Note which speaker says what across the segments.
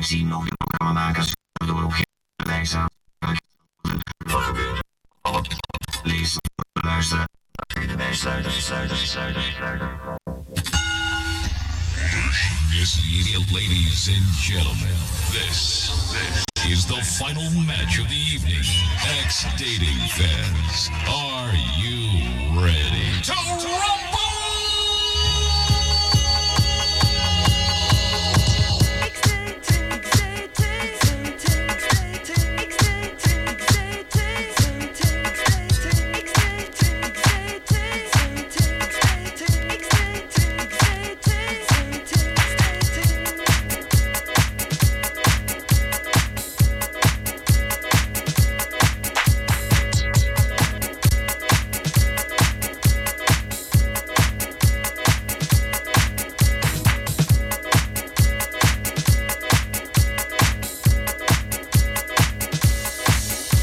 Speaker 1: zien of de programmamakers door opgeleid zijn. Lezen, luisteren. Sluiter, sluiter, sluiter, sluiter.
Speaker 2: Yes, ladies and gentlemen, this, this is the final match of the evening. Ex dating fans, are you ready to rumble?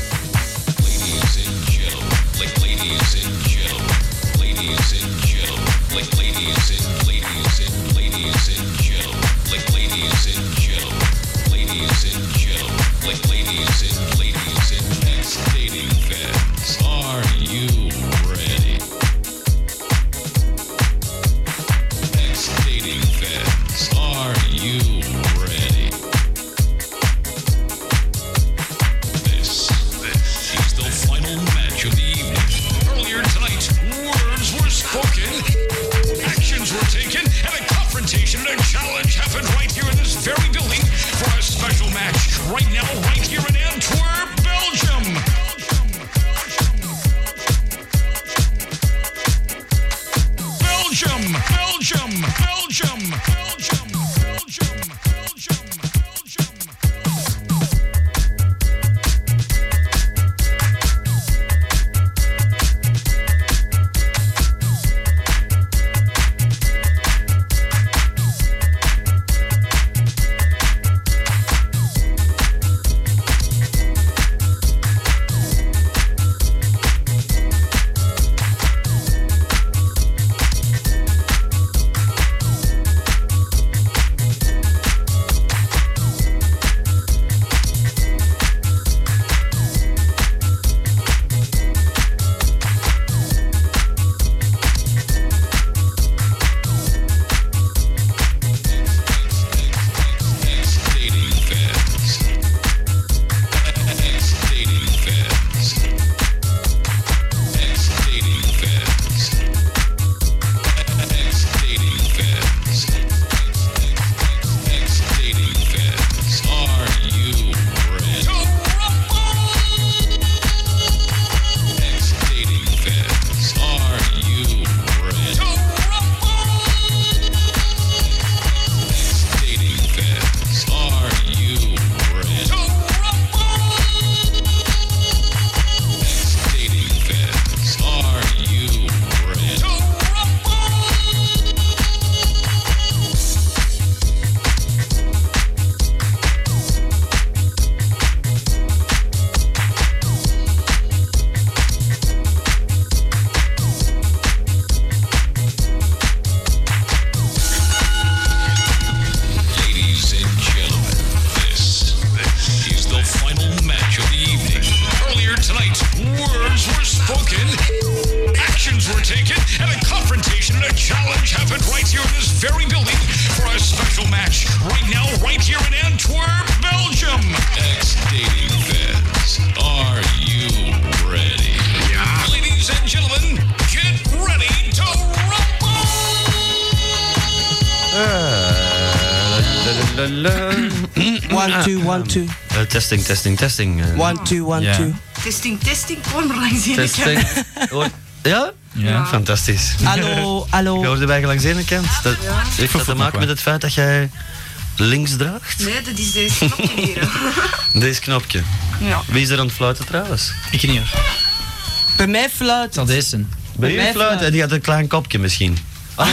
Speaker 2: Ladies and gentlemen, la- ladies and gentlemen, ladies and gentlemen, la- ladies and ladies and ladies and gentlemen, la- ladies and gentlemen, ladies and gentlemen, la- ladies and ladies and ex dating fans, are you ready? Ex dating fans, are you ready? This, this is the final match of the evening. Earlier tonight, words were spoken, actions were taken, and a confrontation and a challenge happened right here in this very building for a special match right now, right here in Antwerp, Belgium. Belgium, Belgium, Belgium, Belgium, Belgium, Belgium, Belgium. Ladies and gentlemen, this, this is the final match of the evening. Earlier tonight, words were spoken, actions were taken, and a confrontation and a challenge happened right here in this very building for a special match right now, right here in Antwerp, Belgium. Ex dating fans, are you ready? Yeah. Ladies and gentlemen, get ready to rumble!
Speaker 3: Eh,
Speaker 4: One, two, one, two.
Speaker 3: Eh, testing, testing, testing. eh.
Speaker 4: One, two, one,
Speaker 3: Ja.
Speaker 4: two.
Speaker 5: Testing, testing, kom langzinnig.
Speaker 3: testing. Hoor- Oh, ja?
Speaker 6: Ja.
Speaker 3: Fantastisch.
Speaker 4: Hallo,
Speaker 3: Je
Speaker 4: hallo.
Speaker 3: hoorde bij gelangzinnig kent. Dat heeft dat te
Speaker 6: het nog
Speaker 3: maken met
Speaker 6: wel.
Speaker 3: het feit dat jij links draagt?
Speaker 5: Nee, dat is deze knopje hier.
Speaker 3: Deze knopje.
Speaker 5: Ja.
Speaker 3: Wie is er aan het fluiten trouwens?
Speaker 6: Ik niet hoor.
Speaker 4: Bij mij fluit.
Speaker 6: Dat is een.
Speaker 3: Ben je
Speaker 4: mij Oh.
Speaker 3: fluiten?
Speaker 4: fluiten.
Speaker 3: Die had een klein kopje misschien. Ah.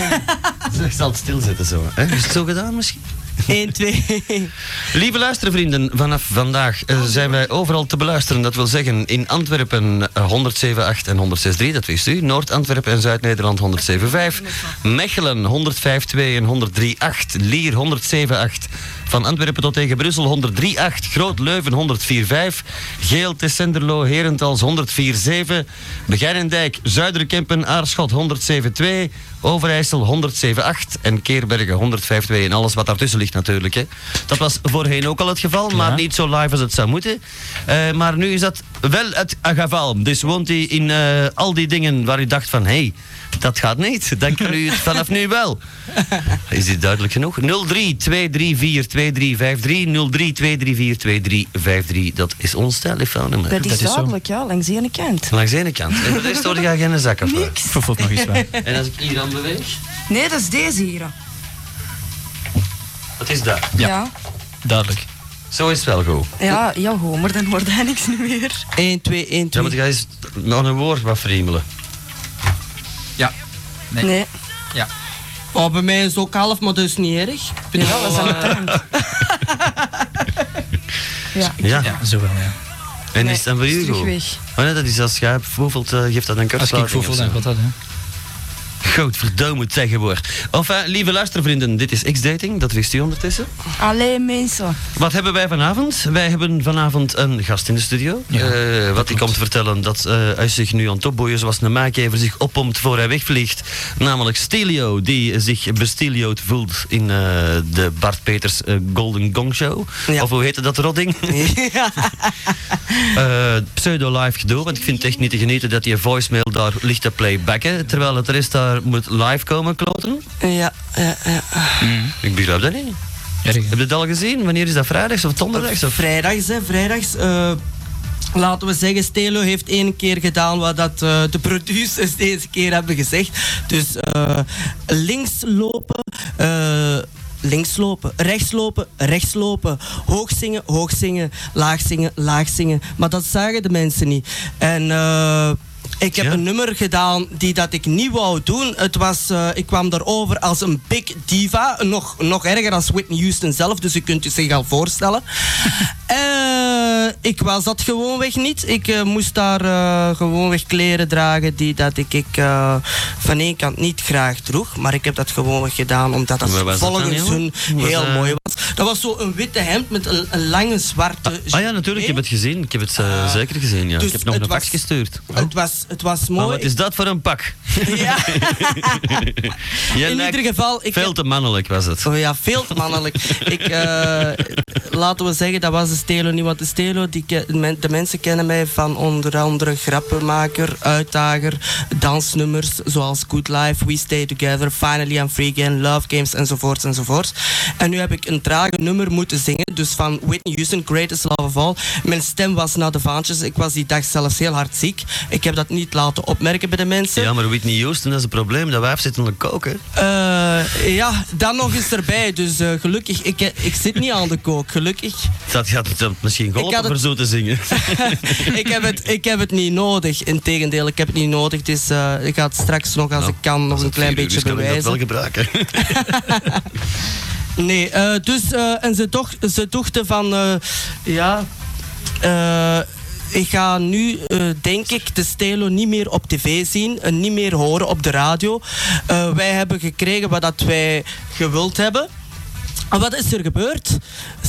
Speaker 3: Ik zal het stilzetten zo. Hè? Is het zo gedaan misschien?
Speaker 4: 1, 2.
Speaker 3: Lieve luistervrienden, vanaf vandaag eh, zijn wij overal te beluisteren. Dat wil zeggen in Antwerpen eh, 107.8 en 106.3, dat wist u. Noord-Antwerpen en Zuid-Nederland 107.5. Mechelen 105.2 en 103.8. Lier 107.8. Van Antwerpen tot tegen Brussel 103.8. Groot-Leuven 104.5. Geel, Tessenderlo, Herentals 104.7. Begijnendijk, Zuiderkempen, Aarschot 107.2. Overijssel 107.8. En Keerbergen 105.2. En alles wat daartussen ligt natuurlijk. Hè. Dat was voorheen ook al het geval, maar niet zo live als het zou moeten. Eh, maar nu is dat wel het geval. Dus woont hij in eh, al die dingen waar u dacht van... hé, hey, dat gaat niet. Dan kan u het vanaf nu wel. Is dit duidelijk genoeg? 03 234 2353 03 234 2353. Dat is ons telefoonnummer.
Speaker 5: Dat is
Speaker 7: is zo.
Speaker 5: duidelijk, ja, langs de ene kant.
Speaker 3: Langs de ene kant. En voor de rest hoor je geen zak af.
Speaker 5: Niks.
Speaker 7: Vervolg nog eens waar.
Speaker 3: En als ik hier aan beweeg,
Speaker 5: Nee, dat is deze hier.
Speaker 3: wat is dat?
Speaker 7: Ja.
Speaker 5: Ja,
Speaker 7: Duidelijk.
Speaker 3: Zo is het wel goed.
Speaker 5: ja, ja ho, maar dan hoort hij niks niet meer.
Speaker 4: 1, 2, 1,
Speaker 3: Dan moet
Speaker 4: 2.
Speaker 3: je eens aan een woord wat friemelen.
Speaker 7: Ja. Nee.
Speaker 5: Nee.
Speaker 7: Ja.
Speaker 4: Oh, bij mij is het ook half, maar dat is niet erg. Ik vind
Speaker 5: Ja,
Speaker 4: het
Speaker 5: dat
Speaker 4: wel,
Speaker 5: is aan
Speaker 4: eh,
Speaker 5: de tand. Ja,
Speaker 3: Ja.
Speaker 7: Ja, zo wel, ja.
Speaker 3: En
Speaker 5: Nee,
Speaker 3: is het dan voor
Speaker 5: is
Speaker 3: u
Speaker 5: terug
Speaker 3: goed?
Speaker 5: weg.
Speaker 3: Oh nee, dat is als jij bijvoorbeeld eh, geeft dat een
Speaker 7: Als ik
Speaker 3: kortsluiting.
Speaker 7: voel, dan gaat dat, hè.
Speaker 3: Godverdomme tegenwoordig. Enfin, lieve luistervrienden, dit is X-Dating, dat wist u ondertussen.
Speaker 5: alleen mensen.
Speaker 3: Wat hebben wij vanavond? Wij hebben vanavond een gast in de studio.
Speaker 7: Ja,
Speaker 3: Eh, wat hij komt vertellen dat eh, hij zich nu aan het opboeien zoals een maakgever zich oppompt voor hij wegvliegt. Namelijk Stelio, die zich bestilioed voelt in eh, de Bart Peters eh, Golden Gong Show.
Speaker 4: Ja.
Speaker 3: Of hoe heette dat rodding? Eh, pseudo-live gedoe, want ik vind het echt niet te genieten dat die voicemail daar ligt te playbacken, terwijl het rest daar moet live komen kloten.
Speaker 4: Ja, ja, ja.
Speaker 3: Ik begrijp dat niet.
Speaker 7: Erg, hè.
Speaker 3: Heb je het al gezien? Wanneer is dat? Vrijdags of donderdags? Of...
Speaker 4: Vrijdags, hè, vrijdags. eh, laten we zeggen, Stelo heeft één keer gedaan wat dat, eh, de producers deze keer hebben gezegd. Dus eh, links lopen, eh, links lopen, rechts lopen, rechts lopen. Hoog zingen, hoog zingen, laag zingen, laag zingen. Maar dat zagen de mensen niet. En... eh, ik heb
Speaker 3: Ja.
Speaker 4: een nummer gedaan die dat ik niet wou doen. Het was, eh, ik kwam daarover als een big diva. Nog, nog erger als Whitney Houston zelf, dus je kunt je zich al voorstellen. Eh, ik was dat gewoonweg niet. Ik eh, moest daar eh, gewoonweg kleren dragen die dat ik, ik eh, van één kant niet graag droeg. Maar ik heb dat gewoonweg gedaan omdat dat
Speaker 3: Waar was dat dan,
Speaker 4: volgens
Speaker 3: jongen?
Speaker 4: hun
Speaker 3: Was
Speaker 4: heel
Speaker 3: dat-
Speaker 4: mooi was. Dat was zo een witte hemd met een, een lange zwarte...
Speaker 3: Ah ja, natuurlijk, ik heb het gezien. Ik heb het eh, zeker gezien, ja.
Speaker 4: dus
Speaker 3: ik heb nog
Speaker 4: het
Speaker 3: een fax
Speaker 4: was-
Speaker 3: gestuurd.
Speaker 4: Het was, het was
Speaker 3: Maar
Speaker 4: mooi.
Speaker 3: wat is dat voor een pak?
Speaker 4: Ja.
Speaker 3: Jij
Speaker 4: In
Speaker 3: lijkt
Speaker 4: ieder geval, ik
Speaker 3: veel
Speaker 4: heb-
Speaker 3: te mannelijk was het.
Speaker 4: Oh ja, veel te mannelijk. ik, eh, laten we zeggen, dat was de Stelo niet. Want de Stelo, die, ke- men- de mensen kennen mij van onder andere grappenmaker, uitdager, dansnummers zoals Good Life, We Stay Together, Finally I'm Free Again, Love Games enzovoorts enzovoorts. En nu heb ik een trage nummer moeten zingen, dus van Whitney Houston, Greatest Love of All. Mijn stem was naar de vaantjes. Ik was die dag zelfs heel hard ziek. Ik heb dat niet laten opmerken bij de mensen.
Speaker 3: Ja, maar Whitney Houston, dat is een probleem. Dat wijf zit aan de koken.
Speaker 4: Eh, ja, dan nog eens erbij. Dus eh, gelukkig, ik, ik zit niet aan de kook, gelukkig.
Speaker 3: Dat gaat het dan misschien
Speaker 4: Ik
Speaker 3: golven
Speaker 4: had
Speaker 3: voor
Speaker 4: het-
Speaker 3: zo te zingen.
Speaker 4: ik, heb het, ik heb het niet nodig. Integendeel, ik heb het niet nodig. Het is, eh, ik ga het straks nog, als ik kan, nog
Speaker 3: Als
Speaker 4: een
Speaker 3: het
Speaker 4: klein
Speaker 3: vier uur
Speaker 4: beetje
Speaker 3: is, kan ik
Speaker 4: bewijzen.
Speaker 3: dat wel gebruiken.
Speaker 4: Nee, eh, dus eh, en ze, toch, ze dochten van eh, ja. eh, ik ga nu, eh, denk ik, de Stelo niet meer op tv zien en niet meer horen op de radio. Eh, wij hebben gekregen wat dat wij gewild hebben. En wat is er gebeurd?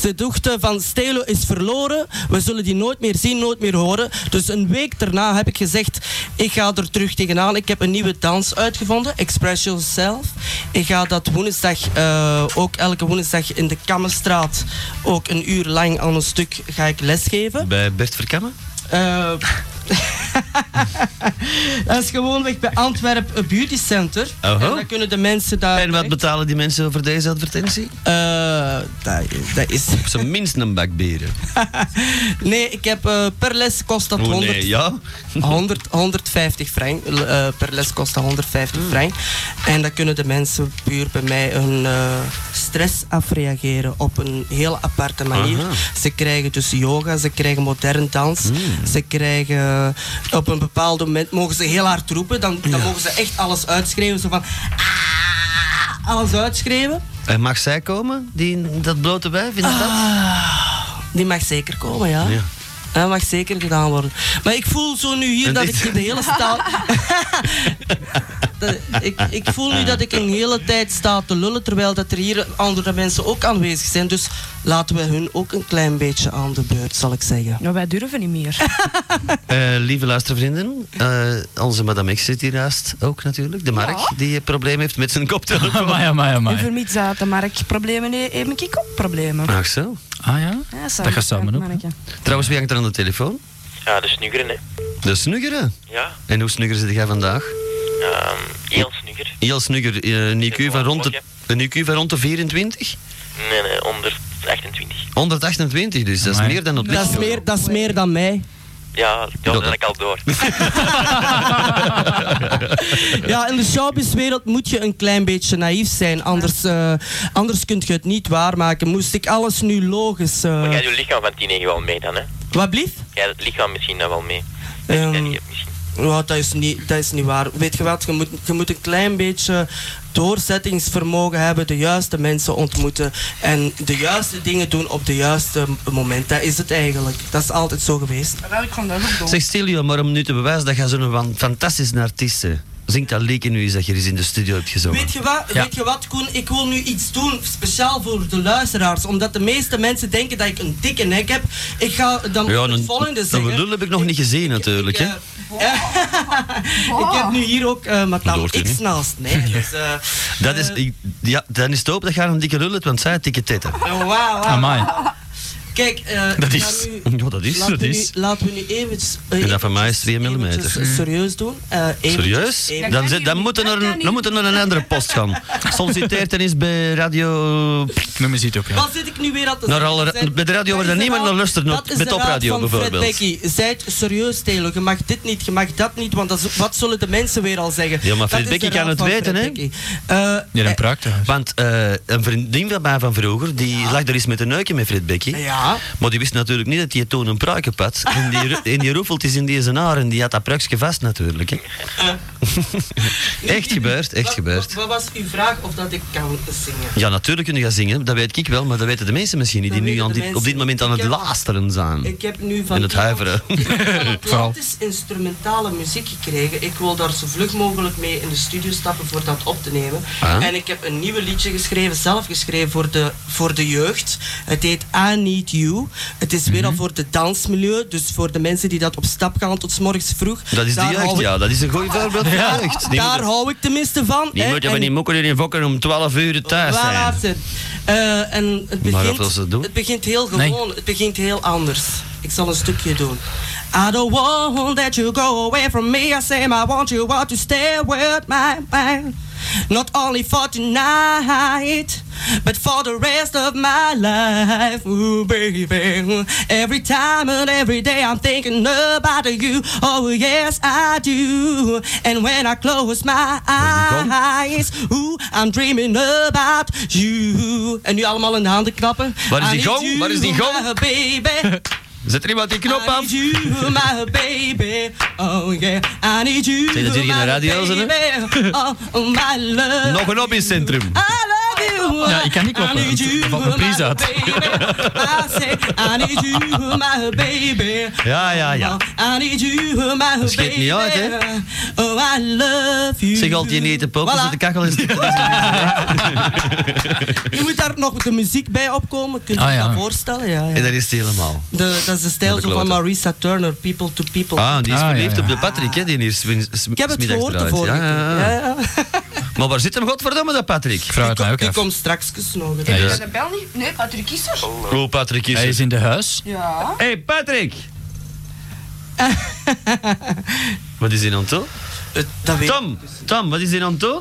Speaker 4: Ze dochten van Stelo is verloren, we zullen die nooit meer zien, nooit meer horen. Dus een week daarna heb ik gezegd, ik ga er terug tegenaan. Ik heb een nieuwe dans uitgevonden, Express Yourself. Ik ga dat woensdag, eh, ook elke woensdag in de Kammerstraat, ook een uur lang aan een stuk ga ik lesgeven.
Speaker 3: Bij Bert Verkammen?
Speaker 4: Eh, dat is gewoonweg bij Antwerp Beauty Center.
Speaker 3: Oho.
Speaker 4: En dan kunnen de mensen daar...
Speaker 3: En wat
Speaker 4: terecht.
Speaker 3: betalen die mensen voor deze advertentie?
Speaker 4: Eh, dat, dat is...
Speaker 3: Op zijn minst een bak bieren.
Speaker 4: Nee, ik heb eh, per les kost dat
Speaker 3: Oh
Speaker 4: 100,
Speaker 3: nee, ja?
Speaker 4: 100 150 frank. L- eh, per les kost dat
Speaker 3: Hmm.
Speaker 4: 150 frank. En dan kunnen de mensen puur bij mij hun eh, stress afreageren op een heel aparte manier.
Speaker 3: Aha. Hmm.
Speaker 4: Ze krijgen dus yoga, ze krijgen modern dans. Ze krijgen eh, op een bepaald moment mogen ze heel hard roepen. Dan, dan mogen ze echt alles uitschreeuwen. Zo van. "Ah!" Alles uitschreeuwen.
Speaker 3: En Eh, mag zij komen, die, dat blote wijf, inderdaad?
Speaker 4: Ah, Die mag zeker komen, ja.
Speaker 3: Ja.
Speaker 4: Dat mag zeker gedaan worden. Maar ik voel zo nu hier
Speaker 3: En
Speaker 4: dat
Speaker 3: dit-
Speaker 4: ik de hele staal... Dat- ik, ik voel nu dat ik een hele tijd sta te lullen, terwijl dat er hier andere mensen ook aanwezig zijn. Dus laten we hun ook een klein beetje aan de beurt, zal ik zeggen.
Speaker 5: Nou, wij durven niet meer.
Speaker 3: Eh, lieve luistervrienden, eh, onze madame X zit hier naast ook natuurlijk. De Mark, die een probleem heeft met zijn koptelefoon.
Speaker 7: Amai, amai,
Speaker 5: En
Speaker 7: amai.
Speaker 5: vermiet dat de markt problemen heeft, heb ik ook problemen.
Speaker 3: Ach zo.
Speaker 7: Ah ja?
Speaker 5: Ja,
Speaker 7: Dat gaat samen op.
Speaker 5: manneke.
Speaker 3: Trouwens, wie hangt er aan de telefoon?
Speaker 8: Ja, de snuggeren, hè.
Speaker 3: De snuggeren.
Speaker 8: Ja,
Speaker 3: En hoe snugger zit jij vandaag?
Speaker 8: ehm, heel snugger.
Speaker 3: Heel snugger, eh, een, IQ van rond de, een IQ van rond de 24?
Speaker 8: Nee, nee, onder 28.
Speaker 3: 128 dus, dat is
Speaker 7: Amai.
Speaker 3: meer dan op
Speaker 4: Dat is
Speaker 3: licht.
Speaker 4: meer, dat is meer dan mij.
Speaker 8: Ja, ja dat heb ik al door.
Speaker 4: Ja, in de showbizwereld moet je een klein beetje naïef zijn, anders, eh, anders kun je het niet waarmaken. Moest ik alles nu logisch... eh,
Speaker 8: Maar jij doet het lichaam van die negen wel mee dan, hè?
Speaker 4: Wat blieft?
Speaker 8: Jij doet het lichaam misschien dan wel mee.
Speaker 4: Ehm,
Speaker 8: Ja, die heb misschien.
Speaker 4: Ja, dat is, niet, dat is niet waar. Weet je wat, je moet, je moet een klein beetje doorzettingsvermogen hebben, de juiste mensen ontmoeten en de juiste dingen doen op de juiste m- moment. Dat is het eigenlijk. Dat is altijd zo geweest.
Speaker 5: Wel, ik kan dat ook doen.
Speaker 3: Zeg Stilio, maar om nu te bewijzen dat jij zo'n wan- fantastische artiest bent. Zingt dat leek nu eens dat je er eens in de studio hebt gezongen.
Speaker 4: Weet je, wat,
Speaker 7: Ja.
Speaker 4: weet je wat, Koen? Ik wil nu iets doen speciaal voor de luisteraars. Omdat de meeste mensen denken dat ik een dikke nek heb. Ik ga dan
Speaker 3: Ja,
Speaker 4: het
Speaker 3: een-
Speaker 4: volgende
Speaker 3: een
Speaker 4: zeggen.
Speaker 3: lul heb ik nog niet gezien natuurlijk,
Speaker 4: Ik,
Speaker 3: hè.
Speaker 4: eh, ik heb nu hier ook eh madame
Speaker 3: hoort u
Speaker 4: X
Speaker 3: niet.
Speaker 4: naast mij. Dus, eh,
Speaker 3: Dat is, ik- ja, dan is het hoop dat je aan een dikke lul hebt, want zij had dikke tetten.
Speaker 4: Wauw, wauw.
Speaker 7: Amai.
Speaker 4: Kijk, eh,
Speaker 3: Dat
Speaker 4: ik
Speaker 3: is-
Speaker 4: ga nu-
Speaker 3: Ja, dat is,
Speaker 4: Laten
Speaker 3: dat
Speaker 4: we
Speaker 3: is.
Speaker 4: Nu, laten we nu even... eh,
Speaker 3: En dat van mij is twee millimeter.
Speaker 4: Serieus doen. eh, eventjes-
Speaker 3: Serieus?
Speaker 4: eventjes-
Speaker 3: Dan, zit- dan moeten we naar, dan moeten we naar een andere post gaan. Solliciteert dan eens bij radio...
Speaker 7: Noem eens iets op, ja.
Speaker 4: Wat zit ik nu weer aan te
Speaker 3: Naar
Speaker 4: zeggen?
Speaker 3: alle ra-
Speaker 4: Zijn-
Speaker 3: bij de radio waar
Speaker 4: Dat is
Speaker 3: niemand
Speaker 4: raad-
Speaker 3: naar luistert,
Speaker 4: dat
Speaker 3: not-
Speaker 4: is
Speaker 3: bij
Speaker 4: de
Speaker 3: topradio
Speaker 4: raad van
Speaker 3: bijvoorbeeld.
Speaker 4: Fred Becky, zijt serieus, Telo. Je mag dit niet, je mag dat niet, want dat is- wat zullen de mensen weer al zeggen?
Speaker 3: Ja, maar
Speaker 4: Dat
Speaker 3: Fred
Speaker 4: is de
Speaker 3: Becky
Speaker 4: raad
Speaker 3: kan het
Speaker 4: van
Speaker 3: weten,
Speaker 4: Fred
Speaker 3: hè?
Speaker 4: Becky. Eh,
Speaker 7: Ja, dan praakt hij.
Speaker 3: Want eh, een vriendin van mij van vroeger, die lag er eens met een neukje met Fred Becky.
Speaker 4: Ja.
Speaker 3: Maar die wist natuurlijk niet dat hij toen een pruikje had. En die, ru- en die roefelt is in die zijn haar en die had dat pruikje vast natuurlijk. Hè. echt gebeurd, echt
Speaker 4: Wat-
Speaker 3: gebeurd.
Speaker 4: Ah, Wat, wat was uw vraag of dat ik kan zingen?
Speaker 3: Ja, natuurlijk kun je gaan zingen, dat weet ik wel, maar dat weten de mensen misschien niet,
Speaker 4: Dat
Speaker 3: die nu
Speaker 4: weten
Speaker 3: aan
Speaker 4: de
Speaker 3: dit, op dit
Speaker 4: mensen.
Speaker 3: moment aan
Speaker 4: Ik
Speaker 3: het
Speaker 4: heb-
Speaker 3: lasteren zijn.
Speaker 4: Ik heb nu van
Speaker 3: En het huiveren.
Speaker 4: Ik heb van
Speaker 7: Vooral.
Speaker 4: Atlantis instrumentale muziek gekregen. Ik wil daar zo vlug mogelijk mee in de studio stappen voor dat op te nemen.
Speaker 3: Ah.
Speaker 4: En ik heb een nieuw liedje geschreven, zelf geschreven voor de, voor de jeugd. Het heet I Need You. Het is
Speaker 3: Mhm.
Speaker 4: weer al voor de dansmilieu, dus voor de mensen die dat op stap gaan tot 's morgens vroeg.
Speaker 3: Dat is de
Speaker 4: Daar
Speaker 3: jeugd,
Speaker 4: hou ik-
Speaker 3: ja, dat is een goed voorbeeld van de jeugd. Die
Speaker 4: Daar
Speaker 3: moeten-
Speaker 4: hou ik tenminste van.
Speaker 3: Die
Speaker 4: hè.
Speaker 3: moeten
Speaker 4: En-
Speaker 3: van die mokken en die fokken om 12 uur thuis
Speaker 4: Voilà,
Speaker 3: zijn.
Speaker 4: zit. Eh, en het
Speaker 3: Maar
Speaker 4: begint,
Speaker 3: wat wil ze doen?
Speaker 4: het begint heel
Speaker 7: Nee.
Speaker 4: gewoon, het begint heel anders. Ik zal een stukje doen. I don't want that you go away from me. I say I want you all to stay with my mind. Not only for tonight, but for the rest of my life. Ooh, baby. Every time and every day I'm thinking about you. Oh, yes, I do. And when I close my
Speaker 3: gone?
Speaker 4: eyes. eyes. Ooh, I'm dreaming about you. En nu allemaal in de handen klappen.
Speaker 3: Waar is die
Speaker 4: I need
Speaker 3: gong?
Speaker 4: you,
Speaker 3: Waar is die gong?
Speaker 4: my baby.
Speaker 3: Zet er iemand die knop
Speaker 4: I
Speaker 3: af?
Speaker 4: need you, my baby. Oh yeah, I need you.
Speaker 3: Zeg, dat zit hier in de
Speaker 4: my
Speaker 3: radio, zo, hè?
Speaker 4: baby. Oh, my love.
Speaker 3: Nog een op in het centrum.
Speaker 4: I love you.
Speaker 7: Ja, ik kan niet kloppen.
Speaker 4: I need you,
Speaker 7: Er valt een prijs
Speaker 4: my
Speaker 7: uit.
Speaker 4: baby. I say, I need you, my baby.
Speaker 3: Ja, ja, ja.
Speaker 4: I need you, my baby.
Speaker 3: Dat scheelt niet uit, hè?
Speaker 4: Oh, I love you.
Speaker 3: Zeg altijd je niet te popen,
Speaker 4: Voilà.
Speaker 3: zet de kachel is.
Speaker 4: Je moet daar nog de muziek bij opkomen. Kun je je
Speaker 7: Ah, ja.
Speaker 4: dat voorstellen? Ja, ja.
Speaker 3: En dat is het helemaal.
Speaker 4: De, dat is de stijl
Speaker 3: Wat een
Speaker 4: zo van
Speaker 3: klote.
Speaker 4: Marisa Turner, People to People.
Speaker 3: Ah, die is
Speaker 7: Ah, ja,
Speaker 3: verliefd
Speaker 7: ja.
Speaker 3: op de Patrick, hè? Die hier s- s-
Speaker 4: ik heb het
Speaker 3: smiddags
Speaker 4: gehoord de
Speaker 3: draait.
Speaker 4: vorige
Speaker 3: Ja, ja, ja.
Speaker 4: keer. Ja, ja.
Speaker 3: Maar waar zit hem, godverdomme, dat Patrick?
Speaker 7: Ik vraag het mij ook
Speaker 4: Die
Speaker 7: af.
Speaker 4: komt straks gesnogen.
Speaker 7: Hij
Speaker 5: Ja,
Speaker 7: is,
Speaker 5: de bel niet? Nee, Patrick is er.
Speaker 3: Oh, Patrick is
Speaker 7: hij
Speaker 3: er.
Speaker 7: is in de huis.
Speaker 5: Ja.
Speaker 3: Hey, Patrick! Wat is in aan het doen?
Speaker 4: Eh, dat weet
Speaker 3: Tom, Tom, wat is in aan het doen?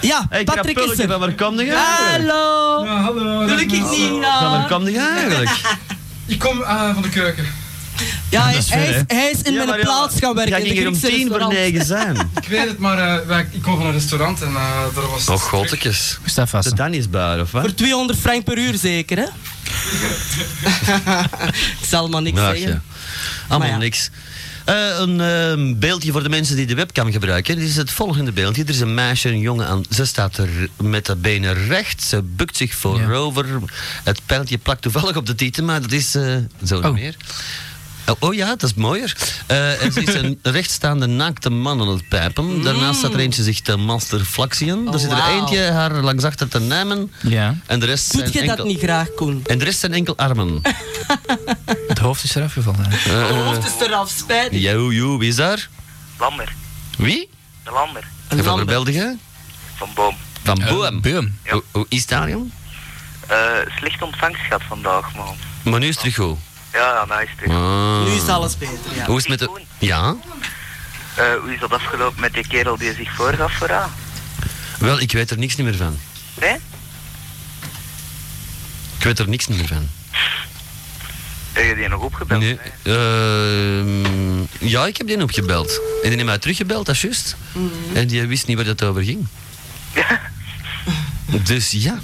Speaker 4: Ja,
Speaker 3: Hey,
Speaker 4: Patrick is
Speaker 3: krapulletje,
Speaker 4: er.
Speaker 3: van waar kom je eigenlijk?
Speaker 4: Hallo.
Speaker 9: hallo.
Speaker 4: Gelukkig
Speaker 3: Van
Speaker 4: niet. nou. Ja,
Speaker 3: waar kom je eigenlijk?
Speaker 9: Ik kom eh, van de keuken.
Speaker 4: ja hij,
Speaker 7: is ver,
Speaker 4: hij is, hij is in
Speaker 3: Ja, maar
Speaker 4: mijn
Speaker 3: ja,
Speaker 4: plaats gaan werken.
Speaker 3: Jij
Speaker 4: in de
Speaker 3: ging hier om
Speaker 4: Griekse
Speaker 3: tien voor
Speaker 4: restaurant.
Speaker 3: negen zijn.
Speaker 9: Ik weet het, maar eh, wij- ik kom van een restaurant en eh daar was...
Speaker 3: Oh, godetjes.
Speaker 7: Hoe staat vast?
Speaker 3: De Dannisbar, of wat?
Speaker 4: Voor 200 frank per uur zeker, hè? ik zal maar niks
Speaker 3: Ach,
Speaker 4: zeggen.
Speaker 3: ja. Allemaal
Speaker 4: Maar ja.
Speaker 3: niks. Eh, een eh, beeldje voor de mensen die de webcam gebruiken. Dit is het volgende beeldje. Er is een meisje, een jongen aan. Ze staat er met de benen recht. Ze bukt zich voorover. Het pijltje plakt toevallig op de titel, maar dat is eh, zo niet
Speaker 7: Oh.
Speaker 3: meer. Oh, oh ja, dat is mooier. Eh, er zit een rechtstaande naakte man aan het pijpen. Daarnaast staat er eentje zich te masterflaxiën. er zit er
Speaker 4: Oh, wauw.
Speaker 3: eentje haar langs achter te nemen.
Speaker 7: Ja.
Speaker 3: En de rest zijn
Speaker 4: Doet je
Speaker 3: enkel...
Speaker 4: dat niet graag, Koen?
Speaker 3: En de rest zijn enkel armen.
Speaker 7: Het hoofd is eraf gevallen.
Speaker 4: Je hoofd is eraf, spijtig.
Speaker 3: Eh, Jou, jou, wie is daar?
Speaker 8: Lamber.
Speaker 3: Wie?
Speaker 8: De Lamber.
Speaker 3: En van waar
Speaker 4: Lambert.
Speaker 3: belde je?
Speaker 8: Van Boom.
Speaker 3: Van
Speaker 7: Eh,
Speaker 3: Boem.
Speaker 7: Boom.
Speaker 8: Ja.
Speaker 3: Hoe- Hoe is dat, jong?
Speaker 8: Eh slecht ontvangst gehad vandaag, man.
Speaker 3: Maar nu is het terug goed.
Speaker 8: Ja, ja, nice. terug.
Speaker 3: Ah.
Speaker 4: Nu is alles beter, ja.
Speaker 3: Hoe is het met de... Ja?
Speaker 8: Eh, hoe is dat afgelopen met die kerel die zich voorgaf voor haar?
Speaker 3: Wel, ik weet er niks niet meer van.
Speaker 8: Nee?
Speaker 3: Ik weet er niks niet meer van.
Speaker 8: Heb je die nog opgebeld?
Speaker 3: Nee. ehm, ja, ik heb die opgebeld. En die heeft mij teruggebeld, dat is juist. En die wist niet waar dat over ging. Dus ja.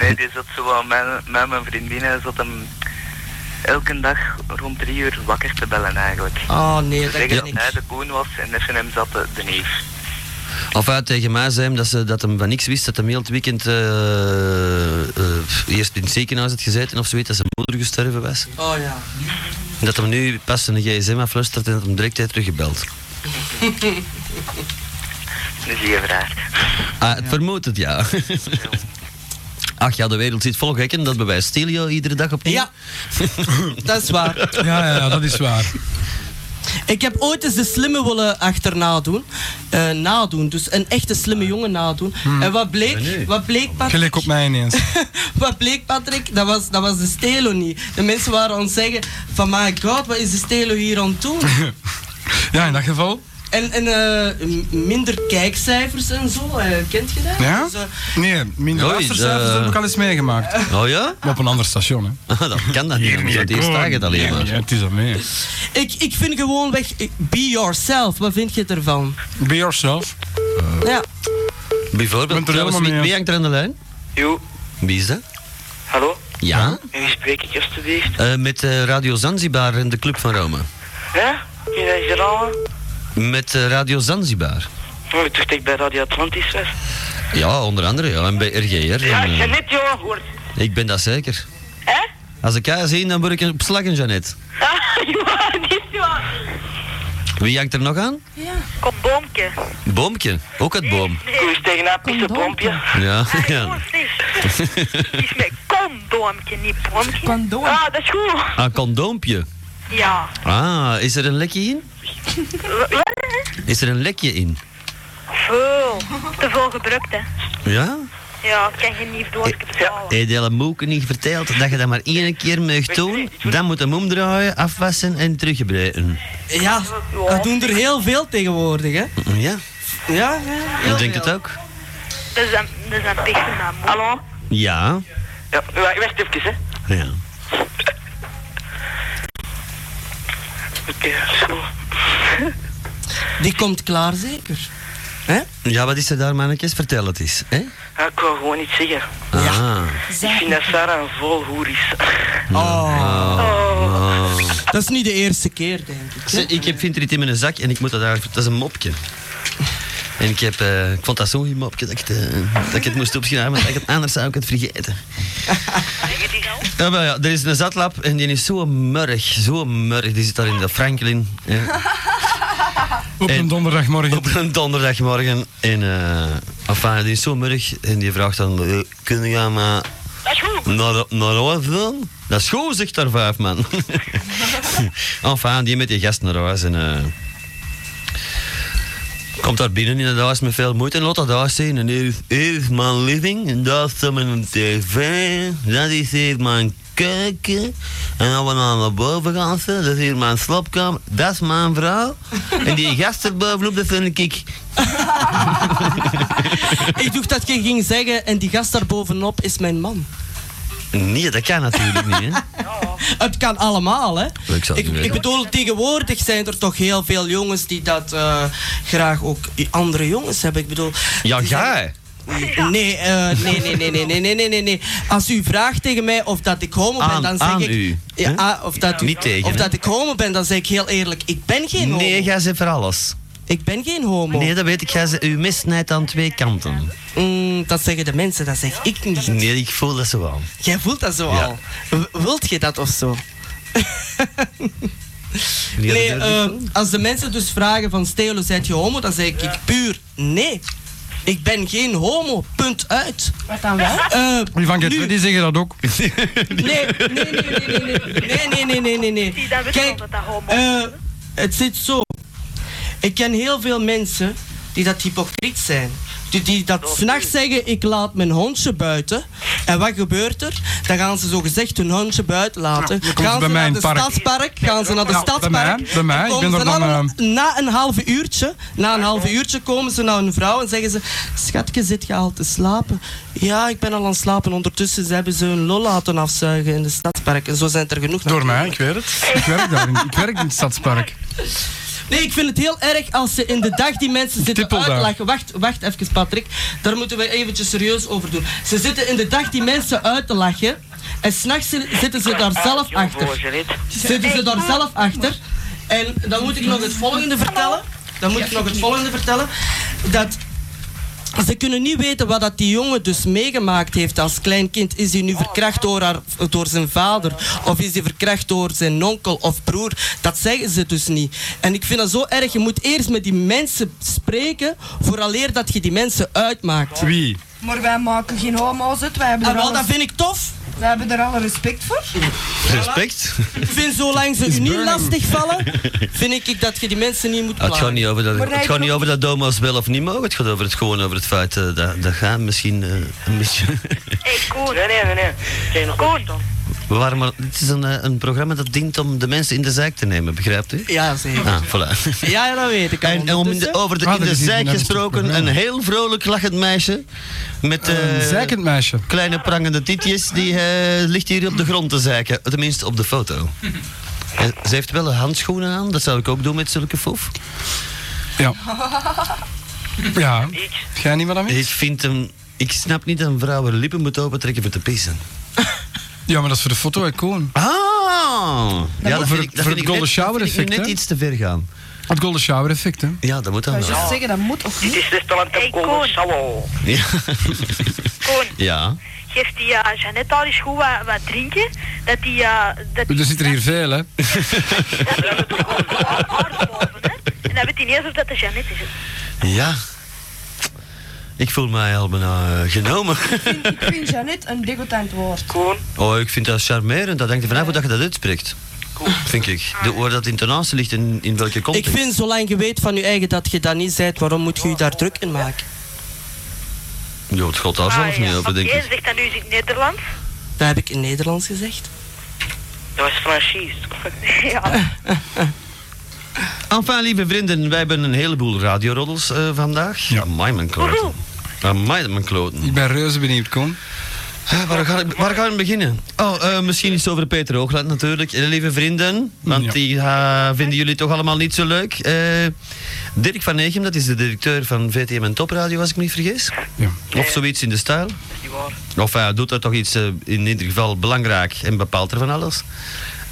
Speaker 8: Nee, die zat zo aan mijn, mijn, mijn vriendinnen zat hem elke dag rond drie uur wakker te bellen eigenlijk.
Speaker 3: Ah.
Speaker 4: Oh nee,
Speaker 8: Ze
Speaker 4: dat
Speaker 8: zeggen
Speaker 4: kan
Speaker 8: dat hij
Speaker 4: ik.
Speaker 8: de koen was en even hem zat de, de neef.
Speaker 3: Of uit tegen mij zei hem dat ze dat hem van niks wist, dat hem heel het weekend eh, eh, eerst in het ziekenhuis had gezeten of zoiets, dat zijn moeder gestorven was.
Speaker 4: Oh ja.
Speaker 3: En dat hem nu pas een gsm afluistert en dat hem direct heeft teruggebeld.
Speaker 8: Nu zie je vraag.
Speaker 3: Ah, het vermoedt het, ja. Ach ja, de wereld zit vol gekken, dat bewijst Stelio iedere dag opnieuw.
Speaker 4: Ja, dat is waar.
Speaker 7: Ja, ja, ja, dat is waar.
Speaker 4: Ik heb ooit eens de slimme willen achterna doen. Eh, nadoen, dus een echte slimme jongen nadoen.
Speaker 3: Hmm.
Speaker 4: En wat bleek, wat bleek Patrick?
Speaker 9: Gelijk op mij ineens.
Speaker 4: Wat bleek Patrick? Dat was, dat was de stelo niet. De mensen waren aan het zeggen van my god, wat is de stelo hier aan het doen?
Speaker 9: Ja, in dat geval.
Speaker 4: En, en eh, m- minder kijkcijfers en zo, eh, kent je dat?
Speaker 9: Ja?
Speaker 4: Dus, eh,
Speaker 9: Nee, minder
Speaker 3: Oei,
Speaker 9: luistercijfers
Speaker 3: eh.
Speaker 9: heb ik al eens meegemaakt.
Speaker 3: Oh ja?
Speaker 9: Maar Op een ander station, hè.
Speaker 3: dat kan dat niet, want dat is dagen het alleen maar.
Speaker 9: Ja, het is al mee.
Speaker 4: eh, ik, ik vind gewoon weg, eh, be yourself. Wat vind je ervan? Eh,
Speaker 9: Be yourself.
Speaker 4: Ja.
Speaker 3: Bijvoorbeeld,
Speaker 9: Ik ben er
Speaker 3: trouwens,
Speaker 9: helemaal
Speaker 3: wie,
Speaker 9: mee,
Speaker 3: wie hangt er aan de lijn?
Speaker 8: Jo,
Speaker 3: Wie is dat?
Speaker 8: hallo?
Speaker 3: Ja?
Speaker 8: Met wie spreek ik alstublieft?
Speaker 3: Eh, met eh, Radio Zanzibar en de Club van Rome.
Speaker 8: Hè? Wie zijn ze allemaal?
Speaker 3: Met eh, Radio Zanzibar.
Speaker 8: Oh, ik dacht dat ik bij Radio Atlantis was.
Speaker 3: Ja, onder andere, ja. En bij RGR.
Speaker 8: Ja,
Speaker 3: en, eh,
Speaker 8: Janet, joh, hoort.
Speaker 3: ik ben dat zeker.
Speaker 8: Hè?
Speaker 3: Als ik haar zie, dan word ik op slag in Janet.
Speaker 8: Ah, joh, dit is joh.
Speaker 3: Wie hangt er nog aan?
Speaker 10: Kom boomke.
Speaker 3: Boomke. Ook het boom.
Speaker 8: Koers tegen haar pissenpompje.
Speaker 3: Ja, ja.
Speaker 10: Het is met kondoompje, niet boomke.
Speaker 5: Condoom.
Speaker 10: Ah, dat is goed.
Speaker 3: Ah, condoompje.
Speaker 10: Ja.
Speaker 3: Ah, is er een lekje in? Is er een lekje in?
Speaker 10: Veel. Te veel gebruikt, hè.
Speaker 3: Ja?
Speaker 10: Ja, kan je niet doorkijken betalen.
Speaker 3: Heb je hele moeke niet verteld dat je dat maar één keer mag doen? Dan moet je hem omdraaien, afwassen en teruggebruiken.
Speaker 4: Ja,
Speaker 10: Oh.
Speaker 4: we doen er heel veel tegenwoordig, hè?
Speaker 3: Ja,
Speaker 4: Ja, ja. heel
Speaker 3: ik denk
Speaker 4: veel.
Speaker 3: het ook.
Speaker 10: Dat is een, dat is een pech van mijn moeder.
Speaker 8: Hallo?
Speaker 3: Ja.
Speaker 8: Ja, wa- wacht even, hè.
Speaker 3: Ja.
Speaker 8: Oké, zo.
Speaker 4: Die komt klaar, zeker.
Speaker 3: Ja, wat is er daar, mannetjes? Vertel het eens. Hè?
Speaker 8: Ja, ik wou gewoon iets zeggen.
Speaker 3: Ja.
Speaker 8: Ik vind dat Sarah een vol hoer is.
Speaker 3: Ah.
Speaker 4: Oh. Dat is niet de eerste keer, denk ik.
Speaker 3: Oh. ik heb vind er iets in mijn zak en ik moet dat daar... Dat is een mopje. En ik, heb, eh, ik vond dat zo'n goed mopje dat ik, het, eh, dat ik het moest opschrijven, want dat ik het anders zou ik het vergeten. Ja, wel ja, er is een zatlap en die is zo murrig, zo murrig. Die zit daar in de Franklin. hè.
Speaker 9: Op
Speaker 3: En-
Speaker 9: een donderdagmorgen.
Speaker 3: op een donderdagmorgen. En eh enfin, die is zo murrig en die vraagt dan, eh, kun je maar naar, naar huis doen? Dat is goed, zegt daar vijf man. enfin, die met die gast naar huis en... eh, Komt daar binnen in het huis met veel moeite en laat dat huis zien. En hier is, hier is mijn living, en daar staat mijn tv, dat is hier mijn keuken. En dan we nou naar boven gaan zitten, dat is hier mijn slaapkamer, dat is mijn vrouw. En die gast er bovenop, dat vind ik.
Speaker 4: Ik dacht dat je ging zeggen, en die gast daar bovenop is mijn man.
Speaker 3: Nee, dat kan natuurlijk niet, hè.
Speaker 4: Het kan allemaal, hè?
Speaker 3: Ik zou het niet
Speaker 4: ik,
Speaker 3: weten.
Speaker 4: bedoel, tegenwoordig zijn er toch heel veel jongens die dat eh, graag ook i- andere jongens hebben. Ik bedoel,
Speaker 3: Ja,
Speaker 4: die
Speaker 3: ga.
Speaker 4: zijn-
Speaker 3: hè.
Speaker 4: Nee, eh, nee, nee, nee, nee, nee, nee, nee, nee, nee. Als u vraagt tegen mij of dat ik homo ben,
Speaker 3: Aan-
Speaker 4: dan zeg
Speaker 3: aan
Speaker 4: ik.
Speaker 3: u,
Speaker 4: Ja,
Speaker 3: hè?
Speaker 4: ah, of dat, u-
Speaker 3: Niet tegen,
Speaker 4: Of
Speaker 3: hè?
Speaker 4: dat ik homo ben, dan zeg ik heel eerlijk: ik ben geen homo.
Speaker 3: Nee, jij zit voor alles.
Speaker 4: Ik ben geen homo.
Speaker 3: Nee, dat weet ik. Jij zit, u misnijdt aan twee kanten.
Speaker 4: Mm, dat zeggen de mensen, dat zeg ik niet.
Speaker 3: Nee, ik voel dat zo wel.
Speaker 4: Jij voelt dat zo
Speaker 3: Ja.
Speaker 4: al. W- wilt je dat of zo? Nee, eh, als de mensen dus vragen van Stelo, zijt je homo? Dan zeg ik puur nee. Ik ben geen homo, punt uit.
Speaker 5: Wat dan wel?
Speaker 4: Eh,
Speaker 7: Die van Get
Speaker 4: nu-
Speaker 7: Ready zeggen dat ook.
Speaker 4: Nee, nee, nee, nee, nee, nee, nee, nee, nee, nee, nee.
Speaker 10: Zie, dan weet je
Speaker 4: Kijk,
Speaker 10: wel dat dat homo
Speaker 4: eh,
Speaker 10: is.
Speaker 4: het zit zo. Ik ken heel veel mensen die dat hypocriet zijn. Die, die dat s'nachts zeggen, ik laat mijn hondje buiten. En wat gebeurt er? Dan gaan ze zogezegd hun hondje buiten laten.
Speaker 7: dan komt
Speaker 4: gaan
Speaker 7: ze
Speaker 4: ze
Speaker 7: bij mij
Speaker 4: naar
Speaker 7: in
Speaker 4: de
Speaker 7: het park.
Speaker 4: stadspark. Gaan ze naar de
Speaker 7: Ja, bij
Speaker 4: stadspark.
Speaker 7: mij, bij mij.
Speaker 4: dan
Speaker 7: Ik
Speaker 4: komen
Speaker 7: ben er
Speaker 4: ze
Speaker 7: dan, eh,
Speaker 4: dan- Na een half uurtje, na een half uurtje komen ze naar hun vrouw en zeggen ze... Schatje, zit je al te slapen? Ja, ik ben al aan het slapen. Ondertussen ze hebben ze hun lol laten afzuigen in de stadspark. En zo zijn het er genoeg.
Speaker 7: Door mij, ik weet het. Ik werk daar. in- Ik werk in het stadspark.
Speaker 4: Nee, ik vind het heel erg als ze in de dag die mensen zitten
Speaker 7: Tippeldag.
Speaker 4: uitlachen. Wacht, wacht even, Patrick. Daar moeten we eventjes serieus over doen. Ze zitten in de dag die mensen uit te lachen. En s'nachts zitten ze daar zelf achter. Zitten ze daar zelf achter. En dan moet ik nog het volgende vertellen. Dan moet ik nog het volgende vertellen. Dat ze kunnen niet weten wat dat die jongen dus meegemaakt heeft als klein kind. Is hij nu verkracht door, haar, door zijn vader? Of is hij verkracht door zijn onkel of broer? Dat zeggen ze dus niet. En ik vind dat zo erg. Je moet eerst met die mensen spreken vooraleer dat je die mensen uitmaakt.
Speaker 7: Wie?
Speaker 5: Maar wij maken geen homo's uit. Wij hebben,
Speaker 4: Ah,
Speaker 5: er
Speaker 4: wel, dat
Speaker 5: alle,
Speaker 4: vind ik tof.
Speaker 5: wij hebben er alle respect voor.
Speaker 3: Respect.
Speaker 4: Ik vind zolang ze u niet lastig vallen, vind ik ik dat je die mensen niet moet
Speaker 3: Ah, Het gaat
Speaker 4: plagen.
Speaker 3: niet over dat,
Speaker 5: Maar
Speaker 3: het
Speaker 5: hij
Speaker 3: gaat niet
Speaker 5: klopt.
Speaker 3: over dat domo's wel of niet mogen. Het gaat over het, gewoon over het feit eh, dat, dat gaan misschien eh, een beetje...
Speaker 10: Hey, Koen.
Speaker 8: Nee, nee, nee, nee. Zeg nog
Speaker 10: Koen.
Speaker 3: We waren maar, het is een, eh, een programma dat dient om de mensen in de zijk te nemen, begrijpt u?
Speaker 4: Ja, zeker.
Speaker 3: Ah, voilà.
Speaker 4: Ja, ja, dat weet ik. al
Speaker 3: En, en om in de,
Speaker 4: ondertussen.
Speaker 3: over de,
Speaker 7: Ah,
Speaker 3: in
Speaker 7: dat
Speaker 3: de
Speaker 7: is hier
Speaker 3: zijk
Speaker 7: net een
Speaker 3: gesproken, een
Speaker 7: programma.
Speaker 3: heel vrolijk lachend meisje met
Speaker 7: Een
Speaker 3: eh,
Speaker 7: zeikend meisje.
Speaker 3: kleine prangende titjes, die eh, ligt hier op de grond te zeiken. Tenminste, op de foto. En ze heeft wel handschoenen aan, dat zou ik ook doen met zulke fof.
Speaker 7: Ja. Ja. Ga je niet meer aan mee?
Speaker 3: Ik vind hem... Ik snap niet dat een vrouw haar lippen moet opentrekken voor te pissen.
Speaker 7: Ja, maar dat is voor de foto, hè, Koen.
Speaker 3: Ah! Ja, dat
Speaker 7: voor het-
Speaker 3: vind ik, dat
Speaker 7: voor
Speaker 3: vind
Speaker 7: het
Speaker 3: ik
Speaker 7: golden
Speaker 3: net,
Speaker 7: shower
Speaker 3: vind ik nu
Speaker 7: effect,
Speaker 3: net
Speaker 7: hè?
Speaker 3: iets te ver gaan.
Speaker 7: Het golden shower effect, hè.
Speaker 3: Ja, dat moet dan
Speaker 5: Ik
Speaker 3: wel.
Speaker 5: zou zeggen, dat moet of
Speaker 8: Het
Speaker 5: niet?
Speaker 8: is net al een
Speaker 10: Hey,
Speaker 8: tempo.
Speaker 10: Koen.
Speaker 8: Salo.
Speaker 3: Ja.
Speaker 10: Koen.
Speaker 3: ja.
Speaker 10: Geef die eh, Jeannette al eens goed wat, wat drinken. Dat die... eh, dat die
Speaker 7: Er zitten hier veel, hè.
Speaker 10: dat die er toch gewoon zo haar- haar boven, hè. En dan weet hij niet eens of dat de Jeannette is.
Speaker 3: Ja. Ik voel mij al bijna eh, genomen.
Speaker 5: Ik vind Janet een degotant woord.
Speaker 8: Koen.
Speaker 3: Oh, ik vind dat charmerend. Dat hangt er vanaf hoe dat je dat uitspreekt. Vind ik. De, waar dat intonatie ligt in, in welke
Speaker 4: Ik
Speaker 3: context.
Speaker 4: vind, zolang je weet van je eigen dat je dat niet zijt, waarom moet je je daar druk in maken?
Speaker 3: Jo, het gaat daar zelf
Speaker 10: ja.
Speaker 3: niet over,
Speaker 10: Want
Speaker 3: denk
Speaker 10: jij
Speaker 3: ik.
Speaker 10: zegt dat nu is in het Nederlands.
Speaker 4: Dat heb ik in Nederlands gezegd.
Speaker 8: Dat was franchise.
Speaker 10: ja.
Speaker 3: Enfin, lieve vrienden, wij hebben een heleboel radiorodels eh, vandaag. Ja. Amai, mijn kloten. Amai, mijn kloten.
Speaker 7: Ik ben reuze benieuwd, Koen.
Speaker 3: Eh, Waar ga ik, waar gaan we beginnen? Oh, eh, misschien iets over Peter Hoogland natuurlijk. Eh, lieve vrienden, want
Speaker 7: Ja.
Speaker 3: die eh, vinden jullie toch allemaal niet zo leuk. Eh, Dirk van Egem, dat is de directeur van VTM en Topradio, als ik me niet vergis.
Speaker 7: Ja.
Speaker 3: Of zoiets in de stijl. Of hij doet er toch iets eh, in ieder geval belangrijk en bepaalt er van alles.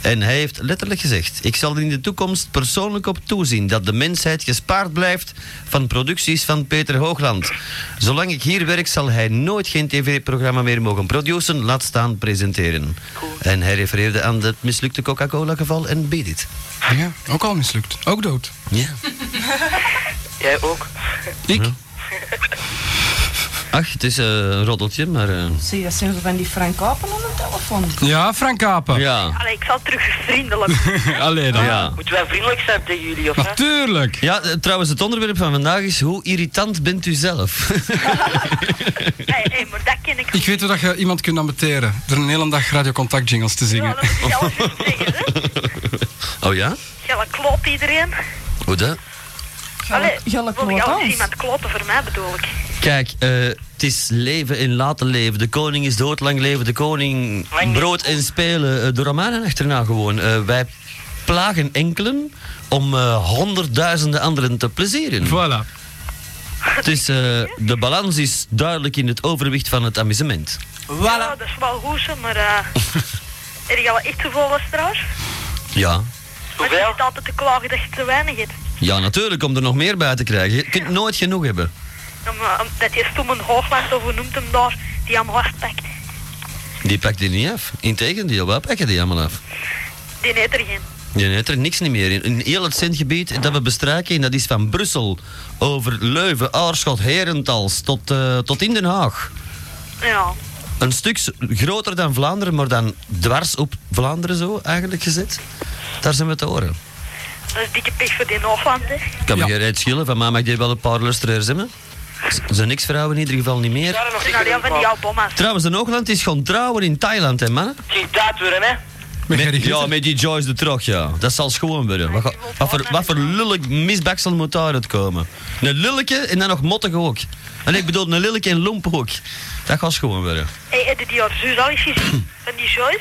Speaker 3: En hij heeft letterlijk gezegd: Ik zal er in de toekomst persoonlijk op toezien dat de mensheid gespaard blijft van producties van Peter Hoogland. Zolang ik hier werk, zal hij nooit geen tv-programma meer mogen produceren, laat staan presenteren. En hij refereerde aan het mislukte Coca-Cola-geval en Beat It.
Speaker 7: Ja, ook al mislukt. Ook dood.
Speaker 3: Ja.
Speaker 8: Jij ook.
Speaker 7: Ik?
Speaker 3: Ach, het is eh, een roddeltje, maar. eh,
Speaker 5: Zie, dat zijn zo van die Frank Apen aan de telefoon.
Speaker 7: Ja, Frank Apen.
Speaker 3: ja.
Speaker 10: Allee, ik zal terug vriendelijk.
Speaker 7: Allee dan.
Speaker 3: ja.
Speaker 8: Moeten wij vriendelijk zijn tegen jullie, of hè?
Speaker 7: Natuurlijk.
Speaker 3: Ja, eh, trouwens, het onderwerp van vandaag is hoe irritant bent u zelf?
Speaker 10: hey, hey, maar dat ken ik.
Speaker 7: Ik weet hoe dat je iemand kunt amateren. Door een hele dag radiocontact jingles te
Speaker 10: Ja,
Speaker 7: zingen.
Speaker 10: dat moet je alles eens zeggen, hè.
Speaker 3: oh ja?
Speaker 10: Jelle klopt iedereen.
Speaker 3: Hoe dat?
Speaker 10: Allee,
Speaker 5: Jelle
Speaker 10: wil
Speaker 5: klopt
Speaker 10: je al
Speaker 5: ons.
Speaker 10: eens iemand kloppen voor mij, bedoel ik.
Speaker 3: Kijk, eh, het is leven en laten leven. De koning is dood, lang leven de koning.
Speaker 8: Lang leven.
Speaker 3: Brood en spelen. Eh, de Romanen achterna gewoon. Eh, wij plagen enkelen om eh, honderdduizenden anderen te plezieren.
Speaker 7: Voilà.
Speaker 3: Het is, eh, de balans is duidelijk in het overwicht van het amusement.
Speaker 10: Ja,
Speaker 4: Voilà.
Speaker 10: dat is wel goed, zo, maar... eh heb je al echt te veel luisteraars?
Speaker 3: Ja.
Speaker 10: Maar je
Speaker 8: Hoeveel?
Speaker 10: zit altijd te klagen dat je te weinig hebt.
Speaker 3: Ja, natuurlijk, om er nog meer bij te krijgen. Je kunt nooit genoeg hebben.
Speaker 10: Om, eh, om- dat je stomme hoogland, of hoe noemt hem daar, die hem hard pakt.
Speaker 3: Die pakt die niet af. Integendeel, wij pakken die allemaal af.
Speaker 10: Die heeft er geen.
Speaker 3: Je hebt er niks niet meer in. In heel het centgebied dat we bestrijken, en dat is van Brussel over Leuven, Aarschot, Herentals tot, eh, tot in Den Haag.
Speaker 11: Ja.
Speaker 3: Een stuk s- groter dan Vlaanderen, maar dan dwars op Vlaanderen zo eigenlijk gezet. Daar zijn we te horen.
Speaker 11: Dat is dikke pech voor die Noordlander.
Speaker 3: Kan me
Speaker 7: Ja.
Speaker 3: geen reet schillen, van mij mag je wel een paar lustraires hebben. Z- Zijn ex-vrouwen in ieder geval niet meer.
Speaker 11: Dat zijn alleen van die jouw bomma's.
Speaker 3: Trouwens, een Oogland is gewoon trouwen in Thailand, hè mannen?
Speaker 12: Geen tijd weer, hè?
Speaker 7: Met Gerry Gieten.
Speaker 3: ja, met die Joyce de Trog, ja. Dat zal schoon worden. Wat, ga- wat, voor, wat voor lullig misbaksel moet daaruit komen? Een lilletje en dan nog mottig ook. En ik bedoel, een lilletje en lomp ook. Dat gaat schoon worden.
Speaker 11: Hé, heb je die haar zus al eens gezien?
Speaker 4: Hm.
Speaker 11: Van die Joyce?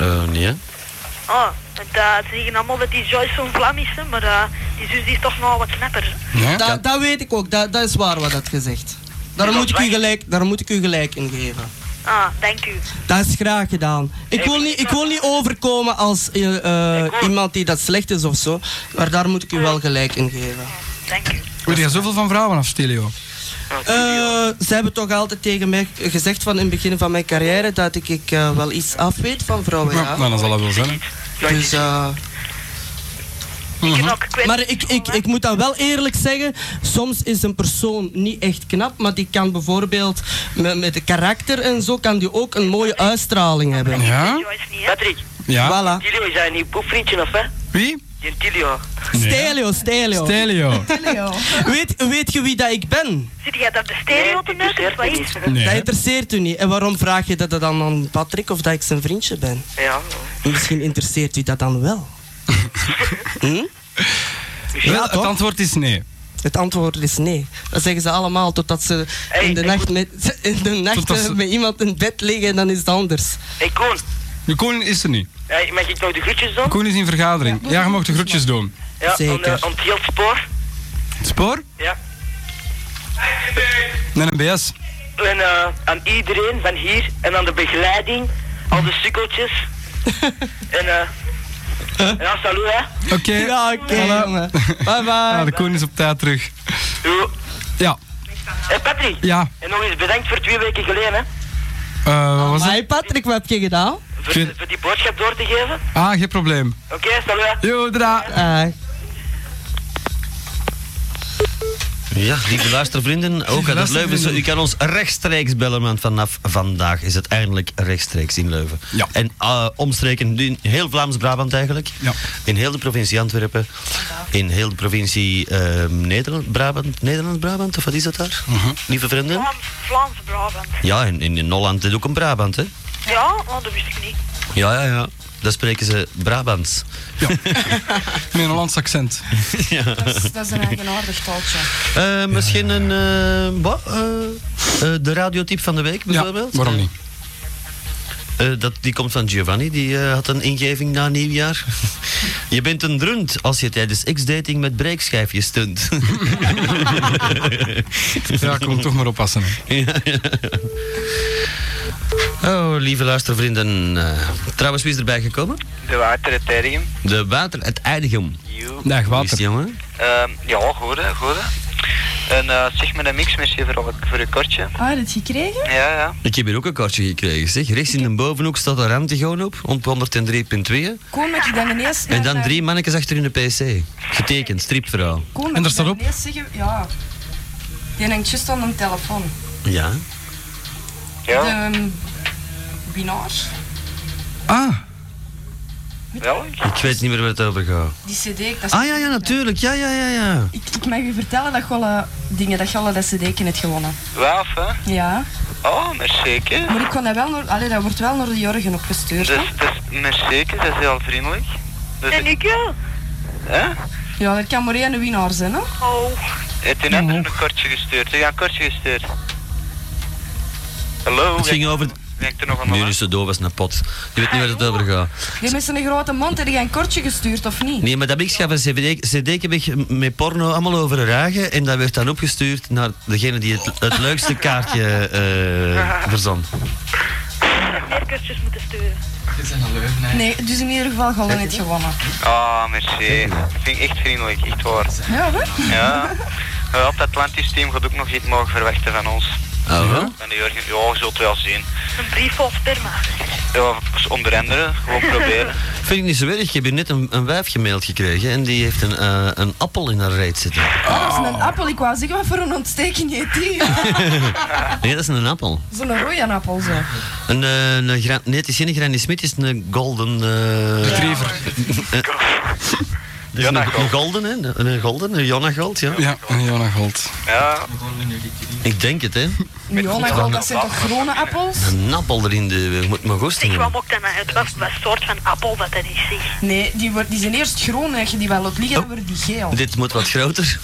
Speaker 3: Eh nee, hè?
Speaker 11: Oh, want eh, ze zeggen allemaal dat die Joyce zo'n vlam is, hè, maar eh, die zus die is toch nog wat knapper. hè.
Speaker 7: Ja?
Speaker 4: Da- dat weet ik ook, dat, dat is waar wat dat gezegd. Daar moet, ik u gelijk, daar moet ik u gelijk in geven.
Speaker 11: Ah, dank u.
Speaker 4: Dat is graag gedaan. Ik wil niet, ik wil niet overkomen als eh, eh, iemand die dat slecht is of zo, maar daar moet ik u wel gelijk in geven.
Speaker 11: Dank u.
Speaker 7: Weet je zoveel van vrouwen af, Stelio?
Speaker 4: Eh, ze hebben toch altijd tegen mij gezegd van in het begin van mijn carrière dat ik, ik eh, wel iets af weet van vrouwen.
Speaker 7: Ja,
Speaker 4: Ja.
Speaker 7: nou, dat zal dat wel zijn. hè.
Speaker 4: Dus, eh,
Speaker 11: Ik
Speaker 7: Mhm.
Speaker 11: ben ook kwijt.
Speaker 4: maar ik, ik, ik moet dat wel eerlijk zeggen, soms is een persoon niet echt knap, maar die kan bijvoorbeeld met, met de karakter en zo, kan die ook een mooie uitstraling hebben.
Speaker 7: Ja?
Speaker 11: Joyce niet, hè.
Speaker 12: Patrick,
Speaker 7: Ja?
Speaker 4: Voilà.
Speaker 12: Tilio is een nieuw boekvriendje of hè?
Speaker 7: Wie?
Speaker 12: Die Tilio.
Speaker 4: Stelio, stelio.
Speaker 7: Stelio.
Speaker 5: Leo.
Speaker 4: Weet, weet je wie dat ik ben?
Speaker 11: Zit jij daar de stereo te neuken of wat is?
Speaker 4: Dat
Speaker 7: Nee.
Speaker 4: interesseert u niet. En waarom vraag je dat dan aan Patrick of dat ik zijn vriendje ben?
Speaker 12: Ja.
Speaker 4: Misschien interesseert u dat dan wel. Hm?
Speaker 7: Wel,
Speaker 4: Ja,
Speaker 7: het
Speaker 4: toch?
Speaker 7: antwoord is nee.
Speaker 4: Het antwoord is nee. Dat zeggen ze allemaal totdat ze
Speaker 12: Hey,
Speaker 4: in de
Speaker 12: ik
Speaker 4: nacht, met, in de nacht
Speaker 7: Totdat
Speaker 4: eh,
Speaker 7: ze-
Speaker 4: met iemand in bed liggen en dan is het anders.
Speaker 12: Hey Koen,
Speaker 7: De koning is er niet.
Speaker 12: hey, mag ik nou de groetjes doen?
Speaker 7: Koen is in vergadering. Ja, je mag de groetjes doen.
Speaker 12: Ja, Om,
Speaker 4: Zeker.
Speaker 12: eh, om het heel spoor.
Speaker 7: Het spoor?
Speaker 12: Ja.
Speaker 7: Met een BS.
Speaker 12: En eh, aan iedereen van hier en aan de begeleiding, al de sukkeltjes. en eh. Ja, salut hè.
Speaker 7: Oké.
Speaker 4: Ja, oké,
Speaker 7: Voilà.
Speaker 4: jongen. Bye
Speaker 7: Ah,
Speaker 4: bye.
Speaker 7: de koning is op tijd terug.
Speaker 12: Jo.
Speaker 7: Ja.
Speaker 10: Eh,
Speaker 12: Hey Patrick,
Speaker 7: Ja.
Speaker 12: en nog eens bedankt voor twee weken geleden hè.
Speaker 7: Eh, wat was het?
Speaker 4: Hey Patrick, wat heb je gedaan?
Speaker 12: Voor,
Speaker 7: Vind-
Speaker 12: voor die boodschap door te geven.
Speaker 7: Ah, geen probleem.
Speaker 12: Oké, salut hè.
Speaker 7: Yo, dra.
Speaker 4: Ah,
Speaker 3: Ja, lieve luistervrienden, ook uit het Leuven.
Speaker 7: luistervrienden.
Speaker 3: zo, U kan ons rechtstreeks bellen, want vanaf vandaag is het eindelijk rechtstreeks in Leuven.
Speaker 7: Ja.
Speaker 3: En eh, omstreken in heel Vlaams-Brabant eigenlijk.
Speaker 7: Ja.
Speaker 3: In heel de provincie Antwerpen. In heel de provincie eh, Nederland, Brabant, Nederland-Brabant, of wat is dat daar?
Speaker 7: Mhm.
Speaker 3: Lieve vrienden.
Speaker 11: Vlaams, Vlaams Brabant.
Speaker 3: Ja, in, in, in Holland is ook een Brabant, hè?
Speaker 11: Ja, oh, dat wist ik niet.
Speaker 3: Ja, ja, ja. Daar spreken ze Brabants.
Speaker 7: Met een Hollands accent.
Speaker 5: Dat is, dat is een eigenaardig taaltje.
Speaker 3: Eh, misschien een... eh, wat? Eh, eh, de radiotyp van de week
Speaker 7: Ja,
Speaker 3: bijvoorbeeld?
Speaker 7: waarom niet?
Speaker 3: Eh, dat, die komt van Giovanni, die eh, had een ingeving na nieuwjaar. je bent een drunt als je tijdens X-dating met breekschijfjes stunt.
Speaker 7: Ja, kom toch maar oppassen. hè.
Speaker 3: oh, lieve luistervrienden. eh, trouwens, wie is erbij gekomen?
Speaker 13: De water, Tergen.
Speaker 3: De water, het eindigum.
Speaker 13: You.
Speaker 7: Dag,
Speaker 3: Wie is
Speaker 7: water.
Speaker 3: die jongen?
Speaker 13: Ehm, ja, goed hè, goed hè. En eh, zeg me een mix, merci voor, al- voor je kortje.
Speaker 5: Ah, heb je het gekregen?
Speaker 13: Ja, ja.
Speaker 3: Ik heb hier ook een kaartje gekregen, zeg. Rechts in de bovenhoek staat een Ramtegoon op, op 103.2.
Speaker 5: Koen, dat je dan ineens...
Speaker 3: En dan drie mannetjes achter in de pc. Getekend, stripverhaal.
Speaker 5: Koen, dat
Speaker 7: En daar
Speaker 5: je
Speaker 7: staat
Speaker 5: dan
Speaker 7: op?
Speaker 5: ineens zeggen- Ja. Die hangt juist aan een telefoon.
Speaker 3: Ja.
Speaker 13: Ja,
Speaker 5: De ehm, winnaar,
Speaker 7: Ah,
Speaker 13: wel.
Speaker 3: Ik weet niet meer waar het over gaat.
Speaker 5: die cd... Dat is-
Speaker 3: Ah ja, ja, natuurlijk. Ja, ja, ja, ja.
Speaker 5: Ik, ik mag u vertellen dat Golle dingen, dat Golle dat cd heeft gewonnen.
Speaker 13: Waaf hè.
Speaker 5: Ja.
Speaker 13: Oh, merci. hè.
Speaker 5: Maar ik kon dat wel naar... Allee, dat wordt wel naar de Jorgen opgestuurd, hè.
Speaker 13: Dus, dus merci, hè, dat is heel vriendelijk. Dus,
Speaker 11: En ik, ja.
Speaker 13: hè?
Speaker 5: Ja, er kan maar één winnaar zijn, hè.
Speaker 11: Oh,
Speaker 13: Heeft een ander een kortje gestuurd? Ja, een kortje gestuurd. Hallo?
Speaker 3: Het ging
Speaker 13: Denk-
Speaker 3: over-
Speaker 13: Denk er nog Ah, aan
Speaker 3: Nu is ze doof als een pot. Je weet niet waar het over gaat.
Speaker 5: Die mensen een grote mond, heb je een kortje gestuurd, of niet?
Speaker 3: Nee, maar dat heb ik van CD, CD heb ik met porno allemaal over ragen. En dat werd dan opgestuurd naar degene die het, het leukste kaartje eh verzon.
Speaker 11: meer kusjes moeten sturen.
Speaker 5: Nee, dus in ieder geval Golle heeft gewonnen.
Speaker 13: Ah, merci. Dat vind ik echt vriendelijk, echt waar.
Speaker 5: Ja, hè?
Speaker 13: Ja. Wel, Het Atlantisch team gaat ook nog iets mogen verwachten van ons.
Speaker 3: Ah, wel?
Speaker 13: En de Jurgen, ja, je zult wel zien.
Speaker 10: Een brief vol sperma.
Speaker 13: Ja, onder andere, gewoon proberen.
Speaker 3: Vind ik niet zo erg. Ik heb hier net een, een wijf gemaild gekregen en die heeft een, eh, een appel in haar reet zitten.
Speaker 5: Oh, dat is een appel. Ik wou zeggen, wat voor een ontsteking heet die?
Speaker 3: nee, dat is een appel.
Speaker 5: Zo'n rode appel zo.
Speaker 3: Een, eh, een gra- nee, het is geen Granny Smith, het is een golden... eh
Speaker 7: Retriever.
Speaker 3: Eh, dat is een, een golden, hè? Een, een golden, een Jonna Gold, ja.
Speaker 7: Ja, een Jona Gold.
Speaker 13: Ja,
Speaker 3: Ik denk het, hè.
Speaker 5: Neonagol, dat zijn toch groene appels?
Speaker 3: Een appel erin, de, je moet maar goesting
Speaker 10: Zeg, wat
Speaker 3: hebben.
Speaker 10: maakt dat nou uit? Wat, wat soort van appel dat dat is, zeg?
Speaker 5: Nee, die, wordt, die zijn eerst groen. Als je die wel laat liggen, dan wordt die geel.
Speaker 3: Dit moet wat groter.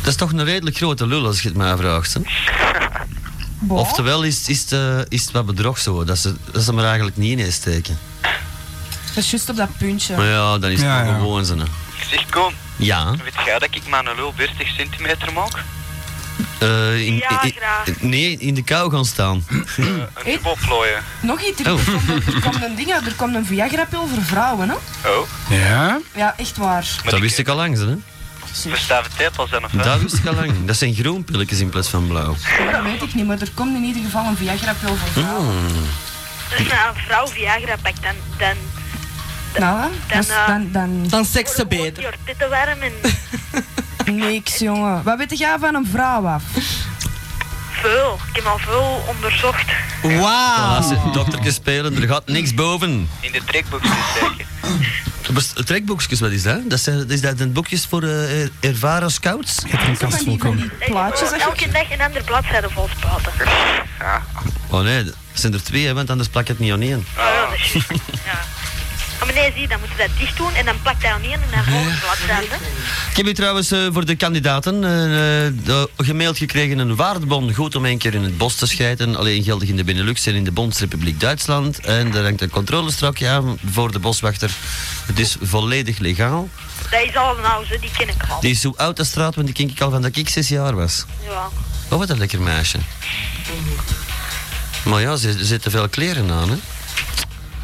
Speaker 3: Dat is toch een redelijk grote lul, als je het mij vraagt. Hè?
Speaker 5: Boah.
Speaker 3: Oftewel is, is, het, eh, is het wat bedrog zo, dat ze, dat ze hem er eigenlijk niet in steken.
Speaker 5: Dat is juist op dat puntje.
Speaker 3: Maar ja, dan is het
Speaker 7: Ja,
Speaker 3: nog
Speaker 7: ja.
Speaker 3: gewoon zo. hè.
Speaker 13: zeg kom.
Speaker 3: Ja,
Speaker 13: Weet jij dat ik mijn lul 40 centimeter maak?
Speaker 3: eh, in,
Speaker 10: Ja,
Speaker 3: in-
Speaker 10: graag.
Speaker 3: nee, in de kou gaan staan.
Speaker 13: Een dubbel plooien.
Speaker 5: Nog iets, er,
Speaker 3: Oh.
Speaker 5: komt een, er komt een ding uit. Er komt een Viagra-pil voor vrouwen, hè?
Speaker 13: Oh,
Speaker 7: Ja?
Speaker 5: Ja, echt waar.
Speaker 3: Dat wist ik al lang, hè?
Speaker 13: verstaven tepels dan of wat?
Speaker 3: Dat wist ik al lang. Dat zijn groen pilletjes in plaats van blauw.
Speaker 5: Dat weet ik niet, maar er komt in ieder geval een Viagra-pil voor vrouwen.
Speaker 7: Hmm.
Speaker 10: Dus nou, een vrouw Viagra pakt, dan, dan
Speaker 5: Nou, hè? Dat is-
Speaker 10: eh,
Speaker 5: dan, dan,
Speaker 4: Dan seks ze
Speaker 10: wordt
Speaker 4: beter.
Speaker 10: je titten warm en
Speaker 5: niks, jongen. Wat weet jij van een vrouw af?
Speaker 10: veel. Ik heb al veel onderzocht.
Speaker 4: Wauw.
Speaker 3: Als ze doktertjes spelen, er gaat niks boven.
Speaker 13: In de trekbox steken.
Speaker 3: Bes- Trekboekjes, wat is dat? dat zijn, is dat een boekjes voor eh, er- ervaren scouts?
Speaker 7: Ik heb er een kast
Speaker 5: Van die,
Speaker 7: vol
Speaker 5: van
Speaker 7: komen.
Speaker 5: die plaatjes. dat je-
Speaker 10: Elke dag een ander bladzijde vol spuiten.
Speaker 3: Oh nee, dat zijn er twee, hè, want anders plak je het niet aan één.
Speaker 10: Oh, ja, dat is juist. Ja. Maar meneer, zie, dan moeten ze dat dicht doen en dan plakt hij al niet en dan volgt bladzijde.
Speaker 3: Ik heb hier trouwens eh, voor de kandidaten eh, eh, de- gemaild gekregen een waardebon. Goed om een keer in het bos te schijten. Alleen geldig in de Benelux en in de Bondsrepubliek Duitsland. En daar hangt een controlestrookje aan voor de boswachter. Het is volledig legaal.
Speaker 10: Dat is al nou zo, die ken ik al.
Speaker 3: Die is zo oud als straat, want die ken ik al van dat ik zes jaar was.
Speaker 10: Ja.
Speaker 3: Oh, wat een lekker meisje. Maar ja, ze ze zet te veel kleren aan, hè?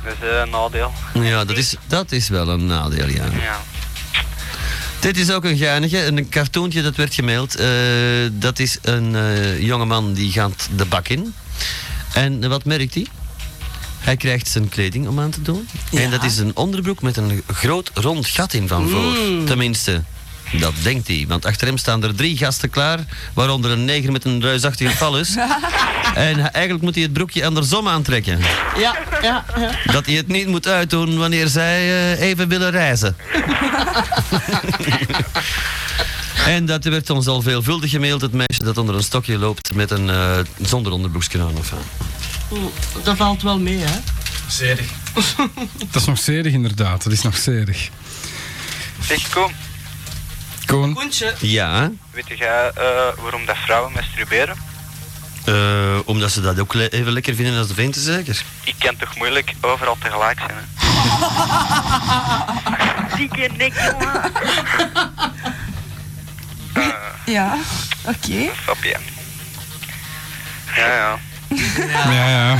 Speaker 13: Dat is eh, een nadeel.
Speaker 3: Ja, dat is, dat is wel een nadeel, ja.
Speaker 13: Ja.
Speaker 3: Dit is ook een geinige, een cartoontje dat werd gemaild. Eh, dat is een eh, jongeman die gaat de bak in. En wat merkt hij? Hij krijgt zijn kleding om aan te doen. En dat is een onderbroek met een groot rond gat in van voor. Tenminste, dat denkt hij. Want achter hem staan er drie gasten klaar, waaronder een neger met een reusachtige fallus. en hij- eigenlijk moet hij het broekje andersom aantrekken.
Speaker 4: Ja, ja, ja.
Speaker 3: Dat hij het niet moet uitdoen wanneer zij eh, even willen reizen. en dat werd ons al veelvuldig gemaild, het meisje dat onder een stokje loopt met een eh, zonder onderbroeksje aan of aan.
Speaker 4: Dat valt wel mee, hè?
Speaker 9: Zedig.
Speaker 7: Dat is nog zerig, inderdaad. Dat is nog zerig.
Speaker 13: Zeg kom.
Speaker 7: Koen,
Speaker 4: Koentje.
Speaker 3: Ja,
Speaker 13: Weet jij eh, waarom dat vrouwen masturberen?
Speaker 3: eh, omdat ze dat ook le- even lekker vinden als de venten zeker.
Speaker 13: Ik kan toch moeilijk overal tegelijk zijn, hè?
Speaker 10: Dikke nek, jongen.
Speaker 13: Eh,
Speaker 5: Ja, oké.
Speaker 13: Snap je? Ja, ja.
Speaker 7: Ja, ja.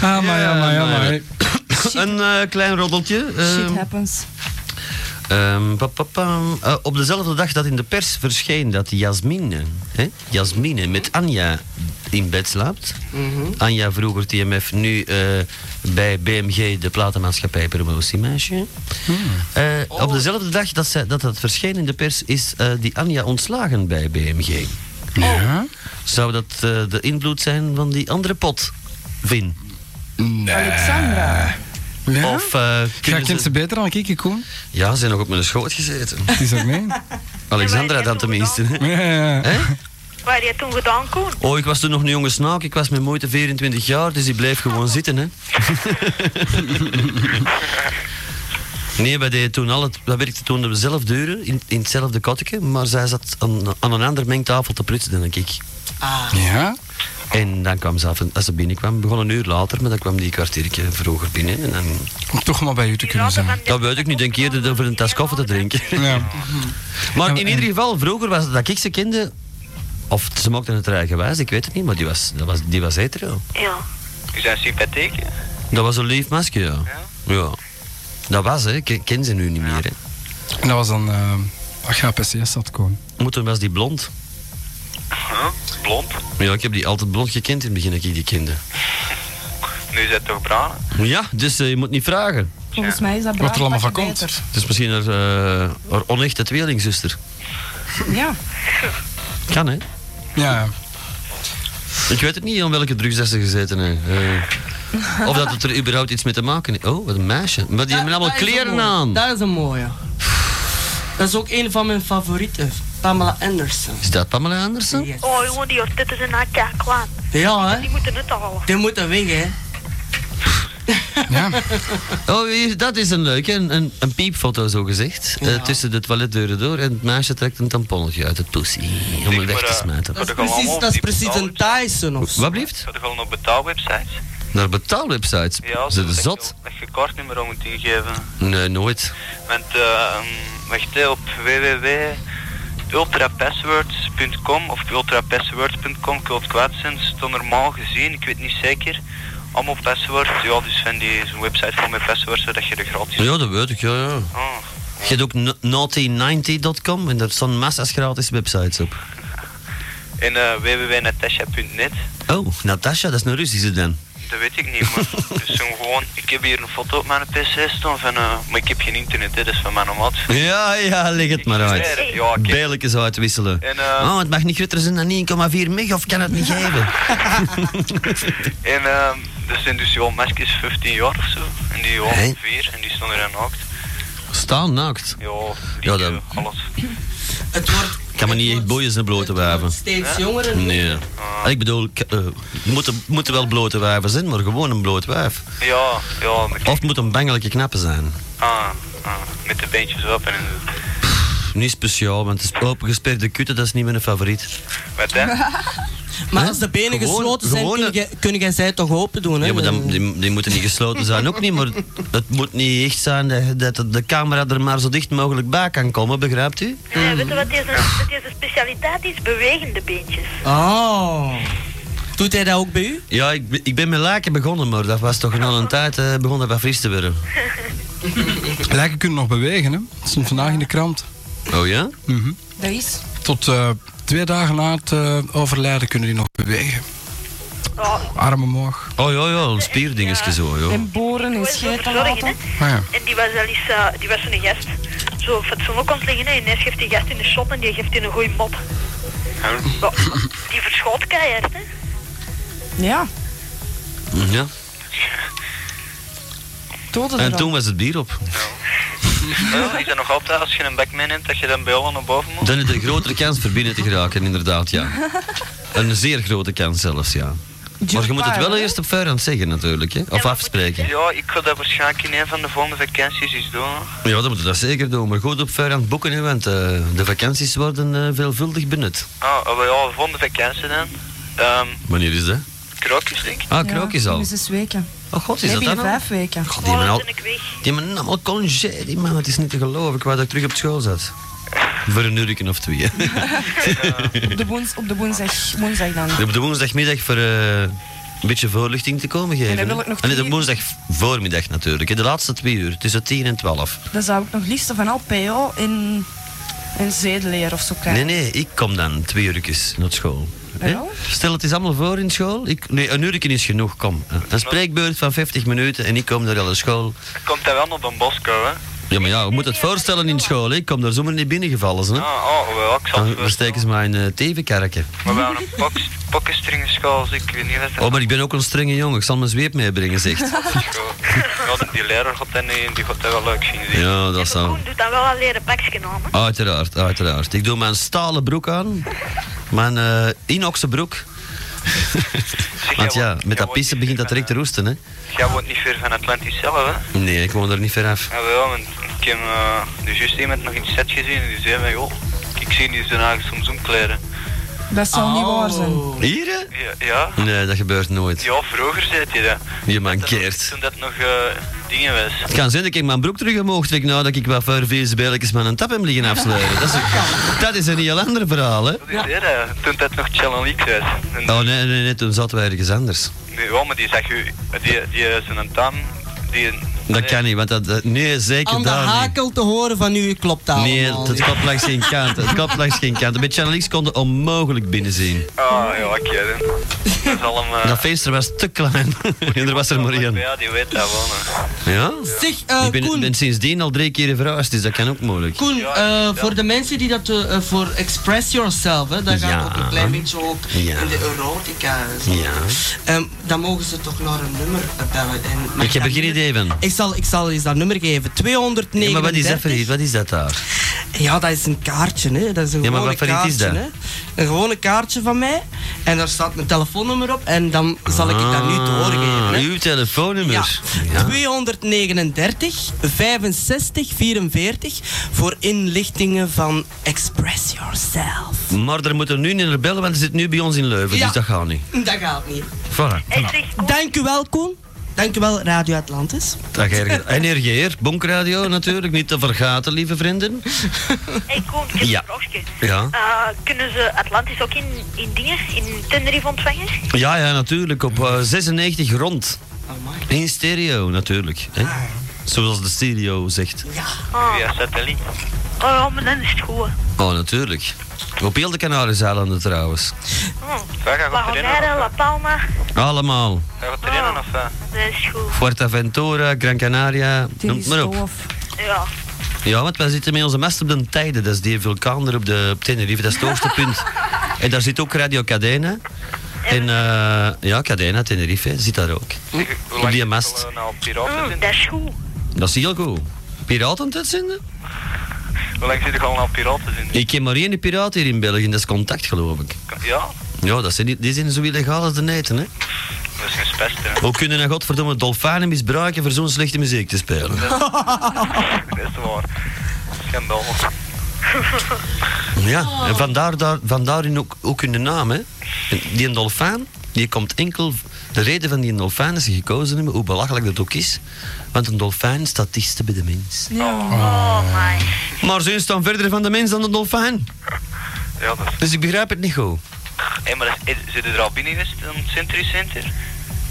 Speaker 7: ah, maar ja, maar ja, maar. ja.
Speaker 3: een eh, klein roddeltje.
Speaker 5: Shit
Speaker 3: ehm,
Speaker 5: happens.
Speaker 3: ehm, pa, pa, pam. Eh, op dezelfde dag dat in de pers verscheen dat Jasmine, hè, Jasmine met Anja in bed slaapt. Anja vroeger TMF, nu eh, bij BMG, de platenmaatschappij promotiemeisje. Eh,
Speaker 7: Oh.
Speaker 3: Op dezelfde dag dat, zij, dat dat verscheen in de pers, is eh, die Anja ontslagen bij BMG.
Speaker 7: Ja?
Speaker 3: Oh. Zou dat eh, de invloed zijn van die andere pot, Vin?
Speaker 5: Alexandra.
Speaker 7: Ja?
Speaker 3: Of eh,
Speaker 7: Jij
Speaker 3: kunnen
Speaker 7: kent ze
Speaker 3: ze...
Speaker 7: beter dan ik, Koen.
Speaker 3: Ja, ze zijn nog op mijn schoot gezeten.
Speaker 7: Is dat mee?
Speaker 3: Alexandra
Speaker 10: Ja,
Speaker 3: dan
Speaker 10: maar jij hebt
Speaker 3: tenminste.
Speaker 7: Ja, ja, ja.
Speaker 3: Hè?
Speaker 10: Waar heb je toen gedaan, Koen?
Speaker 3: Oh, ik was toen nog een jonge snaak. Ik was met moeite 24 jaar, dus ik bleef gewoon zitten, hè. Nee, wij deden toen al het, wij werkten toen op dezelfde uren, in, in hetzelfde kotteke, maar zij zat aan, aan een andere mengtafel te prutsen dan ik.
Speaker 7: Ja?
Speaker 3: En dan kwam ze af, en- als ze binnenkwam, begon een uur later, maar dan kwam die kwartiertje vroeger binnen. En dan,
Speaker 7: Om toch maar bij u te kunnen zijn.
Speaker 3: dat weet ik niet, denk ik eerder dan voor een tas koffie te drinken.
Speaker 7: Ja.
Speaker 3: Maar
Speaker 7: En-
Speaker 3: in
Speaker 7: en-
Speaker 3: ieder geval, vroeger was het dat ik ze kende, of ze mochten het er eigenwijs, ik weet het niet, maar die was, dat was, die was hetero.
Speaker 10: Ja.
Speaker 13: Je bent sympathiek, hè?
Speaker 3: Dat was een lief masker, ja. Ja. Dat was, hè. Ken, ken ze nu niet meer, hè.
Speaker 7: En dat was dan eh, Ach ja, PCS zat gewoon.
Speaker 3: Moeten was die blond?
Speaker 13: Huh? Blond?
Speaker 3: Ja, ik heb die altijd blond gekend in het begin dat ik die kende.
Speaker 13: Nu is het toch bruin?
Speaker 3: Ja, dus eh, je moet niet vragen.
Speaker 5: Volgens mij is dat
Speaker 7: Wat er
Speaker 5: bruin
Speaker 7: allemaal van
Speaker 5: pakje
Speaker 7: komt.
Speaker 5: beter.
Speaker 3: Het is misschien haar, eh, haar onechte tweelingzuster.
Speaker 5: Ja.
Speaker 3: Kan hè?
Speaker 7: Ja, ja.
Speaker 3: Ik weet het niet aan welke drugs dat ze gezeten heeft. Eh, of dat het er überhaupt iets mee te maken heeft. Oh, wat een meisje. Maar die hebben allemaal
Speaker 4: Dat is een
Speaker 3: kleren
Speaker 4: mooie.
Speaker 3: aan.
Speaker 4: Dat is een mooie. Dat is ook een van mijn favorieten. Pamela Anderson.
Speaker 3: Is dat Pamela Anderson?
Speaker 4: Yes.
Speaker 10: Oh jongen, die dit is een hakje kwaad.
Speaker 4: Ja, hè?
Speaker 10: Die moeten het halen.
Speaker 4: Die moeten weg, hè?
Speaker 7: ja.
Speaker 3: Oh, hier, dat is een leuke. Een, een, een piepfoto zo gezegd. Eh,
Speaker 4: Ja.
Speaker 3: tussen de toiletdeuren door. En het meisje trekt een tamponnetje uit het pussy. Om het weg te smijten.
Speaker 13: eh, Dat
Speaker 4: Dat
Speaker 13: is gewoon
Speaker 4: is precies,
Speaker 13: allemaal
Speaker 4: dat is
Speaker 13: die
Speaker 4: precies een Tyson of zo.
Speaker 3: Wat blieft?
Speaker 13: Zou je gewoon op betaalwebsites?
Speaker 3: Naar betaalwebsites.
Speaker 13: Ja,
Speaker 3: Ze
Speaker 13: zo
Speaker 3: de
Speaker 13: dat
Speaker 3: zot?
Speaker 13: je- Dat je kaartnummer al moet ingeven.
Speaker 3: Nee, nooit.
Speaker 13: Want eh, ehm, wacht hè, op www.ultrapasswords.com of ultrapasswords.com, ik wil het kwaad zijn, stond normaal gezien, ik weet niet zeker. Allemaal passwords, ja, dus van die zo'n website vol met passwords, zodat je er gratis...
Speaker 3: Ja, dat weet ik, ja, ja.
Speaker 13: Oh,
Speaker 3: Je hebt ook na- naughty90.com en daar staan massa's gratis websites op.
Speaker 13: En eh www.natasha.net,
Speaker 3: Oh, Natasha, dat is een Russische dan.
Speaker 13: dat weet ik niet, maar dus zo'n gewoon... Ik heb hier een foto op mijn pc staan van... eh, maar ik heb geen internet, hè, dat is van mijn maat.
Speaker 3: Ja, ja, leg het maar uit.
Speaker 13: Ja, oké.
Speaker 3: Bijlletjes uitwisselen.
Speaker 13: En, eh,
Speaker 3: oh, het mag niet groter zijn dan 1,4 meg of kan het niet geven?
Speaker 13: En ehm dat zijn dus ja, meisjes 15 jaar of zo. En die ja,
Speaker 3: Hey.
Speaker 13: vier, en die stonden er naakt.
Speaker 3: Staan naakt.
Speaker 13: Ja,
Speaker 3: Ja,
Speaker 13: ja
Speaker 3: dan-
Speaker 13: alles.
Speaker 4: Het wordt...
Speaker 3: Kan me niet echt
Speaker 4: het wordt-
Speaker 3: boeien zijn blote
Speaker 4: het wordt
Speaker 3: wijven.
Speaker 4: Steeds jonger en
Speaker 3: Nee.
Speaker 13: Ah.
Speaker 3: Ik bedoel, ik, eh, moeten, moeten wel blote wijven zijn, maar gewoon een bloot wijf.
Speaker 13: Ja, ja, met,
Speaker 3: Of het moet een bangelijke knappe zijn.
Speaker 13: ah, ah, met de beentjes open en zo.
Speaker 3: Niet speciaal, want het is opengesperde kutte, dat is niet mijn favoriet.
Speaker 13: Wat hè?
Speaker 4: Maar
Speaker 3: Hè?
Speaker 4: als de benen
Speaker 3: Gewoon-
Speaker 4: gesloten zijn,
Speaker 3: gewoon-
Speaker 4: kun jij- kun jij zij toch open doen, hè?
Speaker 3: Ja, maar dan, die, die moeten niet gesloten zijn ook niet, maar het moet niet echt zijn dat, dat de camera er maar zo dicht mogelijk bij kan komen, begrijpt u?
Speaker 10: Nee, weet je wat deze, wat deze specialiteit is? Bewegende beentjes.
Speaker 4: Oh. Doet hij dat ook bij u?
Speaker 3: Ja, ik, ben- ik ben met laken begonnen, maar dat was toch in al een tijd eh, begon dat wat fris te worden.
Speaker 7: Lijken kunnen nog bewegen, hè. Dat stond vandaag in de krant. Mhm.
Speaker 3: Oh ja?
Speaker 5: Dat is.
Speaker 7: Tot eh, twee dagen na het eh, overlijden kunnen die nog bewegen.
Speaker 10: Ja,
Speaker 7: Armen omhoog.
Speaker 3: Oh ja, ja, een spierdingetje zo, joh.
Speaker 5: En boren en
Speaker 10: goed
Speaker 5: scheten
Speaker 10: verzorgen, hè.
Speaker 5: laten.
Speaker 7: Maar Ah, ja.
Speaker 10: En die was al eens, eh, die was een gast. Zo fatsoenlijk ontleggen hè. Ineens geeft die gast in de shot en die geeft in een goeie mop. Ja, die verschoot keihard, hè.
Speaker 5: Ja,
Speaker 3: Mm, Ja.
Speaker 5: doden
Speaker 3: En
Speaker 5: er
Speaker 3: toen was het bier op.
Speaker 13: Ja, is dat nog altijd als je een bakman neemt dat je dan bij allen naar boven moet?
Speaker 3: Dan is er een grotere kans voor binnen te geraken, inderdaad, ja. Een zeer grote kans zelfs, ja. Maar je moet het wel eerst op vuurhand zeggen, natuurlijk, hè. Of afspreken.
Speaker 13: Ja, ik ga dat waarschijnlijk in een van de volgende vakanties eens doen. hoor.
Speaker 3: Ja, dan moet je dat zeker doen, maar goed op vuurhand boeken, hè, want eh, de vakanties worden eh, veelvuldig benut.
Speaker 13: Ah, oh, ja, de volgende vakantie dan. Ehm
Speaker 3: Wanneer is dat?
Speaker 13: krookjes denk ik.
Speaker 3: Ah, Krookjes al.
Speaker 5: Nu zes weken.
Speaker 3: Oh god, is
Speaker 5: Nee,
Speaker 3: dat dan
Speaker 5: binnen
Speaker 3: al?
Speaker 5: vijf weken.
Speaker 3: God, die
Speaker 10: Oh,
Speaker 3: hebben
Speaker 10: dan
Speaker 3: al...
Speaker 10: ben ik weg.
Speaker 3: Die hebben allemaal congé, die man. Het is niet te geloven. Ik wou dat ik terug op school zat. Voor een uurken of twee. hè.
Speaker 5: Op de, woens, op de woensdag, woensdag dan.
Speaker 3: op de woensdagmiddag voor eh, een beetje voorlichting te komen geven.
Speaker 5: dan wil
Speaker 3: hè.
Speaker 5: ik nog
Speaker 3: Ah, nee, de
Speaker 5: tien-
Speaker 3: woensdag voormiddag natuurlijk. hè. De laatste twee uur, tussen 10 en 12.
Speaker 5: Dan zou ik nog liefst van al PO in, in zedeleer of zo kijken.
Speaker 3: Nee, nee, ik kom dan twee uurtjes naar school. Hè?
Speaker 5: Ja.
Speaker 3: Stel, het is allemaal voor in school. Ik, nee, een uurken is genoeg, kom. Eh, Een spreekbeurt van 50 minuten en ik kom naar alle school.
Speaker 13: Komt dat wel op een Bosco hè?
Speaker 3: Ja, maar ja, je moet het voorstellen in school. hè. Ik kom daar zomaar niet binnengevallen. Hè?
Speaker 13: Ah, oh, wel, ik zal
Speaker 3: Dan
Speaker 13: het
Speaker 3: versteken ze mijn eh tevenkerken.
Speaker 13: Maar we hebben een poks- pokkenstringenschool, dus ik weet niet wat dat
Speaker 3: Oh, maar ik ben ook een strenge jongen. Ik zal mijn zweep meebrengen, zegt.
Speaker 13: Ja, die- die leraar gaat dat, niet- die gaat dat wel leuk vinden. denk ik.
Speaker 3: Ja, dat
Speaker 10: Maar
Speaker 3: zal.
Speaker 10: Koen doet dan wel al leren pakje aan, hè.
Speaker 3: Uiteraard, uiteraard. Ik doe mijn stalen broek aan. Mijn eh inoxen broek.
Speaker 13: Zeg,
Speaker 3: Want
Speaker 13: jij
Speaker 3: ja,
Speaker 13: woont- jij
Speaker 3: met dat
Speaker 13: woont
Speaker 3: pissen
Speaker 13: niet
Speaker 3: begint
Speaker 13: ver
Speaker 3: dat direct te
Speaker 13: van,
Speaker 3: roesten, hè.
Speaker 13: eh, Jij woont niet ver van Atlantis zelf, hè?
Speaker 3: Nee, ik woon er niet ver af.
Speaker 13: Ja, wel, want ik heb eh, dus juist iemand nog in de set gezien en die zei van, joh, ik zie die zijn eigen soms omkleden.
Speaker 5: Dat zou niet waar zijn.
Speaker 4: Oh.
Speaker 3: Hier, hè?
Speaker 13: Ja, ja,
Speaker 3: Nee, dat gebeurt nooit.
Speaker 13: ja vroeger zei hij dat.
Speaker 3: Je
Speaker 13: Dat nog-
Speaker 3: mankeert.
Speaker 13: Toen dat nog eh, dingen was.
Speaker 3: Het kan zijn dat ik mijn broek terug omhoog trek nou dat ik wat vervees belletjes met een tap hem liggen afsluiten. Dat is, een, dat is een heel ander verhaal, hè.
Speaker 13: Die zei dat, toen dat nog Challenge X was. En,
Speaker 3: Oh, nee, nee, nee, toen zaten wij ergens anders.
Speaker 13: nee, ja, maar die zag u, die, die zijn een tam, die
Speaker 3: Dat kan niet, want dat, dat- nee, zeker
Speaker 4: Aan de
Speaker 3: daar niet.
Speaker 4: hakel te horen van u klopt dat
Speaker 3: Nee,
Speaker 4: allemaal
Speaker 3: het
Speaker 4: niet.
Speaker 3: klopt langs geen kant. Het klopt langs geen kant. Met Channelix konden onmogelijk binnenzien.
Speaker 13: Ah, ja, ik weet het. Dat is allemaal... eh,
Speaker 3: Dat venster was te klein. en er was er maar één.
Speaker 13: Ja, die weet dat wel. hè.
Speaker 3: Ja?
Speaker 4: Zeg, eh,
Speaker 3: ik ben,
Speaker 4: Koen.
Speaker 3: ben sindsdien al drie keer verhuisd, dus dat kan ook moeilijk.
Speaker 4: Koen, eh, voor de mensen die dat eh, eh, voor Express Yourself, hè, dat gaat
Speaker 3: Ja.
Speaker 4: ook een klein beetje ook
Speaker 3: Ja.
Speaker 4: in de erotica en zo.
Speaker 3: Ja.
Speaker 4: Ehm, dan mogen ze toch naar een nummer bellen. En, mag
Speaker 3: Ik heb er geen
Speaker 4: dat nummer-
Speaker 3: idee van.
Speaker 4: Ik zal, ik zal eens dat nummer geven. 239.
Speaker 3: Ja, maar wat is dat voor iets? Wat is dat daar?
Speaker 4: Ja, dat is een kaartje, hè. Dat is een
Speaker 3: Ja, maar
Speaker 4: gewone
Speaker 3: wat voor iets
Speaker 4: kaartje,
Speaker 3: is dat?
Speaker 4: hè. Een gewone kaartje van mij. En daar staat mijn telefoonnummer op. En dan zal ik het dat nu doorgeven, hè.
Speaker 3: Ah, Uw telefoonnummer. Ja.
Speaker 4: 239 65 44 voor inlichtingen van Express Yourself.
Speaker 3: Maar er moeten nu niet naar bellen, want ze zit nu bij ons in Leuven,
Speaker 4: Ja.
Speaker 3: dus dat gaat niet.
Speaker 4: Dat gaat niet.
Speaker 3: Voilà.
Speaker 4: Dank u wel, Koen. Dank u wel, Radio Atlantis.
Speaker 3: Dat ga je- En RGR, Bonkradio natuurlijk, niet te vergaten, lieve vrienden.
Speaker 10: Hey Koen, ik heb
Speaker 3: Ja.
Speaker 10: een vraagje.
Speaker 3: Ja.
Speaker 10: Eh, kunnen ze Atlantis ook in, in dingen, in Tenerife ontvangen?
Speaker 3: Ja, ja, natuurlijk. Op eh, 96 rond. In stereo, natuurlijk. Hè? Zoals de stereo zegt.
Speaker 13: Via satelliet.
Speaker 10: Ah, Oh ja, maar dan is het goed.
Speaker 3: Oh, natuurlijk. Op heel de Canarische trouwens.
Speaker 10: Oh.
Speaker 13: Waar
Speaker 10: La
Speaker 13: gaat het erin?
Speaker 10: Gomera, La Palma,
Speaker 3: Allemaal.
Speaker 13: Gaat het erin of... eh?
Speaker 10: dat is goed.
Speaker 3: Fuerteventura, Gran Canaria, noem het maar op.
Speaker 10: Ja.
Speaker 3: Ja, want wij zitten met onze mast op de Tijden. Dat is die vulkaan er op, de, op Tenerife. Dat is het hoogste punt. En daar zit ook Radio Cadena. En eh, ja, Cadena, Tenerife, hè, zit daar ook.
Speaker 13: Hoe
Speaker 3: Op
Speaker 13: lang
Speaker 3: die
Speaker 13: is het
Speaker 3: mast.
Speaker 13: al, eh, nou, piraten
Speaker 10: Mm,
Speaker 13: zijn?
Speaker 10: dat is goed.
Speaker 3: Dat is heel goed. Piraten aan het uitzenden?
Speaker 13: Hoe lang zit er al aan piraten in?
Speaker 3: Ik ken maar één piraat hier in België, dat is contact geloof ik.
Speaker 13: Ja,
Speaker 3: Ja, dat zijn, niet- die zijn zo illegaal als de neten, hè.
Speaker 13: dat is geen pest, hè.
Speaker 3: Hoe kunnen nou godverdomme dolfijnen misbruiken voor zo'n slechte muziek te spelen?
Speaker 13: Dat is waar. Schandaal.
Speaker 3: Ja, en vandaar, daar, vandaarin ook, ook hun naam, hè. En Die dolfijn, die komt enkel... De reden van die dolfijn is ze gekozen hebben, hoe belachelijk dat ook is. Want een dolfijn staat dichtst bij de mens.
Speaker 10: Oh my.
Speaker 3: Maar ze staan verder van de mens dan de dolfijn.
Speaker 13: Ja, dat is...
Speaker 3: Dus ik begrijp het niet goed.
Speaker 13: Hé, maar dat is... eh, zit er al binnen geweest in het Century Center?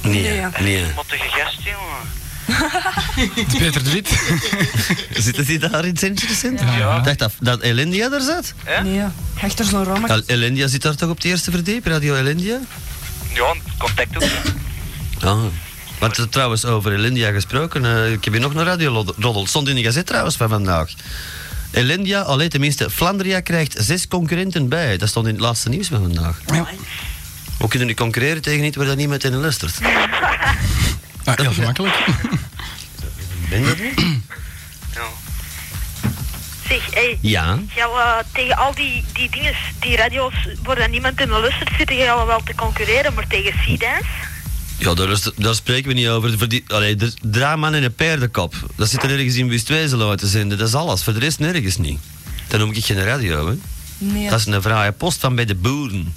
Speaker 3: Nee, nee.
Speaker 13: Wat een gast, jongen.
Speaker 7: Peter de Wit.
Speaker 3: Zitten die daar in het Century Center?
Speaker 13: Ja.
Speaker 3: Ik dacht dat, dat Elendia daar zat.
Speaker 5: Nee, hechter zo'n rammetje.
Speaker 3: El Elendia zit daar toch op de eerste verdiep, Radio Elendia?
Speaker 13: Ja, contact ook. hè.
Speaker 3: Ah. Want eh, trouwens, over Elendia gesproken, eh, ik heb hier nog een radioroddel. Stond in de gazet trouwens van vandaag. Elendia, alleen tenminste, Flandria krijgt zes concurrenten bij. Dat stond in het laatste nieuws van vandaag. Hoe kunnen die concurreren tegen iets waar dat niemand in luistert?
Speaker 7: Ah, heel gemakkelijk.
Speaker 3: Ben je dat niet?
Speaker 13: Ja.
Speaker 10: Zeg, hey.
Speaker 3: Ja.
Speaker 10: Ja, eh, tegen al die, die dingen, die radio's, waar dan niemand in de luistert, zitten jij wel te concurreren, maar tegen Seedance?
Speaker 3: Ja, daar, is- daar spreken we niet over. Voor die, allee, er- draaman en een paardenkop. Dat zit er ergens in Wustwezel uit te zenden. Dat is alles. Voor de rest nergens niet. Dan noem ik geen radio, hè.
Speaker 5: Nee.
Speaker 3: Dat is een fraaie post van bij de boeren.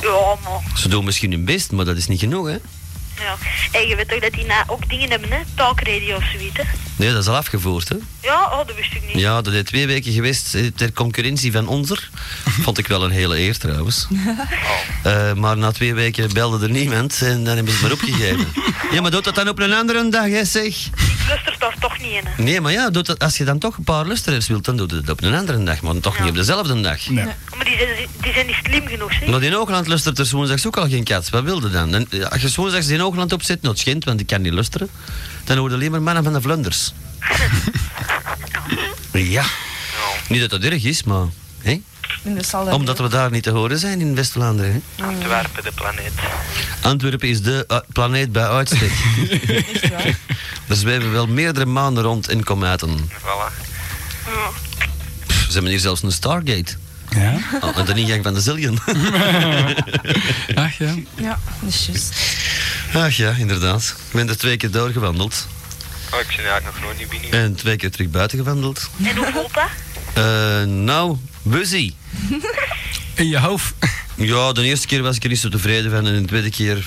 Speaker 10: Ja, maar.
Speaker 3: Ze doen misschien hun best, maar dat is niet genoeg, hè.
Speaker 10: Ja. Hey, je weet toch dat die na ook dingen hebben, hè? Talkradio suite. hè?
Speaker 3: Nee, dat is al afgevoerd, hè.
Speaker 10: Ja, oh, dat wist ik niet.
Speaker 3: Ja, dat is twee weken geweest eh, ter concurrentie van onzer. Vond ik wel een hele eer trouwens. Eh, maar na twee weken belde er niemand en dan hebben ze het maar opgegeven. Ja, maar doet dat dan op een andere dag, hè, zeg?
Speaker 10: Ik luister daar toch niet in. hè.
Speaker 3: Nee, maar ja, doet dat, als je dan toch een paar luisteraars wilt, dan doe je het op een andere dag. Maar toch niet op dezelfde dag.
Speaker 10: Maar die zijn, die zijn niet slim genoeg, zeg.
Speaker 3: Maar in Oogland lustert er woensdags ook al geen kat. Wat wilde dan? dan ja, als je woensdags in Oogland opzet, dat schijnt, want ik kan niet lusteren. Dan hoor je alleen maar mannen van de Vlunders. ja. Niet dat dat erg is, maar... Hè?
Speaker 5: In de Mm. zaal.
Speaker 3: Omdat we daar niet te horen zijn in West-Vlaanderen. hè?
Speaker 13: Antwerpen, de planeet.
Speaker 3: Antwerpen is de eh, planeet bij uitstek. Daar zweven wel meerdere maanden rond in kometen.
Speaker 13: Voilà.
Speaker 3: Pff, Ze hebben hier zelfs een Stargate.
Speaker 7: Ja.
Speaker 3: Oh, met een ingang van de zillion.
Speaker 7: Ach ja.
Speaker 5: Ja, dat is juist.
Speaker 3: Ach ja, inderdaad. Ik ben er twee keer doorgewandeld.
Speaker 13: Oh, ik zit eigenlijk nog nooit niet binnen.
Speaker 3: En twee keer terug buiten gewandeld.
Speaker 10: En hoe voelt dat?
Speaker 3: Eh, nou, buzzy.
Speaker 7: In je hoofd.
Speaker 3: Ja, de eerste keer was ik er niet zo tevreden van. En de tweede keer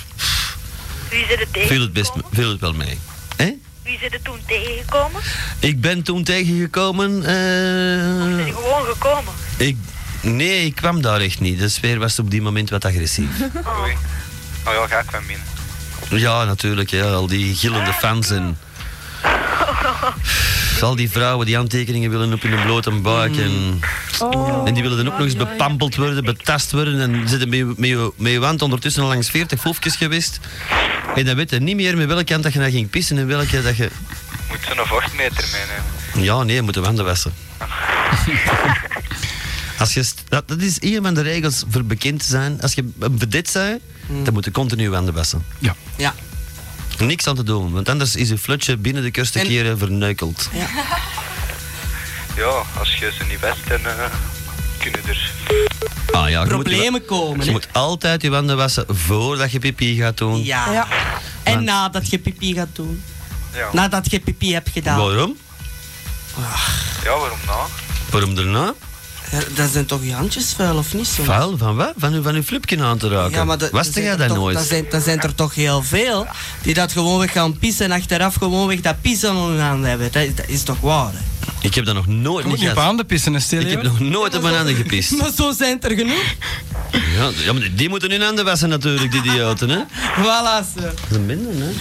Speaker 10: Wie zit er
Speaker 3: viel het, best,
Speaker 10: tegengekomen?
Speaker 3: viel het wel mee. Hè?
Speaker 10: Wie zit er toen tegengekomen?
Speaker 3: Ik ben toen tegengekomen... eh,
Speaker 10: Zijn die gewoon gekomen?
Speaker 3: Ik, nee, ik kwam daar echt niet. De sfeer was op die moment wat agressief.
Speaker 13: Oei. Oh Ah, ja, ga ik van binnen.
Speaker 3: ja, natuurlijk. Ja, al die gillende fans en Pff, Al die vrouwen die handtekeningen willen op hun blote buik. En,
Speaker 10: Mm.
Speaker 3: en die willen dan ook nog eens bepampeld worden, betast worden. En zitten met je, met je, met je wand ondertussen al langs 40 hoefjes geweest. En dan weet je niet meer met welke kant dat je naar ging pissen en welke dat je...
Speaker 13: Moet zo'n vochtmeter meenemen.
Speaker 3: Ja, nee, je moet de wanden wassen. Als je, st- dat, dat is een van de regels voor bekend te zijn. Als je een vedette bent, dan moet je continu wanden wassen.
Speaker 7: Hmm. Ja.
Speaker 4: Ja.
Speaker 3: Niks aan te doen, want anders is je flutje binnen de kortste keren verneukeld.
Speaker 13: Ja, als je ze niet west, dan eh, kunnen er...
Speaker 3: Ah, ja, je moet je wa-
Speaker 4: Problemen komen.
Speaker 3: Je
Speaker 4: hè.
Speaker 3: moet altijd je wanden wassen voordat je pipi gaat doen.
Speaker 4: Ja.
Speaker 5: Ja.
Speaker 4: En nadat je pipi gaat doen.
Speaker 13: Ja,
Speaker 4: Nadat je pipi hebt gedaan.
Speaker 3: Waarom?
Speaker 13: ja waarom nou?
Speaker 3: Waarom daarna?
Speaker 4: Eh, Dat zijn toch je handjes vuil, of niet? soms?
Speaker 3: Vuil, van wat? Van uw, van uw flipje aan te raken.
Speaker 4: Ja, maar dat-
Speaker 3: Waste jij
Speaker 4: er zijn
Speaker 3: dat
Speaker 4: er toch-
Speaker 3: nooit?
Speaker 4: Dat zijn, dat zijn er toch heel veel die dat gewoon weg gaan pissen en achteraf gewoon weg dat pissen aan hun handen hebben. Dat, is- dat is toch waar? Hè?
Speaker 3: Ik heb dat nog nooit
Speaker 7: Je moet
Speaker 3: niet
Speaker 7: niet op
Speaker 3: gehad.
Speaker 7: handen pissen, hè, stil.
Speaker 3: Ik heb
Speaker 7: hè.
Speaker 3: nog nooit op mijn handen gepist.
Speaker 4: Maar zo zijn er genoeg.
Speaker 3: Ja, d- ja, maar die moeten hun handen wassen natuurlijk, die idioten, hè?
Speaker 4: Voilà. Ze.
Speaker 3: Dat is een minder, hè?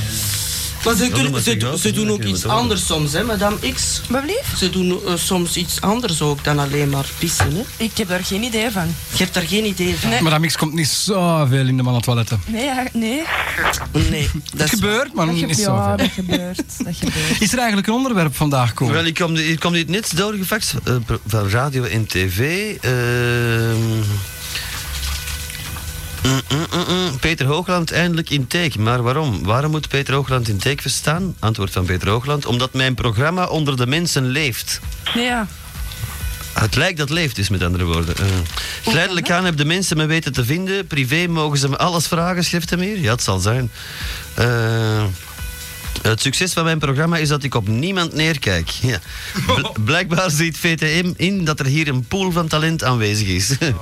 Speaker 4: Maar ze, kunnen-
Speaker 3: maar
Speaker 4: ze,
Speaker 3: zeg, ja,
Speaker 4: do-
Speaker 3: dan
Speaker 4: ze doen
Speaker 3: kun
Speaker 4: ook
Speaker 3: je
Speaker 4: iets
Speaker 3: het ook
Speaker 4: anders soms, hè, madame X.
Speaker 5: Blijf?
Speaker 4: Ze doen eh, soms iets anders ook dan alleen maar pissen. Hè.
Speaker 5: Ik heb daar geen idee van.
Speaker 4: Je hebt daar geen idee van.
Speaker 5: Nee.
Speaker 7: Maar dat mix komt niet zoveel in de mannentoiletten.
Speaker 5: Nee, ja, nee.
Speaker 4: Nee,
Speaker 7: Het
Speaker 4: dat is
Speaker 7: gebeurt, maar
Speaker 5: Dat,
Speaker 7: niet
Speaker 5: gebeurt,
Speaker 7: zoveel.
Speaker 5: ja, dat gebeurt. Dat gebeurt.
Speaker 7: Is er eigenlijk een onderwerp vandaag
Speaker 3: Wel,
Speaker 7: komen?
Speaker 3: ik kwam, ik kwam dit net doorgevakt eh, pro- van radio en tv. ehm. Mm, mm, mm, mm. Peter Hoogland eindelijk in take. Maar waarom? Waarom moet Peter Hoogland in take verstaan? Antwoord van Peter Hoogland. Omdat mijn programma onder de mensen leeft.
Speaker 5: Nee, ja.
Speaker 3: Ah, Het lijkt dat leeft is, met andere woorden. Eh, Geleidelijk aan hebben de mensen me weten te vinden. Privé mogen ze me alles vragen, schrijft hij hier. Ja, het zal zijn. Eh, het succes van mijn programma is dat ik op niemand neerkijk. Ja. Bl- blijkbaar ziet VTM in dat er hier een pool van talent aanwezig is.
Speaker 5: Oh.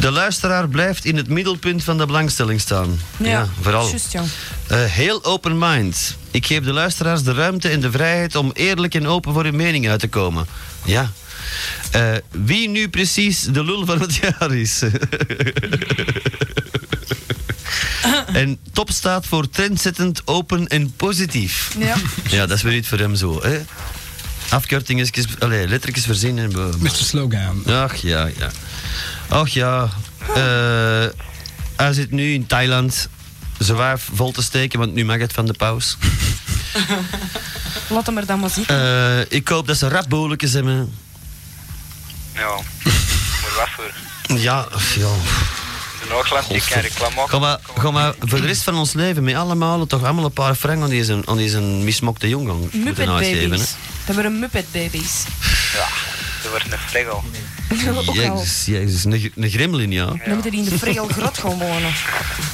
Speaker 3: De luisteraar blijft in het middelpunt van de belangstelling staan.
Speaker 5: Ja,
Speaker 3: vooral.
Speaker 5: juist, ja.
Speaker 3: Eh, heel open mind. Ik geef de luisteraars de ruimte en de vrijheid om eerlijk en open voor hun mening uit te komen. Ja. Eh, wie nu precies de lul van het jaar is. en top staat voor trendzettend, open en positief.
Speaker 5: Ja.
Speaker 3: Ja, dat is weer iets voor hem zo. Hè? Afkortingen, allee, lettertjes voorzien. En,
Speaker 7: Mr. Slogan.
Speaker 3: Ach ja, ja. Ach ja. Eh, hij zit nu in Thailand zwaar vol te steken, want nu mag het van de paus.
Speaker 5: Laat hem er dan maar zien.
Speaker 3: Eh, ik hoop dat ze rapbolijkjes hebben.
Speaker 13: Ja, maar wat voor?
Speaker 3: Ja, ach, ja.
Speaker 13: De Noogland, die kan reclame maken.
Speaker 3: Ga maar, ga maar voor de rest van ons leven met allemaal toch allemaal een paar frank aan deze, aan deze mismokte jongen
Speaker 5: Muppet
Speaker 3: moeten uitgeven.
Speaker 5: babies. Dat waren Muppet babies.
Speaker 13: Ja, dat wordt een fregel.
Speaker 5: Ook al.
Speaker 3: Jezus, jezus, een, gr- een gremlin, ja.
Speaker 5: Dan moet hij in de Fregel grot gaan wonen.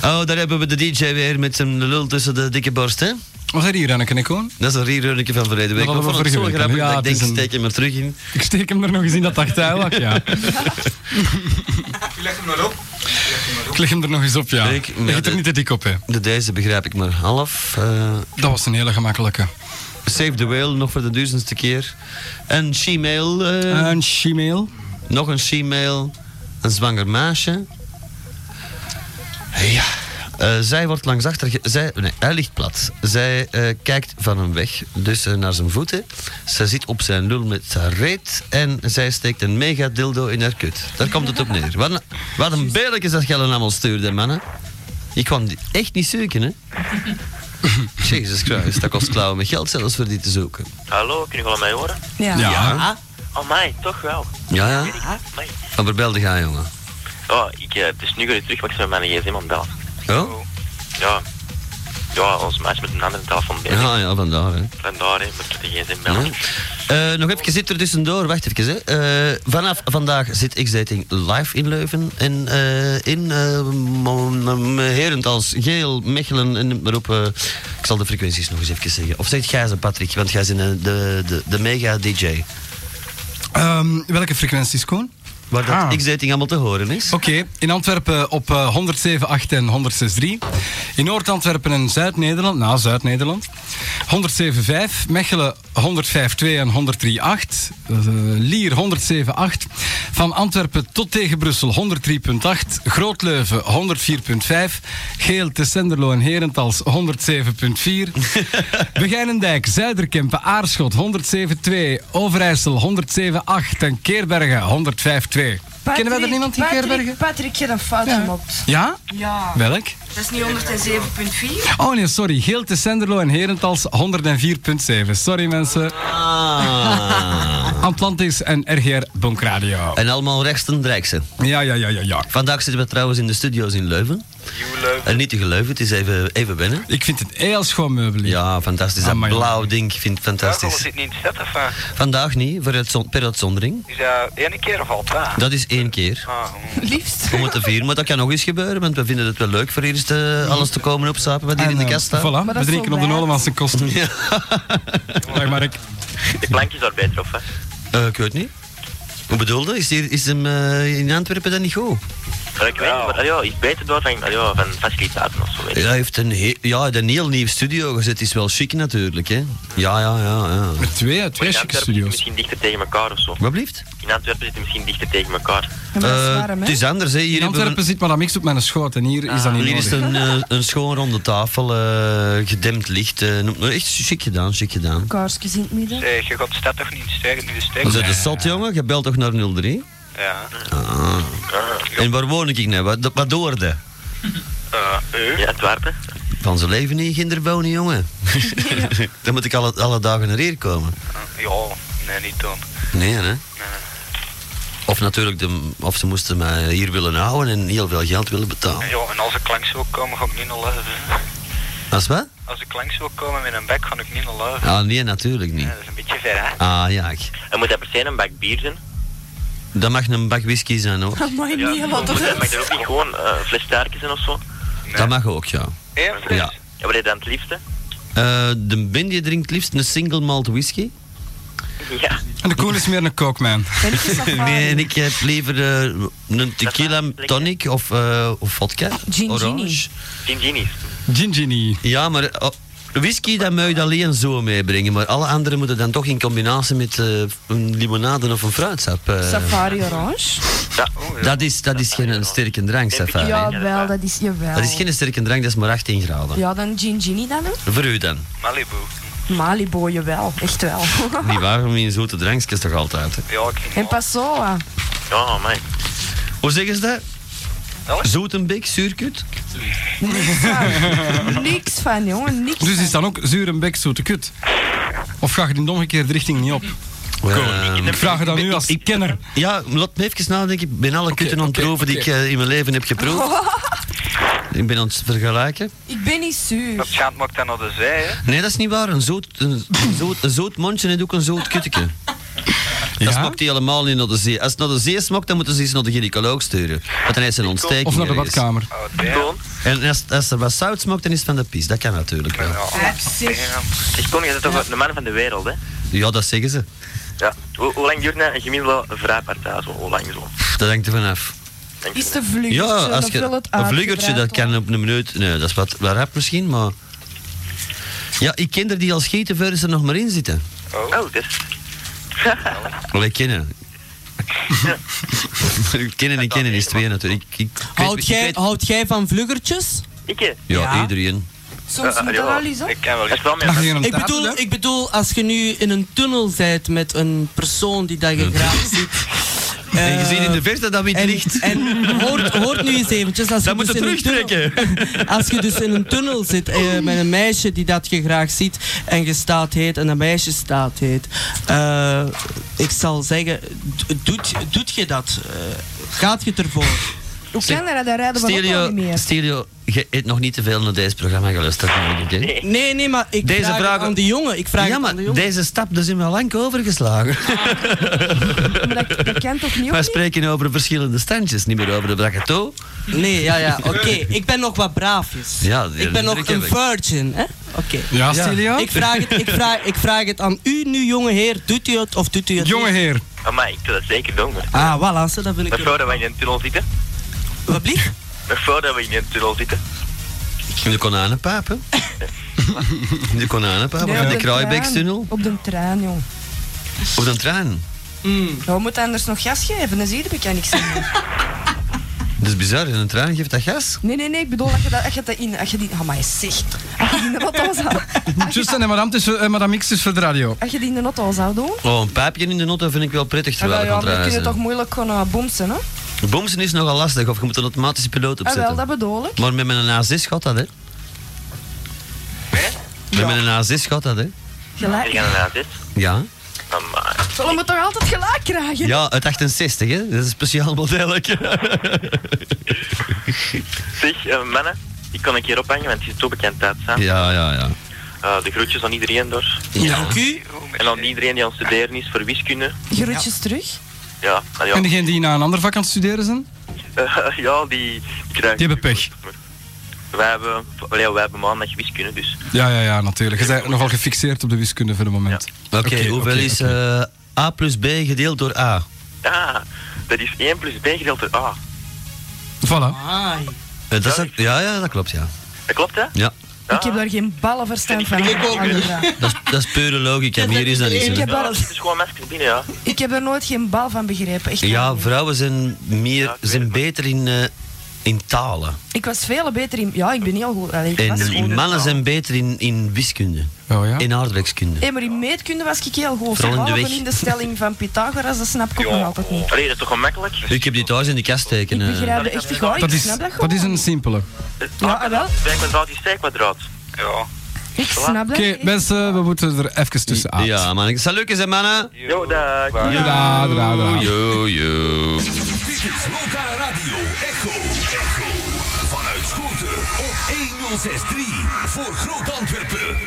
Speaker 3: Oh, daar hebben we de DJ weer met zijn lul tussen de dikke borst, hè?
Speaker 7: Was er hier, Anneke Nicoon?
Speaker 3: Dat is een rerunnetje van verleden week.
Speaker 7: Dat
Speaker 3: Maar
Speaker 7: hadden
Speaker 3: ik
Speaker 7: we
Speaker 3: vond het zo
Speaker 7: vorige week,
Speaker 3: grappig
Speaker 7: hè? Ja, het
Speaker 3: dat ik
Speaker 7: is
Speaker 3: denk,
Speaker 7: een-
Speaker 3: steek hem er terug in.
Speaker 7: Ik steek hem er nog eens in dat achtertuin lag, ja.
Speaker 9: Je legt hem maar op. Je legt hem maar op.
Speaker 7: Ik leg hem er nog eens op, ja.
Speaker 3: Ik-
Speaker 7: Ik,
Speaker 3: ja,
Speaker 7: leg het
Speaker 3: dit-
Speaker 7: er niet te dik op, hè.
Speaker 3: De deze begrijp ik maar half. Eh,
Speaker 7: Dat was een hele gemakkelijke.
Speaker 3: Save the Whale, nog voor de duizendste keer. Een she-mail, eh,
Speaker 7: Een shemale.
Speaker 3: nog een she-mail. Een zwanger meisje. Ja. Eh, zij wordt langs achter... ge- Zij, nee, hij ligt plat. Zij eh, kijkt van hem weg, dus eh, naar zijn voeten. Zij zit op zijn lul met haar reet en zij steekt een mega dildo in haar kut. Daar komt het op neer. Wat een, wat een beerlijk is dat gellen allemaal stuurde, mannen. Ik kwam die echt niet zoeken, hè. Jezus Christus, dat kost klauwen met geld zelfs voor die te zoeken.
Speaker 13: Hallo, kunnen jullie mij horen?
Speaker 5: Ja.
Speaker 7: Ja.
Speaker 3: Ah?
Speaker 13: Oh mij, toch wel.
Speaker 3: Ja, ja.
Speaker 13: Amai.
Speaker 3: Van Verbelde gaan, Ah, jongen.
Speaker 13: Oh, ik, eh, het is nu weer terug, want ik ben met mijn gsm aan het bellen.
Speaker 3: Oh?
Speaker 13: Ja. Ja, ons meisje met een andere telefoon bezig.
Speaker 3: Ja, ja, vandaar, hè.
Speaker 13: Vandaar, hè, moet ik de gsm
Speaker 3: Ja.
Speaker 13: bellen.
Speaker 3: Eh, nog even zit er tussendoor, wacht even. Hè. Eh, vanaf vandaag zit X-Dating live in Leuven. En eh, in eh, mo- mo- Herentals, Geel, Mechelen en maar op. eh, ik zal de frequenties nog eens even zeggen. Of zegt jij ze, Patrick, want jij bent eh, de, de, de mega-DJ.
Speaker 7: Ehm, welke frequentie is Koen?
Speaker 3: Waar dat
Speaker 7: Ah.
Speaker 3: X-Dating allemaal te horen is.
Speaker 7: Oké, in Antwerpen op eh, 107.8 en 106.3. In Noord-Antwerpen en Zuid-Nederland, na Zuid-Nederland, 107.5, Mechelen 105.2 en 103.8, eh, Lier 107.8, van Antwerpen tot tegen Brussel 103.8, Grootleuven 104.5, Geel te Senderlo en Herentals 107.4, Begijnendijk, Zuiderkempen, Aarschot 107.2, Overijssel 107.8 en Keerbergen 105.2. Kennen wij er niemand in
Speaker 5: Patrick,
Speaker 7: Keerbergen?
Speaker 5: Patrick, je hebt een fout gemaakt.
Speaker 7: Ja?
Speaker 5: Ja.
Speaker 7: Welk?
Speaker 5: Dat is niet 107.4.
Speaker 7: Oh nee, sorry. Geel te Senderlo en Herentals 104.7. Sorry mensen.
Speaker 3: Ah.
Speaker 7: Atlantis en RGR Bonk Radio.
Speaker 3: En allemaal rechtstreekse.
Speaker 7: Ja, ja, ja, ja, ja.
Speaker 3: Vandaag zitten we trouwens in de studio's in Leuven. En niet te geloven, het is even, even binnen.
Speaker 7: Ik vind het heel schoon meubel.
Speaker 3: Ja, fantastisch. Dat
Speaker 7: Amai.
Speaker 3: blauw ding, ik vind het
Speaker 13: Daarvoor
Speaker 3: fantastisch.
Speaker 13: zit niet in het set, of wat?
Speaker 3: Vandaag niet, voor uitzon- per uitzondering.
Speaker 13: Is dat één keer of al twee?
Speaker 3: Dat is één keer.
Speaker 13: Ah, mm.
Speaker 5: Liefst.
Speaker 3: Om het te vieren, maar dat kan nog eens gebeuren, want we vinden het wel leuk voor eerst eh, alles te komen opstapen wat hier
Speaker 7: En,
Speaker 3: in de
Speaker 7: eh,
Speaker 3: kast staat.
Speaker 7: Voilà, we drinken op de Nolemanse kosten.
Speaker 3: Ja.
Speaker 7: Dag Mark.
Speaker 8: De klank is daar beter of hè?
Speaker 3: Eh, ik weet niet. Hoe bedoelde? Is, hier, is hem eh, in Antwerpen dan niet goed?
Speaker 8: Maar ik weet niet, maar ja, is beter door van, ah, ja, van faciliteiten of zo. weet je.
Speaker 3: Ja, hij heeft een, he- ja, hij heeft een heel nieuw studio gezet. Is wel chic natuurlijk, hè? Ja, ja, ja. ja.
Speaker 7: Met twee,
Speaker 8: Maar in
Speaker 7: twee chique
Speaker 8: Antwerpen zitten
Speaker 7: studio's.
Speaker 8: misschien dichter tegen elkaar of zo.
Speaker 3: Wat blieft?
Speaker 8: In Antwerpen zitten misschien dichter tegen elkaar.
Speaker 5: Ja, maar dat is
Speaker 3: Eh,
Speaker 5: warm, hè?
Speaker 3: het is anders, hè? Hier,
Speaker 7: In
Speaker 3: hebben we
Speaker 7: Antwerpen zit maar dat mix op mijn schoot en hier is dat
Speaker 3: een-
Speaker 7: niet
Speaker 3: hier is
Speaker 7: nodig.
Speaker 3: een, eh, een schoon ronde tafel, eh, gedempt licht. eh, noem- echt chic gedaan, chic gedaan.
Speaker 5: Kaarsjes in het midden.
Speaker 13: Zeg, je gaat staat toch niet in de steeg, nu de steeg?
Speaker 3: We zitten zot, jongen. Je belt toch naar 03?
Speaker 13: Ja.
Speaker 3: En waar woon ik nou? Wat, wat doorde?
Speaker 13: Eh, eh.
Speaker 8: In Antwerpen?
Speaker 3: Van zijn leven niet in Ginderbonen, jongen. Dan moet ik alle, alle dagen naar hier komen.
Speaker 13: Ja, nee, niet doen.
Speaker 3: Nee, hè? Of natuurlijk, de, of ze moesten mij hier willen houden en heel veel geld willen betalen.
Speaker 13: Ja, en als ik langs wil komen, ga ik niet naar Leuven.
Speaker 3: Als wat?
Speaker 13: Als ik langs wil komen met een bek, ga ik niet naar Leuven.
Speaker 3: Ah, nee, natuurlijk niet.
Speaker 13: Ja, dat is een beetje ver, hè?
Speaker 3: Ah, ja. ik-
Speaker 8: En moet dat per se een bak bier zijn?
Speaker 3: Dat mag een bak whisky zijn, hoor.
Speaker 5: Amai,
Speaker 8: Ja,
Speaker 5: niet
Speaker 8: moet
Speaker 5: wat
Speaker 8: dat
Speaker 5: er
Speaker 8: mag er ook niet gewoon eh, een fles sterke zijn of zo?
Speaker 3: Dat mag ook, ja.
Speaker 13: Eén fles?
Speaker 3: Ja.
Speaker 8: Ja, wat heb je dan het liefste?
Speaker 3: Eh, de Bindi drinkt liefst een single malt whisky.
Speaker 8: Ja,
Speaker 7: En de cool is meer een kookman.
Speaker 3: Nee, en ik heb liever eh, een tequila tonic of, eh, of vodka.
Speaker 5: Gin
Speaker 3: Orange.
Speaker 8: gin genies.
Speaker 7: Gin Ginny.
Speaker 3: Ja, maar eh, oh, whisky dat moet je dat alleen zo meebrengen. Maar alle anderen moeten dan toch in combinatie met eh, een limonade of een fruitsap. eh. oh,
Speaker 5: Safari orange.
Speaker 3: Dat is, dat is geen sterke drank, Safari.
Speaker 5: Jawel, dat is jawel.
Speaker 3: Dat is geen sterke drank, dat is maar 18 graden.
Speaker 5: Ja, dan gin ginny dan, hè?
Speaker 3: Voor u dan.
Speaker 13: Malibu.
Speaker 5: Malibu, jawel. Echt wel.
Speaker 3: Niet waar, maar in zoete drankjes toch altijd. hè?
Speaker 13: Ja, ik ging
Speaker 5: en Passoa.
Speaker 8: Ja, man.
Speaker 3: Hoe zeggen ze dat?
Speaker 13: Welk?
Speaker 3: Zoetenbik, zuurkut?
Speaker 5: Niks van, jongen. Niks
Speaker 7: Dus
Speaker 5: van.
Speaker 7: is dan ook zuur en bek zoete kut? Of ga je in de omgekeerde richting niet op?
Speaker 3: Ehm,
Speaker 7: Ik vraag je dat nu als
Speaker 3: ik-
Speaker 7: kenner.
Speaker 3: Ja, laat me even nadenken. Ik ben alle kutten ontroven
Speaker 7: oké,
Speaker 3: die ik eh, in mijn leven heb geproefd. ik ben aan het vergelijken.
Speaker 5: Ik ben niet
Speaker 13: Dat
Speaker 5: zuur.
Speaker 13: schaamt maakt dan naar de zee, hè?
Speaker 3: Nee, dat is niet waar. Een zoot, een, een zoot, een zoot mondje heeft ook een zoot kutteke. Dat
Speaker 7: Ja?
Speaker 3: smokt hij helemaal niet naar de zee. Als het naar de zee smokt, dan moeten ze eens naar de gynaecoloog sturen. Want dan is er een ontsteking.
Speaker 7: Of naar de
Speaker 3: ergens.
Speaker 7: badkamer?
Speaker 13: Oh, damn.
Speaker 3: En als, als er wat zout smokt, dan is het van de pies. Dat kan natuurlijk wel.
Speaker 13: Ja, damn.
Speaker 8: Oh, Ik kon je bent toch de man van de wereld, hè?
Speaker 3: Ja, dat zeggen ze.
Speaker 8: Ja. Hoe, hoe lang duurt nou een gemiddelde vrijpartij zo? Hoe lang zo?
Speaker 3: Dat hangt er vanaf.
Speaker 8: Denk je
Speaker 5: Is de vluggertje.
Speaker 3: Ja,
Speaker 5: dan
Speaker 3: als je,
Speaker 5: wil het
Speaker 3: een vluggertje, dat
Speaker 5: uitgebreid
Speaker 3: kan op een minuut. Nee, dat is wat, wat rap misschien, maar. Ja, ik ken er die al schieten voor ze er nog maar in zitten.
Speaker 8: Oh, dat is...
Speaker 3: Wij kennen. kennen en kennen is twee natuurlijk. Ik, ik, ik weet-
Speaker 4: Houd
Speaker 3: ik
Speaker 4: jij,
Speaker 3: weet-
Speaker 4: houd jij van vluggertjes?
Speaker 8: Ik, hè?
Speaker 3: ja,
Speaker 4: Ja.
Speaker 3: iedereen.
Speaker 5: worden. Soms moet dat
Speaker 8: Ja.
Speaker 5: al eens op.
Speaker 13: Eh, Ik ken
Speaker 8: Dat
Speaker 13: wel
Speaker 8: is
Speaker 13: eens...
Speaker 8: wel mijn
Speaker 7: Mag je
Speaker 8: best.
Speaker 7: een
Speaker 4: Ik
Speaker 7: taart
Speaker 4: bedoel,
Speaker 7: doen?
Speaker 4: ik bedoel, als je nu in een tunnel bent met een persoon die dat je graag ziet.
Speaker 3: en je
Speaker 4: eh,
Speaker 3: ziet in de verte dat wit
Speaker 4: en,
Speaker 3: licht.
Speaker 4: en hoort, hoort nu eens eventjes. Als
Speaker 3: Dat
Speaker 4: je
Speaker 3: moet
Speaker 4: dus
Speaker 3: je
Speaker 4: in een tunnel-
Speaker 3: terugtrekken.
Speaker 4: Als je dus in een tunnel zit eh, met een meisje die dat je graag ziet en je staat heet en dat meisje staat heet. eh, ik zal zeggen, d- doet, doet je dat? Eh, gaat je ervoor?
Speaker 5: Hoe kan dat? Daar rijden we ook al
Speaker 3: Stereo,
Speaker 5: niet meer.
Speaker 3: stereo, je hebt nog niet te veel naar deze programma geluisterd. denk ik, hè?
Speaker 4: Nee, nee, maar ik
Speaker 3: Deze
Speaker 4: vraag het
Speaker 3: vragen-
Speaker 4: aan de jongen. Ik vraag
Speaker 3: Ja,
Speaker 4: het aan
Speaker 3: maar
Speaker 4: de jongen.
Speaker 3: deze stap dus daar zijn we al lang overgeslagen.
Speaker 5: Maar dat, dat kan toch niet
Speaker 3: Wij
Speaker 5: ook
Speaker 3: spreken over verschillende standjes, niet meer over de braccato.
Speaker 4: Nee, ja, ja, oké. Ik ben nog wat braafjes.
Speaker 3: Ja, die
Speaker 4: ik ben nog
Speaker 3: indruk heb
Speaker 4: een
Speaker 3: ik.
Speaker 4: virgin, hè? Oké.
Speaker 7: Ja, Stilio?
Speaker 4: Ik vraag, het, ik, vraag, ik vraag het aan u nu, jonge heer. Doet u het of doet u het
Speaker 7: Jonge heer.
Speaker 8: Amai, ik doe dat zeker doen, hoor.
Speaker 4: niet? Ah, voilà, zo, dat wil ik...
Speaker 8: Nog voordat we in een tunnel zitten.
Speaker 4: Wat blieft?
Speaker 8: Nog voordat we in een tunnel zitten.
Speaker 3: Je kon aan een paap, hè? Die kon aan, hè,
Speaker 5: Nee,
Speaker 3: ja,
Speaker 5: op
Speaker 3: die
Speaker 5: de
Speaker 3: Kraaibeekstunnel.
Speaker 5: trein. Op de trein, jong.
Speaker 3: Of de trein.
Speaker 5: Ja, we moeten anders nog gas geven, dan zie je ik niks aan.
Speaker 3: Dat is bizar, een trein geeft dat gas.
Speaker 5: Nee, nee, nee, ik bedoel, als je dat, als je dat in... Als je die... Oh, maar je zegt. Als je die in de auto zou...
Speaker 7: Juist, en madame, het is, eh, madame X is voor de radio.
Speaker 5: Als je die in de auto zou doen...
Speaker 3: Oh, een pijpje in de noten vind ik wel prettig
Speaker 5: Ah, wel,
Speaker 3: terwijl ik aan het
Speaker 5: maar dan kun je
Speaker 3: reizen.
Speaker 5: toch moeilijk gewoon eh, bomsen, hè?
Speaker 3: Bomsen is nogal lastig, of je moet een automatische piloot
Speaker 5: Ah,
Speaker 3: opzetten.
Speaker 5: wel, dat bedoel ik.
Speaker 3: Maar met mijn A6 gaat dat, hè? Met mijn A6 gaat dat, hè?
Speaker 5: Gelijk.
Speaker 3: een A6? Ja.
Speaker 5: Zullen we toch altijd gelijk krijgen?
Speaker 3: Ja, uit 68, hè? Dat is een speciaal modelletje.
Speaker 13: Zeg, eh, mannen, ik kan een keer ophangen, want het is zo bekend uit. Hè?
Speaker 3: ja, ja, ja.
Speaker 13: Eh, de groetjes aan iedereen door.
Speaker 3: Dank
Speaker 4: u.
Speaker 13: En aan iedereen die aan het studeren is voor wiskunde.
Speaker 5: Groetjes terug.
Speaker 13: Ja, nou ja.
Speaker 7: En degenen die naar een ander vak aan het studeren zijn?
Speaker 13: Eh, ja, die krijgen...
Speaker 7: Die hebben pech.
Speaker 13: Wij hebben, allee, wij hebben maandag wiskunde, dus...
Speaker 7: Ja, ja, ja, natuurlijk. Je bent nogal gefixeerd op de wiskunde voor het moment.
Speaker 3: Oké, hoeveel
Speaker 7: oké,
Speaker 3: is
Speaker 7: oké.
Speaker 3: eh, A plus B gedeeld door A?
Speaker 13: Ah, dat is 1 plus B gedeeld door A.
Speaker 7: Voilà.
Speaker 3: Eh, dat is, ja, ja, dat klopt, ja.
Speaker 13: Dat klopt, hè?
Speaker 3: Ja,
Speaker 5: Ik heb daar geen ballen verstand van. Andra.
Speaker 3: dat is, dat is pure logica, meer is dat niet.
Speaker 5: Ik
Speaker 3: hè.
Speaker 5: heb, daar,
Speaker 13: Het is gewoon mensen binnen, ja.
Speaker 5: ik heb daar nooit geen bal van begrepen. Echt.
Speaker 3: Ja, vrouwen zijn, meer, zijn beter in, eh, in talen.
Speaker 5: Ik was veel beter in... Ja, ik ben heel goed. Allee, ik
Speaker 3: En
Speaker 5: was
Speaker 3: die
Speaker 5: goed.
Speaker 3: mannen zijn beter in, in wiskunde.
Speaker 7: Oh ja?
Speaker 3: In aardrijkskunde.
Speaker 5: Hé, maar in meetkunde was ik heel goed.
Speaker 3: Vooral in de
Speaker 5: Behalve
Speaker 3: weg.
Speaker 5: in de stelling van Pythagoras, dat snap ik ook nog altijd niet.
Speaker 13: Allee, dat is toch gemakkelijk?
Speaker 3: Ik heb die thuis in de kast steken.
Speaker 5: Ik
Speaker 3: eh.
Speaker 5: begrijp dat echt niet hoor.
Speaker 7: Dat
Speaker 5: Ik
Speaker 7: is,
Speaker 5: snap dat gewoon.
Speaker 7: dat is een simpele.
Speaker 5: Ja, ah, wel.
Speaker 13: Wij kwadraat is zij kwadraat. Ja.
Speaker 5: Ik snap dat
Speaker 7: Oké,
Speaker 5: echt.
Speaker 7: mensen, we moeten er even tussenuit.
Speaker 3: Ah. Ja, man. Salutjes, hè, mannen.
Speaker 13: Yo, dag.
Speaker 7: Da, da, da.
Speaker 3: Yo, yo.
Speaker 14: Lokale radio Echo. Echo. Vanuit Schoten op 1063 voor Groot Antwerpen.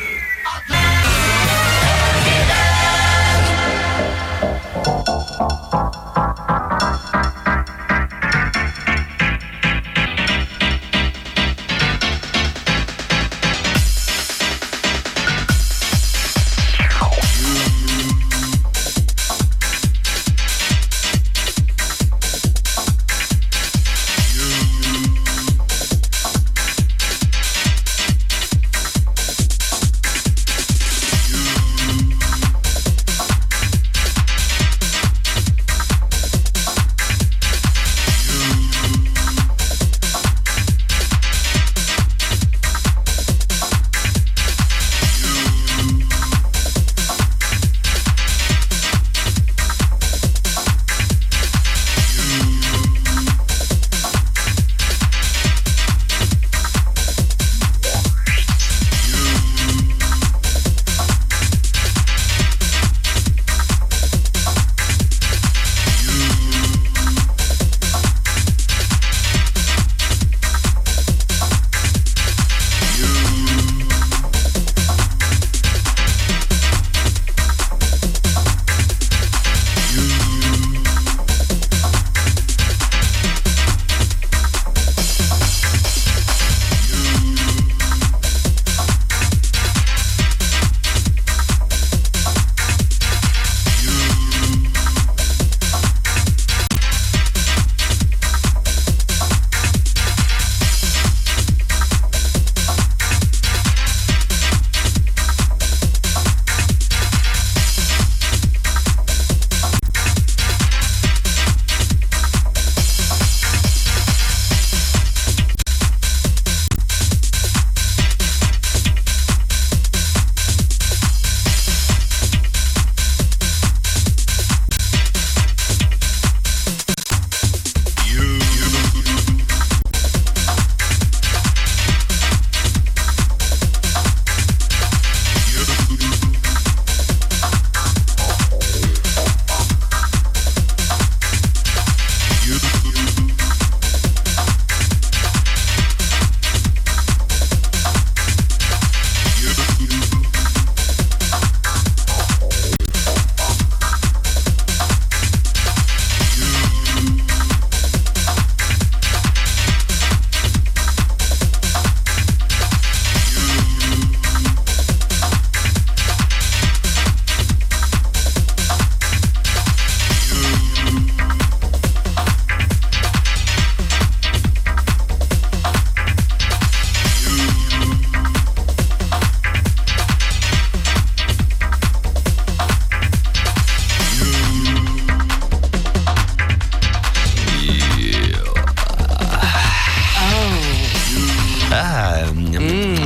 Speaker 4: Ah, mm.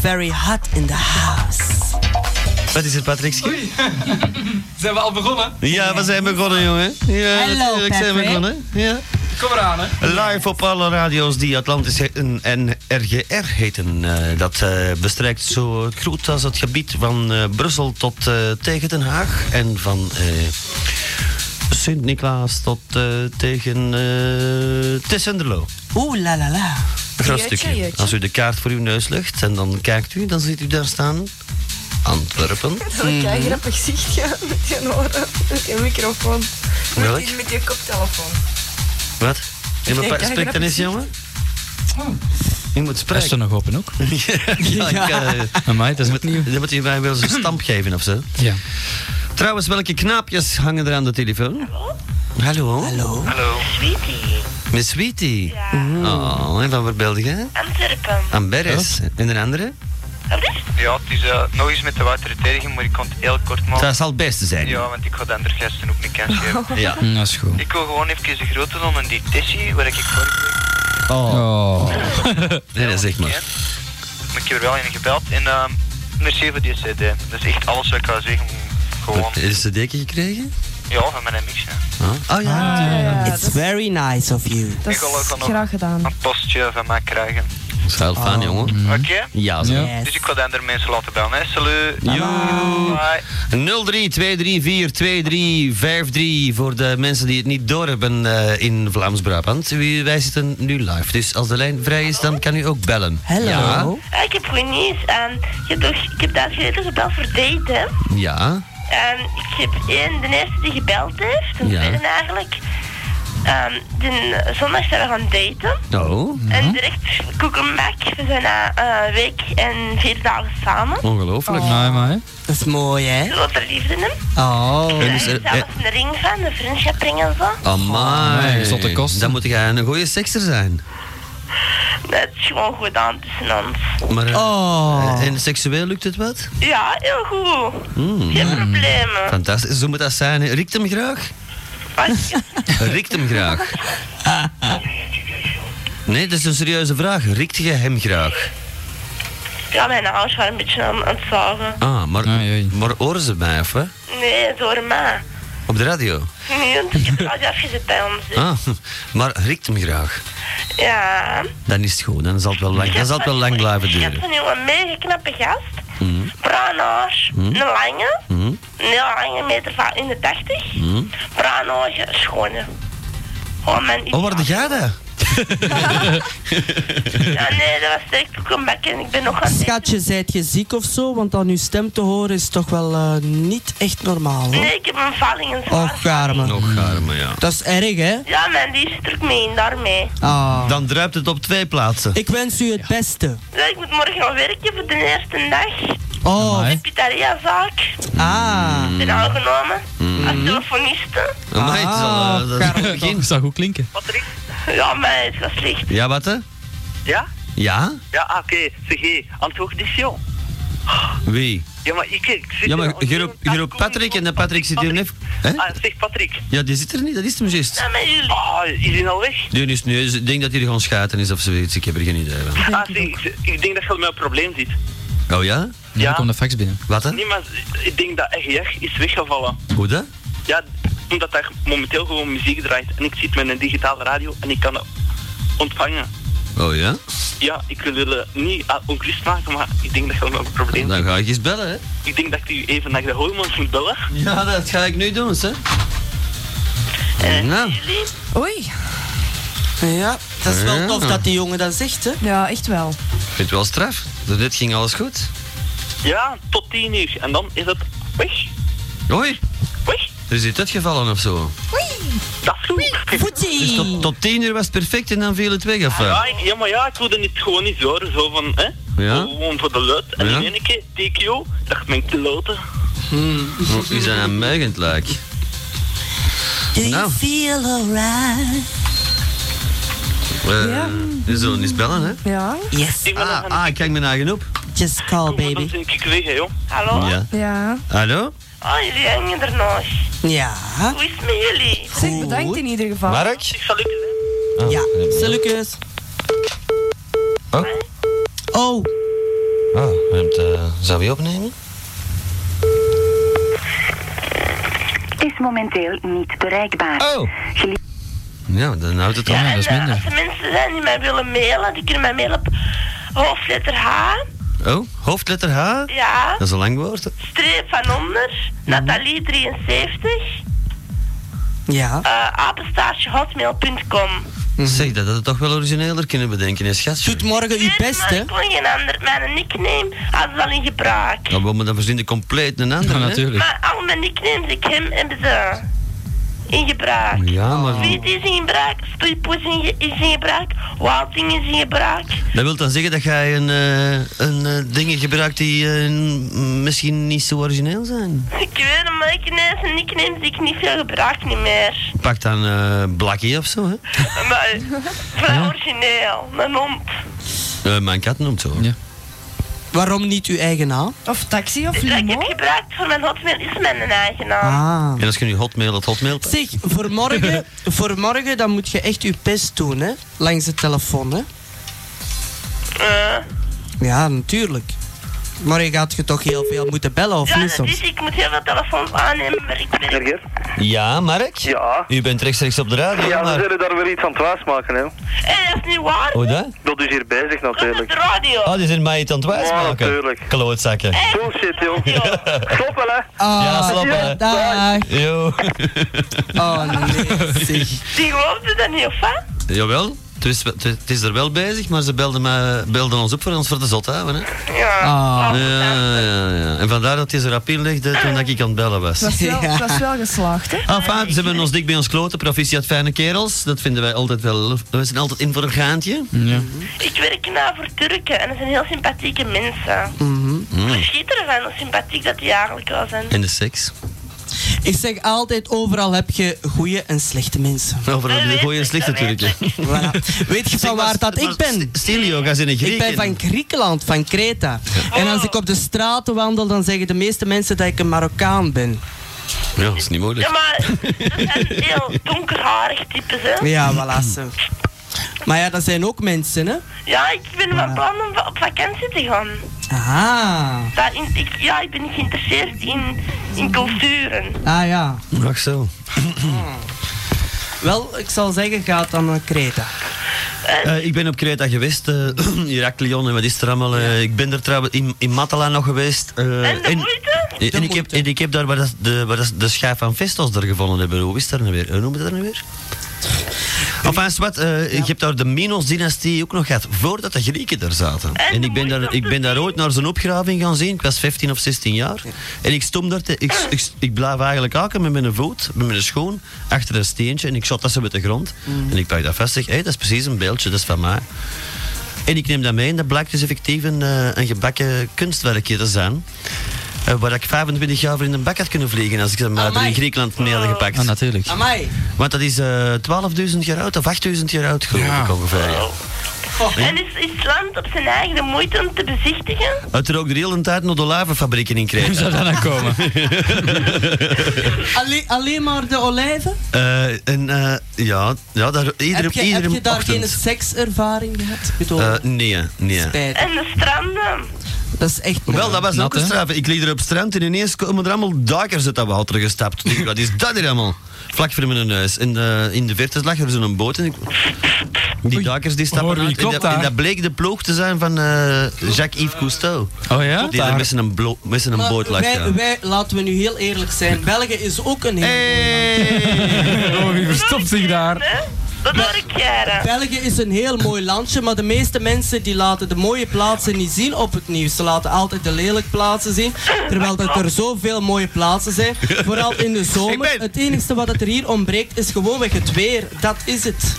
Speaker 4: very hot in the house.
Speaker 3: Wat is het, Patrick?
Speaker 7: Zijn we al begonnen?
Speaker 3: Ja, we zijn begonnen, jongen. Ja,
Speaker 7: Hello,
Speaker 3: natuurlijk zijn we
Speaker 7: Patrick.
Speaker 3: begonnen. Ja.
Speaker 7: Kom eraan, hè.
Speaker 3: Live op alle radio's die Atlantis heten en RGR heten. Eh, dat eh, bestrijkt zo groot als het gebied van eh, Brussel tot eh, tegen Den Haag. En van eh, Sint-Niklaas tot eh, tegen eh Tessenderlo.
Speaker 4: Oeh la la la.
Speaker 3: Een groot stukje. Als u de kaart voor uw neus legt en dan kijkt u, dan ziet u daar staan Antwerpen. Mm-hmm.
Speaker 5: Zo'n
Speaker 3: Mhm.
Speaker 5: kei grappig zicht, ja, met je oren, met je microfoon.
Speaker 3: Welk?
Speaker 5: Met je, met je koptelefoon.
Speaker 3: Wat? Je
Speaker 5: denk,
Speaker 3: moet
Speaker 5: kijk,
Speaker 3: spreek dan
Speaker 5: dat
Speaker 3: eens,
Speaker 5: is niet-
Speaker 3: jongen. Je moet spreken.
Speaker 15: Is er nog open ook?
Speaker 3: ja, ik, eh,
Speaker 15: dat is
Speaker 3: moet, Dan moet je mij wel eens een stamp geven of zo.
Speaker 15: Ja.
Speaker 3: Trouwens, welke knaapjes hangen er aan de telefoon? Hallo. Hallo. Hallo.
Speaker 12: Sweetie,
Speaker 3: Miss Sweetie. Oh, en van waar belde je?
Speaker 12: Antwerpen.
Speaker 3: Amberes. En een andere?
Speaker 13: Ja, het is eh, nog eens met de waterreteging, maar ik kan het heel kort maken.
Speaker 3: Dat zal het beste zijn.
Speaker 13: Ja, want ik ga de andere gasten ook niet kans geven.
Speaker 3: Ja. mm,
Speaker 15: Dat is goed.
Speaker 13: Ik wil gewoon even de grote doen en die Tessie, waar ik voor
Speaker 3: Oh.
Speaker 13: Nee,
Speaker 3: dat zeg maar.
Speaker 13: Maar ik heb er wel in gebeld. En ehm merci voor die cd. Dat is echt alles wat ik ga zeggen. Gewoon,
Speaker 3: Is een dekje gekregen?
Speaker 13: ja, van mijn mix. hè.
Speaker 3: Oh ja.
Speaker 4: It's very nice of you.
Speaker 13: Ik wil ook nog
Speaker 16: Graag gedaan.
Speaker 13: een postje van mij krijgen.
Speaker 3: Dat is heel fijn, jongen.
Speaker 13: Oké?
Speaker 3: Ja, zo.
Speaker 13: Dus ik ga de andere mensen laten bellen. Hè. Salut.
Speaker 3: Joe.
Speaker 13: Bye.
Speaker 3: 032342353 voor de mensen die het niet doorhebben eh in Vlaams-Brabant. Wie- Wij zitten nu live, dus als de lijn vrij is, dan kan u ook bellen.
Speaker 4: Hallo.
Speaker 3: Ja.
Speaker 12: Ah, ik heb goed nieuws. Ehm, ik heb, toch, ik heb daar geleden gebeld voor date, hè.
Speaker 3: ja.
Speaker 12: Ehm, ik heb één, de eerste die gebeld heeft, de
Speaker 3: Ja.
Speaker 12: tweede eigenlijk. Ehm, de, zondag zijn we gaan daten.
Speaker 3: Oh.
Speaker 12: En direct koekenbak. We zijn na eh, een week en vier dagen samen.
Speaker 3: Ongelooflijk. nou,
Speaker 4: Oh. Nee,
Speaker 15: maar.
Speaker 4: Dat is mooi, hè?
Speaker 12: Wat er liefde in hem.
Speaker 4: Oh.
Speaker 12: En is zelfs een ring van, een vriendschap ring en zo.
Speaker 3: Amai.
Speaker 15: Nee, zotte kosten.
Speaker 3: Dan moet jij een goede sekser zijn.
Speaker 12: Dat is gewoon goed aan tussen ons.
Speaker 3: Maar, eh,
Speaker 4: Oh.
Speaker 3: En seksueel lukt het wat?
Speaker 12: Ja, heel goed.
Speaker 3: Mm.
Speaker 12: Geen problemen.
Speaker 3: Fantastisch, zo moet dat zijn. Rikt hem graag? Rikt hem graag? Nee, dat is een serieuze vraag. Rikt je hem graag?
Speaker 12: Ja, mijn ouders waren een beetje aan, aan het zagen.
Speaker 3: Ah, maar, maar horen ze mij of wat?
Speaker 12: Nee, door mij.
Speaker 3: Op de radio?
Speaker 12: Nee, want ik heb het altijd afgezet bij ons. dus hè.
Speaker 3: Ah, maar rikt hem graag.
Speaker 12: Ja.
Speaker 3: Dan is het goed, dan zal het wel lang, dan zal het wel lang blijven
Speaker 12: Ik heb
Speaker 3: duren.
Speaker 12: een nieuwe mega knappe gast.
Speaker 3: Mhm,
Speaker 12: Bruin haar.
Speaker 3: Mhm.
Speaker 12: Een lange.
Speaker 3: mhm,
Speaker 12: Een heel lange meter van in de 80.
Speaker 3: mhm.
Speaker 12: Bruin ogen, schone. Oh, mijn...
Speaker 3: Oh, waar jij dat?
Speaker 12: Ja, nee, dat was direct ook een bek en ik ben nog aan het...
Speaker 4: Schatje, zijt je ziek of zo? Want aan uw stem te horen is toch wel eh, niet echt normaal, hoor.
Speaker 12: Nee, ik heb een valling en zo.
Speaker 4: Och, arme.
Speaker 3: Nog arme, ja.
Speaker 4: Dat is erg, hè?
Speaker 12: Ja, man, die is er ook mee in, daarmee.
Speaker 4: Ah.
Speaker 3: Dan druipt het op twee plaatsen.
Speaker 4: Ik wens u het beste.
Speaker 12: Ja, Dus ik moet morgen gaan werken voor de eerste dag.
Speaker 4: Oh.
Speaker 12: De pizzeria-zaak.
Speaker 4: Ah.
Speaker 12: Ik ben aangenomen. Als telefoniste.
Speaker 3: Mhm. Amai, het is al,
Speaker 1: Ah.
Speaker 3: eh, dat is een goed begin.
Speaker 15: Dat zou goed klinken.
Speaker 12: Ja, maar het was slecht.
Speaker 3: Ja, wat hè?
Speaker 1: Ja?
Speaker 3: Ja?
Speaker 1: Ja, ah, oké. Zeg, hé, antwoord is joh.
Speaker 3: Wie?
Speaker 1: Ja, maar ik, ik zit
Speaker 3: Ja,
Speaker 1: hier
Speaker 3: maar
Speaker 1: al-
Speaker 3: je roept- je roept Patrick en de Patrick zit hier net... Hè?
Speaker 1: Ah, zeg Patrick.
Speaker 3: Ja, die zit er niet, dat is hem juist.
Speaker 12: Ja, maar jullie.
Speaker 1: Ah, is hij al weg?
Speaker 3: Die is nu, ik denk dat hij er gaan schaten is of zoiets, ik heb er geen idee van.
Speaker 1: Ah, zeg, ik, ik denk dat je met een probleem zit.
Speaker 3: Oh ja?
Speaker 15: Ja, dan komt de fax binnen.
Speaker 3: Wat hè?
Speaker 1: Nee, maar ik denk dat RGR is weggevallen.
Speaker 3: Hoe dat?
Speaker 1: Ja, omdat daar momenteel gewoon muziek draait. En ik zit met een digitale radio en ik kan het ontvangen.
Speaker 3: Oh ja?
Speaker 1: Ja, ik wil je niet ah, ongerust maken, maar ik denk dat je wel met een probleem
Speaker 3: Dan Nou, ga ik eens bellen hè.
Speaker 1: Ik denk dat ik u even naar de hormones moet bellen.
Speaker 3: Ja, dat ga ik nu doen, hè.
Speaker 1: Eh.
Speaker 3: Nou,
Speaker 16: Oei.
Speaker 4: Ja, dat is
Speaker 3: Ja.
Speaker 4: wel tof dat die jongen dat zegt, hè?
Speaker 16: Ja, echt wel.
Speaker 3: ik vind het wel straf. Dit ging alles goed.
Speaker 1: Ja, tot 10 uur. En dan is het weg.
Speaker 3: Oei,
Speaker 1: Weg.
Speaker 3: er is iets uitgevallen of zo.
Speaker 1: Dat is goed.
Speaker 3: Dus
Speaker 4: Voetie!
Speaker 3: tot, tot tien uur was het perfect en dan viel het weg, of wat?
Speaker 1: Ah, Ja, ik- ja, maar ja, ik wilde het gewoon niet horen. Zo van, hè?
Speaker 3: Ja?
Speaker 1: Gewoon voor de luid. En
Speaker 3: Ja.
Speaker 1: in één keer, TKO, dacht mijn kloten.
Speaker 3: Oh, is dat een meugend like?
Speaker 4: Do you
Speaker 3: Nou.
Speaker 4: feel alright?
Speaker 3: Eh, we zullen eens bellen, hè?
Speaker 16: Ja.
Speaker 4: Yes.
Speaker 1: Ik ben
Speaker 3: Ah, ah, ik kijk me eigen op.
Speaker 4: Just call,
Speaker 1: dan
Speaker 4: baby.
Speaker 1: ben ik weg, hè, joh.
Speaker 12: Hallo?
Speaker 3: Ja.
Speaker 16: Ja.
Speaker 3: Hallo?
Speaker 12: Oh, jullie hangen er nog.
Speaker 4: Ja.
Speaker 12: Hoe is het met jullie?
Speaker 16: Zeg, bedankt in ieder geval.
Speaker 3: Mark? Ah,
Speaker 1: Ik zal lukken, hè.
Speaker 4: Ja. Salukes.
Speaker 3: Oh.
Speaker 4: Oh,
Speaker 3: Ah,
Speaker 17: Zou je opnemen?
Speaker 18: Is momenteel niet bereikbaar.
Speaker 3: Oh! Ja, dan houdt het al.
Speaker 12: Ja, en eh, als er mensen zijn die mij willen mailen, die kunnen mij mailen op hoofdletter H,
Speaker 3: Oh, hoofdletter H?
Speaker 12: Ja.
Speaker 3: Dat is een lang woord. hè.
Speaker 12: streep van onder,
Speaker 4: Mhm.
Speaker 12: Nathalie 73,
Speaker 4: Ja.
Speaker 12: eh apenstaartje hotmail.com.
Speaker 4: Mhm.
Speaker 3: Zeg, dat had het toch wel origineeler kunnen bedenken, hè, schat. Doet
Speaker 4: morgen uw
Speaker 12: Maar ik wil geen ander, mijn nickname hadden ze al in gebruik.
Speaker 3: Dan Nou, we dan verzinnen compleet een andere. hè?
Speaker 12: Maar al mijn nicknames, ik hem hebben ze in gebruik.
Speaker 3: Ja, maar-
Speaker 12: Viet is in gebruik, Stoeipoes is in- is in gebruik, Wilding is in gebruik.
Speaker 3: Dat wil dan zeggen dat jij een, eh, een eh, dingen gebruikt die eh, n- misschien niet zo origineel zijn.
Speaker 12: Ik weet het, maar ik nee, zijn nicknames die ik niet veel gebruik niet meer.
Speaker 3: Pak dan eh Blackie of zo, hè?
Speaker 12: Maar vrij origineel, mijn hond.
Speaker 3: Eh, mijn kat noemt zo. Ja.
Speaker 4: Waarom niet uw eigen naam?
Speaker 12: Of taxi of limo? Dat ik heb gebruikt voor mijn hotmail is mijn eigen naam.
Speaker 4: Ah.
Speaker 3: En als je nu hotmail het hotmail...
Speaker 4: Zeg, voor morgen, voor morgen dan moet je echt je best doen, hè? Langs de telefoon, hè?
Speaker 1: Eh.
Speaker 4: Ja, natuurlijk. Morgen gaat je toch heel veel moeten bellen, of
Speaker 12: Ja,
Speaker 4: niet
Speaker 12: dat
Speaker 4: soms?
Speaker 12: is, Dus ik moet heel veel telefoons aannemen, maar ik werk.
Speaker 3: Ja, Mark? Ja. U bent rechtstreeks op de radio,
Speaker 8: Ja, we
Speaker 3: maar...
Speaker 8: zullen daar weer iets aan het wijsmaken, hè.
Speaker 12: Hé, dat is niet waar.
Speaker 3: Hoe dat?
Speaker 8: Dat is hier bezig, natuurlijk.
Speaker 12: Radio.
Speaker 3: Oh, die zijn mij iets aan het wijsmaken.
Speaker 8: Ja, natuurlijk.
Speaker 3: Klootzakken.
Speaker 8: Bullshit, joh. Stop wel, hè.
Speaker 12: Ah.
Speaker 3: ja, slap, hè.
Speaker 4: Dag.
Speaker 3: Yo.
Speaker 4: Oh, nee, zeg.
Speaker 12: Die geloofde dat niet, of wat?
Speaker 3: Jawel. Het is, het het is er wel bezig, maar ze belden, mij, belden ons op voor ons voor de zot houden, hè.
Speaker 12: Ja.
Speaker 5: Ah.
Speaker 3: Ja, ja, ja. En vandaar dat hij zo rap inlegde toen dat ik aan het bellen was.
Speaker 5: Het was wel, het was wel geslaagd, hè?
Speaker 3: Enfin, ze hebben ons dik bij ons kloten. Proficiat fijne kerels. Dat vinden wij altijd wel. We zijn altijd in voor een gaantje. Ja.
Speaker 12: Ik werk na voor Turken en dat zijn heel sympathieke mensen.
Speaker 3: Hmm.
Speaker 12: Verschiet ervan hoe sympathiek dat die eigenlijk wel zijn.
Speaker 3: Mhm. En de seks.
Speaker 4: Ik zeg altijd, overal heb je goede en slechte mensen.
Speaker 3: Overal de goede en slechte Turken.
Speaker 4: Voilà. Weet je van waar dat ik ben?
Speaker 3: Stilio, ga ze in
Speaker 4: Ik
Speaker 3: Grieken.
Speaker 4: ben van Griekenland, van Kreta. En als ik op de straten wandel, dan zeggen de meeste mensen dat ik een Marokkaan ben.
Speaker 3: Ja, dat is niet moeilijk.
Speaker 12: Ja, maar dat zijn heel donkerharig types, hè?
Speaker 4: Ja, voilà. zo. Maar ja, dat zijn ook mensen, hè?
Speaker 12: Ja, ik ben van plan om va- op vakantie te gaan.
Speaker 4: Aha.
Speaker 12: Daar in, ik, ja, ik ben geïnteresseerd in, in culturen.
Speaker 4: Ah ja.
Speaker 3: Ach zo.
Speaker 4: Wel, ik zal zeggen, gaat dan naar Kreta.
Speaker 3: Eh, ik ben op Kreta geweest, eh Heraklion en wat is er allemaal. eh, ik ben er trouwens in, in Matala nog geweest. eh, en, en ik heb, en ik heb daar waar, dat, de, waar dat, de schijf van Vestos er gevonden hebben. Hoe is dat nou weer? Hoe noemen we dat nou weer? Enfin, wat, ik heb daar de Minos-dynastie ook nog gehad, voordat de Grieken daar zaten. En, ik, ben daar, ik ben daar ooit naar zo'n opgraving gaan zien. Ik was 15 of 16 jaar. En ik stond daar, te, ik, ik, ik blijf eigenlijk haken met mijn voet, met mijn schoon, achter een steentje. En ik zat dat ze met de grond. En ik pak dat vast zeg, hé, dat is precies een beeldje, dat is van mij. En ik neem dat mee en dat blijkt dus effectief een, eh, een gebakken kunstwerkje te zijn. Eh, waar ik 25 jaar voor in een bak had kunnen vliegen als ik ze maar er in Griekenland mee had gepakt. Ah, natuurlijk.
Speaker 4: Amai.
Speaker 3: Want dat is eh 12.000 jaar oud of 8.000 jaar oud, geloof ik ongeveer. ja.
Speaker 12: En is, is het land op zijn eigen de moeite om te bezichtigen?
Speaker 3: Het rook de hele tijd naar de olavenfabrieken in Kreta. Hoe zou dat nou komen?
Speaker 4: Alleen, alleen maar de olijven?
Speaker 3: en eh, ja, ja daar, iedere,
Speaker 4: heb, je,
Speaker 3: iedere
Speaker 4: heb je daar
Speaker 3: ochtend.
Speaker 4: geen sekservaring gehad? Ik bedoel,
Speaker 3: Eh, nee, nee.
Speaker 4: spijt.
Speaker 12: En de stranden?
Speaker 4: Dat is echt...
Speaker 3: Wel, dat was
Speaker 4: Nat,
Speaker 3: ook een
Speaker 4: hè?
Speaker 3: straf. Ik liep er op het strand en ineens komen er allemaal duikers uit dat water gestapt. Ik denk, Wat is dat hier allemaal? Vlak voor mijn neus. En eh, in de verte lag er zo'n boot. En ik- die duikers die stappen
Speaker 7: Hoor, wie
Speaker 3: uit. En
Speaker 7: klopt
Speaker 3: dat, en
Speaker 7: daar?
Speaker 3: dat bleek de ploeg te zijn van eh, Jacques-Yves Cousteau.
Speaker 7: Oh ja?
Speaker 3: Die daar
Speaker 7: Daar.
Speaker 3: met zijn, blo- met zijn
Speaker 4: Maar
Speaker 3: boot lag. ja.
Speaker 4: wij, wij, laten we nu heel eerlijk zijn. België is ook een heel mooi land.
Speaker 7: Oh, wie verstopt zich daar?
Speaker 12: Dat hoor ik jaren.
Speaker 4: België is een heel mooi landje, maar de meeste mensen die laten de mooie plaatsen niet zien op het nieuws. Ze laten altijd de lelijke plaatsen zien, terwijl dat er zoveel mooie plaatsen zijn. Vooral in de zomer. Het enige wat het er hier ontbreekt is gewoonweg het weer. Dat is het.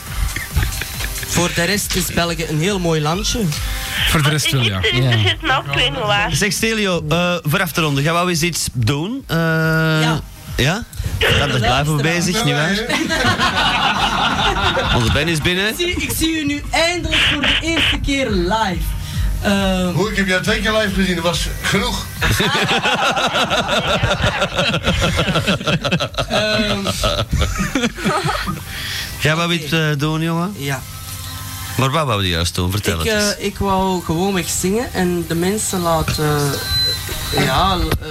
Speaker 4: Voor de rest is België een heel mooi landje.
Speaker 7: Voor de
Speaker 12: Ah,
Speaker 7: rest wel, ja.
Speaker 12: Dus Er zit me ook twee waar.
Speaker 3: Zeg Stelio, eh voor af te ronden, gaan we eens iets doen? Eh, ja. Ja? Daar blijven we bezig, nietwaar?
Speaker 12: Ah,
Speaker 3: Onze Ben is binnen.
Speaker 4: Zie, ik zie u nu eindelijk voor de eerste keer live. Ehm,
Speaker 19: Hoe, ik heb jou twee keer live gezien, dat was genoeg.
Speaker 4: Ehm.
Speaker 3: Gaan we iets eh, doen, jongen?
Speaker 4: Ja.
Speaker 3: Maar wat wou je juist doen? Vertel
Speaker 4: ik,
Speaker 3: het eens.
Speaker 4: eh, ik wou gewoonweg zingen en de mensen laten ja, eh,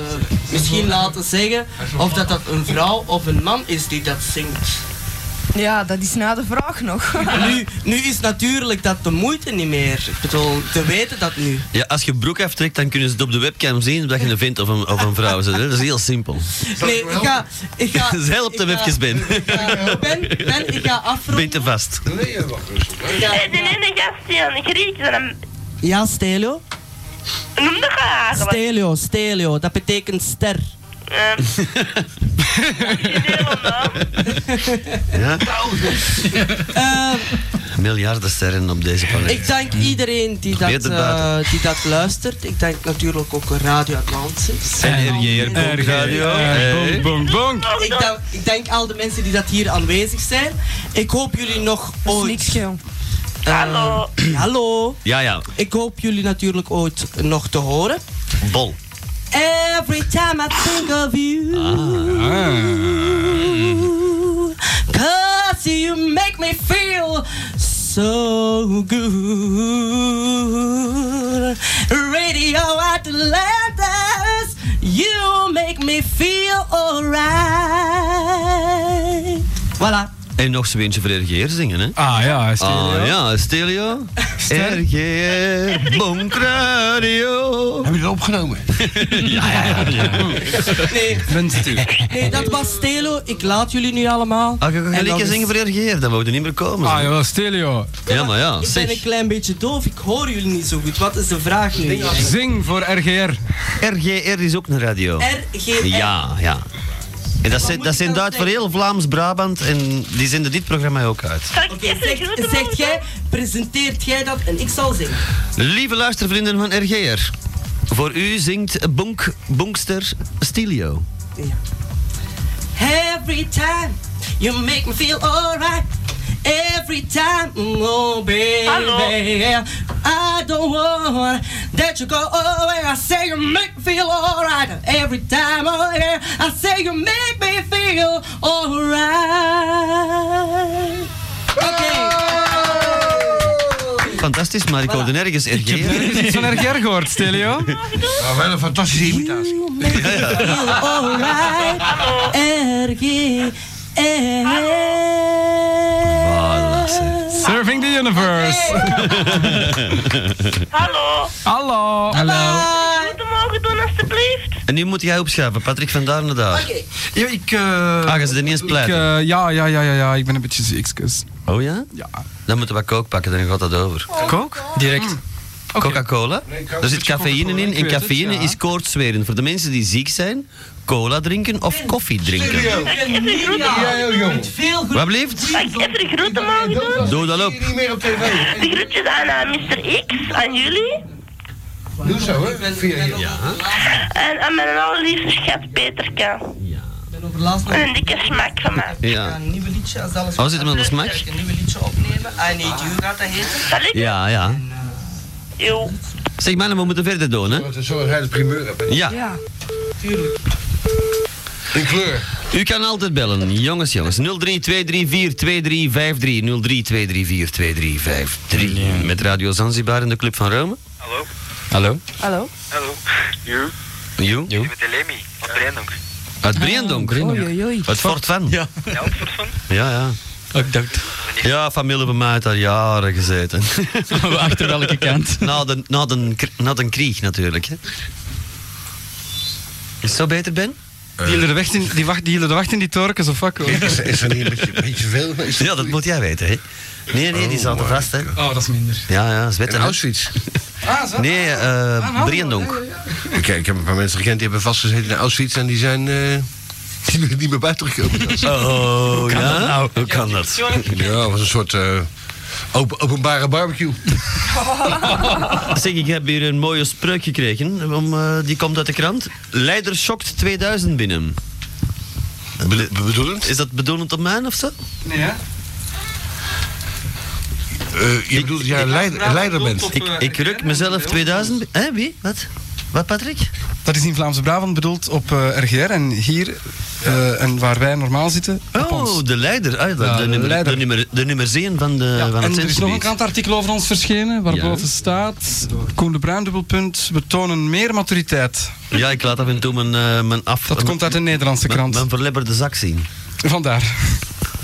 Speaker 4: misschien laten zeggen of dat dat een vrouw of een man is die dat zingt.
Speaker 5: Ja, dat is na de vraag nog.
Speaker 4: Nu, nu is natuurlijk dat de moeite niet meer. Ik bedoel, te weten dat nu.
Speaker 3: Ja, als je broek aftrekt, dan kunnen ze het op de webcam zien of dat je een vent of een, of een vrouw bent. hè. Dat is heel simpel.
Speaker 4: Nee, ik ga... Ik ga
Speaker 3: Dus help hem
Speaker 4: ik ga-
Speaker 3: even, Ben.
Speaker 4: Ben, ben, ik ga afronden.
Speaker 3: Ben te vast.
Speaker 12: Hey, de ene gast die aan de Griek is, dan
Speaker 4: Ja, Stelio?
Speaker 12: noem de graag. want-
Speaker 4: Stelio, Stelio. Dat betekent ster.
Speaker 12: Eh,
Speaker 3: Ja?
Speaker 4: Eh,
Speaker 3: Miljarden sterren op deze planeet.
Speaker 4: ik dank iedereen die dat,
Speaker 3: Probeer erbuiten.
Speaker 4: eh, die dat luistert. Ik dank natuurlijk ook Radio Atlantis.
Speaker 3: NRJR, Bonk Radio. Hey.
Speaker 7: Bong, bong.
Speaker 4: Ik dank, ik dank al de mensen die dat hier aanwezig zijn. Ik hoop jullie nog ooit... Eh,
Speaker 12: Hallo.
Speaker 4: hallo.
Speaker 3: Ja, ja.
Speaker 4: Ik hoop jullie natuurlijk ooit nog te horen.
Speaker 3: Bol.
Speaker 4: Every time I think of you. Ah. Cause you make me feel so good. Radio Atlantis, you make me feel alright. Voilà.
Speaker 3: En nog eens een beetje voor RGR zingen, hè?
Speaker 7: Ah ja, Stelio.
Speaker 3: Ah ja, Stelio. RGR, Bonk Radio.
Speaker 19: Hebben jullie dat opgenomen?
Speaker 3: ja, ja, ja.
Speaker 4: Nee,
Speaker 7: Mensen
Speaker 4: nee, dat was Stelo. Ik laat jullie nu allemaal.
Speaker 3: Ah, ga- ga
Speaker 4: En
Speaker 3: je
Speaker 4: dat
Speaker 3: liedje
Speaker 4: is-
Speaker 3: zingen voor RGR? Dan moeten we niet meer komen.
Speaker 7: Ah ja, Stelio.
Speaker 3: Ja, maar ja,
Speaker 4: Ik ben een
Speaker 3: zeg.
Speaker 4: klein beetje doof, ik hoor jullie niet zo goed. Wat is de vraag nu?
Speaker 7: Zing voor RGR.
Speaker 3: RGR is ook een radio.
Speaker 4: RGR.
Speaker 3: Ja, ja. En dat, zijn, dat zendt uit voor heel Vlaams-Brabant en die zenden dit programma ook uit.
Speaker 4: Oké, zegt, zegt jij, presenteert jij dat en ik zal zingen.
Speaker 3: Lieve luistervrienden van RGR, voor u zingt Bonk, Bonkster Stilio.
Speaker 4: Every time you make me feel alright. Every time, oh baby,
Speaker 12: Hallo.
Speaker 4: I don't want that you go away. I say you make me feel alright. Every time, oh yeah, I say you make me feel alright. Oké.
Speaker 3: Fantastisch, maar ik hoorde nergens RGR.
Speaker 7: Ik heb nergens iets van RGR gehoord, Stelio.
Speaker 19: Nou, wel een fantastische imitatie.
Speaker 4: feel alright. Ergie.
Speaker 7: Surfing the universe.
Speaker 12: Hallo.
Speaker 7: Hallo.
Speaker 12: Moeten mogen doen, alstublieft.
Speaker 3: En nu moet jij opschuiven, Patrick van daar naar daar.
Speaker 7: Ja, ik... eh,
Speaker 3: Ah, je ze er niet eens
Speaker 7: ik,
Speaker 3: pleiten.
Speaker 7: eh, ja, ja, ja, ja, ja, ik ben een beetje ziek. dus. excuus.
Speaker 3: Oh ja? Ja. Dan moeten we kook pakken, dan gaat dat over.
Speaker 7: Kook?
Speaker 3: Direct. Coca-Cola.
Speaker 19: Hmm. Nee, ik hou
Speaker 3: Daar
Speaker 19: een
Speaker 3: zit
Speaker 19: beetje
Speaker 3: cafeïne
Speaker 19: Coca-Cola,
Speaker 3: in.
Speaker 19: ik
Speaker 3: En
Speaker 19: weet het,
Speaker 3: cafeïne
Speaker 19: ja.
Speaker 3: is koortswerend. Voor de mensen die ziek zijn, cola drinken of koffie drinken.
Speaker 4: Veel
Speaker 3: Wat blieft?
Speaker 12: Mag ik even de groeten mogen doen?
Speaker 3: Doe dat op.
Speaker 19: Niet meer op tv.
Speaker 12: De groetjes aan eh, Mr. X, aan jullie.
Speaker 19: Doe zo, hè. Via hier.
Speaker 12: En aan mijn allerliefste schat Peterke.
Speaker 4: ben overlaatst
Speaker 12: En
Speaker 4: met
Speaker 12: een dikke smaak van mij.
Speaker 3: Ja.
Speaker 4: een nieuwe liedje. Als alles
Speaker 3: Oh, zit hem aan de smaak?
Speaker 4: Ik een nieuwe liedje opnemen. I Need You gaat dat heten.
Speaker 12: Salut.
Speaker 3: Ja, ja.
Speaker 12: Yo.
Speaker 3: Zeg mannen, we moeten verder doen, hè?
Speaker 19: Wat een zorg hij de primeur hebt.
Speaker 3: Ja.
Speaker 4: Tuurlijk.
Speaker 19: In kleur.
Speaker 3: U kan altijd bellen, jongens, jongens. 032342353. 032342353. Met Radio Zanzibar in de Club van Rome.
Speaker 20: Hallo?
Speaker 3: Hallo.
Speaker 21: Hallo?
Speaker 20: Hallo? You?
Speaker 3: You?
Speaker 20: Je bent de Lemmy, van Brendonk.
Speaker 3: Uit Briendonk.
Speaker 21: Oei, oei.
Speaker 3: Het Fort van. Ja.
Speaker 20: Ja, wat soort van?
Speaker 3: Ja, ja.
Speaker 7: Oh,
Speaker 22: Ik dacht,
Speaker 3: Ja, familie bij mij heeft daar jaren gezeten.
Speaker 22: achter welke kant?
Speaker 3: na, de, na, de, kr- na de krieg natuurlijk. Hè. Is het zo beter, Ben?
Speaker 7: Die jullie de wacht in die, wacht, die, jullie de wacht in die torkens of wat? hoor.
Speaker 19: Eh. Is, is er niet een beetje, een beetje veel? Is
Speaker 3: Ja, dat moet jij weten, hè? Nee, nee, die zaten vast, hè?
Speaker 7: Oh, dat is minder.
Speaker 3: Ja, ja,
Speaker 19: In
Speaker 3: zwetten. hè.
Speaker 19: Auschwitz.
Speaker 7: Ah, zo.
Speaker 3: Nee, eh Briendonk.
Speaker 19: Ik, eh, ik heb een paar mensen gekend die hebben vastgezeten in Auschwitz en die zijn eh, die zijn niet meer bij teruggekomen.
Speaker 3: Oh, ja? Hoe kan dat?
Speaker 19: nou? Ja, dat was een soort eh, open- openbare barbecue.
Speaker 3: Zeg, ik heb hier een mooie spreuk gekregen. Om, eh, die komt uit de krant. Leider schokt 2000 binnen.
Speaker 19: Be- be- bedoelend?
Speaker 3: Is dat bedoelend op mij of zo?
Speaker 7: Nee, hè?
Speaker 19: Eh, je bedoelt dat jij een leider, een leider bent.
Speaker 3: Ik, ik ruk mezelf 2000. bi- Hè, wie? Wat? Wat, Patrick?
Speaker 7: Dat is in Vlaams-Brabant bedoeld op eh, RGR en hier eh, en waar wij normaal zitten. op ons.
Speaker 3: Oh, de leider. Ah, de,
Speaker 7: Ja,
Speaker 3: de,
Speaker 7: de
Speaker 3: nummer,
Speaker 7: leider.
Speaker 3: De, nummer, de nummer 1 van, de, van
Speaker 7: en er
Speaker 3: het
Speaker 7: is nog een
Speaker 3: zendgebied.
Speaker 7: krantartikel over ons verschenen waarboven staat Koen de Bruin dubbelpunt, we tonen meer maturiteit.
Speaker 3: Ja, ik laat af en toe mijn, eh, mijn af...
Speaker 7: Dat komt uit de Nederlandse
Speaker 3: mijn-
Speaker 7: krant.
Speaker 3: Mijn verlebberde zak zien.
Speaker 7: Vandaar.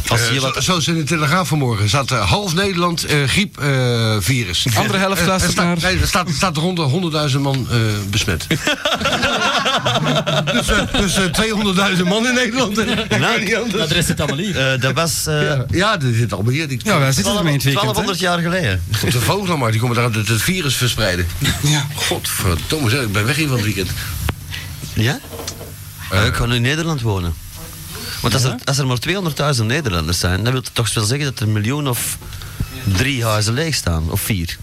Speaker 3: Als
Speaker 19: Eh,
Speaker 3: je
Speaker 19: zo- Zoals in de Telegraaf vanmorgen zat eh, half Nederland eh griepvirus.
Speaker 7: Andere helft luistert
Speaker 19: staat, nee, er staat, staat rond de 100.000 man eh, besmet. dus eh, dus eh, 200.000 man in Nederland.
Speaker 3: Nou,
Speaker 19: dat is het allemaal niet.
Speaker 3: Eh, dat was... eh,
Speaker 19: Ja, ja, dit zit allemaal hier. Die,
Speaker 7: Ja, wij zitten ermee in het weekend,
Speaker 3: 1200 jaar geleden.
Speaker 19: Op de vogel maar, die komen daar het, het virus verspreiden.
Speaker 7: Ja.
Speaker 19: Godverdomme, zeg, ik ben weg hier van het weekend.
Speaker 3: Ja? Eh, ik ga nu in Nederland wonen. Want als, er, als er maar 200.000 Nederlanders zijn, dan wil dat toch wel zeggen dat er een miljoen of drie huizen leeg staan. Of vier.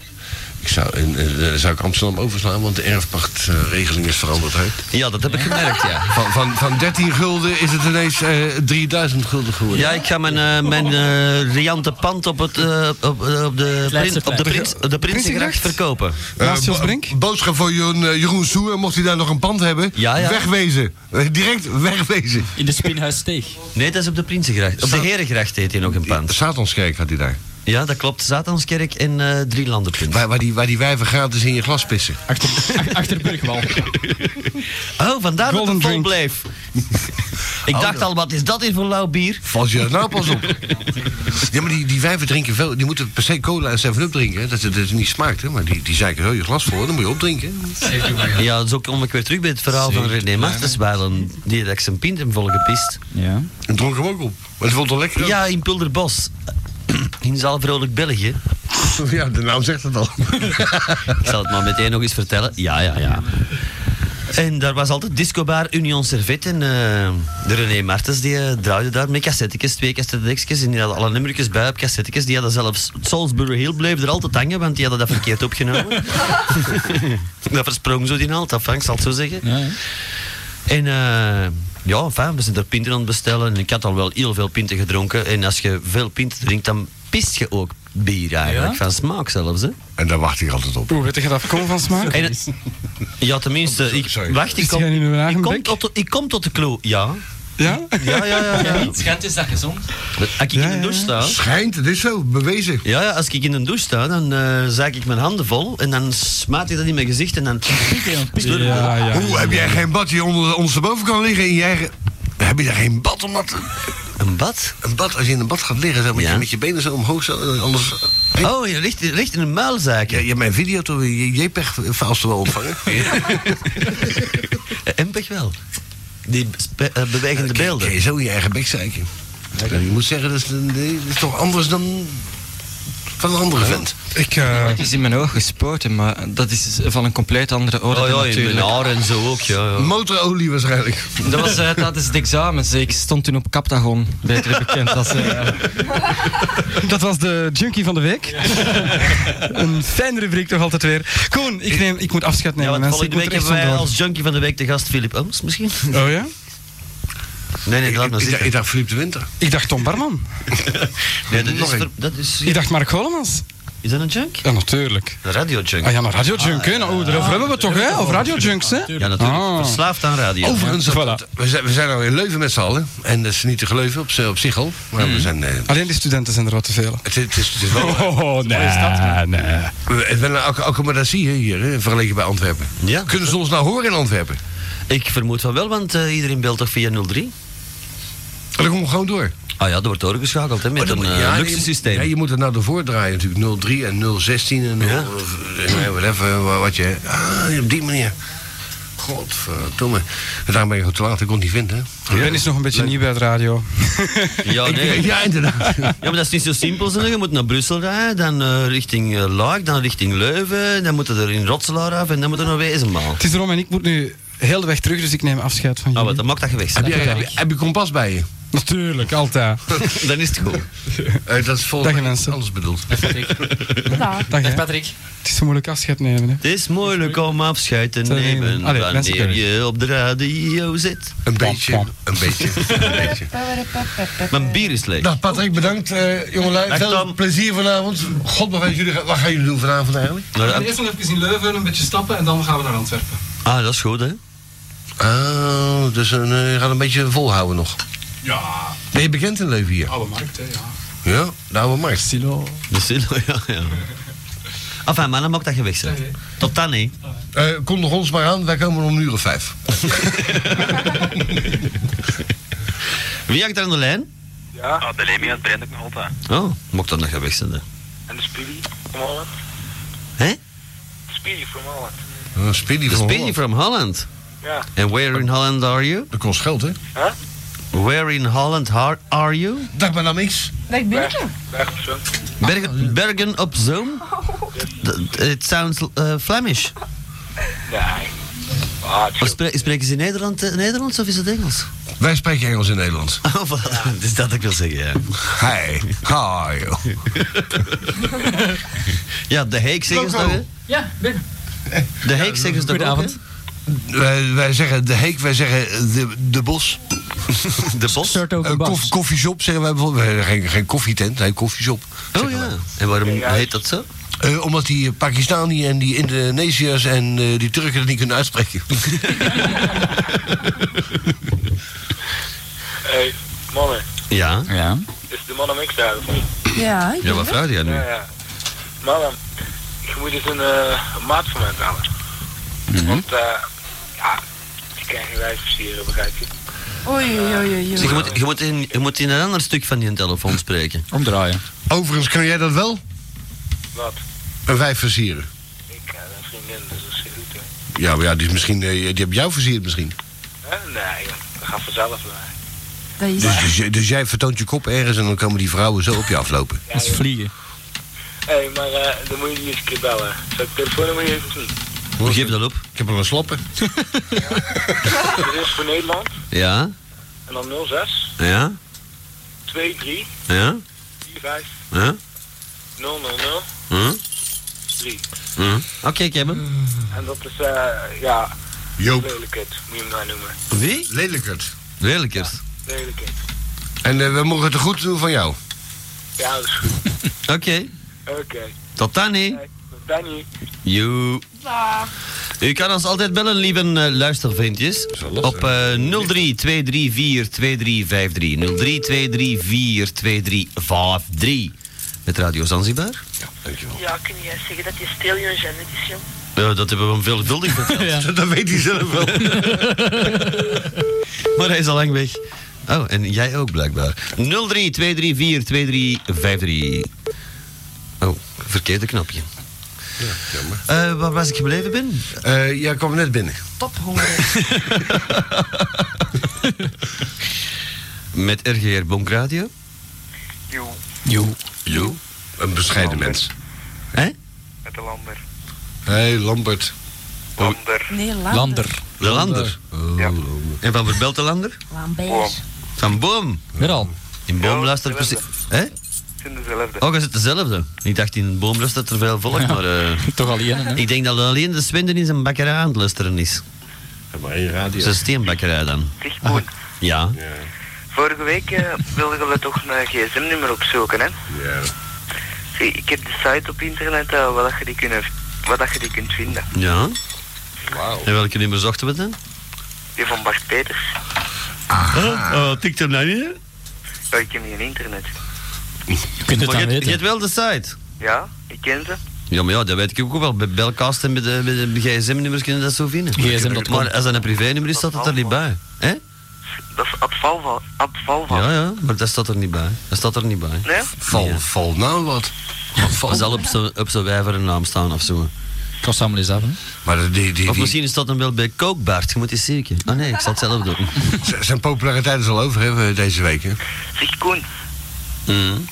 Speaker 19: Ik zou, in, eh, dan zou ik Amsterdam overslaan, want de erfpachtregeling is veranderd. Hè?
Speaker 3: Ja, dat heb ik gemerkt, ja.
Speaker 19: Van, van, van 13 gulden is het ineens eh 3000 gulden geworden.
Speaker 3: Ja, ik ga mijn, eh, mijn eh, riante pand op, het, eh, op, eh, op de,
Speaker 19: Leidseplein.
Speaker 3: prins, op de, prins, op de Prinsengracht
Speaker 19: Prinsengracht?
Speaker 3: verkopen.
Speaker 19: Eh, bo- Boodschap voor Jeroen, eh, Jeroen Soer, mocht hij daar nog een pand hebben.
Speaker 3: Ja, ja.
Speaker 19: Wegwezen. Eh, Direct wegwezen.
Speaker 3: In de Spinhuissteeg. Nee, dat is op de Prinsengracht. Op de Herengracht heet hij nog een pand.
Speaker 19: Satanskerk had hij daar.
Speaker 3: Ja, dat klopt. Satanskerk en eh drie landenpunt.
Speaker 19: Waar, waar, die, waar die wijven gratis in je glas pissen.
Speaker 3: Achter Burgwal. Oh, vandaar dat het vol bleef. Ik
Speaker 19: Oh,
Speaker 3: dacht
Speaker 19: dat-
Speaker 3: al, wat is dat hier voor lauw bier?
Speaker 19: Vals je daar nou pas op. Ja, maar die, die wijven drinken veel. Die moeten per se cola en 7-up drinken. hè. Dat het dat het niet smaakt, hè. Maar die, die zeiken heel je glas voor. Dan moet je opdrinken.
Speaker 3: Ja, zo kom ik weer terug bij het verhaal van René Martenswijlen. Die had ik zijn pint hem volgepist. Ja.
Speaker 19: En dronk hem ook op. Maar het vond wel lekker.
Speaker 3: Ja, in Pulderbos. In Zaal Vrolijk België.
Speaker 19: Ja, de naam zegt het al.
Speaker 3: Ik zal het maar meteen nog eens vertellen. Ja, ja, ja. En daar was altijd discobar Union Servet. En eh, de René Martens die eh, draaide daar met cassettetjes, twee cassettetjes. En die hadden alle nummertjes bij op cassettetjes. Die hadden zelfs Salisbury Hill bleef er altijd hangen, want die hadden dat verkeerd opgenomen. dat versprong zo die naald af, Frank, zal het zo zeggen. En eh, ja, fijn, we zijn er pinten aan het bestellen. En ik had al wel heel veel pinten gedronken. En als je veel pinten drinkt, dan pist je ook bier eigenlijk.
Speaker 7: Ja?
Speaker 3: Van smaak zelfs, hè.
Speaker 19: En daar wacht ik altijd op. Oh,
Speaker 7: Hoe weet je dat kom van smaak?
Speaker 3: En, ja, tenminste, ik, wacht, ik
Speaker 7: Is
Speaker 3: kom,
Speaker 7: jij nu een
Speaker 3: ik, kom
Speaker 7: wagenbek?
Speaker 3: tot, de- ik kom tot de clue. Ja.
Speaker 7: Ja?
Speaker 3: Ja, Ah, ja, ja. ja.
Speaker 23: Schijnt is dat gezond.
Speaker 3: Als ik in de douche sta...
Speaker 19: Schijnt, het is zo, bewezen.
Speaker 3: Ja, ja, als ik in de douche sta, dan eh zaak ik mijn handen vol en dan smaat ik dat in mijn gezicht en dan...
Speaker 7: Ja, ja.
Speaker 19: Hoe heb jij geen bad die onder de ondersteboven kan liggen in je eigen... Heb je daar geen bad om dat...
Speaker 3: Een bad?
Speaker 19: Een bad, als je in een bad gaat liggen, zo, met, je, met je benen zo omhoog, zo, eh, anders...
Speaker 3: Oh, je ligt, ligt in een muilzaak.
Speaker 19: Ja, je hebt mijn video toch, je JPEG-files toch wel ontvangen?
Speaker 3: MPEG Eh, wel. Die spe- eh, bewegende beelden.
Speaker 19: Kun je zo in je eigen bek zeiken. Ja, je moet zeggen, dat is, eh, nee, dat is toch anders dan van een andere vent.
Speaker 23: Ik, Het is in mijn oog gespoten, maar dat is van een compleet andere orde
Speaker 3: Oh ja, in
Speaker 23: natuurlijk.
Speaker 3: mijn haar en zo ook, ja. ja.
Speaker 19: Motorolie waarschijnlijk.
Speaker 23: Dat was eh, tijdens de examens. Ik stond toen op Captagon, beter bekend als... eh,
Speaker 7: Dat was de junkie van de week. Een fijne rubriek toch altijd weer. Koen, ik, neem, ik moet afscheid nemen.
Speaker 3: Ja, want
Speaker 7: mensen. Ik
Speaker 3: volgende
Speaker 7: moet
Speaker 3: week
Speaker 7: er echt
Speaker 3: hebben wij
Speaker 7: vandoor.
Speaker 3: als junkie van de week de gast Philip Ooms misschien.
Speaker 7: Oh ja?
Speaker 3: Nee, nee, laat maar
Speaker 19: Ik, dacht- ik
Speaker 3: zitten.
Speaker 19: dacht Philippe de Winter.
Speaker 7: Ik dacht Tom Barman.
Speaker 3: Nee, dat is...
Speaker 7: Nog een.
Speaker 3: ver- Dat is,
Speaker 7: Ik dacht Mark Hollemans.
Speaker 3: is dat een junk?
Speaker 7: Ja, natuurlijk.
Speaker 3: Een radiojunk.
Speaker 7: Ah ja, maar Radio Junk, hè? Nou, daarover hebben we het toch, hè? Of Radio Junks, hè?
Speaker 3: Ja, natuurlijk.
Speaker 7: Ah.
Speaker 3: Verslaafd aan radio.
Speaker 19: Overigens, dat- we, zijn, we zijn nou in Leuven met z'n allen. En dat is niet te geleuven op, zich- op zich al. Maar we zijn... eh,
Speaker 7: Alleen de studenten zijn er wat te veel.
Speaker 19: het, het is, het is wel...
Speaker 7: Mhm. Oh, nee, nee.
Speaker 19: We- Het wel een acc- accommodatie hè, hier, hè, vergeleken bij Antwerpen.
Speaker 3: Ja.
Speaker 19: Kunnen ze ons nou horen in Antwerpen?
Speaker 3: Ik vermoed van wel, want eh, iedereen belt toch via 03?
Speaker 19: Dat komt gewoon door.
Speaker 3: Ah ja, dat wordt doorgeschakeld hè, met
Speaker 19: Maar dan
Speaker 3: een
Speaker 19: moet-
Speaker 3: eh,
Speaker 19: ja,
Speaker 3: luxe
Speaker 19: je-
Speaker 3: systeem.
Speaker 19: Ja, je moet het nou ervoor draaien natuurlijk. 03 en 016 en 0,
Speaker 3: Ja.
Speaker 19: eh, whatever, wa- wat je... Ah, op die manier. Godverdomme. Daarom ben je te laat, ik kon het niet vinden. hè.
Speaker 7: Ben is nog een beetje nieuw bij het radio.
Speaker 3: Ja, nee.
Speaker 19: Ja, inderdaad.
Speaker 3: ja, maar dat is niet zo simpel. Zeg. Je moet naar Brussel rijden, dan eh, richting eh, Laak, dan richting Leuven, dan moeten er in Rotselaar af en dan moeten er naar Wezenmaal.
Speaker 7: Het is erom en ik moet nu heel de weg terug, dus ik neem afscheid van
Speaker 3: Ah,
Speaker 7: jullie.
Speaker 3: wat, dan mag dat geweest
Speaker 19: heb,
Speaker 3: zijn.
Speaker 19: je, heb, je, heb je kompas bij je?
Speaker 7: Natuurlijk, altijd.
Speaker 3: Dan is het goed.
Speaker 19: Eh, dat is volgens
Speaker 7: Dag,
Speaker 19: mij
Speaker 7: mensen.
Speaker 19: anders bedoeld.
Speaker 5: Dag.
Speaker 7: Dag, hè.
Speaker 3: Patrick.
Speaker 7: Het is zo moeilijk afscheid nemen. Hè.
Speaker 3: Het is moeilijk om afscheid te
Speaker 7: Sorry.
Speaker 3: nemen
Speaker 7: Allee, mensen
Speaker 3: wanneer
Speaker 7: kunnen
Speaker 3: je op de radio zit.
Speaker 19: Een beetje, een beetje, een beetje.
Speaker 3: Mijn bier is leeg.
Speaker 19: Nou, Patrick, bedankt. eh jongelui,
Speaker 3: Dag,
Speaker 19: veel
Speaker 3: Tom.
Speaker 19: plezier vanavond. God, wat gaan, jullie, wat gaan jullie doen vanavond eigenlijk?
Speaker 3: Nou, dat-
Speaker 15: Eerst nog even in Leuven, een beetje stappen en dan gaan we naar Antwerpen.
Speaker 3: ah, dat is goed, hè?
Speaker 19: Oh, dus een, eh, je gaat een beetje volhouden nog.
Speaker 15: Ja,
Speaker 19: Ben je bekend in Leuven hier?
Speaker 15: oude markt, hè, ja.
Speaker 19: Ja, de oude markt.
Speaker 7: Silo.
Speaker 3: De Silo, ja, ja. Enfin, maar dan mag dat je weg zijn. Tot dan, hè?
Speaker 19: Eh, kondig ons maar aan, wij komen om een uur of vijf.
Speaker 3: Wie hangt daar aan de lijn?
Speaker 8: Ja. Ah, de Lemmy had Brent ook nog altijd.
Speaker 3: Oh, mocht dan dat je weg zijn, hè?
Speaker 8: En de Spilly from Holland.
Speaker 3: Hè?
Speaker 8: Spilly from Holland.
Speaker 19: Een speedy
Speaker 3: The
Speaker 19: van
Speaker 3: Spinny from Holland.
Speaker 8: Ja.
Speaker 3: And where in Holland are you?
Speaker 19: Dat kost geld, hè?
Speaker 8: Huh?
Speaker 3: Where in Holland har- are you?
Speaker 19: Dag, mijn naam is.
Speaker 5: Dag, Binneke.
Speaker 8: Bergpersoon.
Speaker 3: Bergen, Bergen op Zoom? D- It sounds eh, Flemish.
Speaker 8: Nee. Ah, het
Speaker 3: Maar
Speaker 8: is
Speaker 3: spre- spreken ze Nederland, eh, Nederlands of is het Engels?
Speaker 19: Wij spreken Engels in Nederland.
Speaker 3: Oh, wat? Dat is dat ik wil zeggen, ja.
Speaker 19: Hi, hi.
Speaker 3: Ja, de Heek zeggen ze dat, hè?
Speaker 15: Ja, binnen.
Speaker 3: De Heek zeggen ze dat ook,
Speaker 24: Goedenavond.
Speaker 19: Wij, wij zeggen de heek, wij zeggen eh, de, de bos.
Speaker 3: hè? De Bos?
Speaker 24: Start over
Speaker 19: Een
Speaker 24: Bas.
Speaker 19: koff, koffieshop zeggen wij bijvoorbeeld. Wij hebben geen, geen koffietent, nee, koffieshop.
Speaker 3: Oh ja. En waarom heet dat zo?
Speaker 19: Eh, omdat die Pakistani en die Indonesiërs en eh, die Turken het niet kunnen uitspreken.
Speaker 8: Hey, mannen,
Speaker 3: Ja.
Speaker 24: Ja.
Speaker 8: is de mannen mix daar of niet?
Speaker 5: Ja, ik
Speaker 3: Ja,
Speaker 5: ben
Speaker 3: wat vraag jij nu?
Speaker 8: Ja, ja. Mannen, je moet eens een, eh, een maat van mij bellen.
Speaker 3: Mhm.
Speaker 8: Want, eh, ja, ik krijg geen wijs versieren, begrijp je?
Speaker 5: er. Oei, oei, oei, oei.
Speaker 3: Zeg, je, moet, je, moet in, je moet in een ander stuk van die telefoon spreken.
Speaker 24: Omdraaien.
Speaker 19: Overigens kan jij dat wel?
Speaker 8: Wat?
Speaker 19: Een wijf versieren.
Speaker 8: Ik heb een vriendin, dus dat is goed, hè.
Speaker 19: Ja, maar ja, die, is misschien, eh, die hebben jou versierd misschien.
Speaker 8: Hè? Nee, joh, dat gaat vanzelf naar mij.
Speaker 5: Dat is...
Speaker 19: Dus, dus, dus jij vertoont je kop ergens en dan komen die vrouwen zo op je aflopen.
Speaker 8: Ja,
Speaker 24: Dat is
Speaker 8: joh.
Speaker 24: vliegen.
Speaker 8: Hé, hey, maar eh, dan moet je die eens een keer bellen. Zal ik telefoonnummer geven of niet?
Speaker 3: Geef dat op.
Speaker 19: Ik heb er een sloppen.
Speaker 8: Dit is voor Nederland.
Speaker 3: Ja.
Speaker 8: En dan 06
Speaker 3: Ja.
Speaker 8: 23
Speaker 3: Ja.
Speaker 8: 45
Speaker 3: Ja.
Speaker 8: 000
Speaker 3: Hm?
Speaker 8: 3.
Speaker 3: Hm? Oké, ik heb hem.
Speaker 8: En dat is, eh, ja,
Speaker 19: Joop.
Speaker 8: lelijkheid, moet je hem nou noemen.
Speaker 3: Wie?
Speaker 19: Lelijkert.
Speaker 3: Lelijkers.
Speaker 8: Lelijkheid.
Speaker 19: En eh, we mogen het goed doen van jou.
Speaker 8: Ja, dat is goed.
Speaker 3: Oké.
Speaker 8: Oké.
Speaker 3: Tot dan, hè.
Speaker 8: Hey, Danny.
Speaker 3: Joe. U kan ons altijd bellen, lieve eh, luistervriendjes. Op eh 03-234-2353. 03-234-2353. Met Radio Zanzibar.
Speaker 12: Ja, kun jij zeggen dat je stil en genet is, jong?
Speaker 3: Eh, dat hebben we hem veelvuldig verteld.
Speaker 19: Dat weet hij zelf wel.
Speaker 3: Maar hij is al lang weg. Oh, en jij ook blijkbaar. 03-234-2353. Oh, verkeerde knopje. Eh, waar was ik gebleven, Ben?
Speaker 19: Eh, jij kwam net binnen.
Speaker 3: Met RGR Bonk Radio.
Speaker 8: Joe,
Speaker 7: Jo.
Speaker 19: Jo. Een bescheiden mens.
Speaker 3: Hè?
Speaker 8: met de lander.
Speaker 19: Hé, hey, Lambert.
Speaker 8: Lander.
Speaker 5: Nee, Lander.
Speaker 24: Lander.
Speaker 3: De Lander.
Speaker 8: Ja.
Speaker 3: En van Verbelt de Lander?
Speaker 8: Boom.
Speaker 5: Lambees.
Speaker 3: Van Boom.
Speaker 24: Weer al.
Speaker 3: In Boom
Speaker 8: Ja,
Speaker 3: luistert precies...
Speaker 8: hetzelfde.
Speaker 3: Hè?
Speaker 8: Het zijn dezelfde.
Speaker 3: Oh, is het dezelfde? Ik dacht in Boom luistert er veel volk, maar... eh,
Speaker 24: Toch al één, hè?
Speaker 3: ik denk dat alleen de Swenden in zijn bakkerij aan het luisteren is.
Speaker 19: radio.
Speaker 3: Zijn steenbakkerij dan. Ah,
Speaker 8: Zeg, Koen,
Speaker 3: Ja.
Speaker 8: vorige week eh, wilden we toch een eh, gsm-nummer opzoeken, hè?
Speaker 19: Ja.
Speaker 8: Zie, ik heb de site op internet eh, waar dat je die, kunnen, waar dat je die kunt vinden.
Speaker 3: Ja.
Speaker 19: Wauw.
Speaker 3: En welke nummer zochten we dan?
Speaker 8: Die van Bart Peters.
Speaker 24: Ah.
Speaker 3: Oh, tikt hem nou niet?
Speaker 8: Ja, ik ken die in internet.
Speaker 24: Je kunt het dan
Speaker 3: Maar je, je
Speaker 24: weten.
Speaker 3: hebt wel de site.
Speaker 8: Ja, ik ken ze.
Speaker 3: Ja, maar ja, dat weet ik ook wel. Bij Belcast en eh, bij de, bij de gsm-nummers kunnen dat zo vinden.
Speaker 24: GSM.com.
Speaker 3: Maar als dat een privé-nummer is, staat dat er niet bij. Hè?
Speaker 8: Dat is Abvalva. Abvalva.
Speaker 3: Ja, ja, maar dat staat er niet bij. Dat staat er niet bij.
Speaker 8: Nee?
Speaker 19: Val, val nou wat. Wat val-
Speaker 3: Dat zal op zo'n op zo'n wijver een naam staan of zo.
Speaker 24: Kost allemaal eens af, hè?
Speaker 19: Maar die, die, die,
Speaker 3: Of misschien is dat dan wel bij Kookbaard. Je moet eens zeker. Ah nee, ik zal het zelf doen.
Speaker 19: z- zijn populariteit is al over hè, deze week. Hè?
Speaker 8: Zeg, Koen,
Speaker 3: Mm.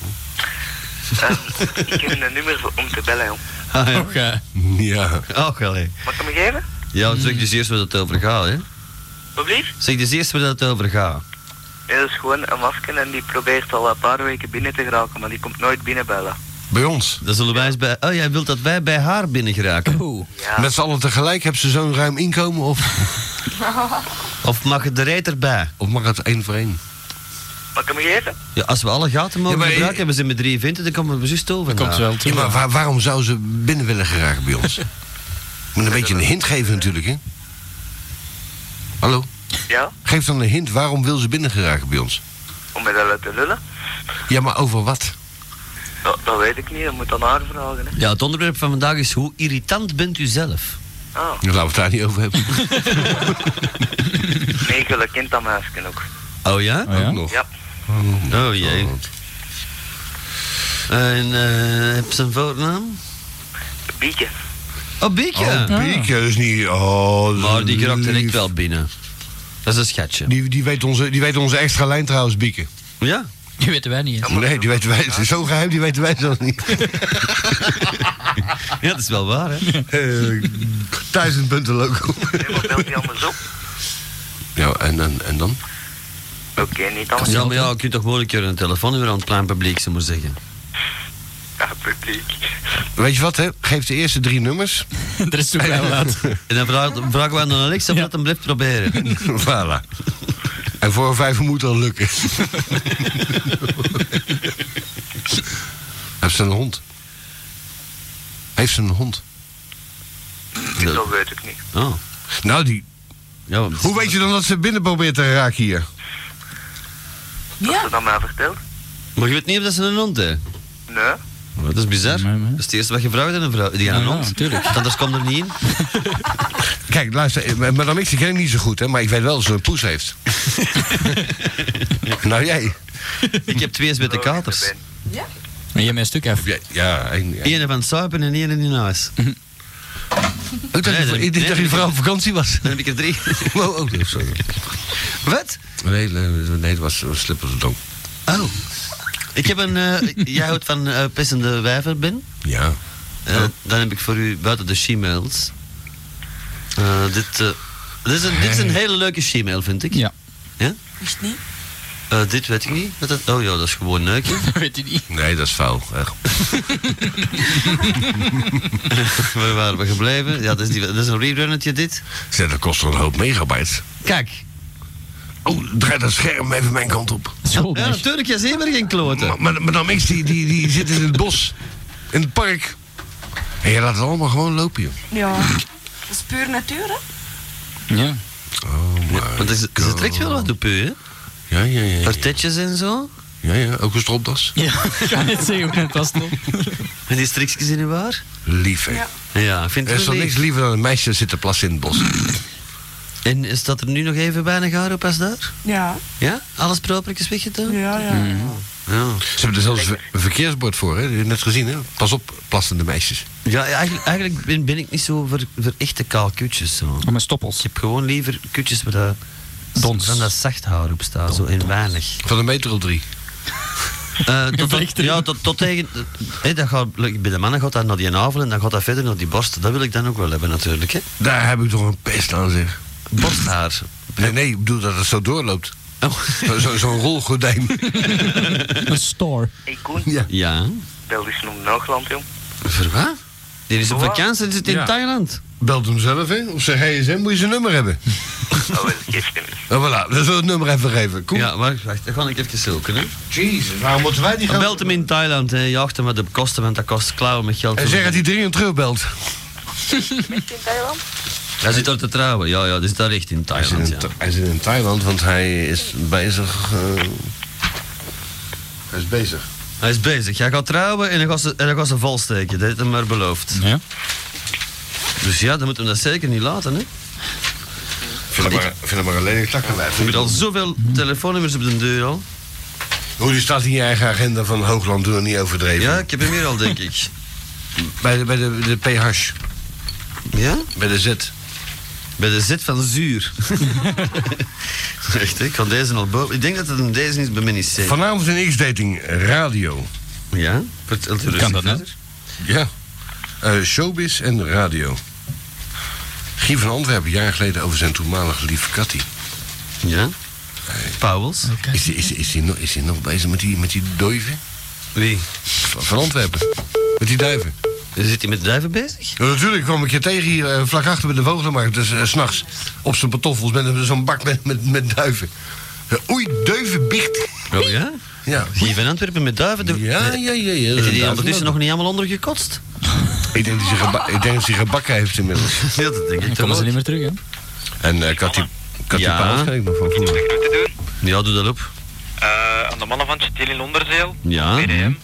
Speaker 8: eh, ik heb een nummer voor- om te bellen, joh.
Speaker 3: Ah, ja.
Speaker 24: Och, eh,
Speaker 19: Ja.
Speaker 3: Och, allee.
Speaker 8: Mag ik hem geven?
Speaker 19: Hmm.
Speaker 3: Ja, zeg dus eerst waar dat over gaat, hè.
Speaker 8: Alsjeblieft?
Speaker 3: Zeg dus eerst waar dat over gaat.
Speaker 8: Nee, dat is gewoon een masker en die probeert al een paar weken binnen te geraken, maar die komt nooit binnenbellen.
Speaker 19: Bij ons.
Speaker 3: Dan zullen wij eens bij... Oh, jij wilt dat wij bij haar binnen geraken.
Speaker 19: Met z'n allen tegelijk, hebben ze zo'n ruim inkomen of...
Speaker 3: Of mag het de reet erbij?
Speaker 19: Of mag het één voor één?
Speaker 8: Mag ik hem geven?
Speaker 3: Ja, als we alle gaten mogen
Speaker 19: Ja, maar-
Speaker 3: gebruiken, hebben ze met 23, dan komen we precies over.
Speaker 19: Ja. Ja, maar waar- waarom zou ze binnen willen geraken bij ons? Moet een beetje een hint geven natuurlijk, hè? Hallo?
Speaker 8: Ja?
Speaker 19: Geef dan een hint, waarom wil ze binnen geraken bij ons?
Speaker 8: Om met haar te lullen?
Speaker 19: Ja, maar over wat?
Speaker 8: Dat, dat weet ik niet, dat moet aan haar vragen. Hè.
Speaker 3: Ja, het onderwerp van vandaag is hoe irritant bent u zelf?
Speaker 8: Ah,
Speaker 19: Laten we het daar niet over hebben.
Speaker 8: nee, ik wil een kind aan mijn huisken ook.
Speaker 3: Oh ja?
Speaker 19: Ook nog.
Speaker 8: Ja.
Speaker 19: Hmm.
Speaker 3: Oh jee. En eh, heb ze een voornaam?
Speaker 8: Bietje.
Speaker 3: Oh, Bieke.
Speaker 19: Oh, Bieke is niet... Oh, dat is
Speaker 3: Maar die raakt direct
Speaker 19: lief.
Speaker 3: wel binnen. Dat is een schatje.
Speaker 19: Die, die, weet onze, die weet onze extra lijn trouwens, Bieke.
Speaker 3: Ja?
Speaker 7: Die weten wij niet. hè.
Speaker 19: Nee, die weten wij... Het is zo geheim, die weten wij zelf niet.
Speaker 3: Ja, dat is wel waar, hè?
Speaker 19: Eh, Duizend punten loco.
Speaker 8: Belt die anders op?
Speaker 19: Ja, en, en, en dan?
Speaker 8: Oké, niet anders.
Speaker 3: Ja, maar ja, je kunt toch moeilijk een telefoon weer aan het plein publiek, ze moet zeggen.
Speaker 8: Ja, publiek.
Speaker 19: Weet je wat, hè? Geef de eerste drie nummers.
Speaker 7: Er is
Speaker 19: En-
Speaker 3: En dan vraag- vragen we aan de Alexa of dat hem blijft proberen.
Speaker 19: voilà. En voor vijf moet al lukken. Heeft ze een hond? Heeft ze een hond?
Speaker 8: Dat weet ik niet.
Speaker 3: Oh.
Speaker 19: Nou, die...
Speaker 3: Ja, maar-
Speaker 19: Hoe weet je dan dat ze binnen probeert te raken hier?
Speaker 8: Ja. Dat ze dat mij vertelt?
Speaker 3: Maar je weet niet of dat ze een hond heeft.
Speaker 8: Nee.
Speaker 3: Maar Dat is bizar. Dat is het eerste wat je vraagt aan een vrouw. Die aan een hond. Want Anders komt er niet in.
Speaker 19: Kijk, luister, eh, madame X, die ken ik niet zo goed, hè, maar ik weet wel dat ze een poes heeft. nou, jij.
Speaker 3: Ik heb twee zwette katers.
Speaker 7: Maar jij mijn stuk af.
Speaker 19: Ja, ja één- één.
Speaker 3: Eén van het zuipen en één in huis.
Speaker 19: Ik dacht
Speaker 3: Nee,
Speaker 19: dat je-
Speaker 3: dan-
Speaker 19: ik dacht
Speaker 3: nee,
Speaker 19: dat je
Speaker 3: dan-
Speaker 19: vooral op vakantie was.
Speaker 3: Dan heb ik er drie.
Speaker 19: Wow, oh, nee, sorry.
Speaker 3: Wat?
Speaker 19: Nee, nee, nee, het was was slippers en dom.
Speaker 3: Oh. Ik heb een... eh, jij houdt van eh, pissende wijver, Ben?
Speaker 19: Ja.
Speaker 3: Eh, Dan heb ik voor u buiten de she-mails. Eh, dit, eh, dit, is een, dit is een hele leuke she-mail, vind ik.
Speaker 7: Ja.
Speaker 3: Ja?
Speaker 5: Wist niet?
Speaker 3: Eh, dit weet ik niet. Wat dat- oh ja, dat is gewoon neukje.
Speaker 7: Weet je niet.
Speaker 19: Nee, dat is fout. Echt.
Speaker 3: Waar waren we gebleven? Ja, dat is, die, dat is een rerunnetje dit.
Speaker 19: Zeg, dat kost wel een hoop megabytes.
Speaker 3: Kijk.
Speaker 19: Oh, draai dat scherm even mijn kant op.
Speaker 3: Ja, natuurlijk, jij zit maar geen kloten.
Speaker 19: Maar- Maar madame X, die, die, die zit dus in het bos. In het park. En je laat het allemaal gewoon lopen, joh.
Speaker 5: Ja. Dat is puur natuur, hè?
Speaker 7: Ja.
Speaker 19: Oh, my
Speaker 3: Want er, zit- er zit echt wel wat op u, hè?
Speaker 19: Ja, ja, ja. ja.
Speaker 3: Partetjes en zo.
Speaker 19: Ja, ja, ook een stropdas.
Speaker 7: Ja, ik ga net zeggen, ook net vast nog.
Speaker 3: En die strikjes in uw haar.
Speaker 19: Lief, hè.
Speaker 3: Ja, ik vind
Speaker 19: Er is
Speaker 3: het
Speaker 19: toch
Speaker 3: wel
Speaker 19: niks
Speaker 3: niks.
Speaker 19: liever dan een meisje dat zit te plassen in het bos.
Speaker 3: En is dat er nu nog even weinig haar op als daar?
Speaker 5: Ja.
Speaker 3: Ja? Alles propertjes weggedaan?
Speaker 5: Ja, ja.
Speaker 3: Ja.
Speaker 19: Ze hebben er zelfs een verkeersbord voor, hè. Dat heb je Net gezien, hè. Pas op, plassende meisjes.
Speaker 3: Ja, eigenlijk, eigenlijk ben, ben ik niet zo voor, voor echte kaal kutjes. Zo.
Speaker 7: Om mijn stoppels.
Speaker 3: Ik heb gewoon liever kutjes waar dat,
Speaker 7: Dons.
Speaker 3: van dat zacht haar op staat, zo en weinig.
Speaker 19: Van een meter of drie.
Speaker 3: Eh, tot, tot- ja, tot, tot tegen... Hé, dat gaat, like, bij de mannen gaat dat naar die navel en dan gaat dat verder naar die borst. Dat wil ik dan ook wel hebben natuurlijk, hè.
Speaker 19: Daar heb ik toch een pest aan, zeg.
Speaker 3: Borsthaar.
Speaker 19: Nee, nee, ik bedoel dat het zo doorloopt.
Speaker 3: Oh.
Speaker 19: Zo- zo- Zo'n rolgordijn.
Speaker 7: Een store.
Speaker 8: Hey Koen,
Speaker 19: Ja.
Speaker 3: Ja.
Speaker 8: bel eens naar Noogland, jong.
Speaker 3: Voor wat? Die is op
Speaker 8: Voor
Speaker 3: vakantie, die zit in
Speaker 19: Ja.
Speaker 3: Thailand.
Speaker 19: Belt hem zelf, hè. Op zijn gsm moet je zijn nummer hebben.
Speaker 8: Oh, wel, geef hem.
Speaker 19: En voilà, dan zullen we het nummer even geven. Kom.
Speaker 3: Ja, wacht, wacht, dan ga ik even zoeken, hè.
Speaker 19: Jezus, waarom moeten wij die
Speaker 3: Maar Belt hem in Thailand, hè. Jaagt hem wat op kosten, want dat kost klauwen met geld.
Speaker 19: En zeg dat hij dringend terugbelt.
Speaker 15: In Thailand?
Speaker 3: Hij zit daar te trouwen. Ja, ja, die zit daar echt in
Speaker 19: Hij zit
Speaker 3: Thailand,
Speaker 19: in,
Speaker 3: ja.
Speaker 19: Tha- hij zit in Thailand, want hij is bezig. eh, hij is bezig.
Speaker 3: Hij is bezig. Hij gaat trouwen en hij gaat ze, en hij gaat ze valsteken. Dat heeft hem maar beloofd.
Speaker 7: Ja.
Speaker 3: Dus ja, dan moeten we dat zeker niet laten, hè.
Speaker 19: Vind hem maar, vind hem maar een lelijk takkenwijf.
Speaker 3: Je moet al zoveel telefoonnummers op de deur al.
Speaker 19: Hoe die staat in je eigen agenda van Hoogland, doe er niet overdreven.
Speaker 3: Ja, ik heb hem hier al, denk ik.
Speaker 19: Bij, de, bij de, de PH,
Speaker 3: Ja?
Speaker 19: bij de Z.
Speaker 3: Bij de zit van zuur. Echt, hè? ik kan deze al boven. Ik denk dat het een deze is bij mij niet zeker.
Speaker 19: Vanavond in X-Dating Radio.
Speaker 3: Ja? Vertel het rustig
Speaker 7: dat nou?
Speaker 3: verder.
Speaker 19: Ja. Eh, showbiz en radio. Guy van Antwerpen, jaren geleden over zijn toenmalige lieve Cathy.
Speaker 3: Ja? Pauwels.
Speaker 19: Is hij is, is, die nog- is die nog bezig met die, met die duiven?
Speaker 3: Wie?
Speaker 19: Van, van Antwerpen. Met die duiven.
Speaker 3: Zit hij met de duiven bezig?
Speaker 19: Ja, natuurlijk kwam ik je tegen hier eh, vlak achter bij de vogelmarkt. Dus eh, 's s'nachts op zijn pantoffels met zo'n bak met, met, met duiven. Eh, Oei, duivenbicht.
Speaker 3: Oh ja?
Speaker 19: Ja.
Speaker 3: Hier van Antwerpen met duiven. de-
Speaker 19: Ja, ja, ja. ja
Speaker 3: Heeft hij die ondertussen nog
Speaker 19: niet allemaal ondergekotst? Ik denk dat hij geba- ik denk dat hij gebakken heeft inmiddels.
Speaker 3: Ja, dat denk ik.
Speaker 15: Komen ze niet meer terug, hè?
Speaker 19: En eh, ik had die, ik had die
Speaker 3: Ja.
Speaker 19: paal ken ik nog van vroeger.
Speaker 3: Ja, doe dat op.
Speaker 25: Eh, aan de mannen van Chetil in Londerzeel,
Speaker 3: Ja.
Speaker 25: de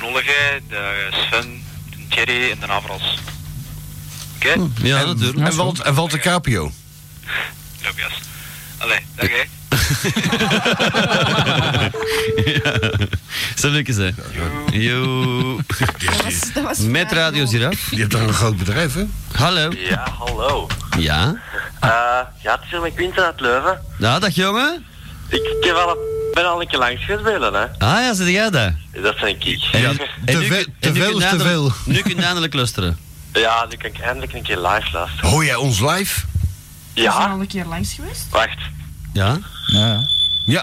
Speaker 25: Nollige, de Sven, de Thierry en de Avros. Oké?
Speaker 3: Ja,
Speaker 19: en,
Speaker 3: natuurlijk.
Speaker 19: en, Walt, en Walter Capio.
Speaker 25: Tobias. Allee, dag hè.
Speaker 3: ja. Zou leuk zijn. Yo. Met Radio Giraf.
Speaker 19: Je hebt toch een groot bedrijf, hè?
Speaker 3: Hallo.
Speaker 1: Ja, hallo.
Speaker 3: Ja.
Speaker 1: Eh, ja, het is hier met Quinten uit Leuven.
Speaker 3: Ja, dag jongen.
Speaker 1: Ik, ik heb al een, ben al een keer langs gespeeld, hè.
Speaker 3: Ah ja, zit jij daar?
Speaker 1: Dat zijn ik.
Speaker 3: Ja,
Speaker 19: te ve- te veel is te veel.
Speaker 3: Nu kun je eindelijk luisteren.
Speaker 1: Ja, nu kan ik eindelijk een keer live luisteren.
Speaker 19: Hoor jij ons live?
Speaker 5: We zijn
Speaker 1: Ja,
Speaker 5: al een keer langs geweest.
Speaker 1: wacht.
Speaker 3: Ja?
Speaker 15: Ja.
Speaker 19: Ja.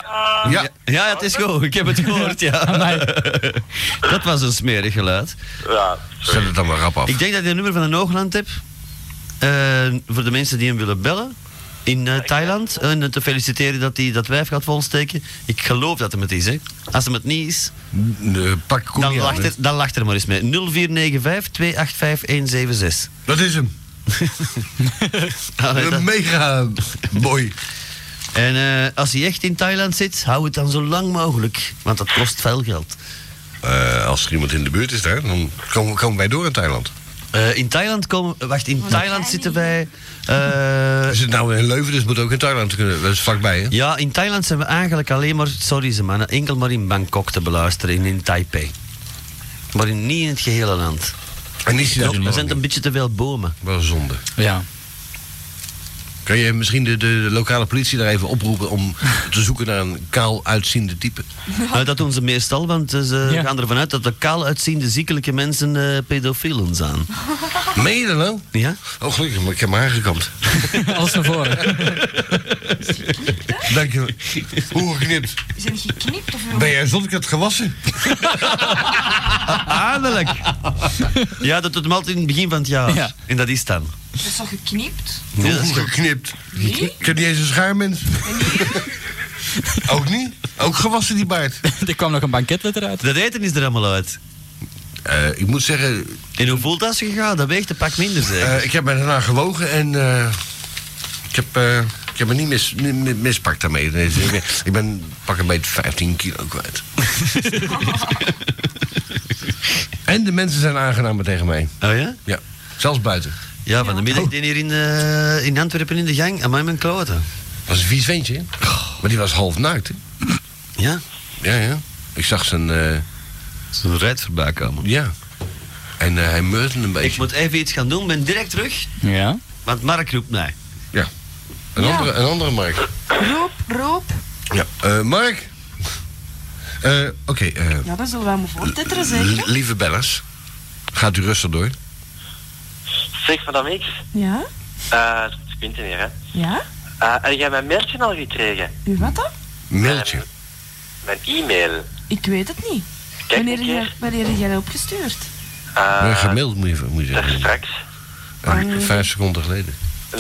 Speaker 19: Ja.
Speaker 3: Ja, het is goed. Ik heb het gehoord, ja. Dat was een smerig geluid.
Speaker 1: Ja,
Speaker 19: Zet het dan maar rap af.
Speaker 3: Ik denk dat je een nummer van een Hoogland hebt. Eh, voor de mensen die hem willen bellen. In eh, Thailand. En eh, te feliciteren dat hij dat wijf gaat volsteken. Ik geloof dat hem het is, hè. Als hem het niet is,
Speaker 19: Eh, pak kom
Speaker 3: dan
Speaker 19: niet aan,
Speaker 3: lacht,
Speaker 19: hè.
Speaker 3: er, dan lacht er maar eens mee. 0495 285-176.
Speaker 19: Dat is hem.
Speaker 3: Allee, dat-
Speaker 19: Een mega boy.
Speaker 3: En eh, als hij echt in Thailand zit, hou het dan zo lang mogelijk. Want dat kost veel geld.
Speaker 19: Eh, als er iemand in de buurt is daar, dan komen, komen wij door in Thailand.
Speaker 3: Eh, in Thailand komen... Wacht, in Thailand zitten wij... eh,
Speaker 19: We zitten nou in Leuven, dus moet ook in Thailand kunnen. Dat is vlakbij, hè?
Speaker 3: ja, in Thailand zijn we eigenlijk alleen maar... Sorry ze mannen, enkel maar in Bangkok te beluisteren en in Taipei. Maar in, niet in het gehele land.
Speaker 19: En is hij daar
Speaker 3: er
Speaker 19: nog
Speaker 3: zijn
Speaker 19: niet?
Speaker 3: een beetje te veel bomen.
Speaker 19: Wel een zonde.
Speaker 15: Ja.
Speaker 19: Kan je misschien de, de, de lokale politie daar even oproepen om te zoeken naar een kaal uitziende type?
Speaker 3: Eh, dat doen ze meestal, want eh, ze gaan ervan uit dat de kaal uitziende ziekelijke mensen eh, pedofielen zijn.
Speaker 19: Meen je dat nou?
Speaker 3: Ja?
Speaker 19: Oh, gelukkig, maar ik heb mijn haar gekamd.
Speaker 15: Alles naar voren.
Speaker 19: Dank je wel. Hoe geknipt?
Speaker 5: Die zijn geknipt of
Speaker 19: Ben jij zonder het gewassen?
Speaker 3: Adellijk! Ja, dat doet hem altijd in het begin van het jaar.
Speaker 15: Ja.
Speaker 3: En dat is dan.
Speaker 5: Dat is toch geknipt?
Speaker 3: Ja, dat is
Speaker 19: Hoe geknipt? Ik heb niet eens een schaarmens. Ook niet? Ook gewassen die baard?
Speaker 15: er kwam nog een banketletter uit.
Speaker 3: Dat eten is er allemaal uit.
Speaker 19: Eh, ik moet zeggen,
Speaker 3: En hoe voelt dat ze gegaan? Dat weegt een pak minder zeker.
Speaker 19: eh, ik heb me daarna gewogen en eh, ik, heb, eh, ik heb me niet mis, mi- mi- mispakt daarmee. Nee, ik ben- Ik ben pak een beetje 15 kilo kwijt. en de mensen zijn aangenamer tegen mij.
Speaker 3: Oh ja?
Speaker 19: Ja, zelfs buiten.
Speaker 3: Ja, van de middag deed hier in, eh, in Antwerpen in de gang. Amai, mijn kloten.
Speaker 19: Dat was een vies ventje, hè? maar die was half naakt. Hè?
Speaker 3: Ja?
Speaker 19: Ja, ja. Ik zag zijn... eh,
Speaker 3: Zo'n rijd voorbij komen.
Speaker 19: ja. En eh, hij meurde een
Speaker 3: Ik
Speaker 19: beetje.
Speaker 3: moet even iets gaan doen, ben direct terug.
Speaker 15: Ja.
Speaker 3: Want Mark roept mij.
Speaker 19: Ja. Een,
Speaker 5: Ja.
Speaker 19: Andere, een andere Mark.
Speaker 5: Roop, roop.
Speaker 19: Ja. eh, Mark? Eh, Oké, eh,
Speaker 5: Ja, dat zullen wij me voortetteren, zeker?
Speaker 19: L- Lieve bellers, gaat u rustig door.
Speaker 1: Zeg, madame X.
Speaker 5: Ja?
Speaker 1: Eh, het is Quinten hier, hè.
Speaker 5: Ja?
Speaker 1: Eh, heb jij mijn mailtje al gekregen?
Speaker 5: U wat dan?
Speaker 19: Mailtje.
Speaker 1: Mijn e-mail?
Speaker 5: Ik weet het niet.
Speaker 1: Kijk
Speaker 5: wanneer,
Speaker 1: een
Speaker 5: heb
Speaker 1: keer.
Speaker 5: jij- wanneer heb jij dat opgestuurd?
Speaker 1: Eh,
Speaker 19: Nee, gemaild moet je, moet je
Speaker 1: dat is
Speaker 19: zeggen.
Speaker 1: straks.
Speaker 3: Ah,
Speaker 19: Eh, Vijf seconden geleden.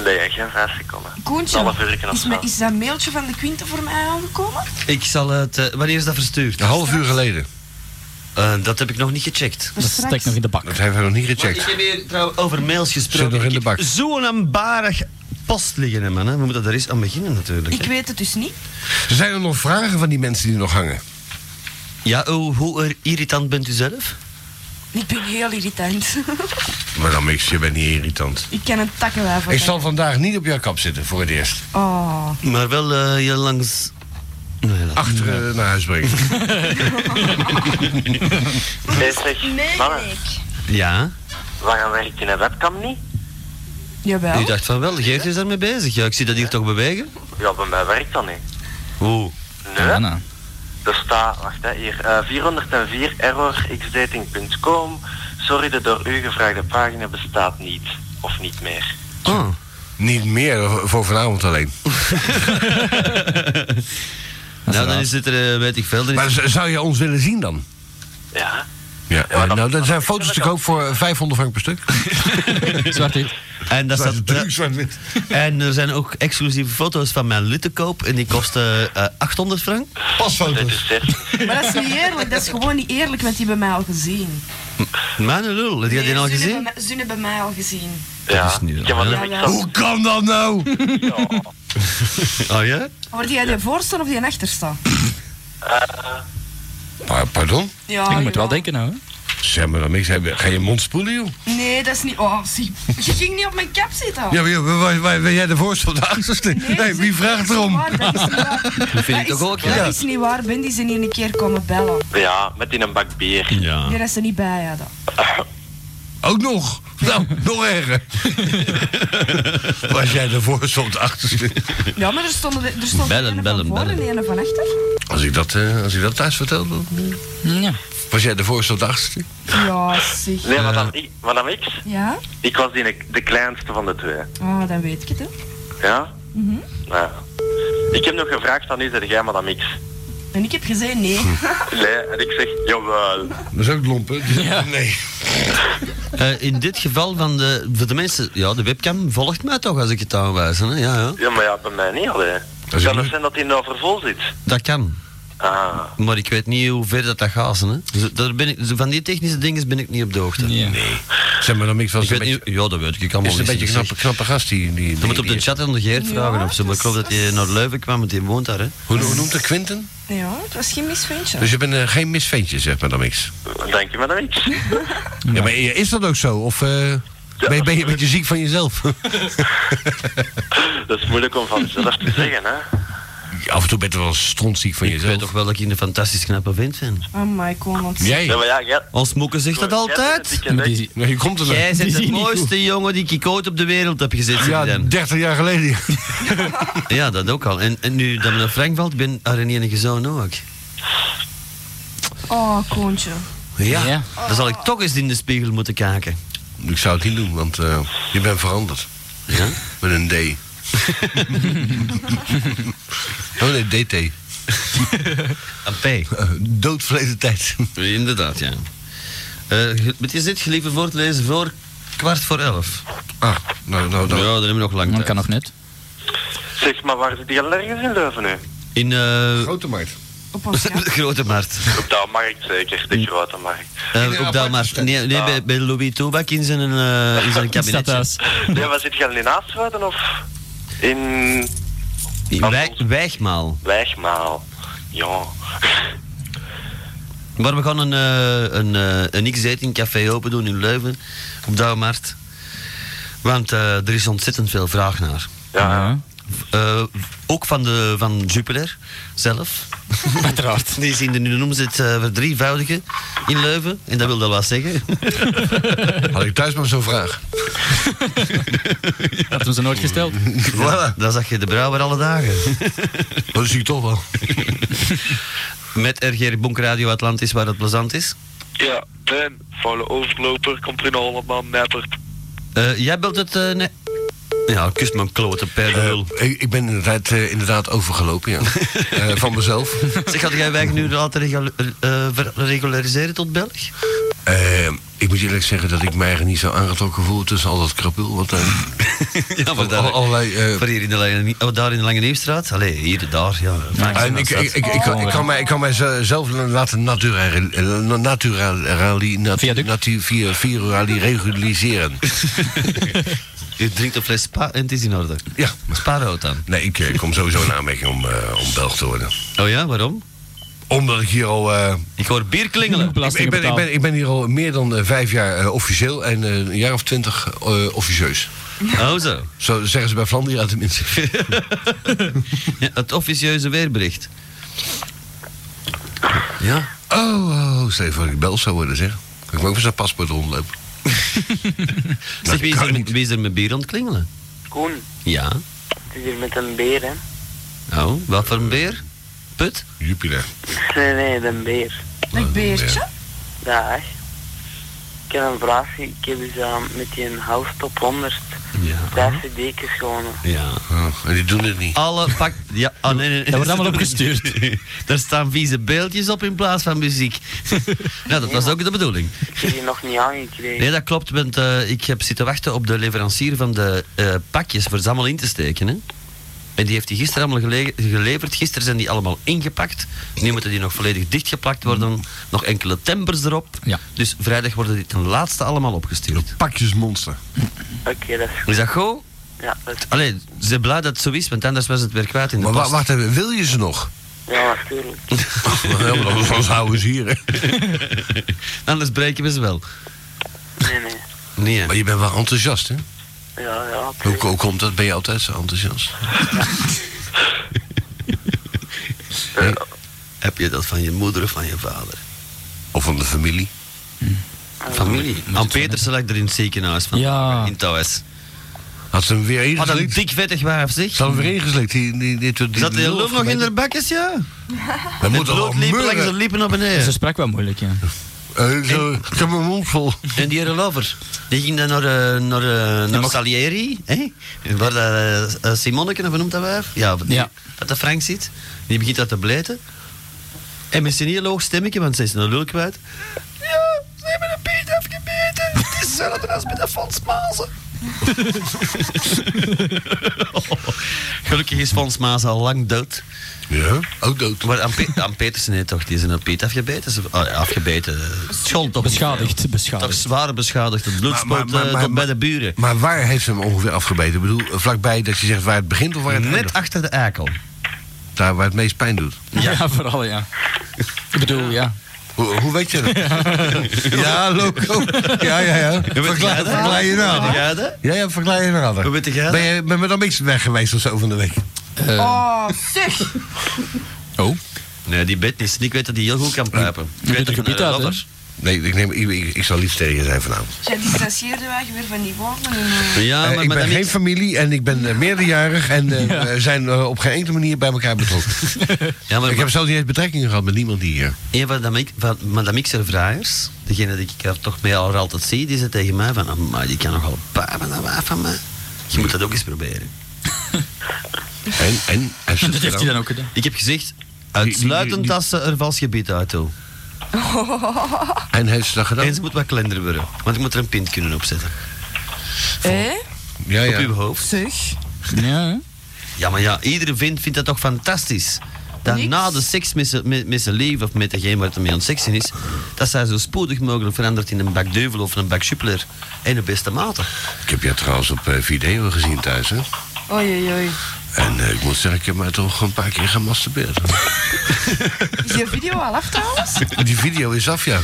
Speaker 1: Nee, geen vijf seconden. Een half uur
Speaker 5: Koentje,
Speaker 1: of
Speaker 5: is,
Speaker 1: zo.
Speaker 5: me, is dat mailtje van de Quinte voor mij aangekomen?
Speaker 3: Ik zal het... eh, wanneer is dat verstuurd?
Speaker 19: Een half uur geleden.
Speaker 3: Eh, dat heb ik nog niet gecheckt.
Speaker 15: Dat steekt nog in de bak.
Speaker 19: Dat hebben we nog niet
Speaker 3: Want Ik
Speaker 19: gecheckt.
Speaker 3: heb hier trouwens over mails gesproken.
Speaker 19: Zit nog in de
Speaker 3: Ik heb
Speaker 19: bak.
Speaker 3: Zo'n ambarig post liggen, hè, man. Hè. We moeten daar eens aan beginnen, natuurlijk.
Speaker 5: Ik weet het dus niet.
Speaker 19: Zijn er nog vragen van die mensen die nog hangen?
Speaker 3: Ja, hoe, hoe er- irritant bent u zelf?
Speaker 5: Ik ben heel irritant.
Speaker 19: Maar dan mix je bent niet irritant.
Speaker 5: ik kan een takkenwijf
Speaker 19: Ik zal vandaag niet op jouw kap zitten voor het eerst.
Speaker 5: Oh.
Speaker 3: Maar wel eh, je langs... Nee, dat-
Speaker 19: Achter eh, naar huis brengen.
Speaker 1: Nee, zeg. Mannen,
Speaker 3: Ja?
Speaker 1: waarom werkt die webcam niet?
Speaker 5: Jawel.
Speaker 3: U dacht van wel, Geert is daarmee bezig. Ja, ik zie dat hier toch bewegen.
Speaker 1: Ja, bij mij werkt dat niet.
Speaker 3: Hoe?
Speaker 1: Nee.
Speaker 15: Ja, nou.
Speaker 1: Er staat, wacht hè, hier, eh, 404 errorxdating.com. Sorry, de door u gevraagde pagina bestaat niet. Of niet meer.
Speaker 3: Ah.
Speaker 19: Niet meer voor vanavond alleen.
Speaker 3: Nou, dan is het er, eh, weet ik veel. dan is
Speaker 19: Maar
Speaker 3: het-
Speaker 19: z- zou je ons willen zien dan?
Speaker 1: Ja.
Speaker 19: Ja, nou, dat zijn foto's te koop voor 500 frank per stuk.
Speaker 3: Zwart-wit. En, daar staat, eh, en er zijn ook exclusieve foto's van mijn lid te koop. En die kosten eh, 800 frank. Pasfoto's.
Speaker 5: Maar dat is niet eerlijk, dat is gewoon niet eerlijk, want die hebben mij al gezien.
Speaker 3: Mijn lul, heb jij die al
Speaker 5: Ze
Speaker 3: gezien?
Speaker 5: hebben mij- Ze hebben mij al gezien.
Speaker 3: Ja.
Speaker 5: Ja, maar dat heb ik zelf- Hoe
Speaker 19: kan dat nou?
Speaker 3: Oh ja?
Speaker 5: Wordt die aan de voorste of die aan de achterste?
Speaker 19: Eh, Pa- Pardon?
Speaker 5: Ja, Ik moet jawel. wel
Speaker 19: denken nou. Zeg maar dan niks. Heb je- Ga je mond spoelen, joh?
Speaker 5: Nee, dat is niet... Oh, zie. Je ging niet op mijn cap zitten.
Speaker 19: Ja, maar joh, waar- waar- waar- ben jij de voorste of de achterste? Nee, wie vraagt erom?
Speaker 5: waar, dat is niet waar.
Speaker 19: vind
Speaker 5: Dat is- Dat is niet waar, Ben, die zijn hier een keer komen bellen.
Speaker 1: Ja, met in een bak bier.
Speaker 3: Ja.
Speaker 5: Die dat ze niet bij hadden.
Speaker 19: Ook nog. Nou, nog erger. Was jij de voorste of de achterste?
Speaker 5: Ja, maar er stonden er stond
Speaker 19: Bellen,
Speaker 5: een
Speaker 19: bellen,
Speaker 5: van voor en
Speaker 19: bellen.
Speaker 5: een van achter.
Speaker 19: Als ik dat, eh, als ik dat thuis vertelde.
Speaker 5: Ja.
Speaker 19: Was jij de voorste of de achterste? Eh,
Speaker 5: Ja, zeg.
Speaker 1: Nee, maar dan, ik, maar dan ik,
Speaker 5: Ja?
Speaker 1: ik was die de kleinste van de twee.
Speaker 5: Ah, dan weet ik het, hè.
Speaker 1: Ja?
Speaker 5: Mhm.
Speaker 1: ja. Ik heb nog gevraagd aan u, zeg jij maar dan niks.
Speaker 5: En ik heb gezegd nee.
Speaker 1: Nee, en ik zeg, jawel.
Speaker 19: Dat is ook lomp, hè? Nee.
Speaker 3: Eh, in dit geval van de, voor de mensen, ja, de webcam volgt mij toch als ik het aanwijs. Hè? Ja, ja,
Speaker 1: Ja, maar ja, bij mij niet, allee.
Speaker 3: is
Speaker 1: Kan het
Speaker 3: niet-
Speaker 1: zijn dat hij nou vervol zit?
Speaker 3: dat kan.
Speaker 1: Ah.
Speaker 3: Maar ik weet niet hoe ver dat, dat gaat. Hè? Dus daar ben ik, van die technische dingen ben ik niet op de hoogte.
Speaker 19: Nee. Zeg maar dan niks van
Speaker 3: Ik weet niet- Ja, dat weet ik. ik
Speaker 19: dus Is
Speaker 3: allemaal
Speaker 19: het een
Speaker 3: niet.
Speaker 19: beetje een knappe, knappe gast die... die, die
Speaker 3: Je moet op de chat aan de Geert vragen of zo. Maar ik geloof dat hij naar Leuven kwam, want hij woont daar. Hè?
Speaker 19: Hoe, hoe noemt hij Quinten?
Speaker 5: Ja, het was geen misvindje.
Speaker 19: Dus je bent eh, geen misventje, zeg maar dan niks.
Speaker 1: Dank je maar dan niks.
Speaker 19: Ja, maar is dat ook zo? Of eh, ben, je- ben je een beetje ziek van jezelf?
Speaker 1: Dat is moeilijk om van zelf te zeggen, hè.
Speaker 19: Af en toe ben je wel strontziek van
Speaker 3: jezelf. Ik weet toch wel dat ik een fantastisch knappe vent ben.
Speaker 5: Amai, kom ons.
Speaker 1: Ja, maar ja, ja.
Speaker 3: Ons moeke zegt dat altijd.
Speaker 19: Nee, je komt er wel.
Speaker 3: Jij bent
Speaker 19: Die
Speaker 3: de
Speaker 19: zie je niet
Speaker 3: mooiste jongen die ik ooit op de wereld heb gezet.
Speaker 19: Ja, 30 jaar geleden.
Speaker 3: ja, dat ook al. En, en nu dat we naar Frank valt, ben ah, haar een enige zoon ook.
Speaker 5: Oh, Koontje.
Speaker 3: Ja. Dan zal ik toch eens in de spiegel moeten kijken.
Speaker 19: Ik zou het niet doen, want eh, je bent veranderd.
Speaker 3: Ja?
Speaker 19: Met een D. oh nee, DT.
Speaker 3: Een P.
Speaker 19: Eh, Doodverleden tijd.
Speaker 3: Inderdaad, ja. Eh, Wat is dit geliever voor te lezen voor kwart voor elf?
Speaker 19: Ah, nou, nou,
Speaker 3: Ja, dan hebben we nog lang tijd. Dat kan nog net.
Speaker 1: Zeg, maar waar zit die allergisch in Leuven nu?
Speaker 3: In eh
Speaker 19: Grote markt.
Speaker 5: Op
Speaker 3: de grote markt.
Speaker 1: Op de markt zeker, de grote markt.
Speaker 3: Eh, op dat maar. Nee,
Speaker 1: Ah.
Speaker 3: nee bij, bij Louis Toebak in zijn, eh in zijn kabinetje.
Speaker 1: Nee, waar zit je al in Aaswouden of in Ah.
Speaker 3: In Wij- Wijgmaal.
Speaker 1: Wijgmaal? Ja.
Speaker 3: Maar we gaan een, eh, een, eh, een X-dating café open doen in Leuven. Op dat markt. Want eh, er is ontzettend veel vraag naar.
Speaker 1: Ja.
Speaker 3: Eh, ook van, de, van Jupiler zelf. Uiteraard. Die zien er nu een omzet eh verdrievoudigen in Leuven. En dat wil dat wel zeggen.
Speaker 19: Had ik thuis maar zo'n vraag.
Speaker 3: Dat hebben ze nooit gesteld. Voilà, dan zag je de brouwer alle dagen.
Speaker 19: Dat zie ik toch wel.
Speaker 3: Met RGR Bonk Radio Atlantis, waar het plezant is.
Speaker 26: Ja, Ben, vuile overloper, komt in allemaal neppert.
Speaker 3: Eh, jij belt het... eh, nee. Ja, kus mijn klote perlul.
Speaker 19: ik, ik ben inderdaad, eh, inderdaad overgelopen, ja. Eh, van mezelf.
Speaker 3: Zeg, had jij wijk nu laten regul- eh, ver- regulariseren tot Belg?
Speaker 19: Eh, ik moet eerlijk zeggen dat ik mij eigenlijk niet zo aangetrokken voel tussen al dat krapul. Wat, eh,
Speaker 3: Ja, maar daar, voor hier in de, Lange- oh, daar in de Lange Nieuwstraat? Allee, hier, daar, ja. Maakt
Speaker 19: en
Speaker 3: ze
Speaker 19: ik,
Speaker 3: nou
Speaker 19: ik, ik, ik, kan- ik kan mij, ik kan mij ze- zelf laten naturali, eh, naturali, natu, natu, via- virali reguliseren.
Speaker 3: Je drinkt een fles spa en het is in orde.
Speaker 19: Ja.
Speaker 3: Spaarrood dan.
Speaker 19: Nee, ik eh, kom sowieso in aanmerking om, eh, om Belg te worden.
Speaker 3: Oh ja, waarom?
Speaker 19: Omdat ik hier al... eh,
Speaker 3: Ik hoor bier klingelen.
Speaker 19: ik, ik ben, ik, ben, ik ben hier al meer dan eh, vijf jaar eh, officieel en eh, een jaar of twintig eh, officieus.
Speaker 3: Oh zo.
Speaker 19: Zo zeggen ze bij Vlaanderen tenminste.
Speaker 3: Ja, het officieuze weerbericht. Ja.
Speaker 19: Oh, oh, stel je voor dat ik bel zou worden, zeg. Kan ik ook met zo'n paspoort rondlopen?
Speaker 3: Zeg, wie is, er, met- wie is er met bier aan het klingelen?
Speaker 12: Koen,
Speaker 3: Ja.
Speaker 12: het is hier met een beer, hè?
Speaker 3: Oh, wat voor een beer? Put?
Speaker 19: Jupiter.
Speaker 12: Nee, nee, een beer.
Speaker 5: Een beertje?
Speaker 12: Dag. ik heb een vraagje. Ik heb dus eh, met die house top 100 vijf cd's gewonnen.
Speaker 3: Ja.
Speaker 19: Ah, en die doen het niet.
Speaker 3: Alle pak... Ja, ah, nee, nee, nee.
Speaker 19: Dat wordt allemaal
Speaker 3: opgestuurd. Daar staan vieze beeldjes op in plaats van muziek. nou, dat was ook de bedoeling.
Speaker 12: Ik heb die nog niet aangekregen.
Speaker 3: Nee, dat klopt, want eh, ik heb zitten wachten op de leverancier van de eh, pakjes voor ze allemaal in te steken. Hè? En die heeft die gisteren allemaal gele- geleverd. Gisteren zijn die allemaal ingepakt. Nu moeten die nog volledig dichtgeplakt
Speaker 19: Mm.
Speaker 3: worden. Nog enkele tempers erop. Dus vrijdag worden die ten laatste allemaal opgestuurd.
Speaker 19: Pakjesmonster.
Speaker 12: Oké, dat is
Speaker 3: Is dat goed?
Speaker 12: Ja, dat is
Speaker 3: Allee, ze zijn blij dat het zo is, want anders was het weer kwijt in de
Speaker 19: Maar wa-
Speaker 3: post.
Speaker 19: wacht even, wil je ze nog?
Speaker 12: Ja, natuurlijk.
Speaker 19: Ja, maar anders anders houden ze hier, hè.
Speaker 3: Anders breken we ze wel.
Speaker 12: Nee, nee.
Speaker 3: Nee.
Speaker 19: Maar je bent wel enthousiast, hè?
Speaker 12: Ja, ja.
Speaker 19: Hoe, hoe komt dat? Ben je altijd zo enthousiast?
Speaker 3: Hè? Heb je dat van je moeder of van je vader? Hm.
Speaker 19: Of van de familie?
Speaker 3: Familie? Aan Petersen lag er in het ziekenhuis van.
Speaker 19: Ja.
Speaker 3: In Thuis.
Speaker 19: Had ze hem weer
Speaker 3: Wat een
Speaker 19: ingeslikt?
Speaker 3: dik vettig wijf, zeg.
Speaker 19: Ze had hem weer ingeslikt. Die, die, die, die,
Speaker 3: Zat de
Speaker 19: lul
Speaker 3: loof nog
Speaker 19: van
Speaker 3: in
Speaker 19: mij-
Speaker 3: haar bakjes, ja?
Speaker 19: Dat moet
Speaker 3: Het bloed
Speaker 19: al
Speaker 3: liep langs de
Speaker 19: meuren.
Speaker 3: lippen naar beneden.
Speaker 15: Ze sprak wel moeilijk, ja.
Speaker 19: Eh, ik zou- Ik heb mijn mond vol.
Speaker 3: En die lover, die ging dan naar, eh, naar, eh, naar Salieri, hè? waar dat, eh, eh, Simonneke, of hoe noemt dat wijf? Ja, wat die- dat de Frank zit. Die begint dat te blijten. En met zijn heel hoog stemmetje, want ze is een lul kwijt.
Speaker 27: Ja, ze hebben een beet afgebeten. Het is hetzelfde als met de Fons Mazen.
Speaker 3: Gelukkig is Fons Maas al lang dood.
Speaker 19: Ja, ook dood.
Speaker 3: Maar aan, Pe- aan Petersen heeft toch, die is een peet afgebeten. Ze- ah, ja, afgebeten. Schuld toch
Speaker 15: Beschadigd,
Speaker 3: Toch
Speaker 15: beschadigd.
Speaker 3: zwaar beschadigd. Het bloed
Speaker 19: Maar- maar-
Speaker 3: spoot
Speaker 19: maar-
Speaker 3: eh,
Speaker 19: maar-
Speaker 3: tot bij de buren.
Speaker 19: Maar waar heeft ze hem ongeveer afgebeten? Ik bedoel, vlakbij dat je zegt waar het begint of waar het
Speaker 3: Net
Speaker 19: eindigt?
Speaker 3: achter de eikel.
Speaker 19: Daar waar het meest pijn doet.
Speaker 15: Ja. vooral, ja. Ik bedoel, ja.
Speaker 19: Hoe, hoe weet je dat? ja, loco. Ja, ja, ja. Verklaar,
Speaker 3: jij dat?
Speaker 19: verklaar je
Speaker 3: Weet
Speaker 19: nader.
Speaker 3: jij dat?
Speaker 19: Ja, ja, verklaar je nader.
Speaker 3: Hoe weet jij dat?
Speaker 19: Ben je ben je dan niks weg geweest of zo van de week?
Speaker 28: Eh.
Speaker 5: Oh, zeg!
Speaker 19: Oh?
Speaker 3: Nee, die bed is. Ik weet dat hij heel goed kan pijpen. Eh, Ik weet dat
Speaker 19: gebied uit, hè? Nee, ik, neem, ik, ik, ik zal liefst tegen je zijn vanavond.
Speaker 5: Jij distancieerde weg weer van die woorden. En, eh,
Speaker 3: Ja,
Speaker 19: Eh,
Speaker 3: maar
Speaker 19: ik ben
Speaker 3: madame
Speaker 19: geen
Speaker 3: X-
Speaker 19: familie en ik ben eh, meerderjarig en eh, we zijn eh, op geen enkele manier bij elkaar betrokken.
Speaker 3: Ja, maar
Speaker 19: ik heb zelfs niet eens betrekkingen gehad met niemand hier.
Speaker 3: Een van de mik- van Madame Xer Vrijers, degene die ik er toch mee al altijd zie, die zei tegen mij van, "Ah, maar die kan nogal pijpen, dat wijf van mij. Je moet dat ook eens proberen.
Speaker 19: En, en, en
Speaker 15: Dat heeft hij dan ook gedaan.
Speaker 3: Ik heb gezegd, uitsluitend dat ze er vals gebied uit wil.
Speaker 19: En heeft ze dat gedaan?
Speaker 3: En ze moet wat kleiner worden, want ik moet er een pint kunnen opzetten.
Speaker 5: Hé?
Speaker 19: Ja,
Speaker 3: Op
Speaker 19: ja.
Speaker 3: uw hoofd.
Speaker 5: Zeg.
Speaker 15: Ja, hè?
Speaker 3: Ja, maar ja, iedere vent vindt dat toch fantastisch. Dat na de seks met z'n- met met zijn leven of met degene waar het mee aan het seksen is, dat zij zo spoedig mogelijk verandert in een bak deuvel of een bak chuppler. En de beste mate.
Speaker 19: Ik heb je trouwens op eh, video gezien thuis, hè?
Speaker 5: Oei, oei, oei.
Speaker 19: En eh, ik moet zeggen, ik heb mij toch een paar keer gemasturbeerd.
Speaker 5: Is je video al af trouwens?
Speaker 19: Die video is af, ja.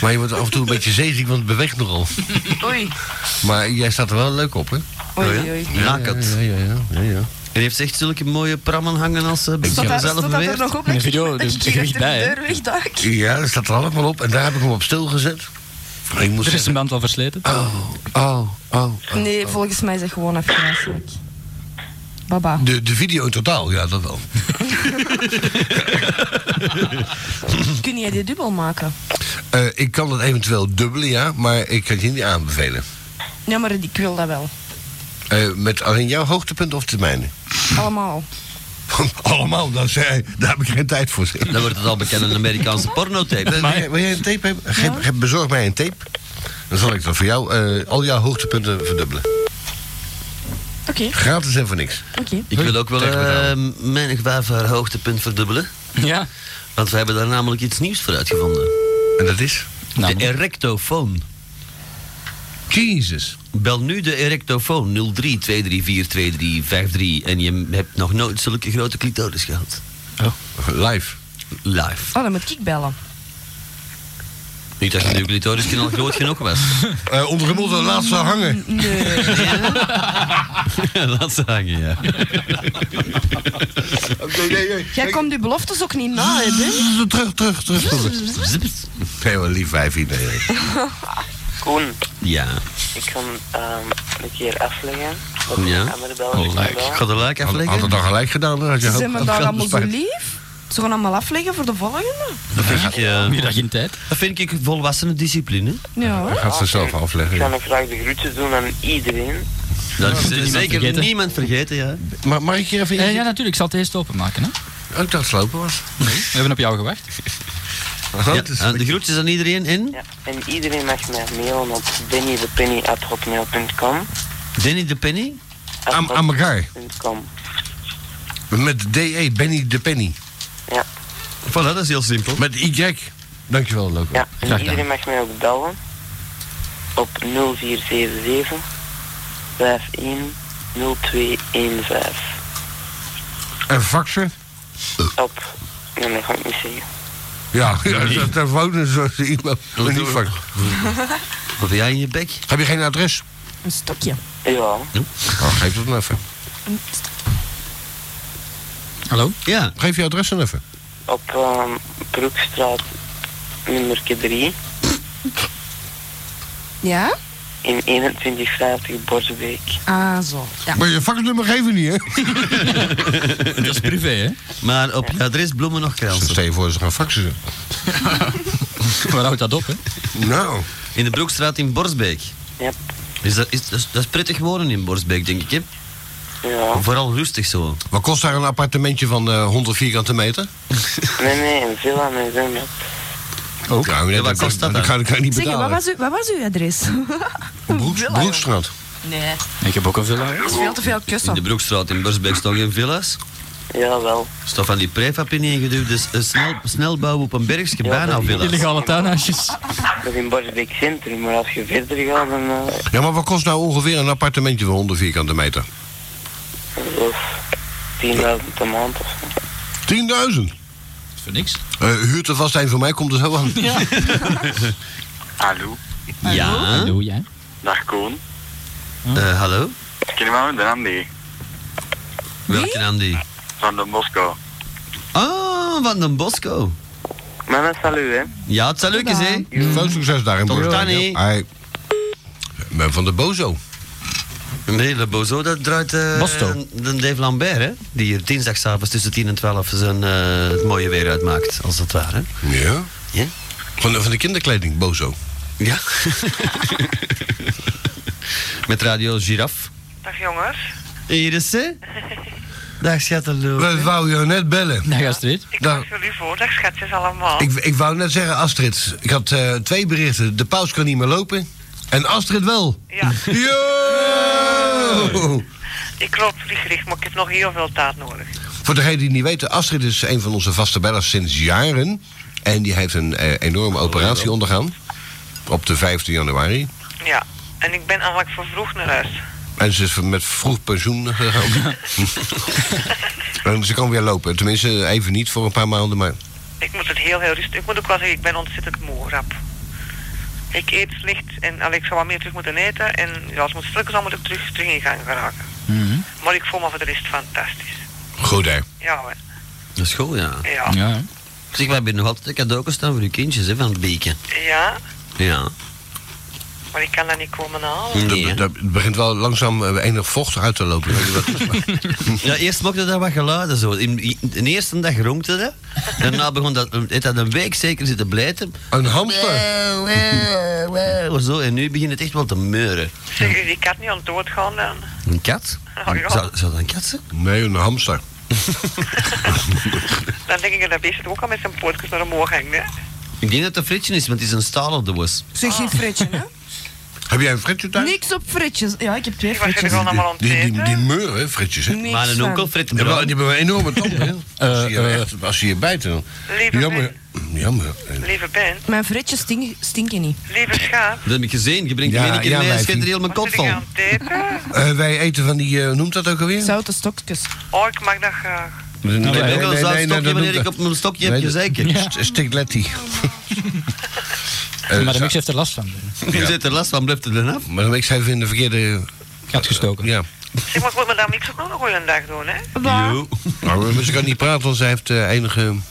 Speaker 19: Maar je wordt af en toe een beetje zeeziek, want het beweegt nogal.
Speaker 5: Oei.
Speaker 19: Maar jij staat er wel leuk op, hè?
Speaker 5: Oei, oei.
Speaker 3: Nakend.
Speaker 19: Ja, ja, ja. ja, ja.
Speaker 3: En heeft ze echt zulke mooie prammen hangen als ze
Speaker 5: Stond
Speaker 3: zelf
Speaker 5: dat, stond dat er
Speaker 3: weer.
Speaker 5: nog op? dat
Speaker 15: In de
Speaker 5: ik-
Speaker 15: video,
Speaker 5: dat
Speaker 15: dus
Speaker 5: ik
Speaker 15: het
Speaker 5: hier
Speaker 15: gewicht
Speaker 5: achter
Speaker 15: bij,
Speaker 5: de
Speaker 15: hè?
Speaker 5: deur wegduik?
Speaker 19: Ja, dat staat er allemaal op. En daar heb ik hem op stilgezet.
Speaker 15: Er
Speaker 19: Ik moest
Speaker 15: is een
Speaker 19: zeggen,
Speaker 15: band al versleten.
Speaker 19: Oh, oh, oh.
Speaker 5: Nee, volgens mij is het gewoon even vreselijk. Baba.
Speaker 19: De, de video in totaal, ja, dat wel.
Speaker 5: Kun jij die dubbel maken?
Speaker 19: Eh, ik kan dat eventueel dubbelen, ja, maar ik kan het je niet aanbevelen.
Speaker 5: Ja, maar ik wil dat wel.
Speaker 19: Eh, met alleen jouw hoogtepunt of de mijne?
Speaker 5: Allemaal.
Speaker 19: Allemaal, dat zei, daar heb ik geen tijd voor. zeg.
Speaker 3: Dan wordt het al bekend een Amerikaanse pornotape.
Speaker 19: Wil jij- wil jij een tape hebben? Geef- geef- bezorg mij een tape. Dan zal ik dan voor jou eh, al jouw hoogtepunten verdubbelen.
Speaker 5: Oké,
Speaker 19: Gratis en voor niks.
Speaker 5: oké.
Speaker 3: Ik wil ook wel
Speaker 19: Tegen elkaar.
Speaker 3: eh mijn gewaar voor hoogtepunt verdubbelen.
Speaker 15: Ja.
Speaker 3: Want we hebben daar namelijk iets nieuws voor uitgevonden.
Speaker 19: En dat is?
Speaker 3: De erectofoon.
Speaker 19: Jezus.
Speaker 3: Bel nu de erectofoon 03 234 2353 en je hebt nog nooit zulke grote clitoris gehad.
Speaker 19: Oh. Live.
Speaker 3: Live.
Speaker 5: Oh, dan moet ik bellen.
Speaker 3: Ik dacht dat uw clitoris al groot genoeg was.
Speaker 19: Eh onder de modder, laat ze hangen.
Speaker 5: Nee.
Speaker 3: Laat ze hangen, ja.
Speaker 5: Jij komt die beloftes ook niet na, hè, Ben?
Speaker 19: Terug, terug, terug. Heel lief vijf ideeën.
Speaker 12: Koen,
Speaker 3: Ja.
Speaker 12: ik kan ehm, een keer afleggen. Dat
Speaker 3: Ja.
Speaker 12: ik aan de bel.
Speaker 3: Ik ga de luik
Speaker 19: Had, had
Speaker 3: afleggen.
Speaker 19: het dan gelijk gedaan, dan had je
Speaker 5: Ze
Speaker 19: hoop-
Speaker 5: zijn me
Speaker 19: had
Speaker 5: daar
Speaker 19: geld
Speaker 5: allemaal zo
Speaker 19: bespaard.
Speaker 5: lief. Ze gaan allemaal afleggen voor de volgende.
Speaker 3: Dat vind ik... eh,
Speaker 15: Middag in tijd.
Speaker 3: Dat vind ik volwassene discipline.
Speaker 5: Ja. hoor.
Speaker 19: gaat ze zelf
Speaker 12: Ik
Speaker 19: afleggen.
Speaker 12: zou nog graag de groetjes doen aan iedereen.
Speaker 3: Dat is
Speaker 15: moet je
Speaker 3: eh,
Speaker 15: niemand
Speaker 3: zeker
Speaker 15: vergeten.
Speaker 3: niemand vergeten, ja.
Speaker 19: Maar mag ik hier even...
Speaker 15: Eh, ja, natuurlijk. Ik zal het eerst openmaken. Hè?
Speaker 19: Oh, ik dacht het lopen was. Oh,
Speaker 15: We hebben op jou gewacht.
Speaker 3: Ja, eh, de groetjes aan iedereen in.
Speaker 12: En iedereen mag mij mailen op dennythepenny.hotmail.com.
Speaker 3: Danny de Penny.
Speaker 19: Aan, aan elkaar.
Speaker 12: .com.
Speaker 19: Met DE, Benny de Penny.
Speaker 12: Ja.
Speaker 3: Voilà, dat is heel simpel.
Speaker 19: Met Y. Dankjewel, Loco.
Speaker 12: Ja, en
Speaker 19: Graag gedaan.
Speaker 12: iedereen mag mij ook bellen op 0477 510215.
Speaker 19: En faxen?
Speaker 12: Op, nee, dat ga ik niet zeggen.
Speaker 19: Ja, ja dat, dat wonen zoals iemand.
Speaker 3: Wat
Speaker 19: Niet
Speaker 3: doe-
Speaker 19: fax.
Speaker 3: Wat heb jij in je bek?
Speaker 19: Heb je geen adres?
Speaker 5: Een stokje.
Speaker 12: Ja.
Speaker 19: Oh, geef dat dan even.
Speaker 15: Hallo?
Speaker 3: Ja.
Speaker 19: Geef je adres dan even.
Speaker 12: Op ehm, Broekstraat nummer 3
Speaker 5: Ja?
Speaker 12: in 2150 Borsbeek.
Speaker 5: Ah, zo. Ja.
Speaker 19: Maar je faxnummer geven niet, hè?
Speaker 15: Dat is privé, hè?
Speaker 3: Maar op je adres bloemen nog kransen.
Speaker 19: Stel je voor, ze gaan faxen.
Speaker 15: Waar houdt dat op, hè?
Speaker 19: Nou.
Speaker 3: In de Broekstraat in Borsbeek.
Speaker 12: Ja.
Speaker 3: Is dat, is, dat, is, dat is prettig wonen in Borsbeek, denk ik. Hè?
Speaker 12: Ja.
Speaker 3: Vooral rustig zo.
Speaker 19: Wat kost daar een appartementje van eh 100 vierkante meter?
Speaker 12: Nee, nee, een villa met een met.
Speaker 19: Ook. Ja, maar
Speaker 3: Ja, wat kost dat
Speaker 19: Dat kan, dat kan ik niet
Speaker 5: Zeg, wat
Speaker 19: betalen.
Speaker 5: was, uw, wat was uw adres?
Speaker 19: Broeks-
Speaker 5: Villa,
Speaker 19: Broekstraat.
Speaker 5: Nee,
Speaker 15: Ik heb ook een villa.
Speaker 5: dat is veel te veel
Speaker 3: In de
Speaker 5: kussen.
Speaker 3: Broekstraat in Borsbeek staan geen villa's.
Speaker 12: Jawel.
Speaker 3: Stof van die prefab in ingeduwd. Dus eh, snel, snelbouw op een bergje,
Speaker 12: Ja,
Speaker 3: bijna
Speaker 12: dat is-
Speaker 3: villa's.
Speaker 15: Illegale tuinhuisjes.
Speaker 12: Dat is in Borsbeek Centrum, maar als je verder gaat, dan eh,
Speaker 19: Ja, maar wat kost nou ongeveer een appartementje van 100 vierkante meter?
Speaker 12: dat is 10.000 per maand of zo.
Speaker 19: 10.000.
Speaker 15: Voor niks.
Speaker 19: Eh huurt er vast een van mij, komt er zo aan.
Speaker 1: Hallo,
Speaker 3: Ja.
Speaker 15: Hallo, jij?
Speaker 1: dag Koen.
Speaker 3: Eh, hallo?
Speaker 1: Ken je wel met de Andy?
Speaker 3: Welke naam die?
Speaker 1: Van de Bosco.
Speaker 3: Ah, Van den Bosco.
Speaker 12: Maar dat salu, hè.
Speaker 3: Ja, het zijn leuk eens, hè?
Speaker 19: Veel succes daarin,
Speaker 3: Tot
Speaker 19: broer.
Speaker 3: dan, hè.
Speaker 19: Hey. Ben van de Bozo.
Speaker 3: Een hele bozo, dat draait eh,
Speaker 15: Bosto.
Speaker 3: de Dave Lambert, hè? Die hier dinsdagavond tussen 10 en 12 zijn, eh, het mooie weer uitmaakt, als dat ware.
Speaker 19: Ja.
Speaker 3: Ja?
Speaker 19: Van de, van de kinderkleding, Bozo.
Speaker 3: Ja. Met radio Giraf.
Speaker 10: Dag jongens.
Speaker 3: Hier is ze. Dag schatteloe.
Speaker 19: We wou je net bellen.
Speaker 15: Dag Astrid.
Speaker 10: Ik
Speaker 19: Dag.
Speaker 10: dag jullie voor, dag schatjes allemaal.
Speaker 19: Ik, ik wou net zeggen, Astrid, ik had eh, twee berichten. De paus kan niet meer lopen. En Astrid wel.
Speaker 10: Ja,
Speaker 19: Yo!
Speaker 10: ik loop vliegericht, maar ik heb nog heel veel taart nodig.
Speaker 19: Voor degenen die het niet weten, Astrid is een van onze vaste bellers sinds jaren. En die heeft een eh, enorme operatie ondergaan. Op de 15 januari.
Speaker 10: Ja, en ik ben eigenlijk voor vroeg naar huis.
Speaker 19: En ze is met vroeg pensioen gegaan. en ze kan weer lopen. Tenminste, even niet voor een paar maanden, maar...
Speaker 10: Ik moet het heel, heel rustig. Ik moet ook wel zeggen, ik ben ontzettend moe, rap. Ik eet slecht en allee, ik zou wat meer terug moeten eten. En ja, als het moet strukken, dan moet ik terug, terug in gang geraken.
Speaker 15: Mhm.
Speaker 10: Maar ik voel me voor de rest fantastisch.
Speaker 19: Goed, hè.
Speaker 10: Ja, hè.
Speaker 3: Dat is goed, ja.
Speaker 10: ja.
Speaker 15: Ja, hè?
Speaker 3: Zeg, wij hebben nog altijd de cadeautjes staan voor uw kindjes, hè, van het bieken.
Speaker 10: Ja,
Speaker 3: Ja.
Speaker 10: maar ik kan dat niet komen halen.
Speaker 4: Hm.
Speaker 19: Dat-
Speaker 3: Nee, hè?
Speaker 19: dat- Het begint wel langzaam eh, enig vocht uit te lopen. Weet je wat?
Speaker 3: Ja, eerst mochten daar wat geluiden zo. In, in- de eerste dag ronkte dat. Daarna begon dat, het had een week zeker zitten blijten.
Speaker 19: Een hamster.
Speaker 3: Wow, wow, wow, Zo, en nu begint het echt wel te meuren.
Speaker 10: Zeg, is die kat niet aan het doodgaan dan?
Speaker 3: Een kat?
Speaker 10: Oh, ja.
Speaker 3: zou, zou dat een kat zijn?
Speaker 19: Nee, een hamster.
Speaker 10: Dan denk ik dat dat beest het ook al met zijn pootjes naar omhoog hangt, hè.
Speaker 3: Ik denk dat het een fritsje is, want het is een stalen doos.
Speaker 5: Zeg geen fretje, hè?
Speaker 19: Heb jij een frietje thuis?
Speaker 5: Niks op fritjes. Ja, ik heb twee
Speaker 10: Die was er
Speaker 5: fritjes.
Speaker 10: gewoon allemaal aan het
Speaker 19: Die, die, die,
Speaker 10: eten.
Speaker 19: meuren, hè, frietjes, hè?
Speaker 5: Niks
Speaker 3: Maar een
Speaker 5: van. Eh,
Speaker 3: onkel frit.
Speaker 19: Die hebben, die hebben een enorme tanden, hè? als, ze je, echt- als ze je bijten, dan...
Speaker 10: Lieve
Speaker 19: Jammer. Jammer.
Speaker 10: Lieve Ben,
Speaker 5: Mijn fritjes stink- stinken niet.
Speaker 10: lieve schaap.
Speaker 3: Dat heb ik gezien. Je brengt
Speaker 19: Ja,
Speaker 3: hem één keer
Speaker 19: ja,
Speaker 3: mee en
Speaker 19: wijfie.
Speaker 3: schiet er heel mijn
Speaker 10: Wat
Speaker 3: kop
Speaker 10: zit ik
Speaker 3: van.
Speaker 10: aan het eten?
Speaker 19: Eh, wij eten van die, eh, hoe noemt dat ook alweer? Nou,
Speaker 5: Zoute stokjes.
Speaker 10: Oh, ik mag dat graag.
Speaker 19: Nee,
Speaker 3: Ik heb ook al een zout stokje
Speaker 19: dat
Speaker 3: wanneer
Speaker 19: noemt
Speaker 3: ik
Speaker 19: dat-
Speaker 3: op mijn stokje
Speaker 19: Nee,
Speaker 3: heb
Speaker 19: dat-
Speaker 3: gezeken. Ja.
Speaker 19: St- Stigletti. Eh,
Speaker 15: maar de
Speaker 19: zo-
Speaker 15: mix heeft er last van.
Speaker 3: Je zit er last van, blijft het eraf.
Speaker 19: Maar dan ben ik even in de verkeerde...
Speaker 15: Gaat gestoken.
Speaker 19: Ja.
Speaker 10: Zeg maar, ik moet me daar niks ook nog een goeie dag doen, hè?
Speaker 3: Jo.
Speaker 19: Nou, maar ze kan niet praten, want zij heeft eh, enige...
Speaker 10: Mooi.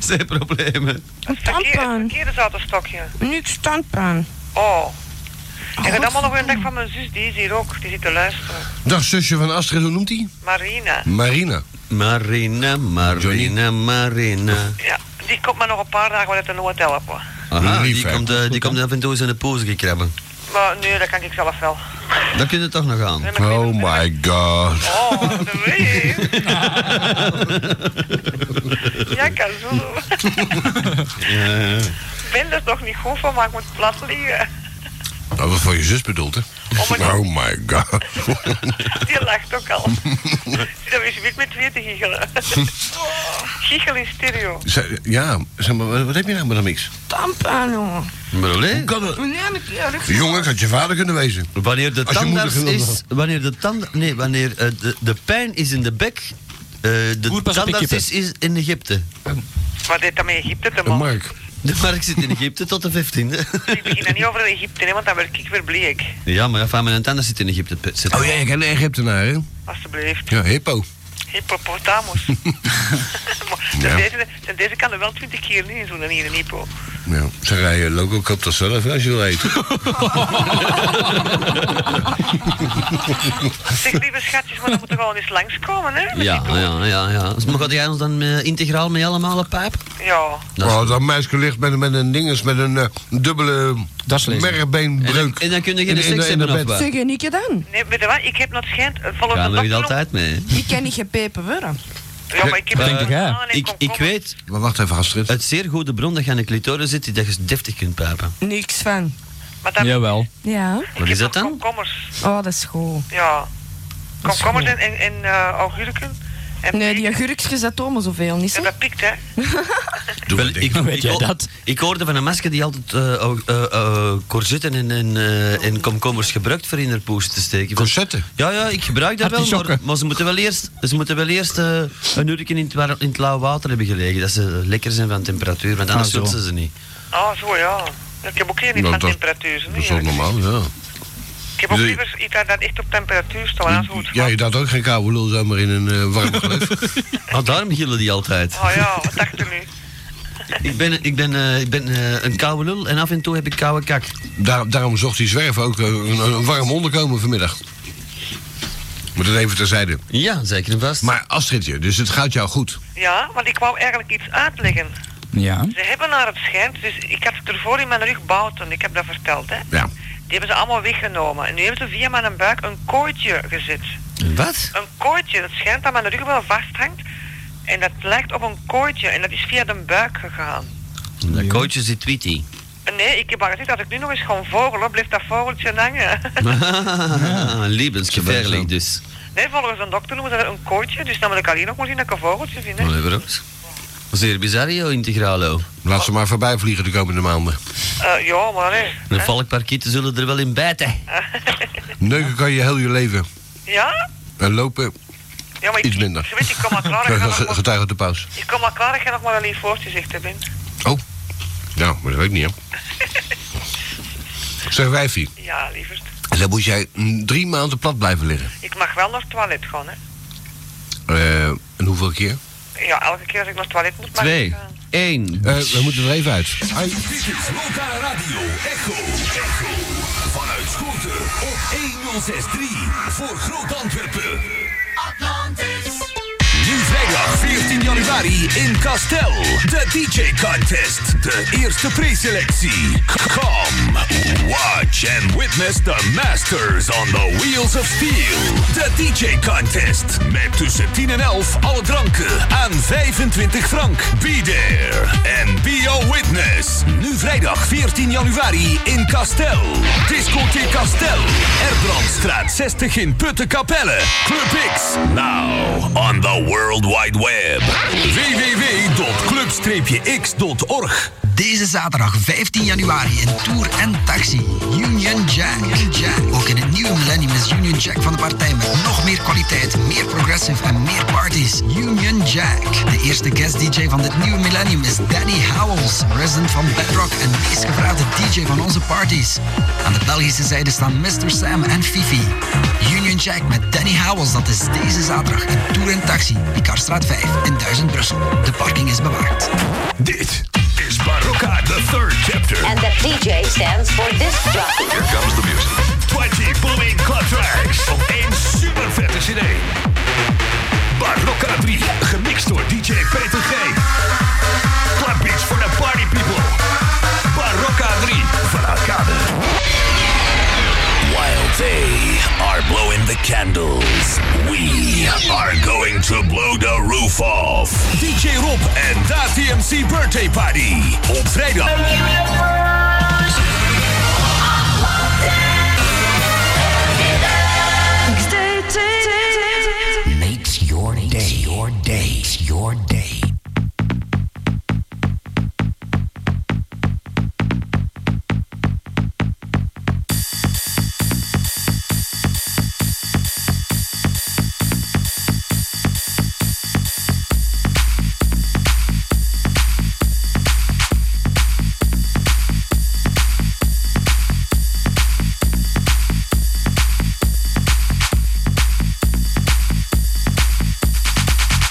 Speaker 3: Zijn problemen.
Speaker 10: Het verkeer- het verkeerde zat een stokje.
Speaker 5: Niks standpaan.
Speaker 10: Oh. Ik heb allemaal nog een dag van mijn zus, die is hier ook. Die zit te luisteren.
Speaker 19: Dag zusje van Astrid, hoe noemt hij?
Speaker 10: Marina.
Speaker 19: Marina.
Speaker 3: Marina, Marina, Marina.
Speaker 10: Ja, die komt maar nog een paar dagen wel uit een hotel helpen.
Speaker 3: Aha,
Speaker 19: Lief,
Speaker 3: die
Speaker 19: hè?
Speaker 3: komt, eh, die komt af en toe eens in de poes gekrabben.
Speaker 10: Maar nee, dat kan ik zelf wel.
Speaker 3: Dan kun je toch nog aan.
Speaker 19: Oh my god.
Speaker 10: Oh, dat weet je. Ja, kan zo.
Speaker 19: Ja.
Speaker 10: Ik ben er toch niet goed van, maar ik moet plat liggen.
Speaker 19: Oh, wat voor je zus bedoelt, hè? Oh my god.
Speaker 10: Die lacht ook al. Dat is wit met weer te giechelen. Giechel in stereo.
Speaker 19: Zeg, ja, zeg maar, wat- wat heb je nou met een mix?
Speaker 5: Tampaan, jongen.
Speaker 19: Hoe kan dat?
Speaker 5: Meneer, ik erg.
Speaker 19: Jongen, ik had je vader kunnen wezen.
Speaker 3: Wanneer de
Speaker 19: Als je moeder
Speaker 3: tandarts
Speaker 19: genoeg
Speaker 3: is,
Speaker 19: had.
Speaker 3: wanneer de tand, nee, wanneer eh, de, de pijn is in de bek, eh, de
Speaker 10: Goed, pas op,
Speaker 3: tandarts
Speaker 10: ik
Speaker 3: is, is in Egypte.
Speaker 10: Wat deed dat met Egypte te maken?
Speaker 3: De Mark zit in Egypte tot de 15e.
Speaker 10: Ik begin dan niet over Egypte, hè, want dan word ik weer bleek.
Speaker 3: ja, maar ja, van mijn tandarts zit in Egypte. Pet, zit-
Speaker 19: Oh ja, ik ken een Egyptenaar, hè?
Speaker 10: Alsjeblieft.
Speaker 19: Ja, hippo.
Speaker 10: Hippopotamus. maar
Speaker 19: Ja.
Speaker 10: ten deze, ten deze kan er wel twintig keer niet in zo'n hier een hippo.
Speaker 19: Ja, ze rijden loco koopt dat zelf hè, als je wil eten.
Speaker 10: zeg, lieve schatjes, maar dan moeten we gewoon eens langskomen, hè?
Speaker 3: Ja, ja, ja, ja. Dus, maar gaat jij ons dan eh, integraal met allemaal Nou, een pijp?
Speaker 10: Ja.
Speaker 19: Oh, dat meisje ligt met, een- met een dinges, met een eh, dubbele
Speaker 3: lezen.
Speaker 19: mergbeenbreuk.
Speaker 3: En dan kun je
Speaker 19: In-
Speaker 3: geen
Speaker 19: in- in
Speaker 3: seks hebben
Speaker 19: de
Speaker 3: of
Speaker 19: bed.
Speaker 3: wat?
Speaker 5: Zeg, en ik dan?
Speaker 10: Nee, weet je wat? Ik heb nog schijnt eh, volgens
Speaker 3: Ja,
Speaker 10: de
Speaker 3: daar is
Speaker 10: dokter...
Speaker 3: altijd mee. hè.
Speaker 5: Ik kan niet gepepen worden.
Speaker 10: Ja, maar ik heb...
Speaker 3: Eh,
Speaker 10: Ja.
Speaker 3: ik, ik weet...
Speaker 19: Maar wacht even, Astrid.
Speaker 3: Uit zeer goede bron dat je aan de clitoris zit, die dat je deftig kunt pijpen.
Speaker 5: Niks van.
Speaker 3: Jawel.
Speaker 5: Ja.
Speaker 3: Wat is dat dan?
Speaker 10: Komkommers.
Speaker 5: Oh, dat is goed.
Speaker 10: Ja.
Speaker 5: Dat is
Speaker 10: Komkommers
Speaker 5: goed.
Speaker 10: en, en, en eh, augurken. En
Speaker 5: Nee, die augurkjes, dat tomen zoveel, niet
Speaker 10: En
Speaker 5: zo? Ah,
Speaker 10: dat pikt, hè?
Speaker 3: Wel, ik, weet jij dat? Ik hoorde van een meisje die altijd eh, ook, eh, eh, corsetten en, en, eh, en komkommers gebruikt voor in haar poes te steken.
Speaker 19: Corsetten?
Speaker 3: Ja, ja, ik gebruik dat wel, maar, maar ze moeten wel eerst, ze moeten wel eerst eh, een uurtje in het, war- in het lauw water hebben gelegen. Dat ze lekker zijn van temperatuur, want anders
Speaker 19: Ah, zo.
Speaker 3: doen ze ze niet.
Speaker 10: Oh, zo, ja. Ik heb ook geen niet
Speaker 3: Nou,
Speaker 10: van
Speaker 3: dat-
Speaker 10: temperatuur. zo,
Speaker 19: Dat is
Speaker 10: niet.
Speaker 19: toch normaal, ja.
Speaker 10: Ik heb ook
Speaker 19: Dus-
Speaker 10: liever iets dat dat echt op temperatuur staat. want anders
Speaker 19: Ja, je had ook geen koude lul zomaar in een eh, warm geloof.
Speaker 3: Ah, daarom gillen die altijd.
Speaker 10: Oh ja, wat dacht u nu?
Speaker 3: Ik ben, ik ben, eh, ik ben eh, een koude lul en af en toe heb ik koude kak.
Speaker 19: Daar, daarom zocht die zwerf ook eh, een, een warm onderkomen vanmiddag. Moet het even terzijde.
Speaker 3: Ja, zeker en vast.
Speaker 19: Maar Astridje, dus het gaat jou goed.
Speaker 10: Ja, want ik wou eigenlijk iets uitleggen.
Speaker 19: Ja.
Speaker 10: Ze hebben naar het schijnt, dus ik had het ervoor in mijn rug bouten, ik heb dat verteld, hè.
Speaker 19: Ja.
Speaker 10: Die hebben ze allemaal weggenomen. En nu hebben ze via mijn buik een kooitje gezet.
Speaker 3: Wat?
Speaker 10: Een kooitje, dat schijnt dat mijn rug wel vasthangt. En dat lijkt op een kooitje. En dat is via de buik gegaan.
Speaker 3: Dat coach zit Tweety.
Speaker 10: En nee, ik heb al gezegd dat ik nu nog eens gewoon vogelen, blijft dat vogeltje hangen.
Speaker 17: Ah,
Speaker 3: Levensgevaarlijk dus.
Speaker 10: nee, volgens een dokter noemen ze dat een kooitje. Dus dan wil ik alleen nog maar zien dat ik een vogeltje vind, hè.
Speaker 3: Maar even ook. Zeer bizar, joh, Integralo.
Speaker 19: Laat ze maar voorbij vliegen de komende maanden.
Speaker 10: Eh, ja, maar hè.
Speaker 3: De valkparkieten zullen er wel in bijten.
Speaker 19: Neuken kan je heel je leven.
Speaker 10: Ja?
Speaker 19: En lopen
Speaker 10: Ja, maar ik,
Speaker 19: iets minder.
Speaker 10: je weet, ik kom al klaar, ik ga nog maar-
Speaker 19: Getuige de paus.
Speaker 10: ik kom al klaar dat je nog maar alleen voortgezichten bent.
Speaker 19: Oh. Ja, maar dat weet ik niet, hè. Zeg, wijfie.
Speaker 10: Ja, lieverd.
Speaker 19: Dan moet jij mm, drie maanden plat blijven liggen.
Speaker 10: Ik mag wel naar het toilet gaan, hè.
Speaker 19: Eh, en hoeveel keer?
Speaker 10: Ja, elke keer als ik naar het toilet moet, mag ik, eh,
Speaker 3: Eén.
Speaker 19: we moeten er even uit. Ai.
Speaker 14: Dit is Lokale Radio Echo. Echo. Vanuit Schoten op 1063 voor Groot Antwerpen. Atlantis. Nu vrijdag 14 januari in Castel. De DJ Contest. De eerste preselectie. Come, watch and witness the masters on the wheels of steel. De DJ Contest. Met tussen 10 en 11 alle dranken aan 25 frank. Be there and be a witness. Nu vrijdag 14 januari in Castel. Discotheek Castel. Erbrandstraat 60 in Puttenkapelle. Club X. Now on the World Wide Web. www.club-x.org
Speaker 28: Deze zaterdag 15 januari in Tour en Taxi. Union Jack. Ook in het nieuwe millennium is Union Jack van de partij met nog meer kwaliteit, meer progressive en meer parties. Union Jack. De eerste guest DJ van dit nieuwe millennium is Danny Howells, resident van Bedrock en meest gevraagde DJ van onze parties. Aan de Belgische zijde staan Mr. Sam en Fifi. Union Jack met Danny Howells, dat is deze zaterdag in Tour en Taxi, Picardstraat 5 in 1000 Brussel. De parking is bewaard.
Speaker 14: Dit is Barocca de third chapter.
Speaker 2: And the DJ stands for this jockey.
Speaker 14: Here comes the music. 20 booming club tracks op één super vette CD. Barlocca 3, gemixt door DJ Peter G. Clubbeats for the party people. Barlocca 3 vanuit Kade. While they are blowing the candles, we are going to blow the roof off. DJ Rob en Da TMC Birthday Party op vrijdag.
Speaker 28: Makes your day. Your day. Your day.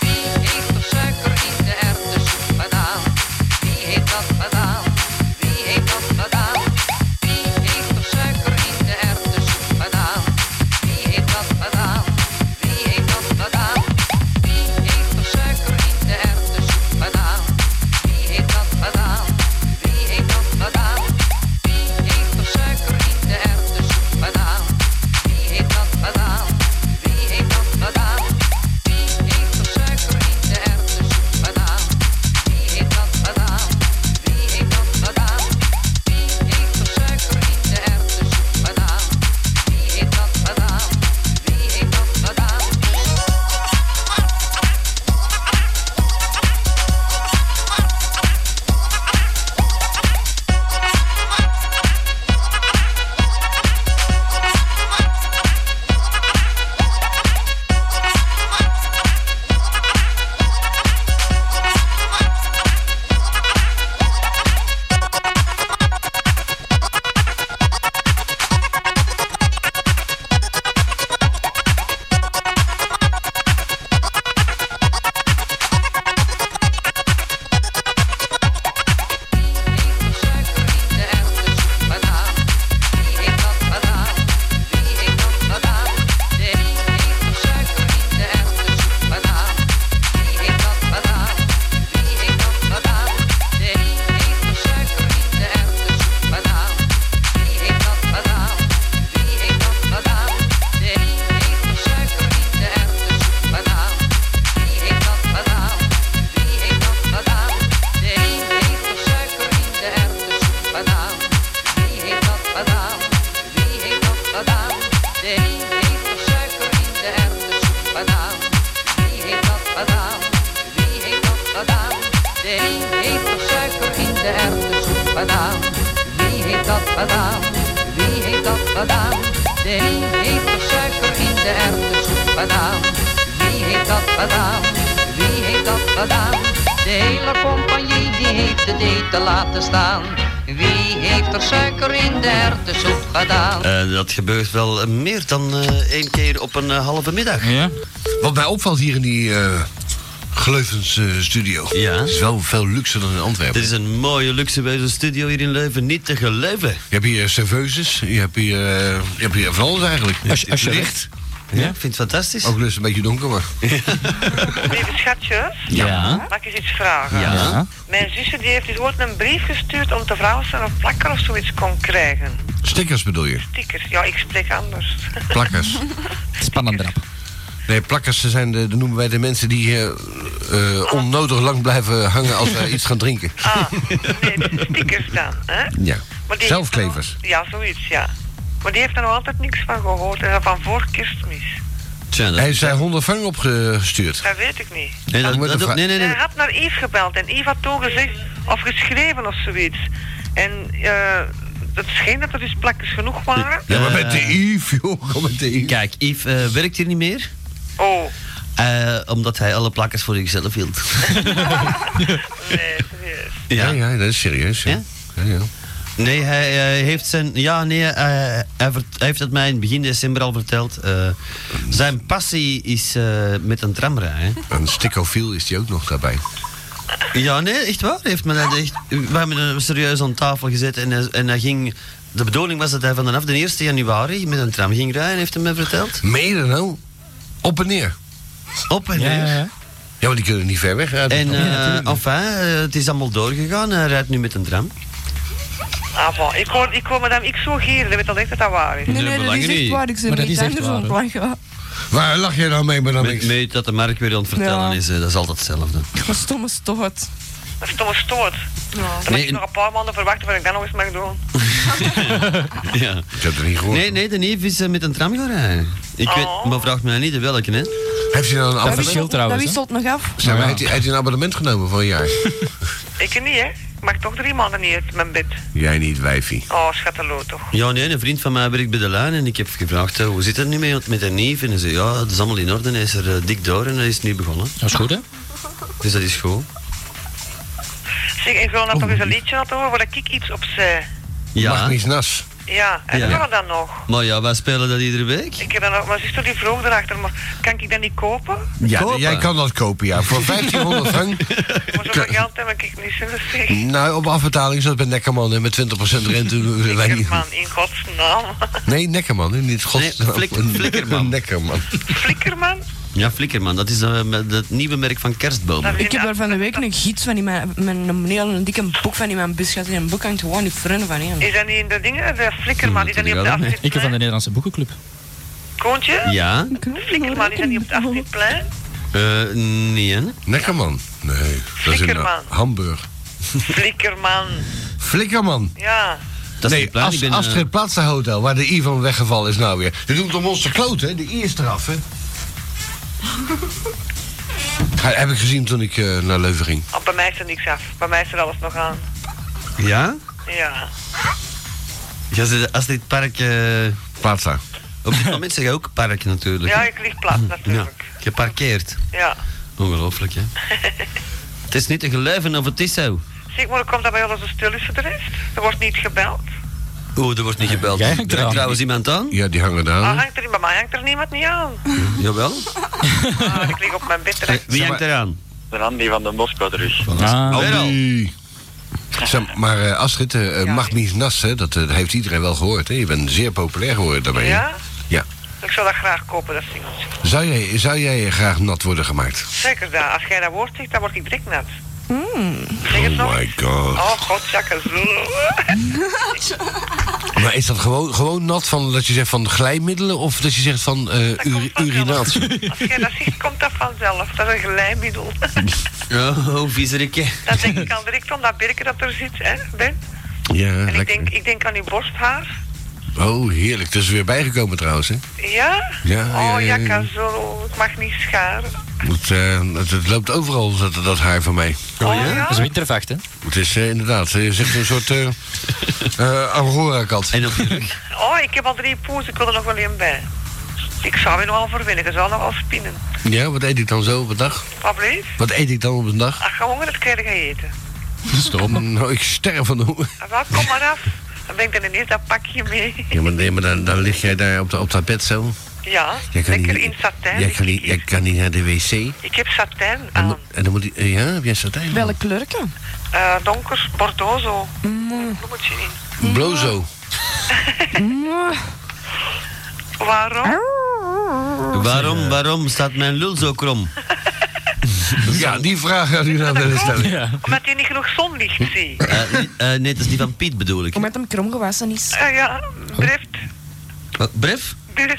Speaker 23: Wie heeft er suiker in de erwtensoep gedaan? Wie heeft dat gedaan? Wie heeft dat gedaan? Wie heeft er suiker in de erwtensoep gedaan? Wie heeft dat gedaan? Wie heeft dat gedaan? Wie heeft er suiker in de erwtensoep gedaan? Wie heeft dat gedaan? Wie heeft dat gedaan? Wie heeft er suiker in de erwtensoep gedaan? Wie heeft dat gedaan? Wie heeft dat gedaan? Heeft er suiker in de erwtensoep gedaan? Wie heeft dat gedaan? Wie heeft dat gedaan? Wie heeft er suiker in de erwtensoep gedaan? Wie heeft dat gedaan? Wie heeft dat gedaan? De erwtensoep gedaan? Wie heeft dat gedaan? Wie heeft dat gedaan? Nee, heeft er suiker in de erwtensoep gedaan? Wie heeft dat gedaan? Wie heeft dat gedaan? Nee, heeft er suiker in de erwtensoep gedaan? Wie heeft dat gedaan? Wie heeft dat gedaan? Nee, heeft er suiker in de erwtensoep gedaan? Wie heeft dat gedaan? Wie heeft dat gedaan? Nee, heeft er suiker in de erwtensoep gedaan? Wie heeft dat gedaan? Wie heeft dat gedaan? Nee, heeft er suiker in de erwtensoep gedaan? Wie heeft dat gedaan? Wie heeft dat gedaan? Nee, heeft er suiker in de erwtensoep gedaan? Wie heeft dat gedaan? Wie heeft dat gedaan? Nee, heeft er suiker in de erwtensoep gedaan? Wie heeft dat gedaan? Wie heeft dat gedaan? De hele compagnie die heeft de date te laten staan. Wie heeft er suiker in de erwtensoep gedaan?
Speaker 17: Eh, dat gebeurt wel eh, meer dan eh, één keer op een eh, halve middag. Ja?
Speaker 19: Wat mij opvalt hier in die eh, Gleuvens eh, studio. Ja. Het is wel veel luxer dan in Antwerpen.
Speaker 17: Dit is een mooie luxueuze studio hier in Leuven, niet te geloven. Je
Speaker 19: hebt hier eh, serveuses, je hebt hier, eh, je hebt hier van alles eigenlijk.
Speaker 17: Als- als je-
Speaker 19: Licht.
Speaker 17: Ja, ik vind het fantastisch.
Speaker 19: Ook dus een beetje donker, maar...
Speaker 10: Lieve schatjes,
Speaker 19: Ja.
Speaker 10: mag ik eens iets vragen?
Speaker 19: Ja.
Speaker 10: Mijn zusje die heeft dus ooit een brief gestuurd om te vragen of ze een plakker of zoiets kon krijgen.
Speaker 19: Stickers bedoel je?
Speaker 10: Stickers, ja, ik spreek anders.
Speaker 19: Plakkers. Spannendrap. Nee, plakkers ze zijn de, de noemen wij de mensen die eh, eh, onnodig lang blijven hangen als wij iets gaan drinken.
Speaker 10: Ah, nee, het is stickers dan, hè?
Speaker 19: Ja.
Speaker 10: Maar die
Speaker 19: Zelfklevers.
Speaker 10: Ja, zoiets, ja. Maar die heeft er nog altijd niks van gehoord. En van voor kerstmis.
Speaker 19: Hij heeft zijn hondenvang opgestuurd.
Speaker 10: Dat weet ik niet.
Speaker 19: Nee, dat- dat ook- nee, nee, nee.
Speaker 10: Hij had naar Yves gebeld en Yves had toen gezegd, of geschreven of zoiets. En eh, het scheen dat er dus plakjes genoeg waren.
Speaker 19: Ja, maar met de Yves, joh, kom met de Yves.
Speaker 17: Eh, Kijk, Yves eh, werkt hier niet meer. Eh,
Speaker 10: Oh.
Speaker 17: omdat hij alle plakkers voor zichzelf hield.
Speaker 19: Ja, ja, dat is serieus. Ja? Ja, ja.
Speaker 17: Nee, hij eh, heeft zijn. Ja, nee, eh, hij, vert- hij heeft het mij in begin december al verteld. Eh, zijn passie is eh, met een tram rijden.
Speaker 19: Een stikkofiel is die ook nog daarbij.
Speaker 3: Ja, nee, echt waar. Hij Heeft me dat echt, we hebben hem serieus aan tafel gezet en hij, en hij ging... De bedoeling was dat hij vanaf de 1 januari met een tram ging rijden, heeft hij me verteld.
Speaker 19: Mede nou? Op en neer?
Speaker 3: Op en neer.
Speaker 19: Ja, want die kunnen niet ver weg.
Speaker 3: En eh, enfin, eh, het is allemaal doorgegaan. Hij rijdt nu met een tram.
Speaker 10: Ah, bon. ik, hoor, ik hoor madame X zo gieren, dat weet al echt dat dat waar is.
Speaker 3: Nee, nee, dat is echt waar. Ik ben met anders aan het
Speaker 5: lachen.
Speaker 19: Waar lach jij nou mee, madame
Speaker 3: Met, met dat de Mark weer aan het vertellen
Speaker 5: Ja.
Speaker 3: is, eh, dat is altijd hetzelfde.
Speaker 5: Wat stomme stoot.
Speaker 10: Dat is toch een stoot. Dan moet
Speaker 3: Nee,
Speaker 10: ik nog een paar maanden verwachten voordat ik dat nog eens mag doen.
Speaker 3: ja.
Speaker 19: Ik heb er niet gehoord. Oh.
Speaker 3: Nee, nee, de neef is eh, met een tram gaan rijden. Ik weet, maar vraag mij niet de welke, hè.
Speaker 19: Heeft hij dan een abonnement?
Speaker 5: Dat wisselt nog af.
Speaker 19: Zijn wij- heeft hij- heeft hij een abonnement genomen voor een jaar?
Speaker 10: Ik niet, hè. Ik mag toch drie maanden niet uit mijn bed.
Speaker 19: Jij niet, wijfie.
Speaker 10: Oh, schatteloos toch.
Speaker 3: Ja, nee, een vriend van mij werkt bij de lijn en ik heb gevraagd, eh, hoe zit het nu mee met de neef? En hij zei, ja, het is allemaal in orde, hij is er eh, dik door en hij is nu begonnen.
Speaker 15: Dat is goed, hè?
Speaker 3: Dus dat is goed.
Speaker 10: Zeg, ik wil nou toch eens
Speaker 3: Oh,
Speaker 10: een liedje laten horen waar ik iets op zei.
Speaker 3: Ja. Mag
Speaker 19: niet nas.
Speaker 10: Ja, en
Speaker 3: Ja.
Speaker 10: dat kan dan nog.
Speaker 3: Maar ja, wij spelen dat iedere week.
Speaker 10: Ik heb dan nog, mijn zuster die vroeg erachter, maar kan ik dat niet kopen?
Speaker 19: Ja,
Speaker 3: Kopen.
Speaker 19: jij kan dat kopen, ja. Voor 1500 frank.
Speaker 10: Maar zoveel geld heb ik niet zin zeg.
Speaker 19: Nou, op afbetaling zat bij Neckerman hè, met 20% rente. doen wij niet.
Speaker 10: Man, in godsnaam.
Speaker 19: Nee, Neckerman, hè, niet gods.
Speaker 3: Nee, flik- flikkerman.
Speaker 19: Neckerman.
Speaker 10: Flikkerman?
Speaker 3: Ja, Flikkerman, dat is eh, met het nieuwe merk van kerstbomen.
Speaker 5: Ik heb daar van de week een gids van in mijn, mijn een heel een dikke boek van in mijn bus gehad. En een boek hangt gewoon niet vrienden van hem.
Speaker 10: Is dat niet in de dingen? De flikkerman, is dat niet op de afrit?
Speaker 15: Ik heb van de Nederlandse Boekenclub.
Speaker 10: Koontje?
Speaker 3: Ja?
Speaker 10: De flikkerman, is dat niet op de afritplein?
Speaker 3: Eh, nee, hè?
Speaker 19: Neckerman? Nee, dat is in eh,
Speaker 10: Flikkerman.
Speaker 19: Hamburg.
Speaker 10: Flikkerman,
Speaker 19: Flikkerman.
Speaker 10: ja.
Speaker 3: Dat is
Speaker 19: nee,
Speaker 3: die plaat,
Speaker 19: As-
Speaker 3: ik ben, eh,
Speaker 19: Astrid Plaza Hotel, waar de I van weggevallen is nou weer. Dit doet om ons te kloten, hè? De I is eraf, hè? Ha- heb ik gezien toen ik eh, naar Leuven ging.
Speaker 10: Oh, bij mij is er niks af. Bij mij is er alles nog aan.
Speaker 3: Ja?
Speaker 10: Ja.
Speaker 3: Ja, ze- als dit park... eh,
Speaker 19: Plaza.
Speaker 3: Op dit moment zeg je ook park natuurlijk.
Speaker 10: Ja, ik lig plat
Speaker 3: Ja,
Speaker 10: natuurlijk.
Speaker 3: geparkeerd.
Speaker 10: Ja.
Speaker 3: Ongelooflijk, hè? het is niet te geloven of het is zo.
Speaker 10: Zeg, maar hoe komt dat bij jullie zo stil is voor de rest? Er wordt niet gebeld.
Speaker 3: Oeh, er wordt niet gebeld.
Speaker 15: Jij
Speaker 3: Er
Speaker 15: hangt eraan.
Speaker 3: hangt trouwens iemand aan?
Speaker 19: Ja, die hangen daar.
Speaker 10: Ah, hangt er, bij mij hangt er niemand niet aan.
Speaker 3: Jawel.
Speaker 10: Ah, ik lig op mijn bed terecht.
Speaker 3: Eh, Wie hangt eraan? Oh,
Speaker 1: Randy van den Bosch terug.
Speaker 19: Ah. Aldi. Zeg, maar eh, Astrid, eh eh, Magmis Nas, hè, dat eh, heeft iedereen wel gehoord. Hè? Je bent zeer populair geworden daarbij. hè?
Speaker 10: Ja?
Speaker 19: Ja.
Speaker 10: Ik zou dat graag kopen, dat singeltje.
Speaker 19: Zou jij, zou jij graag nat worden gemaakt?
Speaker 10: Zeker dat. Als jij dat woord zegt, dan word ik direct nat. Zeg het nog.
Speaker 19: Oh my god.
Speaker 10: Oh god, zakken zo.
Speaker 19: Maar is dat gewoon, gewoon nat van dat je zegt van glijmiddelen of dat je zegt van eh, uri- urinatie?
Speaker 10: Als jij dat zegt, komt dat vanzelf. Dat is een glijmiddel.
Speaker 3: Oh, oh viezerik, hè?
Speaker 10: Dan denk ik al direct om dat birken dat er zit, hè, Ben.
Speaker 19: Ja,
Speaker 10: En ik
Speaker 19: lekker.
Speaker 10: denk, ik denk aan uw borsthaar.
Speaker 19: Oh, heerlijk. Dat is weer bijgekomen trouwens, hè?
Speaker 10: Ja?
Speaker 19: Ja, ja,
Speaker 10: oh,
Speaker 19: ja, ja.
Speaker 10: kan zo. Ik mag niet scharen.
Speaker 19: Het, eh, het, het loopt overal, dat, dat haar van mij.
Speaker 10: Oh, ja?
Speaker 15: Dat is wintervacht, hè?
Speaker 19: Het is eh, inderdaad, je zegt een soort eh eh, Angora-kat.
Speaker 3: En op je rug?
Speaker 10: Oh, ik heb al drie poes, ik wil er nog wel één bij. Ik zou er nog wel voor winnen, ik zou nog wel spinnen.
Speaker 19: Ja, wat eet ik dan zo op een dag?
Speaker 10: Wat bleef?
Speaker 19: Wat eet ik dan op een dag?
Speaker 10: Als je honger hebt, krijg je eten.
Speaker 19: Stoppen. Nou, ik sterf van de honger.
Speaker 10: Ah, Wel, kom maar af. Dan ben ik dan ineens dat pakje mee.
Speaker 19: Ja, maar, nee, maar dan, dan lig jij daar op, de, op dat bed zo.
Speaker 10: Ja,
Speaker 19: Jij kan
Speaker 10: lekker
Speaker 19: niet-
Speaker 10: in satijn.
Speaker 19: Jij kan, niet, jij kan niet naar de wc.
Speaker 10: Ik heb satijn
Speaker 19: En,
Speaker 10: aan.
Speaker 19: mo- en dan moet die, eh, ja, heb jij satijn?
Speaker 5: Welke kleurken?
Speaker 10: Eh, donker, bordeaux zo.
Speaker 5: Mm.
Speaker 10: Bloemetje in.
Speaker 19: Blozo.
Speaker 5: Mm.
Speaker 10: Waarom? Oh.
Speaker 3: Waarom, waarom staat mijn lul zo krom?
Speaker 19: Ja, die vraag had u nou willen stellen.
Speaker 10: Omdat je niet genoeg zonlicht ziet.
Speaker 3: Eh, nee, eh, nee, dat is die van Piet bedoel ik.
Speaker 5: Omdat hem krom gewassen is.
Speaker 10: Ah ja, drift,
Speaker 3: Wat, Bref?
Speaker 10: drift.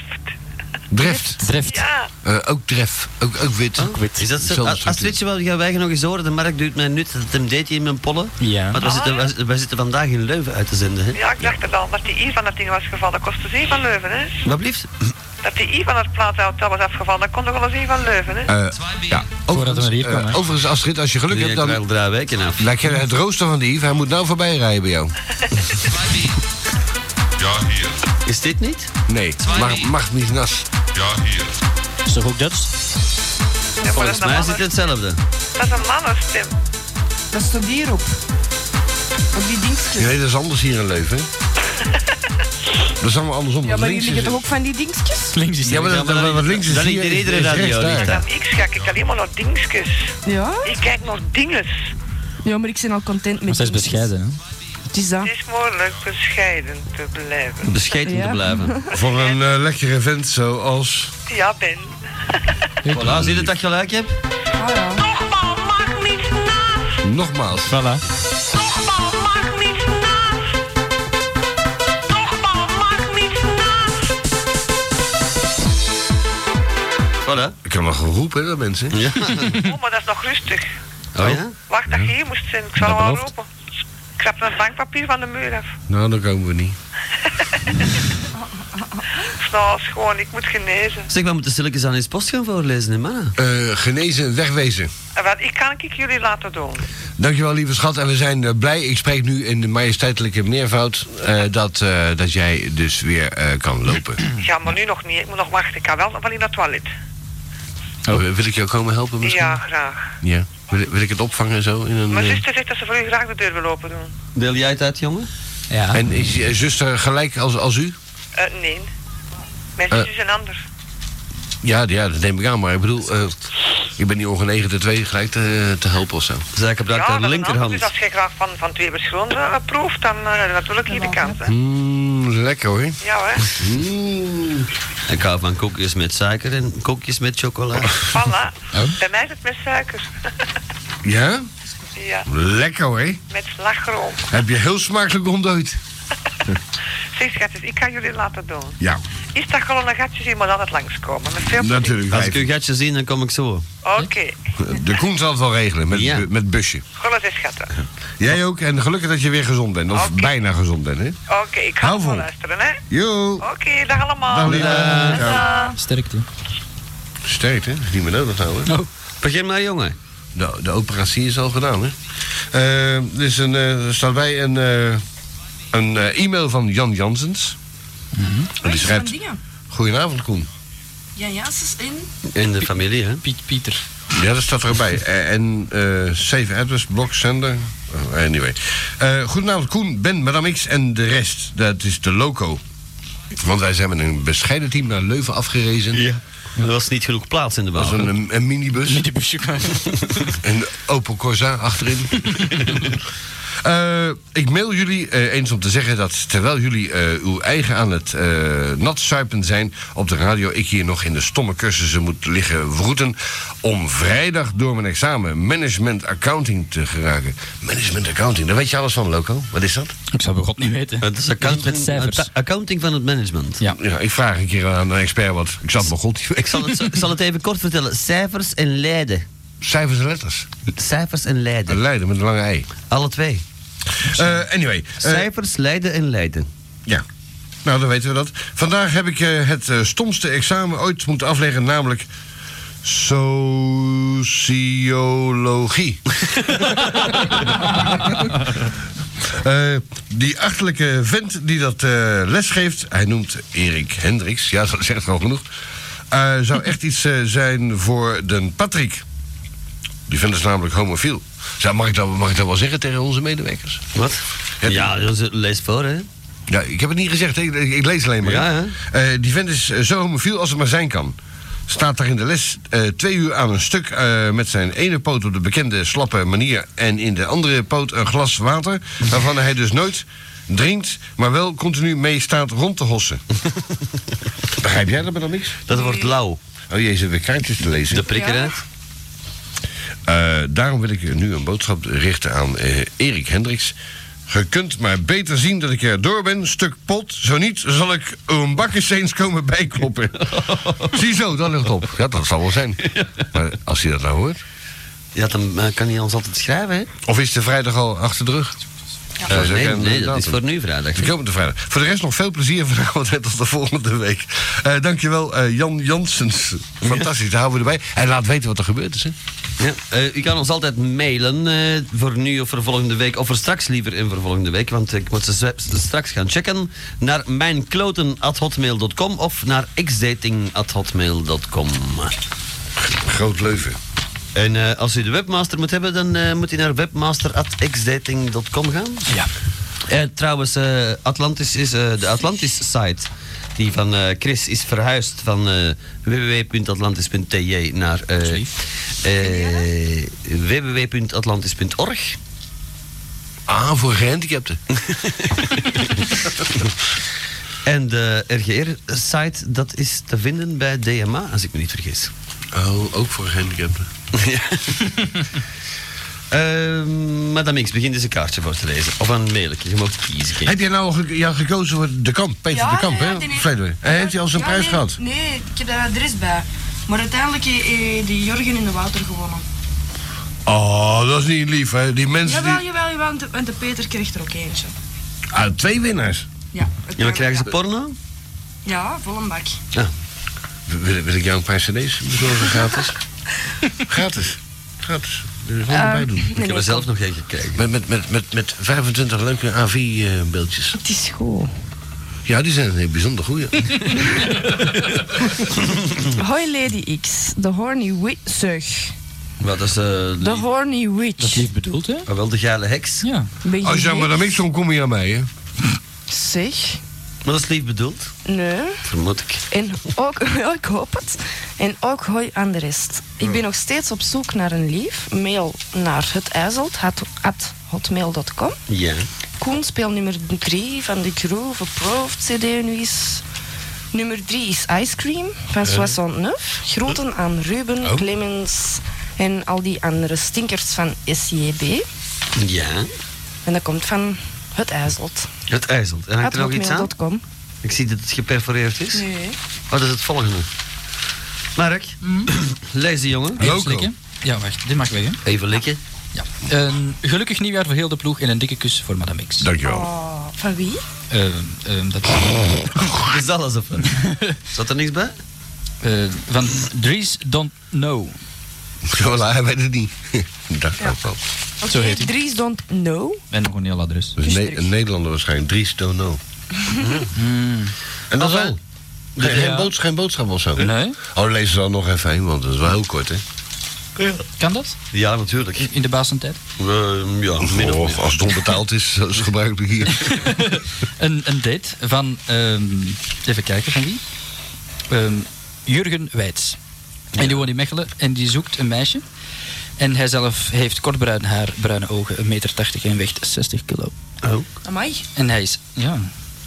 Speaker 19: Drift.
Speaker 15: Drift.
Speaker 10: Ja,
Speaker 19: Eh, ook dref. Ook, ook wit. Ook wit.
Speaker 3: Is dat zo? A- Astridje, wel, gaan wij nog eens horen? De markt doet mij nut. Dat hem deed hij in mijn pollen.
Speaker 15: Ja.
Speaker 3: Want we zitten, wij, wij zitten vandaag in Leuven uit te zenden, hè?
Speaker 10: ja, ik dacht het al. Dat die I van dat ding was gevallen, dat kostte ze van Leuven, hè?
Speaker 3: Wat blieft?
Speaker 10: Dat die I van het plaatauto was afgevallen, dat kon nog wel eens één van Leuven, hè?
Speaker 19: Eh, ja, overigens,
Speaker 15: we hier
Speaker 19: eh,
Speaker 15: komen, hè.
Speaker 19: overigens, Astrid, als je geluk
Speaker 3: Die
Speaker 19: hebt, dan...
Speaker 3: hangt wel drie weken af.
Speaker 19: Wij kennen het rooster van de Yves, hij moet nou voorbij rijden bij jou.
Speaker 12: Ja, hier.
Speaker 3: Is dit niet?
Speaker 19: Nee, mag, mag niet nas.
Speaker 12: Ja, hier.
Speaker 15: Is toch ook Dutch?
Speaker 10: Ja, maar dat
Speaker 3: Volgens
Speaker 10: is een
Speaker 3: mij is
Speaker 10: mannen-
Speaker 3: dit hetzelfde.
Speaker 10: dat is een mannenstem.
Speaker 5: Dat staat hierop. Op die dingetjes.
Speaker 19: Nee, dat is anders hier in Leuven. Dat is allemaal andersom.
Speaker 5: Ja, maar die
Speaker 19: links
Speaker 5: liggen
Speaker 19: is
Speaker 5: toch ook van die dingetjes?
Speaker 19: Links is Ja, maar dat- dat- wat links is
Speaker 17: Dan
Speaker 19: hier,
Speaker 17: ligt de
Speaker 19: is-
Speaker 17: iedere
Speaker 19: is rechts
Speaker 17: radio.
Speaker 19: daar.
Speaker 17: ligt daar.
Speaker 10: Ik ga kijk alleen maar naar dingetjes.
Speaker 5: Ja?
Speaker 10: Ik kijk naar dinges.
Speaker 5: Ja, maar ik ben al content met
Speaker 15: Maar zij is
Speaker 5: dingetjes.
Speaker 15: bescheiden, hè?
Speaker 5: Het is dat.
Speaker 10: Het is moeilijk bescheiden te blijven.
Speaker 17: Bescheiden
Speaker 5: Ja.
Speaker 17: te blijven.
Speaker 19: Voor een eh, lekkere vent zoals...
Speaker 10: Ja, Ben.
Speaker 17: Voilà, zie je dat ik gelijk heb?
Speaker 5: Ah,
Speaker 19: Nogmaals.
Speaker 15: Voilà.
Speaker 17: Voilà.
Speaker 19: Ik heb wel geroepen, hè, dat mensen.
Speaker 17: Ja.
Speaker 10: Oh, maar dat is nog rustig.
Speaker 19: Oh ja?
Speaker 10: Wacht dat je hier moest zijn. Ik zal
Speaker 19: Dat
Speaker 10: hem al
Speaker 19: belooft.
Speaker 10: roepen. Ik krap mijn vangpapier van de muur af.
Speaker 19: Nou, dan komen we niet.
Speaker 10: Nou, is gewoon, ik moet genezen.
Speaker 17: Zeg, we moeten stilletjes aan eens post gaan voorlezen, hè, mannen.
Speaker 19: Eh, genezen en wegwezen.
Speaker 10: En wat, ik kan ik jullie laten doen.
Speaker 19: Dankjewel, lieve schat. En we zijn eh, blij. Ik spreek nu in de majesteitelijke meervoud eh, dat, eh, dat jij dus weer eh, kan lopen.
Speaker 10: Ja, maar nu nog niet. Ik moet nog wachten. Ik kan wel van in dat toilet.
Speaker 19: Oh, wil ik jou komen helpen misschien?
Speaker 10: Ja, graag.
Speaker 19: Ja. Wil, wil ik het opvangen zo? In een,
Speaker 10: Mijn
Speaker 19: eh,
Speaker 10: zuster zegt dat ze voor u graag de deur wil open doen.
Speaker 17: Deel jij het uit, jongen? Ja.
Speaker 19: En is je zuster gelijk als, als u?
Speaker 10: Eh, nee. Mijn zus
Speaker 19: Eh.
Speaker 10: is een ander.
Speaker 19: Ja, ja, dat neem ik aan. Maar ik bedoel, eh, ik ben niet ongenegen de twee gelijk te, te helpen of zo.
Speaker 17: Zij gebruikt
Speaker 10: dat is een ander. Dus als jij graag van, van twee verschillende eh, proeft, dan eh, natuurlijk hier de kant. Hè.
Speaker 19: Mmm, lekker hoor.
Speaker 10: Ja, hè.
Speaker 19: Mm.
Speaker 17: Ik hou van koekjes met suiker en koekjes met chocola.
Speaker 10: Voilà. Bij mij is het met suiker.
Speaker 19: Ja?
Speaker 10: ja.
Speaker 19: Lekker hoor.
Speaker 10: Met slagroom.
Speaker 19: Heb je heel smakelijk ontdooid.
Speaker 10: Zeg, schatjes, ik kan jullie laten doen.
Speaker 19: Ja,
Speaker 10: Is dat gewoon een gatje zien, maar altijd langskomen. Met veel plezier.
Speaker 19: natuurlijk.
Speaker 17: Als ik uw gatje zie, dan kom ik zo.
Speaker 10: Oké.
Speaker 19: De Koen zal het wel regelen met, bu- met busje.
Speaker 10: Gewoon eens schatten.
Speaker 19: Jij ook en gelukkig dat je weer gezond bent. Of bijna gezond bent, hè?
Speaker 10: Oké, ik ga
Speaker 19: Hou
Speaker 10: ervan
Speaker 19: vol.
Speaker 10: luisteren, hè.
Speaker 19: Jo.
Speaker 10: Oké, dag allemaal.
Speaker 19: Dag, lieve.
Speaker 10: Dag.
Speaker 19: Ciao.
Speaker 15: Sterkte.
Speaker 19: Sterk, hè? Dat is niet meer nodig nou, hè?
Speaker 17: Begin maar, jongen.
Speaker 19: De, de operatie is al gedaan, hè? Eh, er is een, eh, er staat bij een, eh, een eh, e-mail van Jan Jansens. En die schrijft...
Speaker 5: dingen.
Speaker 19: Goedenavond, Koen.
Speaker 5: Ja, ja, ze is in.
Speaker 17: In de familie, hè?
Speaker 15: Piet, Pieter.
Speaker 19: Ja, dat staat er ook bij. Eh, En eh Save Address, Blog Sender. Oh, anyway. Eh, goedenavond, Koen, Ben, Madame X en de rest. Dat is de loco. Want wij zijn met een bescheiden team naar Leuven afgerezen. Ja.
Speaker 17: Er was niet genoeg plaats in de
Speaker 19: Dat
Speaker 17: bouw.
Speaker 19: was een, een, een minibus.
Speaker 15: Minibusje.
Speaker 19: een Opel Corsa achterin. Eh, ik mail jullie eh, eens om te zeggen dat terwijl jullie eh, uw eigen aan het eh nat zuipen zijn op de radio, ik hier nog in de stomme cursussen moet liggen wroeten om vrijdag door mijn examen management accounting te geraken. Management accounting, daar weet je alles van, Loco. Wat is dat?
Speaker 15: Ik zou bij God niet weten.
Speaker 17: Het is
Speaker 15: met
Speaker 17: accounting,
Speaker 15: cijfers.
Speaker 17: acta- accounting van het management.
Speaker 15: Ja.
Speaker 19: Ja, ik vraag een keer aan een expert wat. Ik zat mijn god.
Speaker 17: Ik zal, het, zo- ik zal het even kort vertellen. Cijfers en leiden.
Speaker 19: Cijfers en letters.
Speaker 17: Cijfers en leiden.
Speaker 19: Leiden met een lange ei.
Speaker 17: Alle twee.
Speaker 19: Eh, anyway. eh,
Speaker 17: Cijfers, leiden en leiden.
Speaker 19: Ja. Nou, dan weten we dat. Vandaag heb ik eh, het eh, stomste examen ooit moeten afleggen, namelijk sociologie. Eh, die achterlijke vent die dat eh, lesgeeft, hij noemt Erik Hendricks, ja, dat zegt al genoeg, eh, zou echt iets eh, zijn voor den Patrick. Die vent is namelijk homofiel. Zou, mag, ik dat, mag ik dat wel zeggen tegen onze medewerkers?
Speaker 17: Wat?
Speaker 19: Ja,
Speaker 17: Ja, dus lees voor, hè?
Speaker 19: ja, ik heb het niet gezegd, hè. ik, ik- ik lees alleen maar. hè. Eh, die vent is eh, zo homofiel als het maar zijn kan. Staat daar in de les eh, twee uur aan een stuk eh, met zijn ene poot op de bekende slappe manier en in de andere poot een glas water, waarvan hij dus nooit drinkt, maar wel continu mee staat rond te hossen. Begrijp jij dat maar dan niks?
Speaker 17: Dat wordt lauw.
Speaker 19: Oh jee, zitten weer kaartjes te lezen.
Speaker 17: De prikker, hè?
Speaker 19: Eh, daarom wil ik nu een boodschap richten aan eh, Erik Hendricks. Je kunt maar beter zien dat ik er door ben, stuk pot. Zo niet, zal ik een bakjes eens komen bijkloppen. Ziezo, dan ligt het op. Ja, dat zal wel zijn. Maar als je dat nou hoort...
Speaker 17: Ja, dan eh, kan hij ons altijd schrijven, hè?
Speaker 19: Of is de vrijdag al achter de rug?
Speaker 17: Eh,
Speaker 19: Zo zeg
Speaker 17: nee,
Speaker 19: jij
Speaker 17: nee,
Speaker 19: inderdaad.
Speaker 17: dat is voor nu vrijdag.
Speaker 19: De komende vrijdag. Voor de rest nog veel plezier vanavond en tot de volgende week. Eh, dankjewel, eh, Jan Janssens. Fantastisch, daar houden we erbij. En laat weten wat er gebeurd is, hè?
Speaker 17: Ja, eh, u kan ons altijd mailen eh, voor nu of voor volgende week. Of voor straks liever in voor volgende week. Want ik moet ze zwe- ze straks gaan checken. Naar mijnkloten.hotmail.com of naar xdating.hotmail.com.
Speaker 19: Groot Leuven.
Speaker 17: En eh, als u de webmaster moet hebben, dan eh, moet u naar webmaster.xdating.com gaan.
Speaker 15: Ja.
Speaker 3: Eh, trouwens, eh, Atlantis is, eh, de Atlantis-site die van eh, Chris is verhuisd van eh, www.atlantis.tj naar eh, eh, www.atlantis.org.
Speaker 19: Ah, voor gehandicapten.
Speaker 3: en de RGR-site, dat is te vinden bij DMA, als ik me niet vergis.
Speaker 19: Oh, ook voor gehandicapten.
Speaker 3: ja. Ehm, Madame X, begin eens een kaartje voor te lezen. Of een mailetje, je mag kiezen. kind.
Speaker 19: Heb jij nou al ge- ja, gekozen voor de kamp? Peter
Speaker 5: Ja,
Speaker 19: de kamp,
Speaker 5: ja,
Speaker 19: hè?
Speaker 5: die-
Speaker 19: Verleden week. Hij heeft hij al zijn
Speaker 5: Ja,
Speaker 19: prijs
Speaker 5: nee,
Speaker 19: gehad?
Speaker 5: Nee, ik heb daar adres bij. Maar uiteindelijk heeft eh, die Jorgen in de water gewonnen.
Speaker 19: Oh, dat is niet lief, hè? Die mensen
Speaker 5: Jawel,
Speaker 19: die...
Speaker 5: jawel, jawel, want de- want de Peter kreeg er ook eentje.
Speaker 19: Ah, twee winnaars.
Speaker 5: Ja,
Speaker 19: Ja, krijgen ze
Speaker 3: porno?
Speaker 5: ja vol een bak.
Speaker 19: Wil, wil ik jou een paar cd's bezorgen gratis? gratis. Gratis. Er is
Speaker 5: Ehm,
Speaker 19: wel bij doen.
Speaker 5: nee, Ik heb er nee, zelf
Speaker 3: nog eentje gekregen.
Speaker 19: Met, met, met, met, met 25 leuke AV-beeldjes.
Speaker 5: Het is goed.
Speaker 19: Ja, die zijn heel bijzonder goeie.
Speaker 5: Hoi Lady X, de horny witch. Zeg.
Speaker 3: Wat is eh,
Speaker 5: De
Speaker 3: lief-
Speaker 5: horny witch.
Speaker 3: bedoeld, hè? Maar wel de geile heks. Ja.
Speaker 5: Ben je
Speaker 19: Als jij Oh, maar dan
Speaker 5: gek?
Speaker 19: niks om kom je aan mij, hè?
Speaker 5: Zeg,
Speaker 3: Maar dat is lief bedoeld,
Speaker 5: nee.
Speaker 3: vermoed ik.
Speaker 5: En ook, ja, ik hoop het. En ook hoi aan de rest. Ik ben nog steeds op zoek naar een lief. Mail naar hetijzelt.hotmail.com.
Speaker 3: Ja.
Speaker 5: Koen speelt nummer 3 van de Groove Approved CD nu is. Nummer 3 is Ice Cream van
Speaker 29: Eh.
Speaker 5: 69. Groeten aan Ruben,
Speaker 29: Oh.
Speaker 5: Clemens en al die andere stinkers van SJB.
Speaker 3: Ja.
Speaker 5: En dat komt van het IJzelt.
Speaker 3: Het ijzelt. En hangt er nog iets aan?
Speaker 5: Hotmail.com.
Speaker 3: Ik zie dat het geperforeerd is.
Speaker 5: Nee.
Speaker 3: Oh, dat is het volgende. Mark, lees die jongen.
Speaker 15: Even slikken. Ja, wacht, dit mag weg, hè?
Speaker 3: Even likken.
Speaker 15: Ja. Een gelukkig nieuwjaar voor heel de ploeg en een dikke kus voor Madame X.
Speaker 19: Dankjewel.
Speaker 5: Oh, van wie?
Speaker 15: Ehm ehm, dat...
Speaker 3: is dat alsof Zat er niks bij?
Speaker 15: Ehm, van Dries Don't Know.
Speaker 19: Voilà, hij weet het niet. Dacht ik ook wel.
Speaker 15: Zo heet hij.
Speaker 5: Dries don't know.
Speaker 15: En nog een heel adres.
Speaker 19: Dus ne- een Nederlander waarschijnlijk. Dries Dono.
Speaker 12: Hmm.
Speaker 19: En dat
Speaker 3: Oh,
Speaker 19: wel. Geen,
Speaker 15: Ja.
Speaker 19: geen boods- geen boodschap of zo?
Speaker 15: Nee.
Speaker 19: Oh, lees er dan nog even heen, want dat is wel heel kort, hè?
Speaker 15: Kan dat?
Speaker 3: Ja, natuurlijk.
Speaker 15: In de basentijd?
Speaker 3: Eh, ja, min of
Speaker 19: als het onbetaald is, eh, zoals gebruikelijk hier.
Speaker 15: Een, een date van, ehm, even kijken van wie? Ehm, Jurgen Wijts. En die woont in Mechelen en die zoekt een meisje. En hij zelf heeft kort bruin haar, bruine ogen, 1,80 meter en weegt 60 kilo.
Speaker 3: Oh.
Speaker 5: Amai.
Speaker 15: En hij is, ja,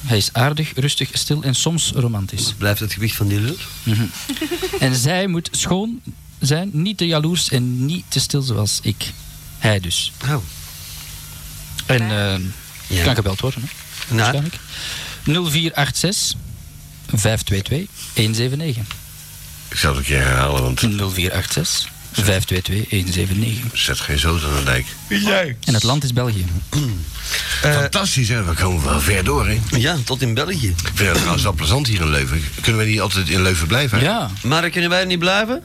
Speaker 15: hij is aardig, rustig, stil en soms romantisch.
Speaker 3: Blijft het gewicht van die lul?
Speaker 15: Mhm. en zij moet schoon zijn, niet te jaloers en niet te stil zoals ik. Hij dus.
Speaker 3: Oh.
Speaker 15: En ehm,
Speaker 3: Ja.
Speaker 15: kan gebeld worden, hè? waarschijnlijk. 0486 522 179.
Speaker 19: Ik zal het een keer herhalen, want...
Speaker 15: 0486 522 179.
Speaker 19: Zet geen zoot aan de dijk.
Speaker 15: En het land is België.
Speaker 19: Fantastisch, hè? We komen wel ver door, hè?
Speaker 3: Eh. Ja, tot in België.
Speaker 19: Ik vind het trouwens wel plezant hier in Leuven. Kunnen we niet altijd in Leuven blijven? hè?
Speaker 15: Ja.
Speaker 3: Maar kunnen wij er niet blijven?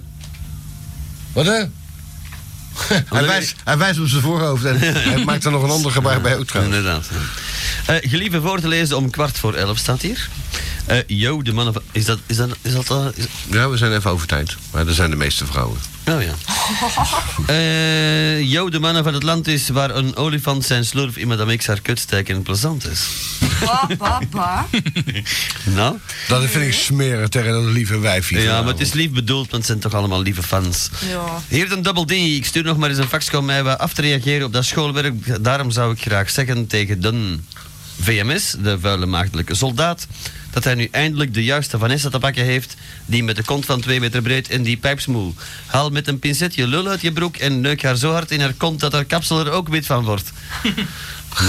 Speaker 19: Wat hè? Hij wijst, hij wijst op zijn voorhoofd en hij maakt er nog een ander gebaar bij ook trouwens.
Speaker 3: Inderdaad. Eh gelieve voor te lezen om kwart voor elf staat hier. Eh yo, de mannen van... Is dat... Is dat, is dat eh, is-
Speaker 19: Ja, we zijn even over tijd. Maar er zijn de meeste vrouwen.
Speaker 3: Oh ja. Eh yo, de mannen van het land is waar een olifant zijn slurf in Madame X haar kut steekt en plezant is.
Speaker 5: Papa.
Speaker 3: Nou?
Speaker 19: Dat vind ik smeren tegen een lieve wijfje.
Speaker 3: Ja, maar het is lief bedoeld, want het zijn toch allemaal lieve fans.
Speaker 5: Ja.
Speaker 3: Hier een double D. Ik stuur nog maar eens een fax om mij wat af te reageren op dat schoolwerk. Daarom zou ik graag zeggen tegen de VMS, de vuile maagdelijke soldaat, dat hij nu eindelijk de juiste Vanessa te pakken heeft, die met de kont van 2 meter breed en die pijpsmoel. Haal met een pincet je lul uit je broek en neuk haar zo hard in haar kont dat haar kapsel er ook wit van wordt.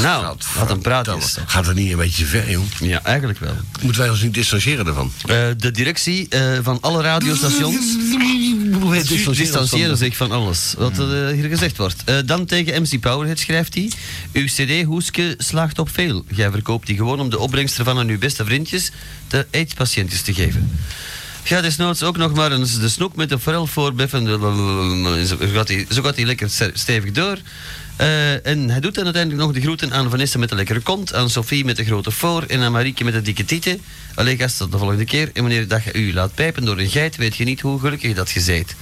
Speaker 3: nou, wat een praat is.
Speaker 19: Gaat er niet een beetje ver, joh?
Speaker 3: Ja, eigenlijk wel.
Speaker 19: Moeten wij ons niet distancieren daarvan?
Speaker 3: Eh, de directie eh, van alle radiostations distancieren zich van alles wat eh, hier gezegd wordt. Eh, dan tegen MC Powerhead schrijft hij: Uw CD-hoeske slaagt op veel. Jij verkoopt die gewoon om de opbrengst ervan aan uw beste vriendjes, de AIDS-patiëntjes, te geven. Ga desnoods ook nog maar eens de snoek met de forel voorbeffen. Zo gaat hij- zo gaat hij lekker ster- stevig door. Eh, en hij doet dan uiteindelijk nog de groeten aan Vanessa met de lekkere kont, aan Sophie met de grote voor en aan Marieke met de dikke tieten. Allee gast, tot de volgende keer. En wanneer dat je u laat pijpen door een geit, weet je niet hoe gelukkig dat je zijt.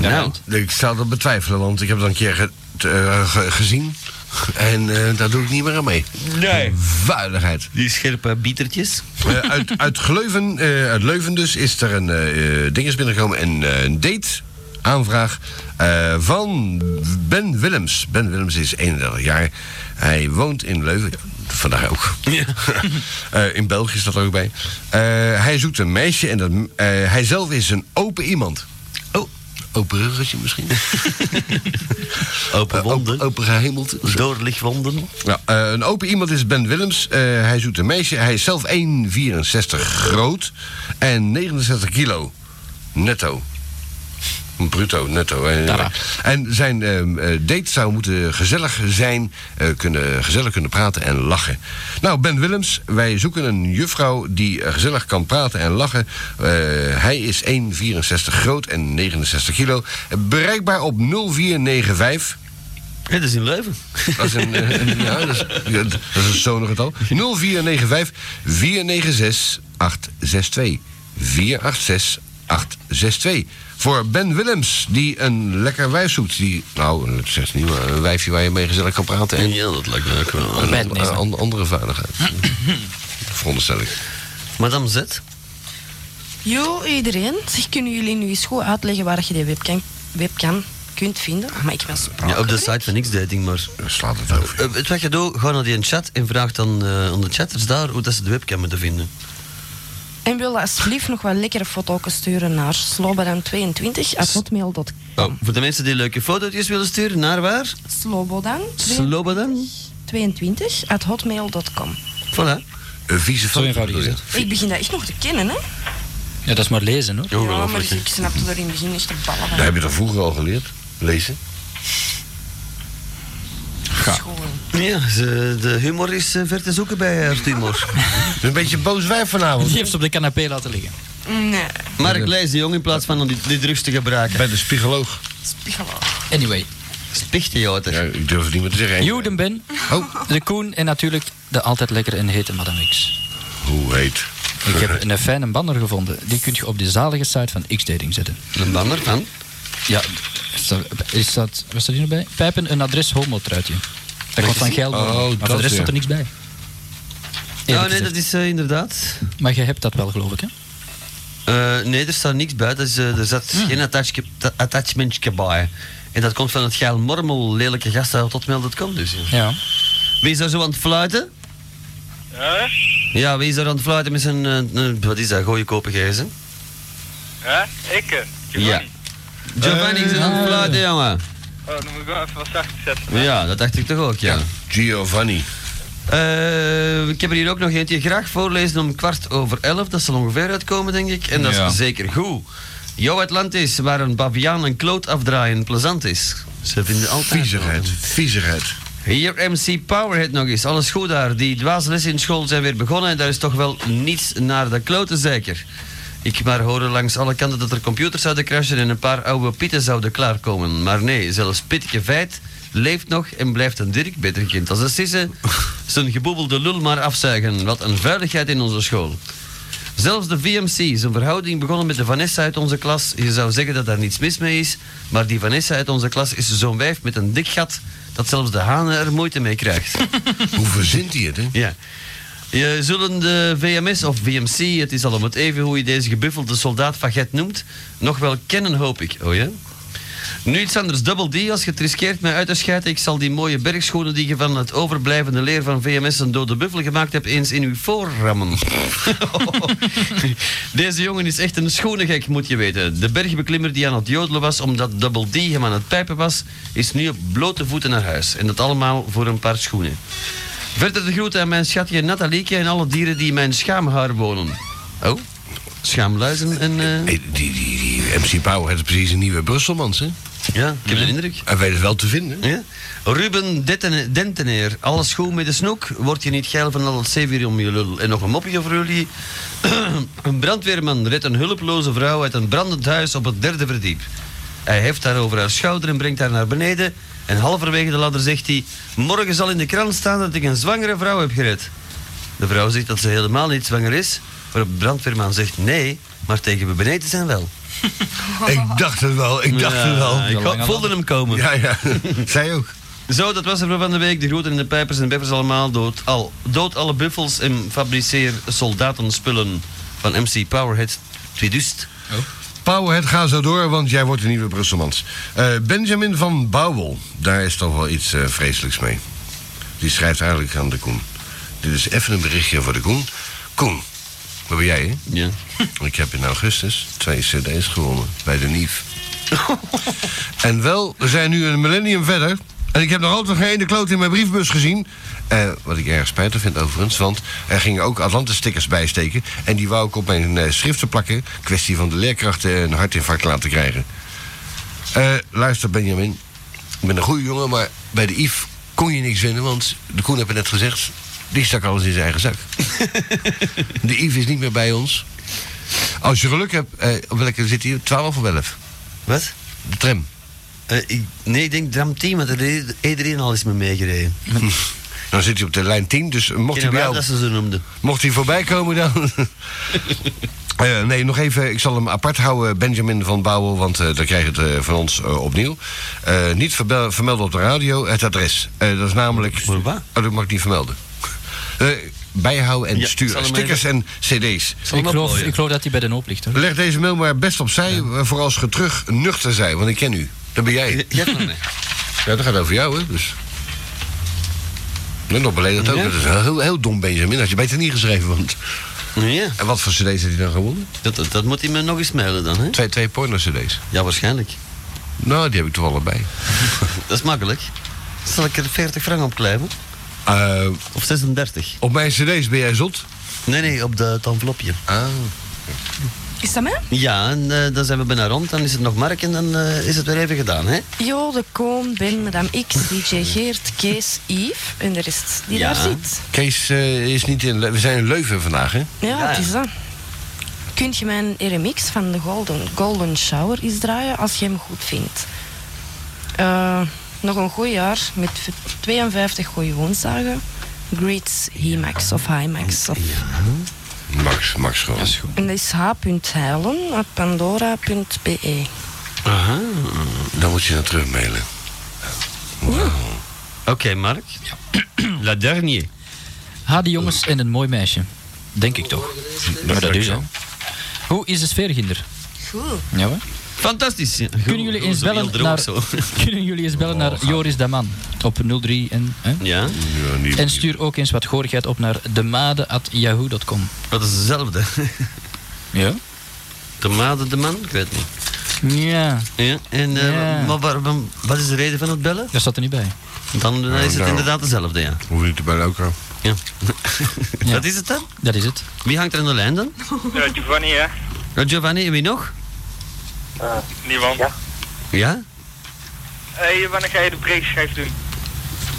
Speaker 3: Nou,
Speaker 19: Ik zou dat betwijfelen, want ik heb dat een keer ge- t- eh, ge- gezien. En eh, daar doe ik niet meer aan mee.
Speaker 3: Nee.
Speaker 19: Vuiligheid.
Speaker 3: Die scherpe bietertjes.
Speaker 19: Eh, uit, uit, Gleuven, eh, uit Leuven dus is er een eh eh, ding is binnengekomen. Een, eh, een date aanvraag eh, van Ben Willems. Ben Willems is 31 jaar. Hij woont in Leuven. Vandaag ook. Eh, in België staat er ook bij. Eh, hij zoekt een meisje en dat, eh, hij zelf is een open iemand. Oh, open ruggetje misschien. Eh,
Speaker 3: Open wonden.
Speaker 19: open gehemeld.
Speaker 3: Doorlichtwonden.
Speaker 19: Ja, eh, een open iemand is Ben Willems. Eh, hij zoekt een meisje. Hij is zelf 1,64 groot en 69 kilo. Netto. Bruto, netto. eh. En zijn ehm, eh, date zou moeten gezellig zijn, eh, kunnen, gezellig kunnen praten en lachen. Nou, Ben Willems, wij zoeken een juffrouw die eh, gezellig kan praten en lachen. Eh, hij is 1,64 groot en 69 kilo. Bereikbaar op 0495.
Speaker 3: Het is in Leuven.
Speaker 19: Dat is een, eh, een- ja, dat is, ja, dat is een zonige getal. 0495 496 862. 486 862. Voor Ben Willems, die een lekker wijf zoekt. Die, nou, dat zegt niet, maar een wijfje waar je mee gezellig kan praten. En
Speaker 3: Ja, dat lijkt me ook wel.
Speaker 19: een, een- een andere veiligheid. Veronderstel ik.
Speaker 3: Madame Z.
Speaker 5: Jo, iedereen. Zeg, kunnen jullie nu eens goed uitleggen waar je die webcam, webcam kunt vinden? Ah, Maar ik was...
Speaker 3: Ja, op de site van X-Dating, maar...
Speaker 19: Slaat het over.
Speaker 3: het wat je doet, ga naar die chat en vraag dan eh, aan de chatters daar hoe dat ze de webcam moeten vinden.
Speaker 5: En wil alsjeblieft nog wel lekkere foto's sturen naar slobodan22.hotmail.com
Speaker 3: Oh, voor de mensen die leuke fotootjes willen sturen, naar waar?
Speaker 5: Slobodan22
Speaker 3: Slobodan.
Speaker 5: at hotmail.com
Speaker 3: Voilà.
Speaker 19: Een vieze
Speaker 15: Zo eenvoudig is het.
Speaker 5: Ik begin dat echt nog te kennen, hè?
Speaker 15: Ja, dat is maar lezen hoor.
Speaker 5: Ja, maar ik snapte er in het begin echt de ballen van.
Speaker 19: Dat heb je toch vroeger al geleerd? Lezen?
Speaker 3: Ja, ze- de humor is eh, ver te zoeken bij Art Humor.
Speaker 19: Een beetje boos wijf vanavond.
Speaker 15: Die heeft ze op de canapé laten liggen.
Speaker 5: Nee.
Speaker 3: Mark lees de jong in plaats van om die, die drugs te gebruiken.
Speaker 19: Bij de spiegoloog.
Speaker 15: Anyway.
Speaker 3: Spichtheater.
Speaker 19: Ja, ik durf het niet meer te zeggen.
Speaker 15: Juden Ben,
Speaker 19: Oh.
Speaker 15: de Koen en natuurlijk de altijd lekkere en hete Madame X.
Speaker 19: Hoe heet?
Speaker 15: Ik heb een fijne banner gevonden. Die kun je op de zalige site van X-Dating zetten.
Speaker 3: Een banner van?
Speaker 15: Ja, is dat, is dat, wat staat hier nog bij? Pijpen, een adres, homo-truitje. Dat komt van Gelder.
Speaker 3: Oh,
Speaker 15: maar
Speaker 3: dat
Speaker 15: voor de rest
Speaker 3: ja.
Speaker 15: staat er niks bij.
Speaker 3: Ja,
Speaker 15: Eerlijk
Speaker 3: nee,
Speaker 15: gezegd.
Speaker 3: dat is eh, inderdaad.
Speaker 15: Maar je hebt dat wel, geloof ik, hè?
Speaker 3: Eh, nee, er staat niks bij. Dat is, eh, er zat geen attachke- ta- attachmentje bij. En dat komt van het geil mormel, lelijke gast uit hotmail.com dus.
Speaker 15: Ja.
Speaker 3: Wie is daar zo aan het fluiten?
Speaker 12: Hè?
Speaker 3: Ja, wie is daar aan het fluiten met zijn... eh, eh, wat is dat? Goeie kopen gsm?
Speaker 12: Hè? Ik?
Speaker 3: Ja. Giovanni is er aan het fluiten, jongen.
Speaker 12: Oh, dan moet ik wel even wat zachter zetten.
Speaker 3: Ja, dat dacht ik toch ook, ja.
Speaker 19: Giovanni.
Speaker 3: Eh, ik heb er hier ook nog eentje graag voorlezen om kwart over elf. Dat zal ongeveer uitkomen, denk ik. En dat
Speaker 30: Ja.
Speaker 3: is zeker goed. Jo Atlantis, waar een baviaan een kloot afdraaien plezant is. Ze vinden altijd...
Speaker 19: Viezigheid, viezigheid.
Speaker 3: Hier MC Powerhead nog eens. Alles goed daar. Die dwaaslessen in school zijn weer begonnen en daar is toch wel niets naar de kloten zeker. Ik maar hoorde langs alle kanten dat er computers zouden crashen en een paar oude pieten zouden klaarkomen. Maar nee, zelfs Pitje Veit leeft nog en blijft een Dirk beter kind als een Sisse. Zijn geboebelde lul maar afzuigen. Wat een vuiligheid in onze school. Zelfs de VMC, zijn verhouding begonnen met de Vanessa uit onze klas. Je zou zeggen dat daar niets mis mee is, maar die Vanessa uit onze klas is zo'n wijf met een dik gat dat zelfs de hanen er moeite mee krijgt.
Speaker 19: Hoe verzint hij het, hè?
Speaker 3: Ja. Je zullen de VMS of VMC, het is al om het even hoe je deze gebuffelde soldaat faget noemt, nog wel kennen, hoop ik. Oh ja? Nu iets anders, dubbel D, als je het riskeert mij uit te scheiden, ik zal die mooie bergschoenen die je van het overblijvende leer van VMS een dode buffel gemaakt hebt, eens in uw voorrammen. Deze jongen is echt een schone gek, moet je weten. De bergbeklimmer die aan het jodelen was omdat Double D hem aan het pijpen was, is nu op blote voeten naar huis. En dat allemaal voor een paar schoenen. Verder de groeten aan mijn schatje Nathalieke en alle dieren die in mijn schaamhaar wonen. Oh, schaamluizen en... eh,
Speaker 19: Die, die, die MC Pauw heeft precies een nieuwe Brusselmans, hè?
Speaker 3: Ja, ik heb de indruk.
Speaker 19: Hij weet het wel te vinden.
Speaker 3: Ja. Ruben Detten- Denteneer, alles goed met de snoek? Word je niet geil van al het zeewier om je lul? En nog een mopje voor jullie. een brandweerman redt een hulpeloze vrouw uit een brandend huis op het derde verdiep. Hij heft haar over haar schouder en brengt haar naar beneden. En halverwege de ladder zegt hij... Morgen zal in de krant staan dat ik een zwangere vrouw heb gered. De vrouw zegt dat ze helemaal niet zwanger is. Waarop de brandweerman zegt nee, maar tegen we beneden zijn wel.
Speaker 19: Ik dacht het wel, ik dacht
Speaker 3: Ja,
Speaker 19: het wel.
Speaker 3: ik had- voelde hem komen.
Speaker 19: Ja, ja. Zij ook.
Speaker 3: Zo, dat was er voor van de week. De groeten en de pijpers en de beffers allemaal dood. Al, dood alle buffels en fabriceer soldatenspullen van MC Powerhead 2000.
Speaker 19: Powerhead, Oh. ga zo door, want jij wordt een nieuwe Brusselmans. Eh, Benjamin van Bouwel, daar is toch wel iets eh, vreselijks mee. Die schrijft eigenlijk aan de Koen. Dit is even een berichtje voor de Koen. Koen, waar ben jij, hè?
Speaker 3: Ja.
Speaker 19: Ik heb in augustus twee cd's gewonnen bij de Nief. en wel, we zijn nu een millennium verder... en ik heb nog altijd geen ene kloot in mijn briefbus gezien... Eh, wat ik erg spijtig vind overigens, want er gingen ook Atlantis-stickers bij steken... en die wou ik op mijn eh, schriften plakken... kwestie van de leerkrachten een hartinfarct laten krijgen. Eh, luister Benjamin, ik ben een goede jongen, maar bij de IF kon je niks winnen... want de Koen heb je net gezegd, die stak alles in zijn eigen zak. de IF is niet meer bij ons. Als je geluk hebt, eh, op welke zit hij? 12 of 11?
Speaker 3: Wat? Eh,
Speaker 19: De tram.
Speaker 3: ik, nee, ik denk tram 10, want er reed- iedereen al is me meegereden.
Speaker 19: Dan zit hij op de lijn 10, dus mocht hij
Speaker 3: Ken
Speaker 19: bij
Speaker 3: wel
Speaker 19: jou...
Speaker 3: dat ze ze noemden.
Speaker 19: Mocht hij voorbij komen dan... Eh, nee, nog even, ik zal hem apart houden, Benjamin van Bouwel, want eh dan krijg je het eh, van ons eh, opnieuw. Eh, niet verbe- vermelden op de radio, het adres. Eh, dat is namelijk... Oh, dat mag ik niet vermelden. Eh, bijhouden en
Speaker 15: Ja, ik zal
Speaker 19: sturen.
Speaker 15: hem
Speaker 19: Stickers en cd's.
Speaker 15: Ik geloof, ik geloof dat hij bij de hoop ligt. Hoor.
Speaker 19: Leg deze mail maar best opzij, eh, voor als je terug nuchter zijn, want ik ken u. Dat ben jij.
Speaker 3: Ja,
Speaker 19: Ja, dat gaat over jou, hè? Dus. En nog beledigd ook.
Speaker 3: Ja.
Speaker 19: Dat is een heel, heel dom, Benjamin. Had je beter niet geschreven, want...
Speaker 3: Ja.
Speaker 19: En wat voor cd's heeft hij dan gewonnen?
Speaker 3: Dat, dat, dat moet hij me nog eens mailen dan, hè?
Speaker 19: Twee, twee porno-cd's.
Speaker 3: Ja, waarschijnlijk.
Speaker 19: Nou, die heb ik toch allebei.
Speaker 3: dat is makkelijk. Zal ik er 40 frank op kleven? of 36?
Speaker 19: Eh, Op mijn cd's ben jij zot?
Speaker 3: Nee, nee, op de, het envelopje.
Speaker 19: Ah.
Speaker 5: Is dat mij?
Speaker 3: Ja, en eh, dan zijn we bijna rond. Dan is het nog Mark en dan eh, is het weer even gedaan, hè?
Speaker 5: Jo, de Koon, Ben, Madame X, DJ Geert, Kees, Yves en de rest die daar zit.
Speaker 19: Kees eh, is niet in... Le- We zijn in Leuven vandaag, hè?
Speaker 5: Ja, het is dat. Kun je mijn RMX van de Golden, Golden Shower eens draaien als je hem goed vindt? Eh, nog een goed jaar met v- 52 goede woensdagen. Greets Himax of Himax. Of,
Speaker 19: Max, Max gewoon.
Speaker 5: En dat is h.heilen at pandora.be.
Speaker 3: Aha.
Speaker 19: Dan moet je naar terug mailen.
Speaker 3: Oké, Mark. La dernier.
Speaker 15: Ha, die jongens en een mooi meisje. Denk ik toch. Maar dat is, hè. Hoe is de sfeer, Ginder?
Speaker 5: Goed.
Speaker 15: Ja, hoor.
Speaker 3: Fantastisch. Ja,
Speaker 15: Kunnen jullie eens bellen naar, kunnen jullie eens bellen naar Joris Daman op 03 en, hè?
Speaker 3: Oh, Ja?
Speaker 19: Ja, niet.
Speaker 15: en stuur ook eens wat gorigheid op naar demade.yahoo.com.
Speaker 3: Dat is hetzelfde.
Speaker 15: ja?
Speaker 3: De maat de man? Ik weet het niet.
Speaker 15: Ja.
Speaker 3: Ja, en eh,
Speaker 15: Ja.
Speaker 3: Maar, waar- waar- wat is de reden van het bellen?
Speaker 15: Daar staat er niet bij.
Speaker 3: Dan eh, is het
Speaker 19: nou.
Speaker 3: inderdaad hetzelfde, ja.
Speaker 19: Hoef je niet te bellen ook al.
Speaker 3: ja. Dat is het dan?
Speaker 15: Dat is het.
Speaker 3: Wie hangt er aan de lijn dan?
Speaker 8: Ja, Giovanni, hè?
Speaker 3: Eh, Giovanni, en wie nog?
Speaker 8: Eh, Niemand. Ja.
Speaker 3: Ja?
Speaker 8: hey, wanneer ga je de breekschijf doen?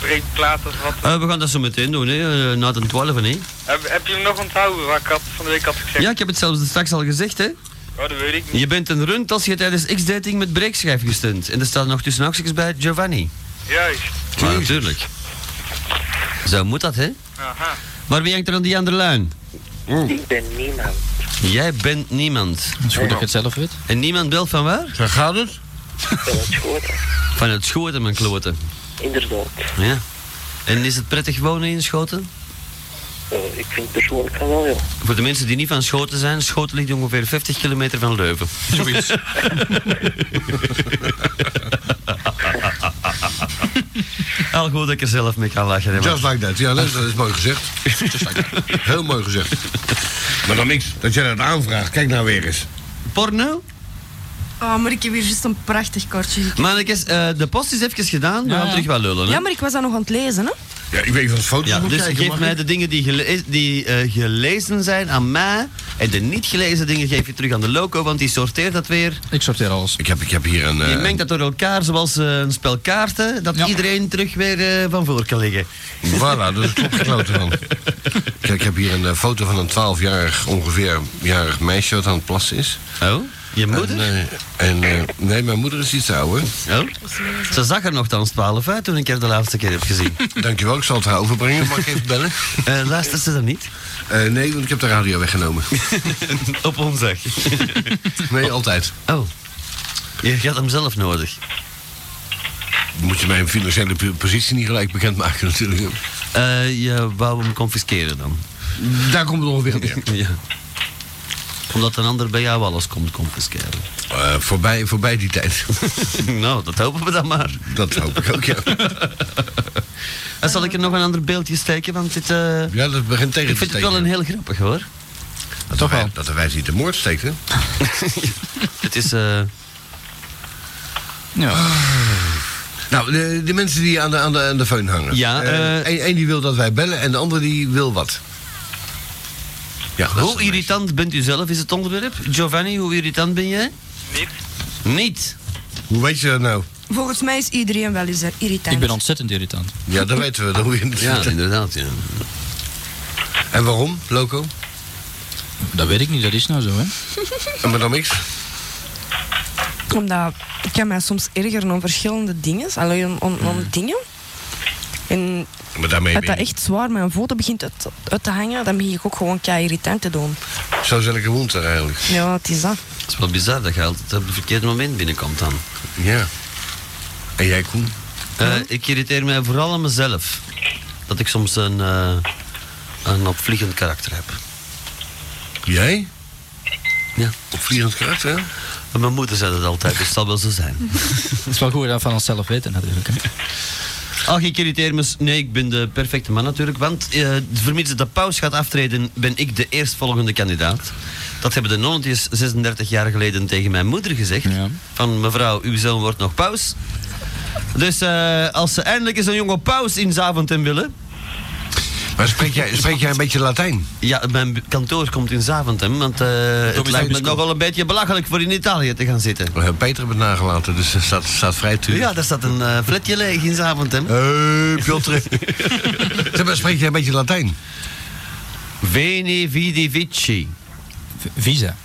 Speaker 8: Breekplaat of wat?
Speaker 3: Eh, we gaan dat zo meteen doen, hè. eh, na de 12, hè.
Speaker 8: Heb, heb je hem nog onthouden waar ik had, van de week had gezegd?
Speaker 3: Ja, ik heb het zelfs straks al gezegd, hè.
Speaker 8: Oh, dat weet ik niet.
Speaker 3: Je bent een runt als je tijdens X-dating met breekschijf gestunt. En er staat nog tussen haakjes bij Giovanni.
Speaker 8: Juist.
Speaker 3: Maar natuurlijk. Zo moet dat, hè?
Speaker 8: Aha.
Speaker 3: Maar wie hangt er aan die andere lijn?
Speaker 12: Hmm. Ik ben niemand.
Speaker 3: Jij bent niemand.
Speaker 15: Het is goed dat je het zelf weet.
Speaker 3: En niemand belt van waar?
Speaker 19: Zo gaat het.
Speaker 12: Van het schoten.
Speaker 3: Van het Schoten, mijn kloten.
Speaker 12: Inderdaad.
Speaker 3: Ja. En is het prettig wonen in Schoten?
Speaker 12: Eh, ik vind het persoonlijk van wel, joh.
Speaker 3: Voor de mensen die niet van Schoten zijn, Schoten ligt ongeveer 50 kilometer van Leuven.
Speaker 12: Zoiets.
Speaker 3: Al goed dat ik er zelf mee kan lachen. hè, man.
Speaker 19: Just like that. Ja, dat, dat is mooi gezegd. Just like that. Heel mooi gezegd. Maar dan niks, dat jij dat aanvraagt. Kijk nou weer eens.
Speaker 3: Porno?
Speaker 5: Oh, maar ik heb hier juist een prachtig kortje.
Speaker 3: Mannekes, eh, de post is even gedaan. We gaan terug wel lullen. Hè?
Speaker 5: Ja, maar ik was dat nog aan het lezen, hè?
Speaker 19: Ja, ik weet van het foto's
Speaker 3: Ja,
Speaker 19: moet
Speaker 3: dus
Speaker 19: kijken,
Speaker 3: geef
Speaker 19: mag
Speaker 3: mij
Speaker 19: ik?
Speaker 3: de dingen die, gele- die eh, gelezen zijn aan mij. En de niet gelezen dingen geef je terug aan de loco, want die sorteert dat weer.
Speaker 15: Ik sorteer alles.
Speaker 19: Ik heb, ik heb hier een...
Speaker 3: Je
Speaker 19: eh,
Speaker 3: mengt dat door elkaar, zoals eh, een spel kaarten, dat iedereen terug weer eh, van voor kan liggen.
Speaker 19: Voilà, dat is klopt gekloten van. Kijk, ik heb hier een eh, foto van een 12-jarig, ongeveer jarig meisje wat aan het plassen is.
Speaker 3: Oh, je moeder?
Speaker 19: En, eh, en, eh, nee, mijn moeder is iets ouder.
Speaker 3: Oh? Ze zag er nogthans 12 uit toen ik haar de laatste keer heb gezien.
Speaker 19: Dankjewel, ik zal het haar overbrengen. Mag ik even bellen?
Speaker 3: Eh luistert ze dan niet?
Speaker 19: Eh, nee, want ik heb de radio weggenomen.
Speaker 3: Op omzeg.
Speaker 19: Nee, altijd.
Speaker 3: Oh. Je had hem zelf nodig.
Speaker 19: moet je mijn financiële p- positie niet gelijk bekendmaken natuurlijk.
Speaker 3: Eh, je wou hem confisceren dan?
Speaker 19: Daar komt het ongeveer op neer.
Speaker 3: ja. Omdat een ander bij jou alles komt confisceren.
Speaker 19: Eh, voorbij, voorbij die tijd.
Speaker 3: nou, dat hopen we dan maar.
Speaker 19: Dat hoop ik ook, ja.
Speaker 3: En zal ik er nog een ander beeldje steken? Want dit, eh,
Speaker 19: Ja, dat begint tegen
Speaker 3: ik
Speaker 19: te
Speaker 3: vind het
Speaker 19: steken.
Speaker 3: wel een heel grappig hoor.
Speaker 19: Dat Toch wel. Dat de wijs niet de moord steekt, hè?
Speaker 3: het is... eh,
Speaker 19: Ah. Nou, de, de mensen die aan de, aan de, aan de föhn hangen.
Speaker 3: Ja, eh,
Speaker 19: Eén één die wil dat wij bellen en de andere die wil wat. Ja, dat is-
Speaker 3: hoe irritant bent u zelf, is het onderwerp? Giovanni, hoe irritant ben jij?
Speaker 31: Niet.
Speaker 3: Niet?
Speaker 19: Hoe weet je dat nou?
Speaker 32: Volgens mij is iedereen wel
Speaker 5: eh,
Speaker 32: eens er irritant.
Speaker 15: Ik ben ontzettend irritant.
Speaker 19: Ja, dat weten we. Dat hoe je het
Speaker 3: Ja,
Speaker 19: ziet.
Speaker 3: inderdaad. Ja.
Speaker 19: En waarom, Loco?
Speaker 15: Dat weet ik niet, dat is nou zo, hè.
Speaker 19: En Madame X?
Speaker 5: Omdat ik kan mij soms ergeren om verschillende dingen. Alleen om, om, om dingen. En
Speaker 19: Hmm. Maar daarmee
Speaker 5: als
Speaker 19: ben
Speaker 5: dat
Speaker 19: je-
Speaker 5: echt zwaar mijn voeten begint uit, uit te hangen, dan begin ik ook gewoon kei irritant te doen.
Speaker 19: Zo zijn ik gewoond daar eigenlijk.
Speaker 5: Ja, het is dat.
Speaker 3: Het is wel bizar dat je altijd op het verkeerde moment binnenkomt dan.
Speaker 19: Ja. En jij, Koen?
Speaker 3: Eh, Ik irriteer mij vooral aan mezelf. Dat ik soms een, eh, een opvliegend karakter heb.
Speaker 19: Jij?
Speaker 3: Ja.
Speaker 19: Opvliegend karakter,
Speaker 3: Mijn moeder zei dat altijd, dus het zal wel zo zijn.
Speaker 15: Het is wel goed dat we van onszelf weten, natuurlijk. Hè.
Speaker 3: Ach, ik irriteer me. s- Nee, ik ben de perfecte man natuurlijk. Want eh vermits de paus gaat aftreden, ben ik de eerstvolgende kandidaat. Dat hebben de nonnetjes 36 jaar geleden tegen mijn moeder gezegd. Van mevrouw, uw zoon wordt nog paus. Dus eh, als ze eindelijk eens een jonge paus in Zaventem willen...
Speaker 19: Maar spreek jij, spreek jij een beetje Latijn?
Speaker 3: Ja, mijn b- kantoor komt in Zaventem, want eh, het lijkt me
Speaker 19: Biscop.
Speaker 3: nogal een beetje belachelijk voor in Italië te gaan zitten.
Speaker 19: We hebben Oh Peter hebben nagelaten, dus dat staat, staat vrij tuur.
Speaker 3: Ja, daar staat een eh flatje leeg in Zaventem.
Speaker 19: Hé, Piotr. zeg maar, spreek jij een beetje Latijn?
Speaker 3: Veni, vidi, vici.
Speaker 15: Visa.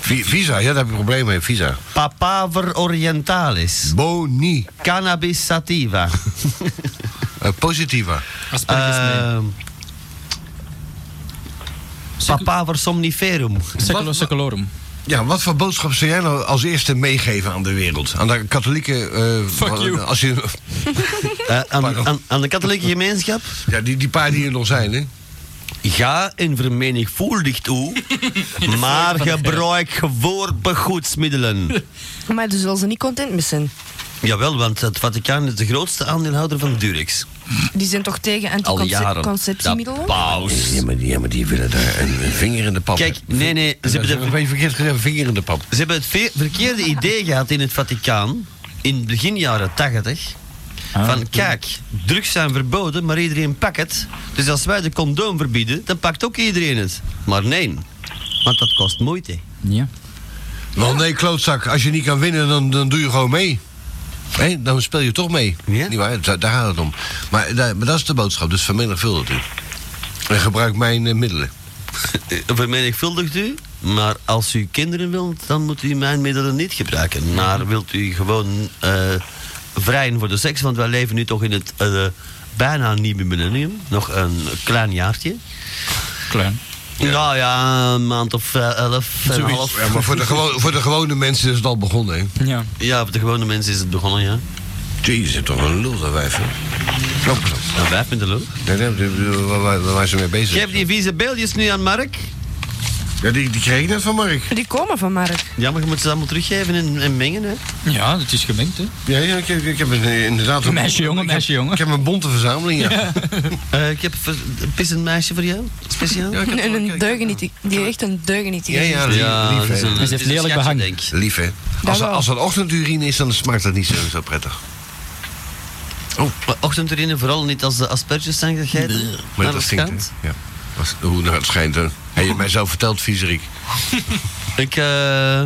Speaker 19: Vi- visa, ja, daar heb ik problemen mee. Visa.
Speaker 3: Papaver orientalis.
Speaker 19: Boni.
Speaker 3: Cannabis sativa.
Speaker 19: Eh, positiva.
Speaker 3: Ehm, Papaver somniferum.
Speaker 15: Secolorum.
Speaker 19: Ja, wat voor boodschap zou jij nou als eerste meegeven aan de wereld? Aan de katholieke... eh,
Speaker 3: Fuck
Speaker 19: wa-
Speaker 3: you.
Speaker 19: Als je,
Speaker 3: Eh, aan, de katholieke gemeenschap?
Speaker 19: Ja, die, die paar die er nog zijn, hè?
Speaker 3: Ga en vermenigvuldig toe, maar gebruik geworpen goedsmiddelen.
Speaker 5: Maar daar zullen ze niet content mee zijn.
Speaker 3: Jawel, want het Vaticaan is de grootste aandeelhouder van Durex.
Speaker 5: Die zijn toch tegen
Speaker 3: Al jaren.
Speaker 5: anticonceptiemiddelen?
Speaker 3: Dat Paus.
Speaker 19: Ja maar, die, ja, maar die willen daar een, een vinger in de pap.
Speaker 3: Kijk, nee, nee. Ze
Speaker 19: Dat is
Speaker 3: hebben,
Speaker 19: een beetje verkeerd gezegd, vinger in de pap.
Speaker 3: Ze hebben het ve- verkeerde idee gehad in het Vaticaan in begin jaren 80. van kijk, drugs zijn verboden, maar iedereen pakt het. Dus als wij de condoom verbieden, dan pakt ook iedereen het. Maar nee, want dat kost moeite.
Speaker 15: Ja.
Speaker 19: Wel nee, klootzak. Als je niet kan winnen, dan, dan doe je gewoon mee. Hé, dan speel je toch mee. Niet waar? Daar, daar gaat het om. Maar, daar, maar dat is de boodschap, dus vermenigvuldig u. En gebruik mijn eh, middelen.
Speaker 3: Vermenigvuldigt u, maar als u kinderen wilt, dan moet u mijn middelen niet gebruiken. Maar wilt u gewoon eh vrijen voor de seks, want wij leven nu toch in het eh, bijna nieuwe millennium. Nog een klein jaartje.
Speaker 15: Klein.
Speaker 3: Nou ja, een maand of eh, elf en
Speaker 19: Zoiets.
Speaker 3: half.
Speaker 19: Ja, maar voor de, gewo- voor de gewone mensen is het al begonnen, hè?
Speaker 15: Ja.
Speaker 3: Ja, voor de gewone mensen is het begonnen, ja.
Speaker 19: Jezus, toch een lul, dat wijf, hè? Knop, knop.
Speaker 3: Een wijf met de lul?
Speaker 19: Nee, nee, die- die- waar, waar, waar zijn ze mee bezig?
Speaker 3: Geef die vieze beeldjes nu aan Mark.
Speaker 19: Ja, die, die kreeg ik net van Mark.
Speaker 5: Die komen van Mark.
Speaker 3: Ja, maar je moet ze allemaal teruggeven en, en mengen, hè.
Speaker 15: Ja, het is gemengd, hè.
Speaker 19: Ja, ja ik, heb- ik heb een, eh, inderdaad... een-
Speaker 15: Meisje, jongen,
Speaker 19: ik heb-
Speaker 15: meisje, jongen.
Speaker 19: Ik heb een bonte verzameling, ja.
Speaker 3: Eh, ik heb ver- een pissend meisje voor jou, speciaal.
Speaker 19: Ja, ik heb-
Speaker 5: En een deugeniet. Die heeft echt een deugeniet.
Speaker 19: Ja, ja, lief,
Speaker 3: Ja,
Speaker 19: lief,
Speaker 3: dat is
Speaker 19: hè.
Speaker 3: een- En ze heeft het is een lelijk schatje, behang. denk ik.
Speaker 19: Lief, hè. Als,
Speaker 3: wel.
Speaker 19: als dat ochtendurine is, dan smaakt dat niet zo, zo prettig.
Speaker 3: Oh. Maar ochtendurine vooral niet als de asperges zijn gegeten.
Speaker 19: Maar
Speaker 3: naar
Speaker 19: dat
Speaker 3: de
Speaker 19: stinkt,
Speaker 3: schijnt.
Speaker 19: hè. Ja. Als- Hoe naar het schijnt, hè. Heb je mij zo verteld, viezerik?
Speaker 3: Ik eh,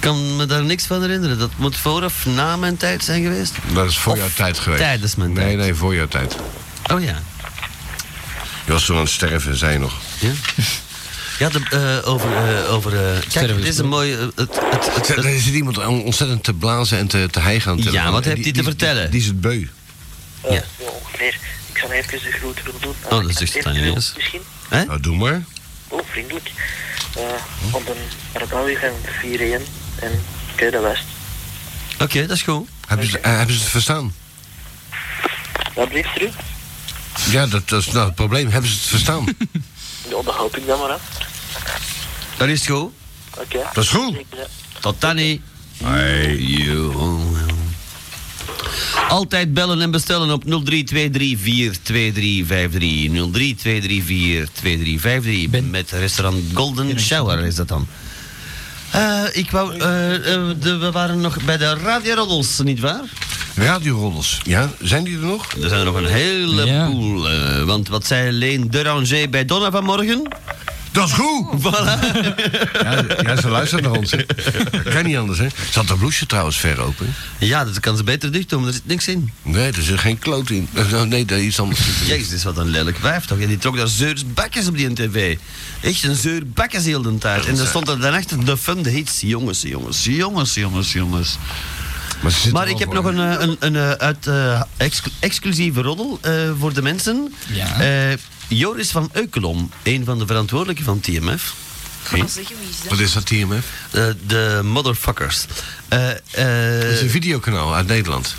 Speaker 3: kan me daar niks van herinneren. Dat moet voor of na mijn tijd zijn geweest.
Speaker 19: Dat is voor jouw tijd geweest.
Speaker 3: tijdens mijn
Speaker 19: Nee, nee, voor jouw tijd.
Speaker 3: Oh ja.
Speaker 19: Je was toen aan het sterven, zei je nog.
Speaker 3: Ja, ja de, eh, over... eh, over eh, kijk, dit is een mooie... eh, het, het, het,
Speaker 19: Er zit iemand on- ontzettend te blazen en te, te hijgen aan het
Speaker 3: Ja,
Speaker 19: telefoon.
Speaker 3: wat
Speaker 19: En
Speaker 3: heeft hij te vertellen?
Speaker 19: Die is het beu.
Speaker 3: Ja.
Speaker 1: Zo ongeveer. Ik zal even de groeten willen doen.
Speaker 3: Oh, dat is echt aan je neus.
Speaker 1: Misschien?
Speaker 3: Hè?
Speaker 19: Nou, doe maar.
Speaker 1: Oh, vriendelijk. Eh, op een Arbouwig en 4-1 en Keude West.
Speaker 3: Oké, dat is goed.
Speaker 19: Hij Hebben ze, eh, hebben ze het verstaan?
Speaker 1: Wat blijft terug?
Speaker 19: Ja, dat, dat is nou het probleem. Hebben ze het verstaan?
Speaker 1: Ja, dat hoop ik dan maar. hè.
Speaker 3: Dat is goed.
Speaker 1: Oké. eh,
Speaker 19: Dat is goed.
Speaker 3: Tot dan Oh, niet. Altijd bellen en bestellen op 03234-2353. 03234-2353. Met restaurant Golden Shower is dat dan. Eh, ik wou, eh, eh, de- we waren nog bij de radiorodels, nietwaar?
Speaker 19: Radiorodels, ja. Zijn die er nog?
Speaker 3: Er zijn er nog een heleboel. eh, want wat zei Leen de Ranger bij Donna vanmorgen?
Speaker 19: Dat is goed!
Speaker 3: Voilà.
Speaker 19: Ja, ja, ze luistert naar ons. hè. Kan niet anders, hè? Ze had dat bloesje trouwens ver open.
Speaker 3: Ja, dat kan ze beter dicht doen, maar er zit niks in.
Speaker 19: Nee, er zit geen kloot in. Eh, Nee, daar is iets anders.
Speaker 3: Jezus, dit is wat een lelijk wijf toch? En die trok daar zeursbakjes op die tv. Echt een zeurbakjes heel de tijd. En dan stond er dan achter de fun, de hits. Jongens, jongens, jongens, jongens, jongens.
Speaker 19: Maar,
Speaker 3: ik heb nog een, eh, een, een, eh, uit, eh, exclu- exclusieve roddel eh, voor de mensen.
Speaker 33: Ja.
Speaker 3: Eh, Joris van Eukelom, een van de verantwoordelijken van TMF.
Speaker 19: Wie? Wat is dat TMF?
Speaker 3: Eh, de motherfuckers. Eh,
Speaker 19: Dat is een videokanaal uit Nederland.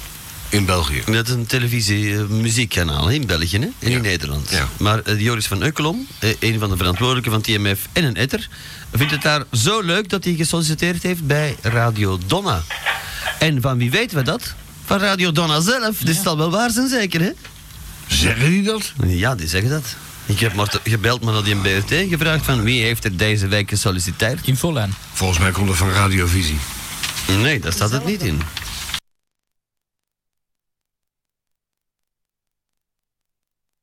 Speaker 19: In België.
Speaker 3: Dat is een televisie-muziekkanaal in België hè? en in Nederland. Maar eh, Joris van Eukelom, eh, een van de verantwoordelijken van TMF en een etter, vindt het daar zo leuk dat hij gesolliciteerd heeft bij Radio Donna. En van wie weten we dat? Van Radio Donna zelf. Dus het zal wel waar zijn, zeker hè?
Speaker 19: Zeggen die dat?
Speaker 3: Ja, die zeggen dat. Ik heb maar te- gebeld maar naar die BRT en gevraagd van wie heeft er deze week gesolliciteerd.
Speaker 33: In Vollaan.
Speaker 19: Volgens mij komt er van Radiovisie.
Speaker 3: Nee, daar staat het niet in.